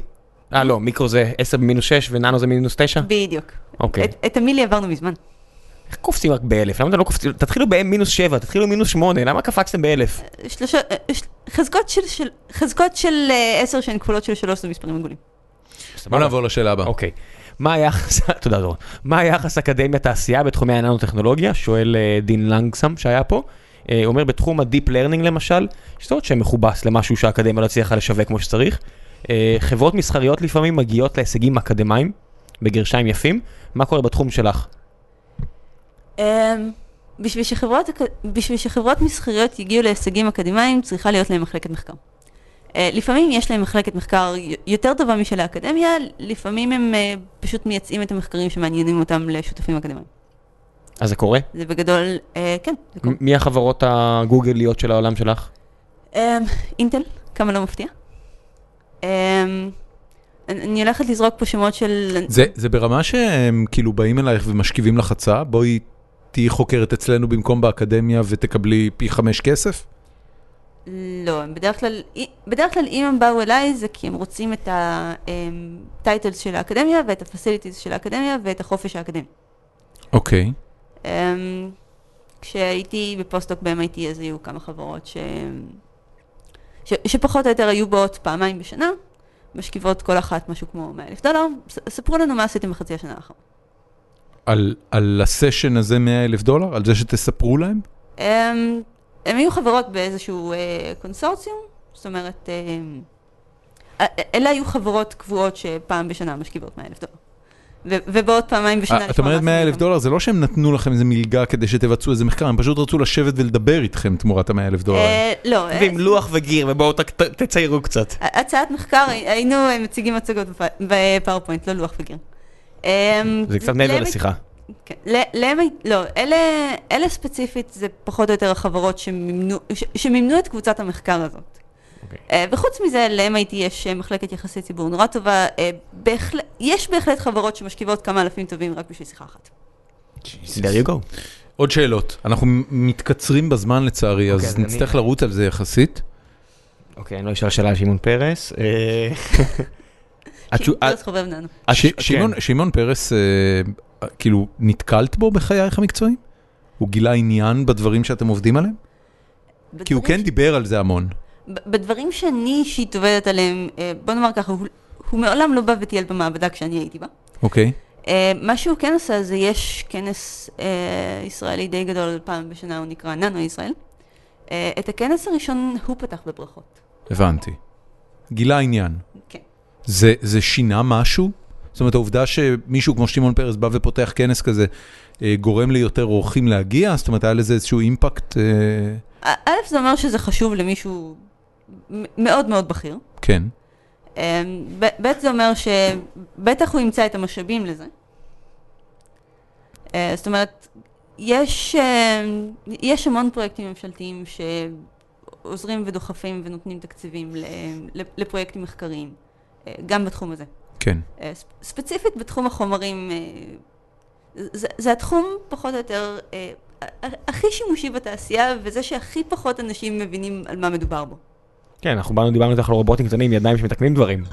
[SPEAKER 2] אה, לא, מיקרו זה 10 במינוס 6 וננו זה מינוס 9?
[SPEAKER 3] בדיוק.
[SPEAKER 2] אוקיי.
[SPEAKER 3] את- את המילי עברנו מזמן.
[SPEAKER 2] איך קופצים רק ב-1000? למה אתם לא קופצים? תתחילו ב-מינוס 7, תתחילו מינוס 8, למה קפצתם ב-1000?
[SPEAKER 3] שלושה, אה, של- חזקות של- של- חזקות של אה, עשר שהן כפולות של שלוש זה מספרים עגולים.
[SPEAKER 1] בוא נעבור לשאלה הבאה.
[SPEAKER 2] אוקיי. מה היחס, תודה דורון, מה היחס אקדמיה תעשייה בתחומי הננו-טכנולוגיה? שואל אה, דין לנגסם שהיה פה. אה, הוא אומר בתחום הדיפ לרנינג למשל, שזה עוד שם מכובס למשהו שהאקדמיה לא הצליחה לשווק כמו שצריך. אה, חברות מסחריות לפעמים מגיעות להישגים אקדמיים, בגרשיים יפים. מה קורה בתחום שלך?
[SPEAKER 3] אמ, בשביל שחברות, אק- בשביל שחברות מסחריות יגיעו להישגים אקדמיים, צריכה להיות להם מחלקת מחקר. אה, לפעמים יש להם מחלקת מחקר י- יותר טובה משל האקדמיה, לפעמים הם אה, פשוט מייצאים את המחקרים שמעניינים אותם לשותפים אקדמיים.
[SPEAKER 2] אז זה קורה?
[SPEAKER 3] זה בגדול, אה, כן, זה קורה.
[SPEAKER 2] מ- מי החברות הגוגליות של העולם שלך?
[SPEAKER 3] אמ, אינטל, כמה לא מפתיע. אמ, אני אני הולכת לזרוק פה שמות של...
[SPEAKER 1] זה זה ברמה שהם כאילו באים אלייך ומשכיבים לך הצעה? בואי תהיי חוקרת אצלנו במקום באקדמיה ותקבלי פי חמש כסף?
[SPEAKER 3] לא, הם בדרך כלל, בדרך כלל אם הם באו אליי זה כי הם רוצים את הטייטלס של האקדמיה ואת הפסיליטיז של האקדמיה ואת החופש האקדמי.
[SPEAKER 1] אוקיי.
[SPEAKER 3] אמ, כשהייתי בפוסט-דוק ב-MIT אז היו כמה חברות ש... ש... שפחות או יותר היו באות פעמיים בשנה משכיבות כל אחת משהו כמו 100 אלף דולר. ס- ספרו לנו מה עשיתם בחצי השנה האחרונה.
[SPEAKER 1] על, על הסשן הזה 100 אלף דולר? על זה שתספרו להם?
[SPEAKER 3] הם, הם היו חברות באיזשהו אה, קונסורציום, זאת אומרת, אמ, אה, אלה היו חברות קבועות שפעם בשנה משכיבות 100 אלף דולר. ו- ובעוד פעמיים בשנה...
[SPEAKER 1] אה, את
[SPEAKER 3] לשמוע מה
[SPEAKER 1] אומרת 100 אלף
[SPEAKER 3] עשיתם.
[SPEAKER 1] דולר, זה לא שהם נתנו לכם איזה מלגה כדי שתבצעו איזה מחקר, הם פשוט רצו לשבת ולדבר איתכם תמורת ה-100 אלף דולר. האלה.
[SPEAKER 3] אה, לא, אה,
[SPEAKER 2] ועם לוח וגיר, ובואו ת- ת- תציירו קצת.
[SPEAKER 1] לא-
[SPEAKER 3] הצעת מחקר, היינו אה, מציגים מצגות בפ- בפאורפוינט, לא לוח וגיר. אמ,
[SPEAKER 2] זה קצת מעבר
[SPEAKER 3] להם-
[SPEAKER 2] לשיחה.
[SPEAKER 3] כן, ל- להם, הי- לא, אלה, אלה ספציפית זה פחות או יותר החברות שמימנו, ש, שמימנו את קבוצת המחקר הזאת.
[SPEAKER 2] אוקיי.
[SPEAKER 3] אה, וחוץ מזה, ל-MIT יש אה, מחלקת יחסי ציבור נורא טובה, אה, בהחל... יש בהחלט חברות שמשכיבות כמה אלפים טובים רק בשביל שיחה אחת.
[SPEAKER 2] There you go.
[SPEAKER 1] עוד שאלות. אנחנו מ- מתקצרים בזמן לצערי,
[SPEAKER 2] אוקיי,
[SPEAKER 1] אז
[SPEAKER 2] אז אני-
[SPEAKER 1] נצטרך לרוץ על זה יחסית.
[SPEAKER 2] אוקיי, אני לא אשאל שאלה על שמעון פרס. אה,
[SPEAKER 3] שהיא
[SPEAKER 2] התשו-
[SPEAKER 3] לא תחובב לנו.
[SPEAKER 1] ש-
[SPEAKER 2] כן.
[SPEAKER 1] שמעון- שמעון פרס, אה, אה, כאילו, נתקלת בו בחייך המקצועיים? הוא גילה עניין בדברים שאתם עובדים עליהם? כי הוא
[SPEAKER 3] בדברים
[SPEAKER 1] כן דיבר על זה המון.
[SPEAKER 3] ב- בדברים שאני אישית עובדת עליהם, אה, בוא נאמר ככה, הוא, הוא מעולם לא בא וטייל במעבדה כשאני הייתי בה.
[SPEAKER 1] אוקיי.
[SPEAKER 3] אה, מה שהוא כן עשה זה יש כנס אה, ישראלי די גדול פעם בשנה, הוא נקרא ננו ישראל. אה, את הכנס הראשון הוא פתח בברכות.
[SPEAKER 1] הבנתי. גילה עניין.
[SPEAKER 3] כן.
[SPEAKER 1] זה, זה שינה משהו? זאת אומרת, העובדה שמישהו כמו שמעון פרס בא ופותח כנס כזה, אה, גורם ליותר אורחים להגיע? זאת אומרת, היה לזה איזשהו אימפקט? אה,
[SPEAKER 3] א- א', זה אומר שזה חשוב למישהו מ- מאוד מאוד בכיר.
[SPEAKER 1] כן.
[SPEAKER 3] אה, ב- ב', זה אומר שבטח הוא ימצא את המשאבים לזה. אה, זאת אומרת, יש, אה, יש המון פרויקטים ממשלתיים שעוזרים ודוחפים ונותנים תקציבים ל- לפרויקטים מחקריים, אה, גם בתחום הזה.
[SPEAKER 1] כן.
[SPEAKER 3] אה, ספ- ספציפית בתחום החומרים, אה, זה, זה התחום פחות או יותר אה, ה- ה- הכי שימושי בתעשייה, וזה שהכי פחות אנשים מבינים על מה מדובר בו.
[SPEAKER 2] כן, אנחנו באנו, דיברנו איתך על רובוטים קטנים, ידיים שמתקנים דברים.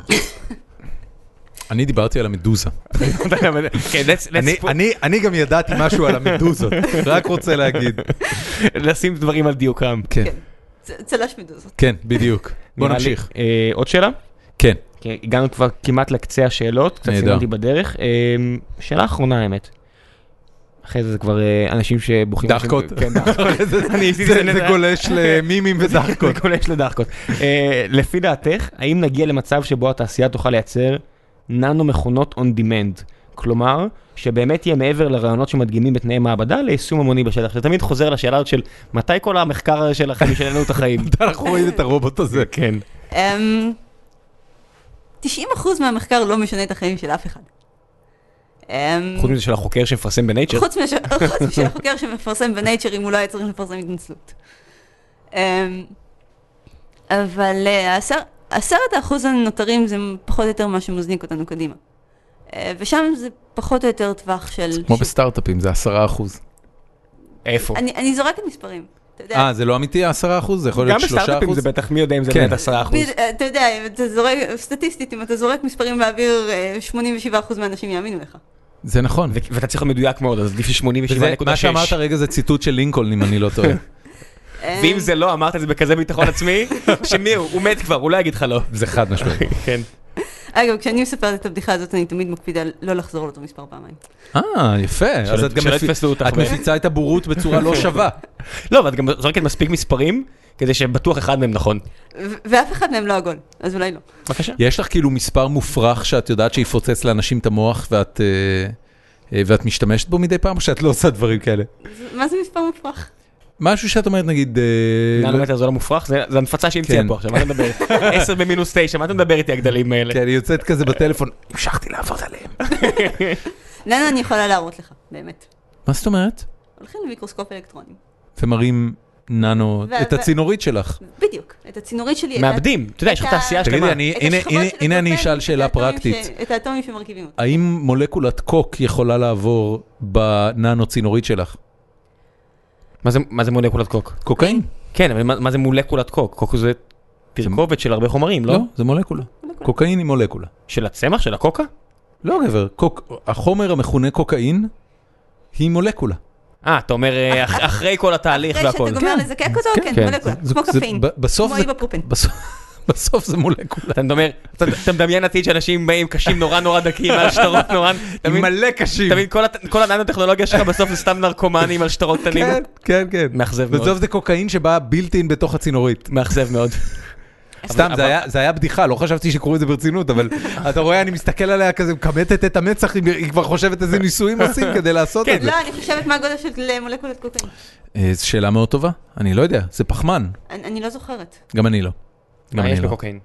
[SPEAKER 1] אני דיברתי על המדוזה.
[SPEAKER 2] כן, let's- let's put-
[SPEAKER 1] אני גם ידעתי משהו על המדוזות, רק רוצה להגיד.
[SPEAKER 2] לשים דברים על דיוקם.
[SPEAKER 1] כן,
[SPEAKER 3] כן. צ- צל"ש מדוזות.
[SPEAKER 1] כן, בדיוק. בוא
[SPEAKER 2] נראה לי-
[SPEAKER 1] נמשיך.
[SPEAKER 2] אה, עוד שאלה?
[SPEAKER 1] כן.
[SPEAKER 2] כן, הגענו כבר כמעט לקצה השאלות, קצת
[SPEAKER 1] נהדר.
[SPEAKER 2] סיימתי בדרך. אה, שאלה אחרונה האמת. אחרי זה זה כבר אה, אנשים שבוכים.
[SPEAKER 1] דחקות.
[SPEAKER 2] כן, דחקות. אני עשיתי
[SPEAKER 1] זה
[SPEAKER 2] את זה-
[SPEAKER 1] זה גולש למימים ודחקות.
[SPEAKER 2] זה גולש לדחקות. אה, לפי דעתך, האם נגיע למצב שבו התעשייה תוכל לייצר ננו מכונות on demand? כלומר, שבאמת יהיה מעבר לרעיונות שמדגימים בתנאי מעבדה ליישום המוני בשטח. זה תמיד חוזר לשאלה הזאת של מתי כל המחקר הזה שלכם ישלנו את החיים.
[SPEAKER 1] אנחנו רואים את הרובוט הזה.
[SPEAKER 2] כן.
[SPEAKER 3] אמ, 90% מהמחקר לא משנה את החיים של אף אחד. אמ,
[SPEAKER 2] חוץ מזה של החוקר שמפרסם בנייצ'ר.
[SPEAKER 3] חוץ מש- חוץ משל החוקר שמפרסם בנייצ'ר, אם הוא לא היה צריך לפרסם התנצלות. אמ, אבל אה, העשר- עשרת האחוז הנותרים זה פחות או יותר מה שמזניק אותנו קדימה. אה, ושם זה פחות או יותר טווח של...
[SPEAKER 1] כמו
[SPEAKER 3] של-
[SPEAKER 1] בסטארט-אפים, זה 10 אחוז.
[SPEAKER 2] איפה?
[SPEAKER 3] אני אני זורקת מספרים. אתה יודע,
[SPEAKER 1] אה, זה לא אמיתי ה-10 אחוז? זה יכול
[SPEAKER 2] גם
[SPEAKER 1] להיות 3 אחוז?
[SPEAKER 2] בסטארט-אפים זה בטח מי יודע אם זה
[SPEAKER 1] כן.
[SPEAKER 2] באמת 10%.
[SPEAKER 3] בד- אה, אתה יודע, אם אתה זורק, סטטיסטית, אם אתה זורק מספרים באוויר, אה, 87% מהאנשים יאמינו לך.
[SPEAKER 1] זה נכון.
[SPEAKER 2] ו- ואתה צריך להיות מדויק מאוד, אז לפי 87.6.
[SPEAKER 1] וזה- מה שאמרת הרגע זה ציטוט של לינקולן, אם אני לא טועה.
[SPEAKER 3] אה,
[SPEAKER 2] ואם זה לא, אמרת את זה בכזה ביטחון עצמי, שמי הוא? הוא מת כבר, הוא לא יגיד לך לא.
[SPEAKER 1] זה חד משמעי.
[SPEAKER 2] כן.
[SPEAKER 3] אגב, כשאני מספרת את הבדיחה הזאת, אני תמיד מקפידה לא לחזור על אותו מספר פעמיים.
[SPEAKER 1] אה, יפה. אז
[SPEAKER 2] שלא-
[SPEAKER 1] את גם
[SPEAKER 2] שלא
[SPEAKER 1] מפי-
[SPEAKER 2] יתפסו אותך
[SPEAKER 1] את
[SPEAKER 2] ב-
[SPEAKER 1] מפיצה את הבורות בצורה
[SPEAKER 2] כן.
[SPEAKER 1] לא שווה.
[SPEAKER 2] לא, ואת גם זורקת מספיק מספרים, כדי שבטוח אחד מהם נכון.
[SPEAKER 3] ו- ואף אחד מהם לא עגול, אז אולי לא.
[SPEAKER 2] בבקשה.
[SPEAKER 1] יש לך כאילו מספר מופרך שאת יודעת שיפוצץ לאנשים את המוח ואת... אה, אה, ואת משתמשת בו מדי פעם או שאת לא עושה דברים כאלה?
[SPEAKER 3] אז מה זה מספר מופרך?
[SPEAKER 1] משהו שאת אומרת נגיד... אה,
[SPEAKER 2] ננומטר זה לא מופרך, זה זה הנפצה שהמציאה
[SPEAKER 1] כן.
[SPEAKER 2] פה עכשיו, מה אתה מדבר? 10 במינוס 9, מה אתה מדבר איתי הגדלים האלה?
[SPEAKER 1] כן, היא יוצאת כזה בטלפון, המשכתי לעבוד עליהם.
[SPEAKER 3] ננה, אני יכולה להראות לך, באמת.
[SPEAKER 1] מה זאת אומרת?
[SPEAKER 3] הולכים למיקרוסקופ אלקטרונים.
[SPEAKER 1] ומראים ננו,
[SPEAKER 3] ו-
[SPEAKER 1] את
[SPEAKER 3] ו-
[SPEAKER 1] הצינורית שלך.
[SPEAKER 3] בדיוק, את הצינורית שלי. את ה-
[SPEAKER 2] מאבדים, אתה יודע, יש לך
[SPEAKER 3] אתה-
[SPEAKER 2] תעשייה
[SPEAKER 1] כן. תגידי,
[SPEAKER 2] שלמה.
[SPEAKER 1] אני-
[SPEAKER 3] את
[SPEAKER 1] הנה-
[SPEAKER 3] השכבות
[SPEAKER 1] הנה-
[SPEAKER 3] של
[SPEAKER 1] הנה אני
[SPEAKER 3] הקרפל,
[SPEAKER 1] אשאל
[SPEAKER 3] את
[SPEAKER 1] שאלה
[SPEAKER 3] האטומים ש-
[SPEAKER 1] פרקטית.
[SPEAKER 3] את האטומים שמרכיבים אותה.
[SPEAKER 1] האם מולקולת קוק יכולה לעבור בננו צינורית שלך?
[SPEAKER 2] מה זה- מה זה מולקולת קוק?
[SPEAKER 1] קוקאין?
[SPEAKER 2] כן, אבל מה- מה זה מולקולת קוק? קוק זה תרכובת של הרבה חומרים,
[SPEAKER 1] לא,
[SPEAKER 2] לא?
[SPEAKER 1] זה מולקולה.
[SPEAKER 3] מולקולה.
[SPEAKER 1] קוקאין היא מולקולה.
[SPEAKER 2] של הצמח? של הקוקה?
[SPEAKER 1] לא גבר, קוק- החומר המכונה קוקאין היא מולקולה.
[SPEAKER 2] אה, אתה אומר אה, אח- אחרי כל התהליך
[SPEAKER 3] אחרי
[SPEAKER 2] והכל.
[SPEAKER 3] שאתה גומר לזקק אותו,
[SPEAKER 1] כן,
[SPEAKER 3] כן,
[SPEAKER 1] כן.
[SPEAKER 3] מולקולה,
[SPEAKER 1] זה-
[SPEAKER 3] כמו
[SPEAKER 1] זה-
[SPEAKER 3] קפאין.
[SPEAKER 1] ב- בסוף
[SPEAKER 3] כמו
[SPEAKER 1] זה-
[SPEAKER 3] איבא פרופן.
[SPEAKER 1] בסוף- בסוף זה מולקולה.
[SPEAKER 2] אתה מדמיין, אתה- אתה מדמיין עתיד שאנשים באים קשים נורא נורא דקים על שטרות נורא, אתה מבין?
[SPEAKER 1] מלא קשים.
[SPEAKER 2] אתה מבין, כל הת- כל הננו-טכנולוגיה שלך בסוף זה סתם נרקומנים על שטרות קטנים.
[SPEAKER 1] כן, כן, כן.
[SPEAKER 2] מאכזב מאוד.
[SPEAKER 1] בסוף זה קוקאין שבא בילט אין בתוך הצינורית.
[SPEAKER 2] מאכזב מאוד.
[SPEAKER 1] סתם,
[SPEAKER 2] אבל-
[SPEAKER 1] זה היה- זה היה בדיחה, לא חשבתי שיקראו את זה ברצינות, אבל אתה רואה, אני מסתכל עליה כזה, מכמתת את המצח, היא- היא כבר חושבת איזה ניסויים עושים כדי לעשות
[SPEAKER 2] כן,
[SPEAKER 1] את זה.
[SPEAKER 3] לא, אני חושבת מה הגודל של מולקולת קוקאין.
[SPEAKER 1] אה, זו שאלה מאוד טובה, אני לא יודע, זה פחמן,
[SPEAKER 3] אני אני לא זוכרת.
[SPEAKER 1] גם אני לא. גם
[SPEAKER 2] מה
[SPEAKER 1] אני
[SPEAKER 2] אה, יש
[SPEAKER 1] לא.
[SPEAKER 2] בקוקאין?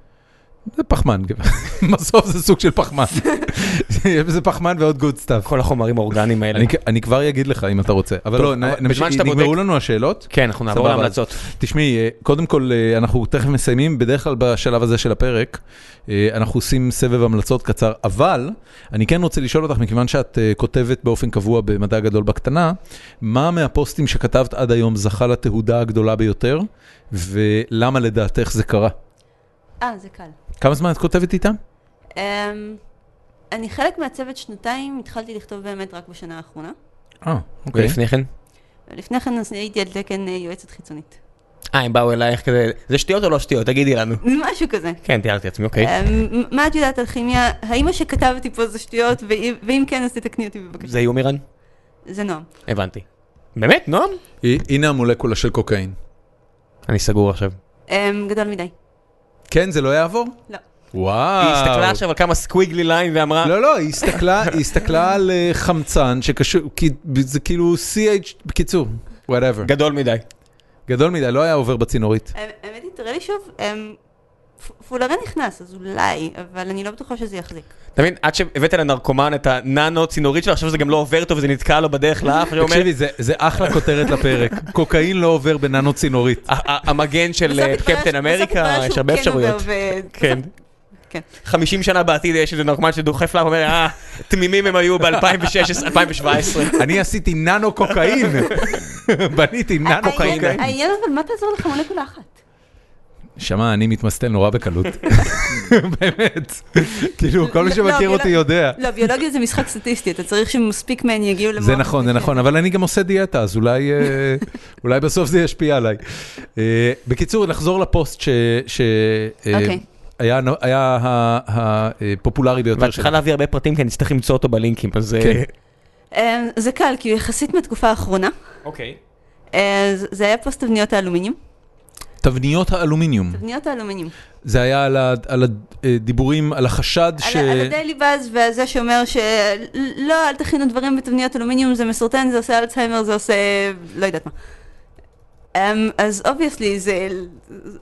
[SPEAKER 1] זה פחמן, בסוף זה סוג של פחמן. יש בזה פחמן ועוד גוד סטאפ.
[SPEAKER 2] כל החומרים האורגניים האלה.
[SPEAKER 1] אני- כן. אני כבר אגיד לך אם אתה רוצה, אבל
[SPEAKER 2] כן. טוב,
[SPEAKER 1] לא,
[SPEAKER 2] אבל
[SPEAKER 1] נ- נמשיך,
[SPEAKER 2] בזמן שאתה
[SPEAKER 1] נגמרו
[SPEAKER 2] בודק-
[SPEAKER 1] לנו השאלות.
[SPEAKER 2] כן, אנחנו נעבור
[SPEAKER 1] סבבה,
[SPEAKER 2] להמלצות.
[SPEAKER 1] אז תשמעי, אה, קודם כל, אה, אנחנו תכף מסיימים, בדרך כלל בשלב הזה של הפרק, אה, אנחנו עושים סבב המלצות קצר, אבל אני כן רוצה לשאול אותך, מכיוון שאת אה, כותבת באופן קבוע במדע גדול בקטנה, מה מהפוסטים שכתבת עד היום זכה לתהודה הגדולה ביותר, ולמה לדעתך זה קרה?
[SPEAKER 3] אה, זה קל.
[SPEAKER 1] כמה זמן את כותבת איתם?
[SPEAKER 3] אמ, אני חלק מהצוות שנתיים, התחלתי לכתוב באמת רק בשנה האחרונה.
[SPEAKER 1] אה, אוקיי.
[SPEAKER 2] ולפני כן?
[SPEAKER 3] לפני כן אז הייתי על תקן אה, יועצת חיצונית.
[SPEAKER 2] אה, הם באו אלייך כזה, זה שטויות או לא שטויות? תגידי לנו.
[SPEAKER 3] משהו כזה.
[SPEAKER 2] כן, תיארתי לעצמי, אוקיי.
[SPEAKER 3] אמ, מה את יודעת על כימיה? האם מה שכתבתי פה זה שטויות? ואם- ואם כן, אז תתקני אותי בבקשה.
[SPEAKER 2] זה יומירן?
[SPEAKER 3] זה נועם.
[SPEAKER 2] הבנתי. באמת, נועם?
[SPEAKER 1] הי- הנה המולקולה של קוקאין.
[SPEAKER 2] אני סגור עכשיו.
[SPEAKER 3] אמ, גדול מדי.
[SPEAKER 1] כן, זה לא יעבור?
[SPEAKER 3] לא.
[SPEAKER 1] וואו.
[SPEAKER 2] היא הסתכלה עכשיו על כמה סקוויגלי ליין ואמרה,
[SPEAKER 1] אה, לא, לא, היא הסתכלה, היא הסתכלה על אה, חמצן שקשור, כי- זה כאילו CH, בקיצור, whatever.
[SPEAKER 2] גדול מדי.
[SPEAKER 1] גדול מדי, לא היה עובר בצינורית.
[SPEAKER 3] האמ- אה, האמת היא, תראה לי שוב, אמ, פ- פולרה נכנס, אז אולי, אבל אני לא בטוחה שזה יחזיק.
[SPEAKER 2] אתה מבין, עד שהבאת לנרקומן את הננו צינורית שלו, עכשיו זה גם לא עובר טוב וזה נתקע לו בדרך לאף, והיא אומרת,
[SPEAKER 1] תקשיבי, זה- זה אחלה כותרת לפרק. קוקאין לא עובר בננו צינורית.
[SPEAKER 2] "ה- ה- המגן של
[SPEAKER 3] בסוף
[SPEAKER 2] אה,
[SPEAKER 3] התברר-
[SPEAKER 2] קפטן
[SPEAKER 3] בסוף
[SPEAKER 2] אמריקה,
[SPEAKER 3] התברר
[SPEAKER 2] יש
[SPEAKER 3] שהוא
[SPEAKER 2] הרבה
[SPEAKER 3] כן
[SPEAKER 2] אפשרויות.
[SPEAKER 3] עובר ו-
[SPEAKER 2] כן.
[SPEAKER 3] כן.
[SPEAKER 2] 50 שנה בעתיד יש איזה נרקומן שדוחף לה, ואומר, אה, תמימים הם היו ב-2016-2017.
[SPEAKER 1] אני עשיתי ננו קוקאין. בניתי ננו
[SPEAKER 3] העניין-
[SPEAKER 1] קוקאין. כן.
[SPEAKER 3] העניין אבל מה תעזור לך מולקולה אחת?
[SPEAKER 1] שמע, אני מתמסטל נורא בקלות. באמת. כאילו, כל מי
[SPEAKER 3] לא,
[SPEAKER 1] שמכיר
[SPEAKER 3] לא,
[SPEAKER 1] אותי
[SPEAKER 3] לא.
[SPEAKER 1] יודע.
[SPEAKER 3] לא, ביולוגיה זה משחק סטטיסטי, אתה צריך שמספיק מהן יגיעו למוח.
[SPEAKER 1] זה נכון, זה נכון, אבל אני גם עושה דיאטה, אז אולי, אה, אולי בסוף זה ישפיע עליי. אה, בקיצור, נחזור לפוסט ש- ש... אה,
[SPEAKER 3] אוקיי.
[SPEAKER 1] היה נו- היה ה- ה- הפופולרי ביותר
[SPEAKER 2] ואת צריכה
[SPEAKER 1] שלך.
[SPEAKER 2] להביא הרבה פרטים, כי אני אצטרך למצוא אותו בלינקים, אז... אה,
[SPEAKER 1] כן.
[SPEAKER 3] אמ, זה קל, כי הוא יחסית מהתקופה האחרונה.
[SPEAKER 2] אוקיי.
[SPEAKER 3] אה, זה- זה היה פוסט תבניות האלומיניום.
[SPEAKER 1] תבניות האלומיניום,
[SPEAKER 3] תבניות האלומיניום.
[SPEAKER 1] זה היה על ה- על הדיבורים, על החשד ש...
[SPEAKER 3] ש... על, על הדיילי באז והזה שאומר שלא, אל תכינו דברים בתבניות אלומיניום, זה מסרטן, זה עושה אלצהיימר, זה עושה... לא יודעת מה. Um, אז אובייסלי, זה,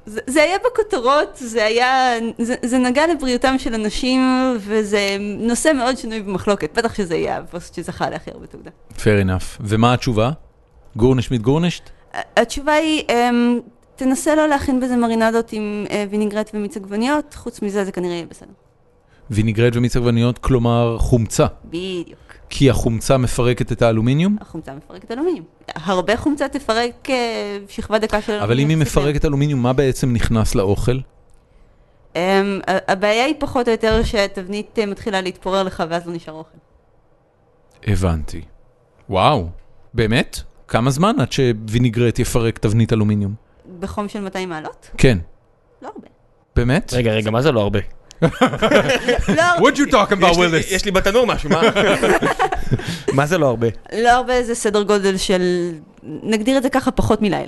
[SPEAKER 3] זה, זה היה בכותרות, זה היה, זה, זה נגע לבריאותם של אנשים, וזה נושא מאוד שנוי במחלוקת, בטח שזה יהיה הפוסט שזכה להכי הרבה תעודה.
[SPEAKER 1] Fair enough. ומה התשובה? גורנש מיט גורנשט?
[SPEAKER 3] ה- התשובה היא, um, תנסה לא להכין בזה מרינדות עם uh, וינגרט ומיץ עגבניות, חוץ מזה זה כנראה יהיה בסדר.
[SPEAKER 1] וינגרד ומיץ עגבניות, כלומר חומצה,
[SPEAKER 3] בדיוק.
[SPEAKER 1] כי החומצה מפרקת את האלומיניום,
[SPEAKER 3] החומצה מפרקת אלומיניום. הרבה חומצה תפרק אה, אוקיי. שכבה דקה של אלומיניום.
[SPEAKER 1] אבל אם היא
[SPEAKER 3] בסדר.
[SPEAKER 1] מפרקת אלומיניום, מה בעצם נכנס לאוכל?
[SPEAKER 3] אמ, ה- הבעיה היא פחות או יותר שהתבנית אה, מתחילה להתפורר לך ואז לא נשאר אוכל.
[SPEAKER 1] הבנתי. וואו, באמת? כמה זמן עד שווינגרט יפרק תבנית אלומיניום?
[SPEAKER 3] בחום של 200 מעלות?
[SPEAKER 1] כן.
[SPEAKER 3] לא הרבה.
[SPEAKER 1] באמת?
[SPEAKER 2] רגע, רגע, מה זה לא הרבה?
[SPEAKER 3] לא הרבה-
[SPEAKER 1] What you talking
[SPEAKER 2] יש לי- יש לי בתנור משהו, מה? מה זה לא הרבה?
[SPEAKER 3] לא הרבה זה סדר גודל של, נגדיר את זה ככה, פחות מלילה.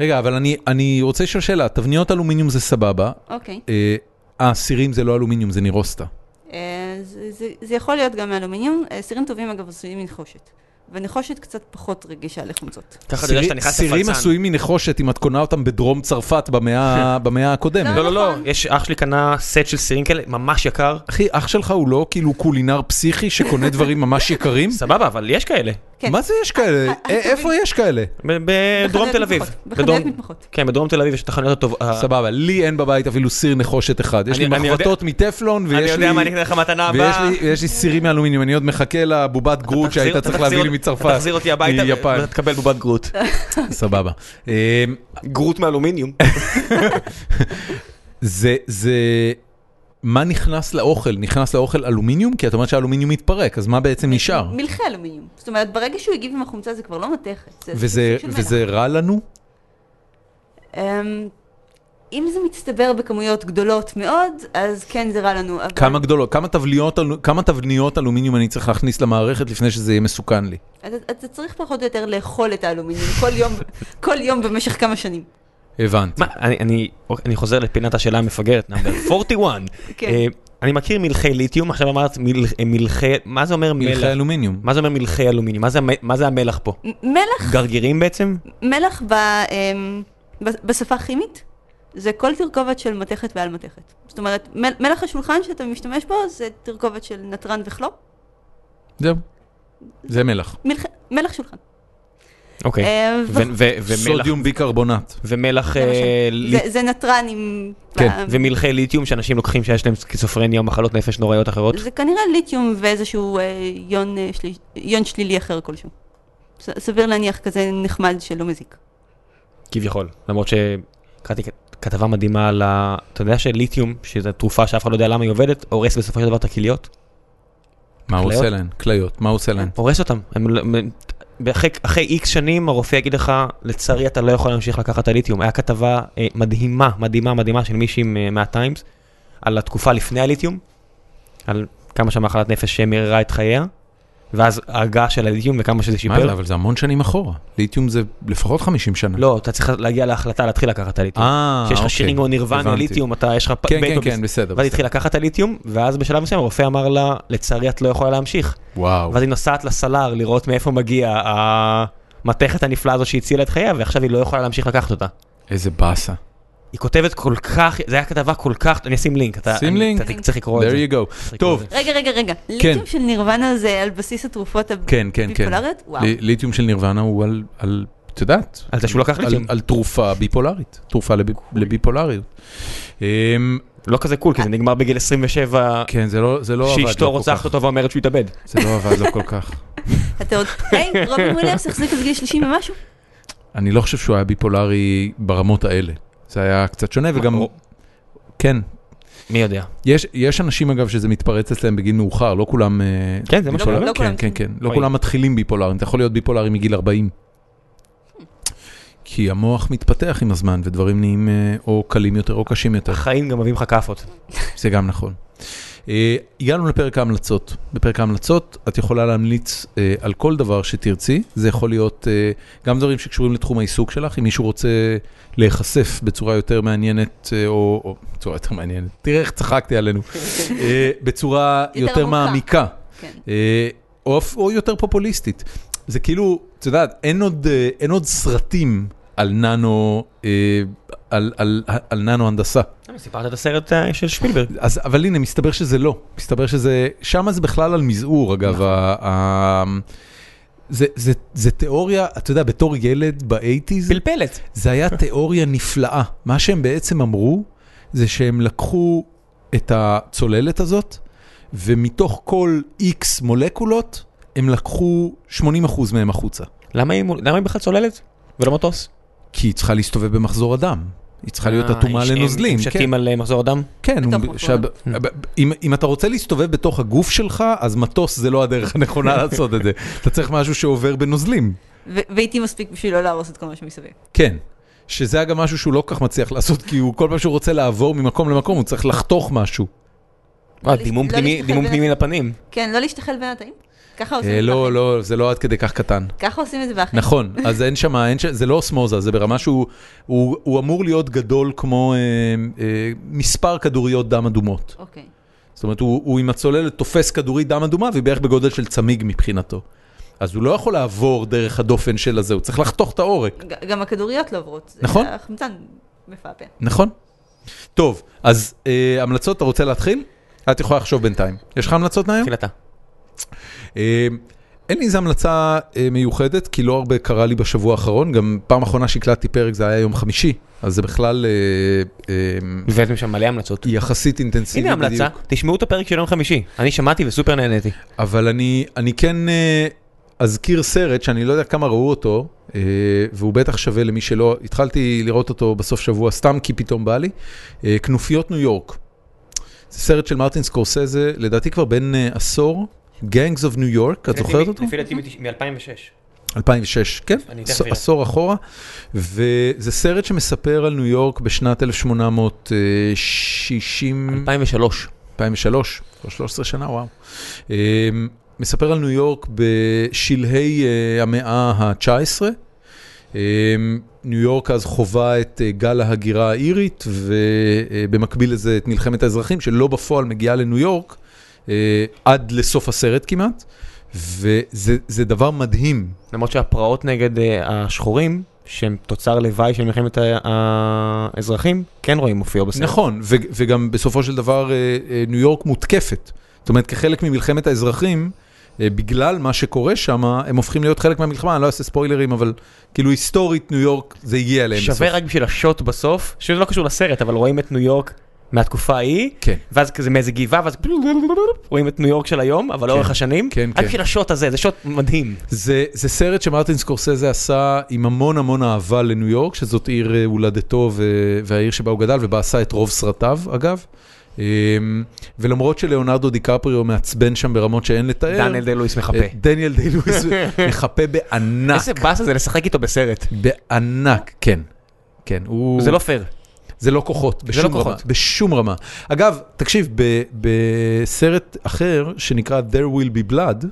[SPEAKER 1] רגע, אבל אני- אני רוצה לשאול שאלה, תבניות אלומיניום זה סבבה,
[SPEAKER 3] אוקיי.
[SPEAKER 1] אה, אה, סירים זה לא אלומיניום, זה נירוסטה.
[SPEAKER 3] אה, זה- זה- זה יכול להיות גם מאלומיניום. אה, סירים טובים אגב עשויים מנחושת. ונחושת קצת פחות רגישה לחומצות.
[SPEAKER 2] ככה אתה יודע שאתה
[SPEAKER 1] סירי-
[SPEAKER 2] נכנס
[SPEAKER 1] סירים
[SPEAKER 2] לפלצן.
[SPEAKER 1] עשויים מנחושת אם את קונה אותם בדרום צרפת במאה במאה הקודמת.
[SPEAKER 2] לא, לא, לא,
[SPEAKER 3] נכון.
[SPEAKER 2] יש, אח שלי קנה סט של סירים כאלה, ממש יקר.
[SPEAKER 1] אחי, אח שלך הוא לא כאילו קולינר פסיכי שקונה דברים ממש יקרים?
[SPEAKER 2] סבבה, אבל יש כאלה.
[SPEAKER 3] כן.
[SPEAKER 1] מה זה יש
[SPEAKER 2] אה,
[SPEAKER 1] כאלה? א- איפה יש כאלה?
[SPEAKER 2] ב- בדרום
[SPEAKER 3] בחנויות
[SPEAKER 2] תל אביב.
[SPEAKER 3] מתמחות.
[SPEAKER 2] בדרום-
[SPEAKER 3] בחנויות מתמחות.
[SPEAKER 2] כן, בדרום תל אביב יש את החנויות הטוב... אה, ה-
[SPEAKER 1] סבבה, לי אין בבית אפילו סיר נחושת אחד. יש לי
[SPEAKER 2] אני- אני יודע-
[SPEAKER 1] מחבטות מטפלון,
[SPEAKER 2] אני
[SPEAKER 1] ויש
[SPEAKER 2] יודע מה, אני
[SPEAKER 1] לי...
[SPEAKER 2] אקנה לך מתנה
[SPEAKER 1] ויש
[SPEAKER 2] הבאה.
[SPEAKER 1] לי, ויש לי סירים מאלומיניום, אני עוד מחכה לבובת גרוט
[SPEAKER 2] תחזיר-
[SPEAKER 1] שהיית
[SPEAKER 2] אתה
[SPEAKER 1] צריך
[SPEAKER 2] תחזיר
[SPEAKER 1] להביא לי
[SPEAKER 2] אותי-
[SPEAKER 1] מצרפת.
[SPEAKER 2] אתה תחזיר אותי הביתה
[SPEAKER 1] מיפן.
[SPEAKER 2] ואתה תקבל בובת גרוט.
[SPEAKER 1] סבבה. אמ,
[SPEAKER 2] גרוט מאלומיניום.
[SPEAKER 1] זה, זה, מה נכנס לאוכל? נכנס לאוכל אלומיניום? כי את אומרת שהאלומיניום מתפרק, אז מה בעצם נשאר?
[SPEAKER 3] מלחי אלומיניום. זאת אומרת, ברגע שהוא הגיב עם החומצה זה כבר לא מתכת. זה- זה
[SPEAKER 1] וזה,
[SPEAKER 3] סוג של מלח.
[SPEAKER 1] וזה רע לנו?
[SPEAKER 3] אמ, אם זה מצטבר בכמויות גדולות מאוד, אז כן זה רע לנו. אבל-
[SPEAKER 1] כמה גדולות, כמה תבניות, אלו- כמה תבניות אלומיניום אני צריך להכניס למערכת לפני שזה יהיה מסוכן לי?
[SPEAKER 3] אז אתה- אתה צריך פחות או יותר לאכול את האלומיניום כל יום, כל יום במשך כמה שנים.
[SPEAKER 1] הבנתי.
[SPEAKER 2] מה, אני, אני, אני חוזר לפינת השאלה המפגרת, נאמבר 41.
[SPEAKER 3] כן.
[SPEAKER 2] אה, אני מכיר מלחי ליתיום, עכשיו אמרת מל, אה, מלחי, מה זה אומר
[SPEAKER 1] מלחי
[SPEAKER 2] מלח?
[SPEAKER 1] אלומיניום.
[SPEAKER 2] מה זה אומר מלחי אלומיניום? מה זה, המ- מה זה המלח פה?
[SPEAKER 3] מ- מלח,
[SPEAKER 2] גרגירים בעצם?
[SPEAKER 3] מלח ב, אמ, ב- בשפה כימית, זה כל תרכובת של מתכת ועל מתכת. זאת אומרת, מל- מלח השולחן שאתה משתמש בו זה תרכובת של נתרן וכלום,
[SPEAKER 1] זהו. זה מלח.
[SPEAKER 3] מלח, מלח שולחן.
[SPEAKER 1] כן.
[SPEAKER 2] אוקיי.
[SPEAKER 3] אה,
[SPEAKER 2] ו-
[SPEAKER 3] ו-
[SPEAKER 2] ו- ומלח,
[SPEAKER 1] סודיום ביקרבונט.
[SPEAKER 2] ומלח,
[SPEAKER 3] למשל.
[SPEAKER 2] אה, ל-
[SPEAKER 3] זה, זה נתרן עם... אה,
[SPEAKER 1] כן,
[SPEAKER 3] ב-
[SPEAKER 2] ומלחי ליתיום שאנשים לוקחים שיש להם סקיזופרניה או מחלות נפש נוראיות אחרות?
[SPEAKER 3] זה כנראה ליתיום ואיזשהו אה, יון, אה, שלי, יון שלילי אחר כלשהו. ס, סביר להניח כזה נחמד שלא מזיק.
[SPEAKER 2] כביכול. למרות שקראתי כ- כתבה מדהימה על ה... אתה יודע שליתיום, שזו תרופה שאף אחד לא יודע למה היא עובדת, הורס בסופו של דבר את הכליות?
[SPEAKER 1] מה הוא
[SPEAKER 2] כליות?
[SPEAKER 1] עושה להן? כליות, מה הוא עושה להן?
[SPEAKER 2] הורס אותם. הם... לא- הם- אחרי, אחרי איקס שנים הרופא יגיד לך, לצערי אתה לא יכול להמשיך לקחת את הליתיום. היה כתבה אה, מדהימה, מדהימה, מדהימה של מישהי מ- מהטיימס, על התקופה לפני הליתיום, על כמה שהמחלת נפש מררה את חייה, ואז ההגעה של הליתיום וכמה שזה
[SPEAKER 1] מה
[SPEAKER 2] שיפר.
[SPEAKER 1] זה, אבל זה המון שנים אחורה. ליתיום זה לפחות 50 שנה.
[SPEAKER 2] לא, אתה צריך להגיע להחלטה להתחיל לקחת את הליתיום.
[SPEAKER 1] אה,
[SPEAKER 2] שיש לך
[SPEAKER 1] אוקיי,
[SPEAKER 2] שירינג או נירוונה,
[SPEAKER 1] הבנתי.
[SPEAKER 2] ליתיום, אתה, יש לך... פ-
[SPEAKER 1] כן,
[SPEAKER 2] בית
[SPEAKER 1] כן,
[SPEAKER 2] בביס-
[SPEAKER 1] כן, בסדר.
[SPEAKER 2] ואז
[SPEAKER 1] בסדר.
[SPEAKER 2] התחיל לקחת את הליתיום, ואז בשלב מסוים הרופא אמר לה, לצערי את לא יכולה להמשיך.
[SPEAKER 1] וואו.
[SPEAKER 2] ואז היא נוסעת לסלר לראות מאיפה מגיע המתכת הנפלאה הזו שהצילה את חייה, ועכשיו היא לא יכולה להמשיך לקחת אותה.
[SPEAKER 1] איזה באסה.
[SPEAKER 2] היא כותבת כל כך, זה היה כתבה כל כך, אני אשים לינק, אתה,
[SPEAKER 1] שים
[SPEAKER 2] אני,
[SPEAKER 1] לינק.
[SPEAKER 2] אתה צריך לקרוא את זה.
[SPEAKER 1] There you go.
[SPEAKER 2] לקרוא
[SPEAKER 1] טוב,
[SPEAKER 2] את זה.
[SPEAKER 3] רגע, רגע, רגע. ליתיום של נירוונה זה על בסיס התרופות
[SPEAKER 1] כן, כן, כן.
[SPEAKER 3] הביפולריות? וואו.
[SPEAKER 1] ל- ליתיום של נירוונה הוא על- על, את יודעת,
[SPEAKER 2] על זה שהוא לקח אוקיי.
[SPEAKER 1] על-
[SPEAKER 2] ליתיום.
[SPEAKER 1] על תרופה ביפולרית, תרופה לב- לביפולריות. אמ,
[SPEAKER 2] לא כזה קול, כי זה נגמר בגיל 27,
[SPEAKER 1] כן, זה לא זה לא עבד לו כל כך.
[SPEAKER 2] שאשתו רוצחת אותו ואומרת שהוא התאבד.
[SPEAKER 1] זה לא עבד לו כל כך.
[SPEAKER 3] אתה עוד... היי, רובין וויליאמס החזיק עד גיל 30 ומשהו?
[SPEAKER 1] אני לא חושב שהוא היה ביפולרי ברמות האלה. זה היה קצת שונה, וגם...
[SPEAKER 2] או-
[SPEAKER 1] כן.
[SPEAKER 2] מי יודע.
[SPEAKER 1] יש, יש אנשים אגב שזה מתפרץ אצלם בגיל מאוחר, לא כולם... אה,
[SPEAKER 2] כן, זה מה
[SPEAKER 1] ביפולר-
[SPEAKER 2] שאני
[SPEAKER 3] לא
[SPEAKER 1] כן,
[SPEAKER 3] כולם.
[SPEAKER 1] כן, כן. לא
[SPEAKER 2] אוי.
[SPEAKER 1] כולם מתחילים ביפולרים, אתה יכול להיות ביפולרי מגיל 40. כי המוח מתפתח עם הזמן, ודברים נהיים אה, או קלים יותר או קשים יותר.
[SPEAKER 2] החיים גם מביאים לך כאפות.
[SPEAKER 1] זה גם נכון. אה, הגענו לפרק ההמלצות. בפרק ההמלצות את יכולה להמליץ אה, על כל דבר שתרצי. זה יכול להיות אה, גם דברים שקשורים לתחום העיסוק שלך. אם מישהו רוצה להיחשף בצורה יותר מעניינת, אה, או, או בצורה יותר מעניינת, תראה איך צחקתי עלינו, אה, בצורה
[SPEAKER 3] יותר
[SPEAKER 1] יותר
[SPEAKER 3] עמוקה.
[SPEAKER 1] מעמיקה,
[SPEAKER 3] כן.
[SPEAKER 1] אה, או, אפ- או יותר פופוליסטית. זה כאילו, את יודעת, אין עוד, אה, אין עוד סרטים על ננו, אה, על, על, על, על ננו הנדסה.
[SPEAKER 2] סיפרת את הסרט אה, של שפילברג.
[SPEAKER 1] אז, אבל הנה, מסתבר שזה לא. מסתבר שזה... שם זה בכלל על מזעור, אגב.
[SPEAKER 2] נכון.
[SPEAKER 1] ה, ה, זה, זה, זה תיאוריה, אתה יודע, בתור ילד באייטיז,
[SPEAKER 2] פלפלת.
[SPEAKER 1] זה היה תיאוריה נפלאה. מה שהם בעצם אמרו, זה שהם לקחו את הצוללת הזאת, ומתוך כל איקס מולקולות, הם לקחו 80% מהם החוצה.
[SPEAKER 2] למה היא מול- למה היא בכלל צוללת? ולא מטוס?
[SPEAKER 1] כי היא צריכה להסתובב במחזור הדם. היא צריכה להיות
[SPEAKER 2] אה,
[SPEAKER 1] אטומה
[SPEAKER 2] הם- הם
[SPEAKER 1] לנוזלים. כן.
[SPEAKER 2] שתים על אה, מחזור הדם?
[SPEAKER 1] כן,
[SPEAKER 3] בתוך
[SPEAKER 1] הוא-
[SPEAKER 3] מקום.
[SPEAKER 1] שב- אם- אם אתה רוצה להסתובב בתוך הגוף שלך, אז מטוס זה לא הדרך הנכונה לעשות את זה. אתה צריך משהו שעובר בנוזלים.
[SPEAKER 3] ו- ואיתי מספיק בשביל לא להרוס את כל מה שמסביב.
[SPEAKER 1] כן. שזה אגב משהו שהוא לא כל כך מצליח לעשות, כי הוא כל פעם שהוא רוצה לעבור ממקום למקום, הוא צריך לחתוך משהו.
[SPEAKER 2] אה, דימום
[SPEAKER 3] לא
[SPEAKER 2] פנימי-
[SPEAKER 3] להסתכל
[SPEAKER 2] דימום
[SPEAKER 3] בין-
[SPEAKER 2] פנימי לפנים.
[SPEAKER 3] כן, לא להשתחל בין התאים? ככה עושים
[SPEAKER 1] אה,
[SPEAKER 3] את זה
[SPEAKER 1] לא,
[SPEAKER 3] באחים.
[SPEAKER 1] לא, זה לא עד כדי כך קטן.
[SPEAKER 3] ככה עושים את זה באחים.
[SPEAKER 1] נכון, אז אין שם, אין שם, זה לא אוסמוזה, זה ברמה שהוא הוא, הוא אמור להיות גדול כמו אה, אה, מספר כדוריות דם אדומות.
[SPEAKER 3] אוקיי.
[SPEAKER 1] זאת אומרת, הוא, הוא עם הצוללת תופס כדורית דם אדומה, והיא בערך בגודל של צמיג מבחינתו. אז הוא לא יכול לעבור דרך הדופן של הזה, הוא צריך לחתוך את העורק.
[SPEAKER 3] ג- גם הכדוריות לא עוברות. זה-
[SPEAKER 1] נכון.
[SPEAKER 3] החמצן מפעפע.
[SPEAKER 1] נכון. טוב, אז אה, המלצות, אתה רוצה להתחיל? את יכולה לחשוב בינתיים. יש לך המלצות מהיום?
[SPEAKER 2] תחילתה.
[SPEAKER 1] אה, אין לי איזו המלצה אה, מיוחדת, כי לא הרבה קרה לי בשבוע האחרון. גם פעם אחרונה שהקלטתי פרק זה היה יום חמישי, אז זה בכלל אה, אה,
[SPEAKER 2] הבאתם שם מלא המלצות.
[SPEAKER 1] יחסית אינטנסיבי
[SPEAKER 2] הנה המלצה, תשמעו את הפרק של יום חמישי. אני שמעתי וסופר נהניתי.
[SPEAKER 1] אבל אני, אני כן אה, אזכיר סרט שאני לא יודע כמה ראו אותו, אה, והוא בטח שווה למי שלא, התחלתי לראות אותו בסוף שבוע סתם כי פתאום בא לי, אה, כנופיות ניו יורק. זה סרט של מרטין סקורסזה, לדעתי כבר בן אה, עשור, Gangs of New York, את זוכרת אותו?
[SPEAKER 2] לפי דעתי מ-2006.
[SPEAKER 1] 2006, כן,
[SPEAKER 2] אני תכף
[SPEAKER 1] עש-
[SPEAKER 2] אראה.
[SPEAKER 1] עשור אחורה, וזה סרט שמספר על ניו יורק בשנת אה, 1860,
[SPEAKER 2] 2003.
[SPEAKER 1] 2003, כבר 13 שנה, וואו. אמ, מספר על ניו יורק בשלהי אה, המאה ה-19. ניו יורק אז חווה את אה, גל ההגירה האירית, ובמקביל לזה את מלחמת האזרחים, שלא בפועל מגיעה לניו יורק אה, עד לסוף הסרט כמעט, וזה זה דבר מדהים.
[SPEAKER 2] למרות שהפרעות נגד אה, השחורים, שהם תוצר לוואי של מלחמת ה- האזרחים, כן רואים מופיע בסרט.
[SPEAKER 1] נכון, ו- וגם בסופו של דבר אה, אה, ניו יורק מותקפת. זאת אומרת, כחלק ממלחמת האזרחים, אה, בגלל מה שקורה שם, הם הופכים להיות חלק מהמלחמה, אני לא אעשה ספוילרים, אבל כאילו היסטורית ניו יורק, זה הגיע אליהם
[SPEAKER 2] שווה רק בשביל השוט בסוף, שזה לא קשור לסרט, אבל רואים את ניו יורק מהתקופה ההיא,
[SPEAKER 1] כן.
[SPEAKER 2] ואז כזה מאיזה גבעה, ואז רואים את ניו יורק של היום, אבל לאורך השנים,
[SPEAKER 1] כן,
[SPEAKER 2] רק
[SPEAKER 1] כן.
[SPEAKER 2] בשביל השוט הזה, זה שוט מדהים.
[SPEAKER 1] זה, זה סרט שמרטין סקורסזה עשה עם המון המון אהבה לניו יורק, שזאת עיר אה, הולדתו ו... והעיר שבה הוא גדל, ובה עשה את רוב סרטיו, אגב. אה, ולמרות שלאונרדו דיקפריו מעצבן שם ברמות שאין לתאר,
[SPEAKER 2] דניאל דה לואיס מחפה.
[SPEAKER 1] אה, דניאל די לואיס מחפה בענק.
[SPEAKER 2] איזה באסה זה לשחק איתו בסרט.
[SPEAKER 1] בענק, כן. כן, הוא...
[SPEAKER 2] זה לא פייר.
[SPEAKER 1] זה לא כוחות, בשום
[SPEAKER 2] לא
[SPEAKER 1] רמה.
[SPEAKER 2] כוחות.
[SPEAKER 1] בשום רמה. אגב, תקשיב, ב- בסרט אחר שנקרא There Will Be Blood,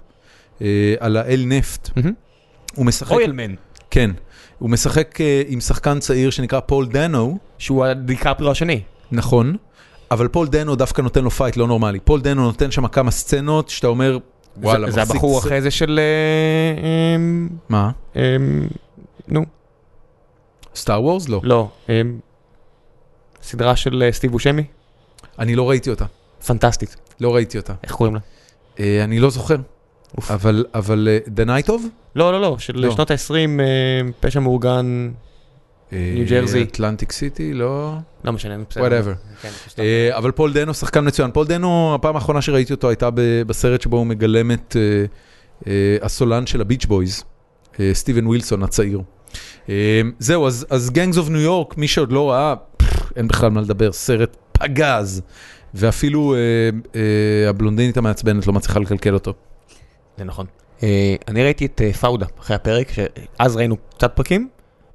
[SPEAKER 1] אה, על האל נפט, הוא משחק...
[SPEAKER 2] אוילמן,
[SPEAKER 1] כן. הוא משחק אה, עם שחקן צעיר שנקרא פול דנו,
[SPEAKER 2] שהוא הדיקפריו השני.
[SPEAKER 1] נכון, אבל פול דנו דווקא נותן לו פייט לא נורמלי. פול דנו נותן שם כמה סצנות שאתה אומר, וואלה,
[SPEAKER 2] זה- זה
[SPEAKER 1] מחזיק
[SPEAKER 2] הבחור
[SPEAKER 1] ס-
[SPEAKER 2] אחרי זה של... אה, אמ,
[SPEAKER 1] מה?
[SPEAKER 2] אמ, נו,
[SPEAKER 1] סטאר וורס? לא.
[SPEAKER 2] לא. אמ, סדרה של אה, סטיב בושמי?
[SPEAKER 1] אני לא ראיתי אותה.
[SPEAKER 2] פנטסטית.
[SPEAKER 1] לא ראיתי אותה.
[SPEAKER 2] איך קוראים לה?
[SPEAKER 1] אה, אני לא זוכר.
[SPEAKER 2] אוף.
[SPEAKER 1] אבל, אבל, אה, The Night of?
[SPEAKER 2] לא, לא, לא, של
[SPEAKER 1] לא.
[SPEAKER 2] שנות ה-20, פשע מאורגן, ניו ג'רזי.
[SPEAKER 1] אטלנטיק סיטי, אה, לא...
[SPEAKER 2] לא משנה, נו, בסדר.
[SPEAKER 1] וואטאבר.
[SPEAKER 2] כן, פשוט-
[SPEAKER 1] אה, אבל פול דנו שחקן מצוין. פול דנו, הפעם האחרונה שראיתי אותו הייתה ב- בסרט שבו הוא מגלם את אה, אה, הסולן של הביץ' בויז, אה, סטיבן ווילסון הצעיר. אה, זהו, אז- אז גנגס אוף ניו יורק, מי שעוד לא ראה, פפ, אין בכלל מה לדבר, סרט פגז. ואפילו אה, אה, הבלונדינית המעצבנת לא מצליחה לקלקל אותו.
[SPEAKER 2] זה נכון. אה, אני ראיתי את אה, פאודה אחרי הפרק, שאז ראינו קצת פרקים,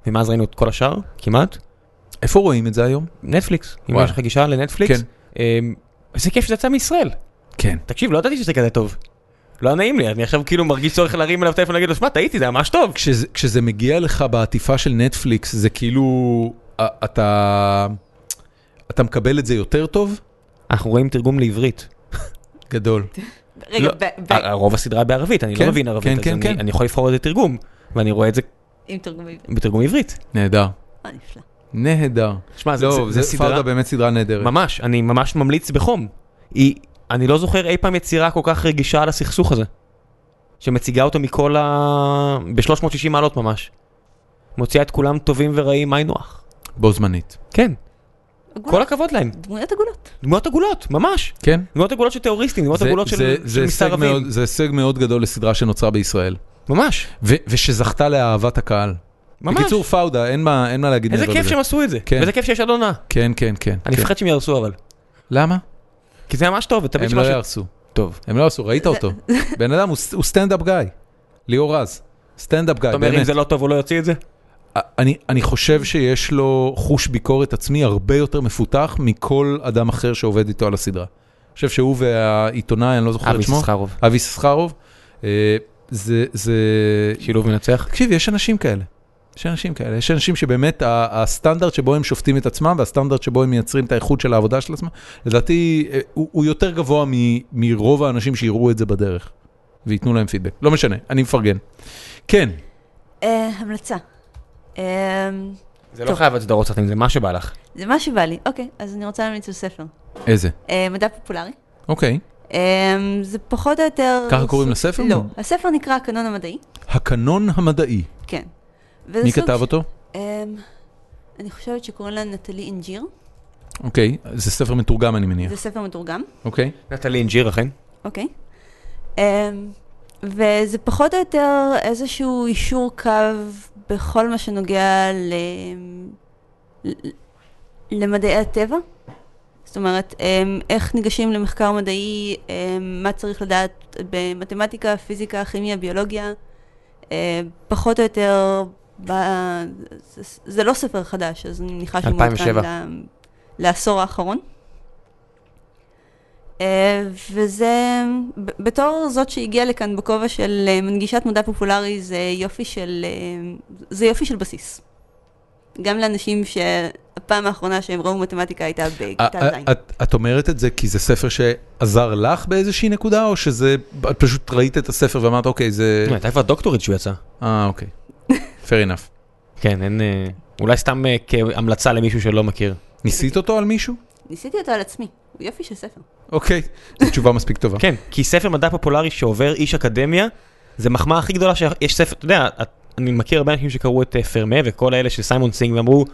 [SPEAKER 2] ומאז ראינו את כל השאר, כמעט.
[SPEAKER 1] איפה רואים את זה היום?
[SPEAKER 2] נטפליקס, אם
[SPEAKER 1] וואלה.
[SPEAKER 2] יש לך גישה לנטפליקס.
[SPEAKER 1] כן.
[SPEAKER 2] אמ, איזה כיף שזה יצא מישראל.
[SPEAKER 1] כן.
[SPEAKER 2] תקשיב, לא ידעתי שזה כזה טוב. לא היה נעים לי, אני עכשיו כאילו מרגיש צורך להרים אליו טלפון ולהגיד לו, שמע, טעיתי, זה ממש טוב.
[SPEAKER 1] כשזה, כשזה מגיע לך בעטיפה של נטפליקס, זה כאילו, א- אתה, אתה מקבל את זה יותר טוב?
[SPEAKER 2] אנחנו רואים תרגום לעברית.
[SPEAKER 1] גדול.
[SPEAKER 3] רגע,
[SPEAKER 2] לא,
[SPEAKER 3] ב-
[SPEAKER 1] אה,
[SPEAKER 3] ב-
[SPEAKER 2] ה- רוב הסדרה בערבית, אני לא
[SPEAKER 1] כן,
[SPEAKER 2] מבין ערבית,
[SPEAKER 1] כן,
[SPEAKER 2] אז
[SPEAKER 1] כן,
[SPEAKER 2] אני-
[SPEAKER 1] כן.
[SPEAKER 2] אני יכול לבחור איזה תרגום, ואני רואה את זה
[SPEAKER 3] עם תרגום עברית.
[SPEAKER 2] בתרגום עברית.
[SPEAKER 1] נהדר.
[SPEAKER 3] אה, נפלא.
[SPEAKER 1] נהדר.
[SPEAKER 2] שמע, זה-
[SPEAKER 1] לא,
[SPEAKER 2] זה-
[SPEAKER 1] זה
[SPEAKER 2] זה סדרה,
[SPEAKER 1] פרדה באמת סדרה נהדרת.
[SPEAKER 2] ממש, אני ממש ממליץ בחום. היא, אני לא זוכר אי פעם יצירה כל כך רגישה על הסכסוך הזה. שמציגה אותו מכל ה... ב-360 מעלות ממש. מוציאה את כולם טובים ורעים, מה נוח.
[SPEAKER 1] בו זמנית.
[SPEAKER 2] כן, כל
[SPEAKER 3] עגולות.
[SPEAKER 2] הכבוד להם.
[SPEAKER 3] דמויות עגולות.
[SPEAKER 2] דמויות עגולות, ממש.
[SPEAKER 1] כן?
[SPEAKER 2] דמויות עגולות של טרוריסטים, דמויות
[SPEAKER 1] זה-
[SPEAKER 2] עגולות
[SPEAKER 1] זה-
[SPEAKER 2] של
[SPEAKER 1] זה
[SPEAKER 2] של
[SPEAKER 1] הישג מאוד-
[SPEAKER 2] מסתערבים.
[SPEAKER 1] זה הישג מאוד גדול לסדרה שנוצרה בישראל.
[SPEAKER 2] ממש,
[SPEAKER 1] ו- ושזכתה לאהבת הקהל.
[SPEAKER 2] ממש.
[SPEAKER 1] בקיצור, פאודה, אין מה אין מה להגיד
[SPEAKER 2] איזה
[SPEAKER 1] מעבר
[SPEAKER 2] כיף
[SPEAKER 1] לזה.
[SPEAKER 2] שהם עשו את זה.
[SPEAKER 1] כן.
[SPEAKER 2] ואיזה כיף שיש עד עונה.
[SPEAKER 1] כן, כן, כן.
[SPEAKER 2] אני
[SPEAKER 1] כן.
[SPEAKER 2] מפחד שהם יהרסו אבל.
[SPEAKER 1] למה?
[SPEAKER 2] כי זה ממש טוב, ותמיד
[SPEAKER 1] הם לא
[SPEAKER 2] שמשהו...
[SPEAKER 1] יהרסו.
[SPEAKER 2] טוב.
[SPEAKER 1] הם לא עשו, ראית אותו. בן אדם, הוא ס- הוא סטנדאפ גיא. ליאור רז. סטנדאפ גיא,
[SPEAKER 2] אתה אומר, אם
[SPEAKER 1] באמת.
[SPEAKER 2] זה לא טוב, הוא לא יוציא את זה?
[SPEAKER 1] אני, אני חושב שיש לו חוש ביקורת עצמי הרבה יותר מפותח מכל אדם אחר שעובד איתו על הסדרה. אני חושב שהוא והעיתונאי, אני לא זוכר את שמו.
[SPEAKER 2] יששכרוב.
[SPEAKER 1] אבי סחרוב. אה, זה, זה...
[SPEAKER 2] שילוב מנצח.
[SPEAKER 1] תקשיב, יש אנשים כאלה. יש אנשים כאלה. יש אנשים שבאמת ה- הסטנדרט שבו הם שופטים את עצמם והסטנדרט שבו הם מייצרים את האיכות של העבודה של עצמם, לדעתי אה, הוא, הוא יותר גבוה מ, מרוב האנשים שיראו את זה בדרך וייתנו להם פידבק. לא משנה, אני מפרגן. כן,
[SPEAKER 3] אה, המלצה. אמ,
[SPEAKER 2] זה
[SPEAKER 3] טוב.
[SPEAKER 2] לא חייב להיות סדרות סרטים, זה מה שבא לך.
[SPEAKER 3] זה מה שבא לי. אוקיי, אז אני רוצה להמליץ על ספר.
[SPEAKER 1] איזה?
[SPEAKER 3] אה, מדע פופולרי.
[SPEAKER 1] אוקיי.
[SPEAKER 3] אמ, זה פחות או יותר...
[SPEAKER 1] ככה קוראים לספר?
[SPEAKER 3] לא. הספר נקרא הקנון המדעי.
[SPEAKER 1] הקנון המדעי.
[SPEAKER 3] כן. וזה
[SPEAKER 1] מי
[SPEAKER 3] סוג
[SPEAKER 1] כתב
[SPEAKER 3] ש-
[SPEAKER 1] אותו?
[SPEAKER 3] אמ, אני חושבת שקוראים לה נטלי אינג'יר.
[SPEAKER 1] אוקיי, זה ספר מתורגם אני מניח.
[SPEAKER 3] זה ספר מתורגם,
[SPEAKER 1] אוקיי.
[SPEAKER 2] נטלי כן? אינג'יר, אכן.
[SPEAKER 3] אוקיי? אמ, וזה פחות או יותר איזשהו אישור קו בכל מה שנוגע ל... ל- למדעי הטבע. זאת אומרת, אמ, איך ניגשים למחקר מדעי, אמ, מה צריך לדעת במתמטיקה, פיזיקה, כימיה, ביולוגיה, אמ, אה, פחות או יותר, ב... זה, זה לא ספר חדש, אז אני מניחה שהוא
[SPEAKER 2] 2007.
[SPEAKER 3] ל... לעשור האחרון. אה, וזה, ב- בתור זאת שהגיעה לכאן בכובע של אה, מנגישת מדע פופולרי, זה יופי של, אה, זה יופי של בסיס. גם לאנשים שהפעם האחרונה שהם ראו מתמטיקה הייתה
[SPEAKER 1] אה,
[SPEAKER 3] בכיתה ז'.
[SPEAKER 1] את, את אומרת את זה כי זה ספר שעזר לך באיזושהי נקודה, או שזה, את פשוט ראית את הספר ואמרת, אוקיי, זה...
[SPEAKER 2] תראה, הייתה כבר דוקטורית שהוא יצא.
[SPEAKER 1] אה, אוקיי. fair enough.
[SPEAKER 2] כן, אין... אה, אולי סתם אה, כהמלצה למישהו שלא מכיר.
[SPEAKER 1] ניסית אותו על מישהו?
[SPEAKER 3] ניסיתי אותו על עצמי, הוא יופי של ספר.
[SPEAKER 1] אוקיי, זו תשובה מספיק טובה.
[SPEAKER 2] כן, כי ספר מדע פופולרי שעובר איש אקדמיה, זה מחמאה הכי גדולה שיש ספר, אתה יודע, את- אני מכיר הרבה אנשים שקראו את אה, פרמה וכל האלה של סיימון סינג ואמרו,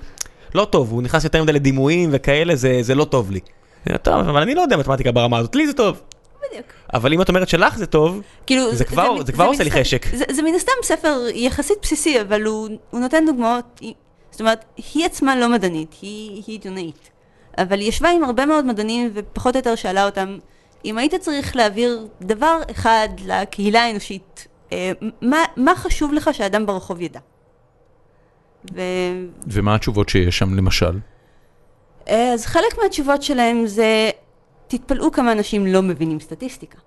[SPEAKER 2] לא טוב, הוא נכנס יותר מדי לדימויים וכאלה, זה, זה לא טוב לי. אני אומר, טוב, אבל אני לא יודע מתמטיקה ברמה הזאת, לי זה טוב.
[SPEAKER 3] בדיוק.
[SPEAKER 2] אבל אם את אומרת שלך זה טוב,
[SPEAKER 3] כאילו,
[SPEAKER 2] זה כבר-
[SPEAKER 3] מין-
[SPEAKER 2] זה כבר
[SPEAKER 3] מן
[SPEAKER 2] עושה לי
[SPEAKER 3] הסתם-
[SPEAKER 2] חשק.
[SPEAKER 3] זה, זה מן הסתם ספר יחסית בסיסי, אבל הוא, הוא נותן דוגמאות, היא- זאת אומרת, היא עצמה לא מדענית, היא, היא עיתונאית. אבל היא ישבה עם הרבה מאוד מדענים, ופחות או יותר שאלה אותם, אם היית צריך להעביר דבר אחד לקהילה האנושית, אה, מה, מה חשוב לך שאדם ברחוב ידע? ו...
[SPEAKER 1] ומה התשובות שיש שם, למשל?
[SPEAKER 3] אה, אז חלק מהתשובות שלהם זה, תתפלאו כמה אנשים לא מבינים סטטיסטיקה.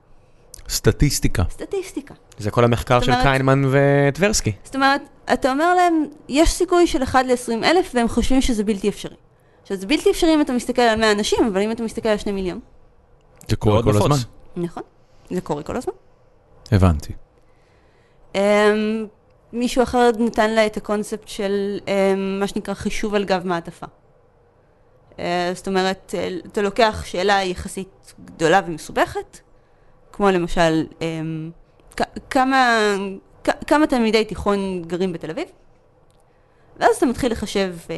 [SPEAKER 1] סטטיסטיקה.
[SPEAKER 3] סטטיסטיקה.
[SPEAKER 2] זה כל המחקר
[SPEAKER 3] זאת
[SPEAKER 2] של
[SPEAKER 3] אומרת-
[SPEAKER 2] קיינמן וטברסקי.
[SPEAKER 3] זאת אומרת, אתה אומר להם, יש סיכוי של 1 ל-20 אלף, והם חושבים שזה בלתי אפשרי. עכשיו, זה בלתי אפשרי אם אתה מסתכל על 100 אנשים, אבל אם אתה מסתכל על 2 מיליון,
[SPEAKER 1] זה קורה
[SPEAKER 2] מאוד
[SPEAKER 1] כל
[SPEAKER 2] נפוץ.
[SPEAKER 1] הזמן.
[SPEAKER 3] נכון, זה קורה כל הזמן.
[SPEAKER 1] הבנתי.
[SPEAKER 3] Um, מישהו אחר נתן לה את הקונספט של um, מה שנקרא חישוב על גב מעטפה. Uh, זאת אומרת, אה, אתה לוקח שאלה יחסית גדולה ומסובכת, כמו למשל, um, כ- כמה, כ- כמה תלמידי תיכון גרים בתל אביב? ואז אתה מתחיל לחשב, אה,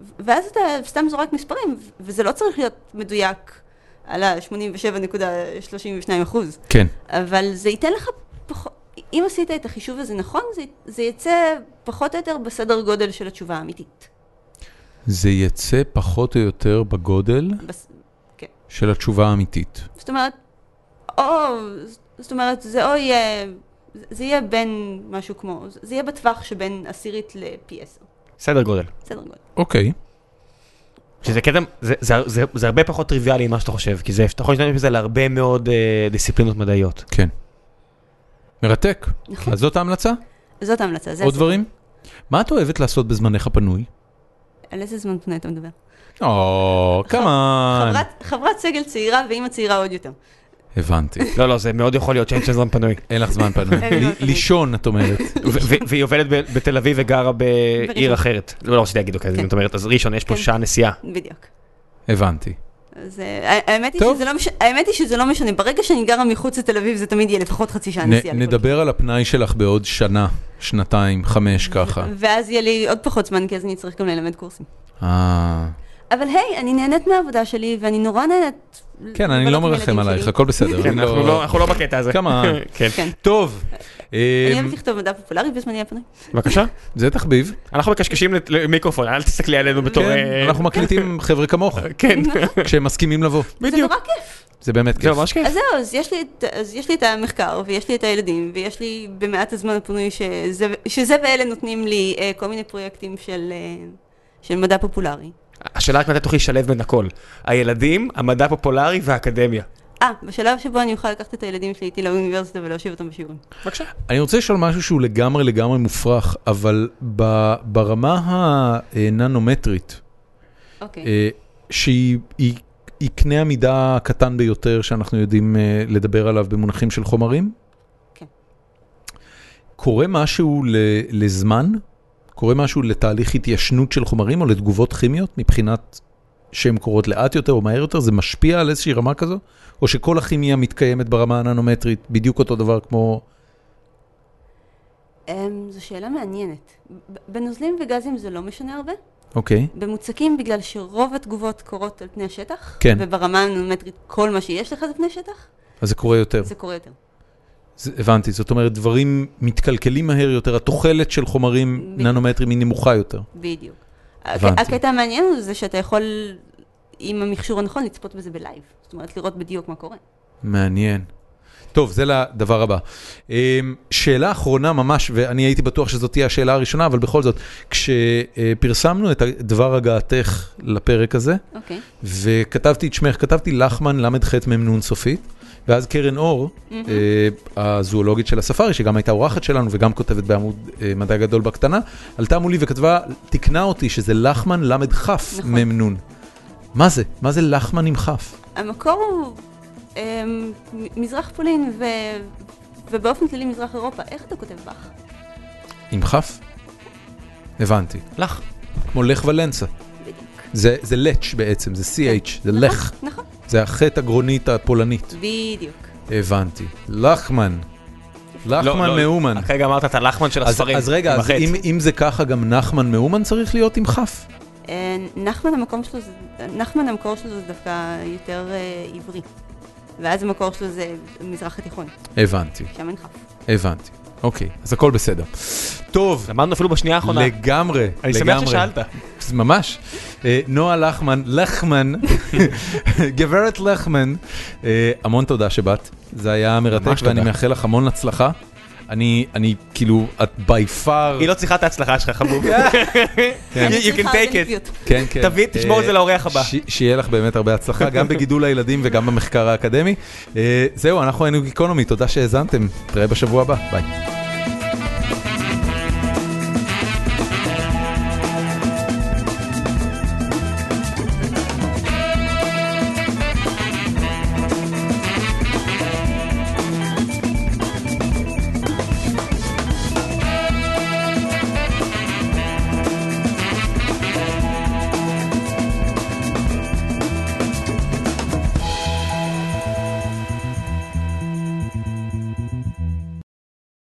[SPEAKER 3] ו- ואז אתה סתם זורק מספרים, ו- וזה לא צריך להיות מדויק על ה-87.32 אחוז.
[SPEAKER 1] כן.
[SPEAKER 3] אבל זה ייתן לך פחות, אם עשית את החישוב הזה נכון, זה, זה יצא פחות או יותר בסדר גודל של התשובה האמיתית.
[SPEAKER 1] זה יצא פחות או יותר בגודל
[SPEAKER 3] בס...
[SPEAKER 1] של התשובה האמיתית.
[SPEAKER 3] זאת אומרת, או, זאת אומרת, זה או יהיה, זה יהיה בין משהו כמו, זה יהיה בטווח שבין עשירית לפי עשר,
[SPEAKER 2] סדר גודל.
[SPEAKER 3] בסדר גודל.
[SPEAKER 1] אוקיי.
[SPEAKER 2] שזה קטע, זה, זה, זה, זה הרבה פחות טריוויאלי ממה שאתה חושב, כי זה, אתה יכול להשתמש בזה להרבה מאוד אה, דיסציפלינות מדעיות.
[SPEAKER 1] כן. מרתק.
[SPEAKER 3] נכון.
[SPEAKER 1] אז זאת ההמלצה?
[SPEAKER 3] זאת ההמלצה, זה
[SPEAKER 1] עוד
[SPEAKER 3] הסדר.
[SPEAKER 1] דברים? מה את אוהבת לעשות בזמנך הפנוי?
[SPEAKER 3] על איזה זמן פנוי אתה מדבר?
[SPEAKER 1] אה, או, כמובן.
[SPEAKER 3] חברת, חברת סגל צעירה ואימא צעירה עוד יותר.
[SPEAKER 1] הבנתי.
[SPEAKER 2] לא, לא, זה מאוד יכול להיות שאין שזמן פנוי.
[SPEAKER 1] אין לך זמן פנוי.
[SPEAKER 3] אין לי זמן
[SPEAKER 1] ל-
[SPEAKER 3] פנוי.
[SPEAKER 1] לישון, את אומרת.
[SPEAKER 2] ו- ו- והיא עובדת ב- בתל אביב וגרה בעיר
[SPEAKER 3] בראשון.
[SPEAKER 2] אחרת. לא לא רציתי להגיד אוקיי, אז
[SPEAKER 3] כן.
[SPEAKER 2] אם את אומרת, אז ראשון, יש פה
[SPEAKER 3] כן.
[SPEAKER 2] שעה נסיעה.
[SPEAKER 3] בדיוק.
[SPEAKER 1] הבנתי.
[SPEAKER 3] אז אה, הא- האמת היא,
[SPEAKER 1] טוב.
[SPEAKER 3] שזה לא מש... האמת היא שזה לא משנה, ברגע שאני גרה מחוץ לתל אביב זה תמיד יהיה לפחות חצי שעה
[SPEAKER 1] נ-
[SPEAKER 3] נסיעה. לכל
[SPEAKER 1] נדבר על הפנאי שלך בעוד שנה, שנתיים, חמש, ככה.
[SPEAKER 3] ואז יהיה לי עוד פחות זמן, כי אז אני אצטרך גם ללמד קורסים.
[SPEAKER 1] אה...
[SPEAKER 3] אבל היי, אני נהנית מהעבודה שלי, ואני נורא נהנית...
[SPEAKER 1] כן, אני
[SPEAKER 3] לבלות
[SPEAKER 1] לא
[SPEAKER 3] עם
[SPEAKER 1] מרחם
[SPEAKER 3] הילדים
[SPEAKER 1] עלייך,
[SPEAKER 3] שלי.
[SPEAKER 1] הכל בסדר.
[SPEAKER 2] כן,
[SPEAKER 1] אני
[SPEAKER 2] אנחנו לא- אנחנו לא בקטע הזה.
[SPEAKER 1] כמה?
[SPEAKER 2] כן.
[SPEAKER 3] כן.
[SPEAKER 1] טוב,
[SPEAKER 3] אני
[SPEAKER 1] אה,
[SPEAKER 3] אוהבת לכתוב מדע פופולרי בזמני הפנוי.
[SPEAKER 2] בבקשה.
[SPEAKER 1] זה תחביב.
[SPEAKER 2] אנחנו מקשקשים לת- למיקרופון, אל תסתכלי עלינו בתור...
[SPEAKER 1] כן,
[SPEAKER 2] אה,
[SPEAKER 1] אנחנו מקליטים חבר'ה כמוך,
[SPEAKER 2] כן,
[SPEAKER 1] כשהם מסכימים לבוא.
[SPEAKER 3] זה
[SPEAKER 2] בדיוק.
[SPEAKER 3] נורא כיף.
[SPEAKER 1] זה באמת לא,
[SPEAKER 2] זה
[SPEAKER 1] כיף.
[SPEAKER 2] ממש כיף.
[SPEAKER 3] אז זהו, אז יש לי את- אז יש לי את המחקר, ויש לי את הילדים, ויש לי במעט הזמן הפנוי שזה- שזה ואלה נותנים לי אה, כל מיני פרויקטים של... אה, של מדע פופולרי.
[SPEAKER 2] השאלה רק מתי תוכלי לשלב בין הכל. הילדים, המדע הפופולרי והאקדמיה.
[SPEAKER 3] אה, בשלב שבו אני אוכל לקחת את הילדים שלי איתי לאוניברסיטה ולהושיב אותם בשיעורים.
[SPEAKER 2] בבקשה.
[SPEAKER 1] אני רוצה לשאול משהו שהוא לגמרי לגמרי מופרך, אבל ב- ברמה הננומטרית,
[SPEAKER 3] אוקיי.
[SPEAKER 1] אה, שהיא היא- היא קנה המידה הקטן ביותר שאנחנו יודעים אה, לדבר עליו במונחים של חומרים.
[SPEAKER 3] כן.
[SPEAKER 1] קורה משהו ל- לזמן? קורה משהו לתהליך התיישנות של חומרים או לתגובות כימיות מבחינת שהן קורות לאט יותר או מהר יותר? זה משפיע על איזושהי רמה כזו? או שכל הכימיה מתקיימת ברמה הננומטרית בדיוק אותו דבר כמו...
[SPEAKER 3] אמ, זו שאלה מעניינת. ב- בנוזלים וגזים זה לא משנה הרבה.
[SPEAKER 1] אוקיי.
[SPEAKER 3] במוצקים, בגלל שרוב התגובות קורות על פני השטח,
[SPEAKER 1] כן.
[SPEAKER 3] וברמה הנומטרית כל מה שיש לך זה פני שטח,
[SPEAKER 1] אז זה קורה יותר.
[SPEAKER 3] זה קורה יותר.
[SPEAKER 1] זה, הבנתי, זאת אומרת, דברים מתקלקלים מהר יותר, התוחלת של חומרים
[SPEAKER 3] בדיוק.
[SPEAKER 1] ננומטרים היא נמוכה יותר.
[SPEAKER 3] בדיוק.
[SPEAKER 1] הבנתי.
[SPEAKER 3] הבנתי. הקטע המעניין הוא זה שאתה יכול, עם המכשור הנכון, לצפות בזה בלייב. זאת אומרת, לראות בדיוק מה קורה.
[SPEAKER 1] מעניין. טוב, זה לדבר הבא. אמ, שאלה אחרונה ממש, ואני הייתי בטוח שזאת תהיה השאלה הראשונה, אבל בכל זאת, כשפרסמנו את דבר הגעתך לפרק הזה,
[SPEAKER 3] אוקיי.
[SPEAKER 1] וכתבתי את שמך, כתבתי לחמן ל"ח מ"נ סופית, ואז קרן אור, אה, הזואולוגית של הספארי, שגם הייתה אורחת שלנו וגם כותבת בעמוד אה, מדע גדול בקטנה, עלתה מולי וכתבה, תיקנה אותי שזה לחמן ל"כ
[SPEAKER 3] נכון.
[SPEAKER 1] מ"נ. מה זה? מה זה לחמן עם כף?
[SPEAKER 3] המקור הוא אמ, מ- מזרח פולין ו... ובאופן כללי מזרח אירופה. איך אתה כותב באך?
[SPEAKER 1] עם כף? הבנתי.
[SPEAKER 2] לך.
[SPEAKER 1] כמו לך ולנסה.
[SPEAKER 3] בדיוק.
[SPEAKER 1] זה, זה לץ' בעצם, זה CH, זה
[SPEAKER 2] כן.
[SPEAKER 3] נכון,
[SPEAKER 1] לך.
[SPEAKER 3] נכון,
[SPEAKER 1] זה החטא הגרונית הפולנית.
[SPEAKER 3] בדיוק.
[SPEAKER 1] הבנתי. לחמן.
[SPEAKER 2] לא,
[SPEAKER 1] לחמן מאומן.
[SPEAKER 2] כרגע אמרת את הלחמן של
[SPEAKER 1] אז,
[SPEAKER 2] הספרים.
[SPEAKER 1] אז רגע,
[SPEAKER 2] עם
[SPEAKER 1] אז
[SPEAKER 2] החץ.
[SPEAKER 1] אם, אם זה ככה, גם נחמן מאומן צריך להיות עם כף.
[SPEAKER 3] אה, נחמן המקום שלו, זה- נחמן המקור שלו זה דווקא יותר אה, עברי. ואז המקור שלו זה מזרח התיכון,
[SPEAKER 1] הבנתי,
[SPEAKER 3] שם אין כף.
[SPEAKER 1] הבנתי. אוקיי, אז הכל בסדר. טוב,
[SPEAKER 2] למדנו אפילו בשנייה האחרונה.
[SPEAKER 1] לגמרי,
[SPEAKER 2] אני שמח
[SPEAKER 1] לגמרי.
[SPEAKER 2] ששאלת.
[SPEAKER 1] ממש. אה, נועה לחמן, לחמן, גברת לחמן, אה, המון תודה שבאת, זה היה מרתק
[SPEAKER 2] ממש
[SPEAKER 1] ואני
[SPEAKER 2] תודה.
[SPEAKER 1] מאחל לך המון הצלחה. אני, אני כאילו, את by far,
[SPEAKER 2] היא לא צריכה את ההצלחה שלך, חבוב.
[SPEAKER 1] כן.
[SPEAKER 2] You can take it.
[SPEAKER 1] כן, כן.
[SPEAKER 2] תביא, תשמור את זה
[SPEAKER 1] אה,
[SPEAKER 2] לאורח הבא.
[SPEAKER 1] ש- שיהיה לך באמת הרבה הצלחה, גם בגידול הילדים וגם במחקר האקדמי. אה, זהו, אנחנו היינו גיקונומי, תודה שהאזנתם, נתראה בשבוע הבא, ביי.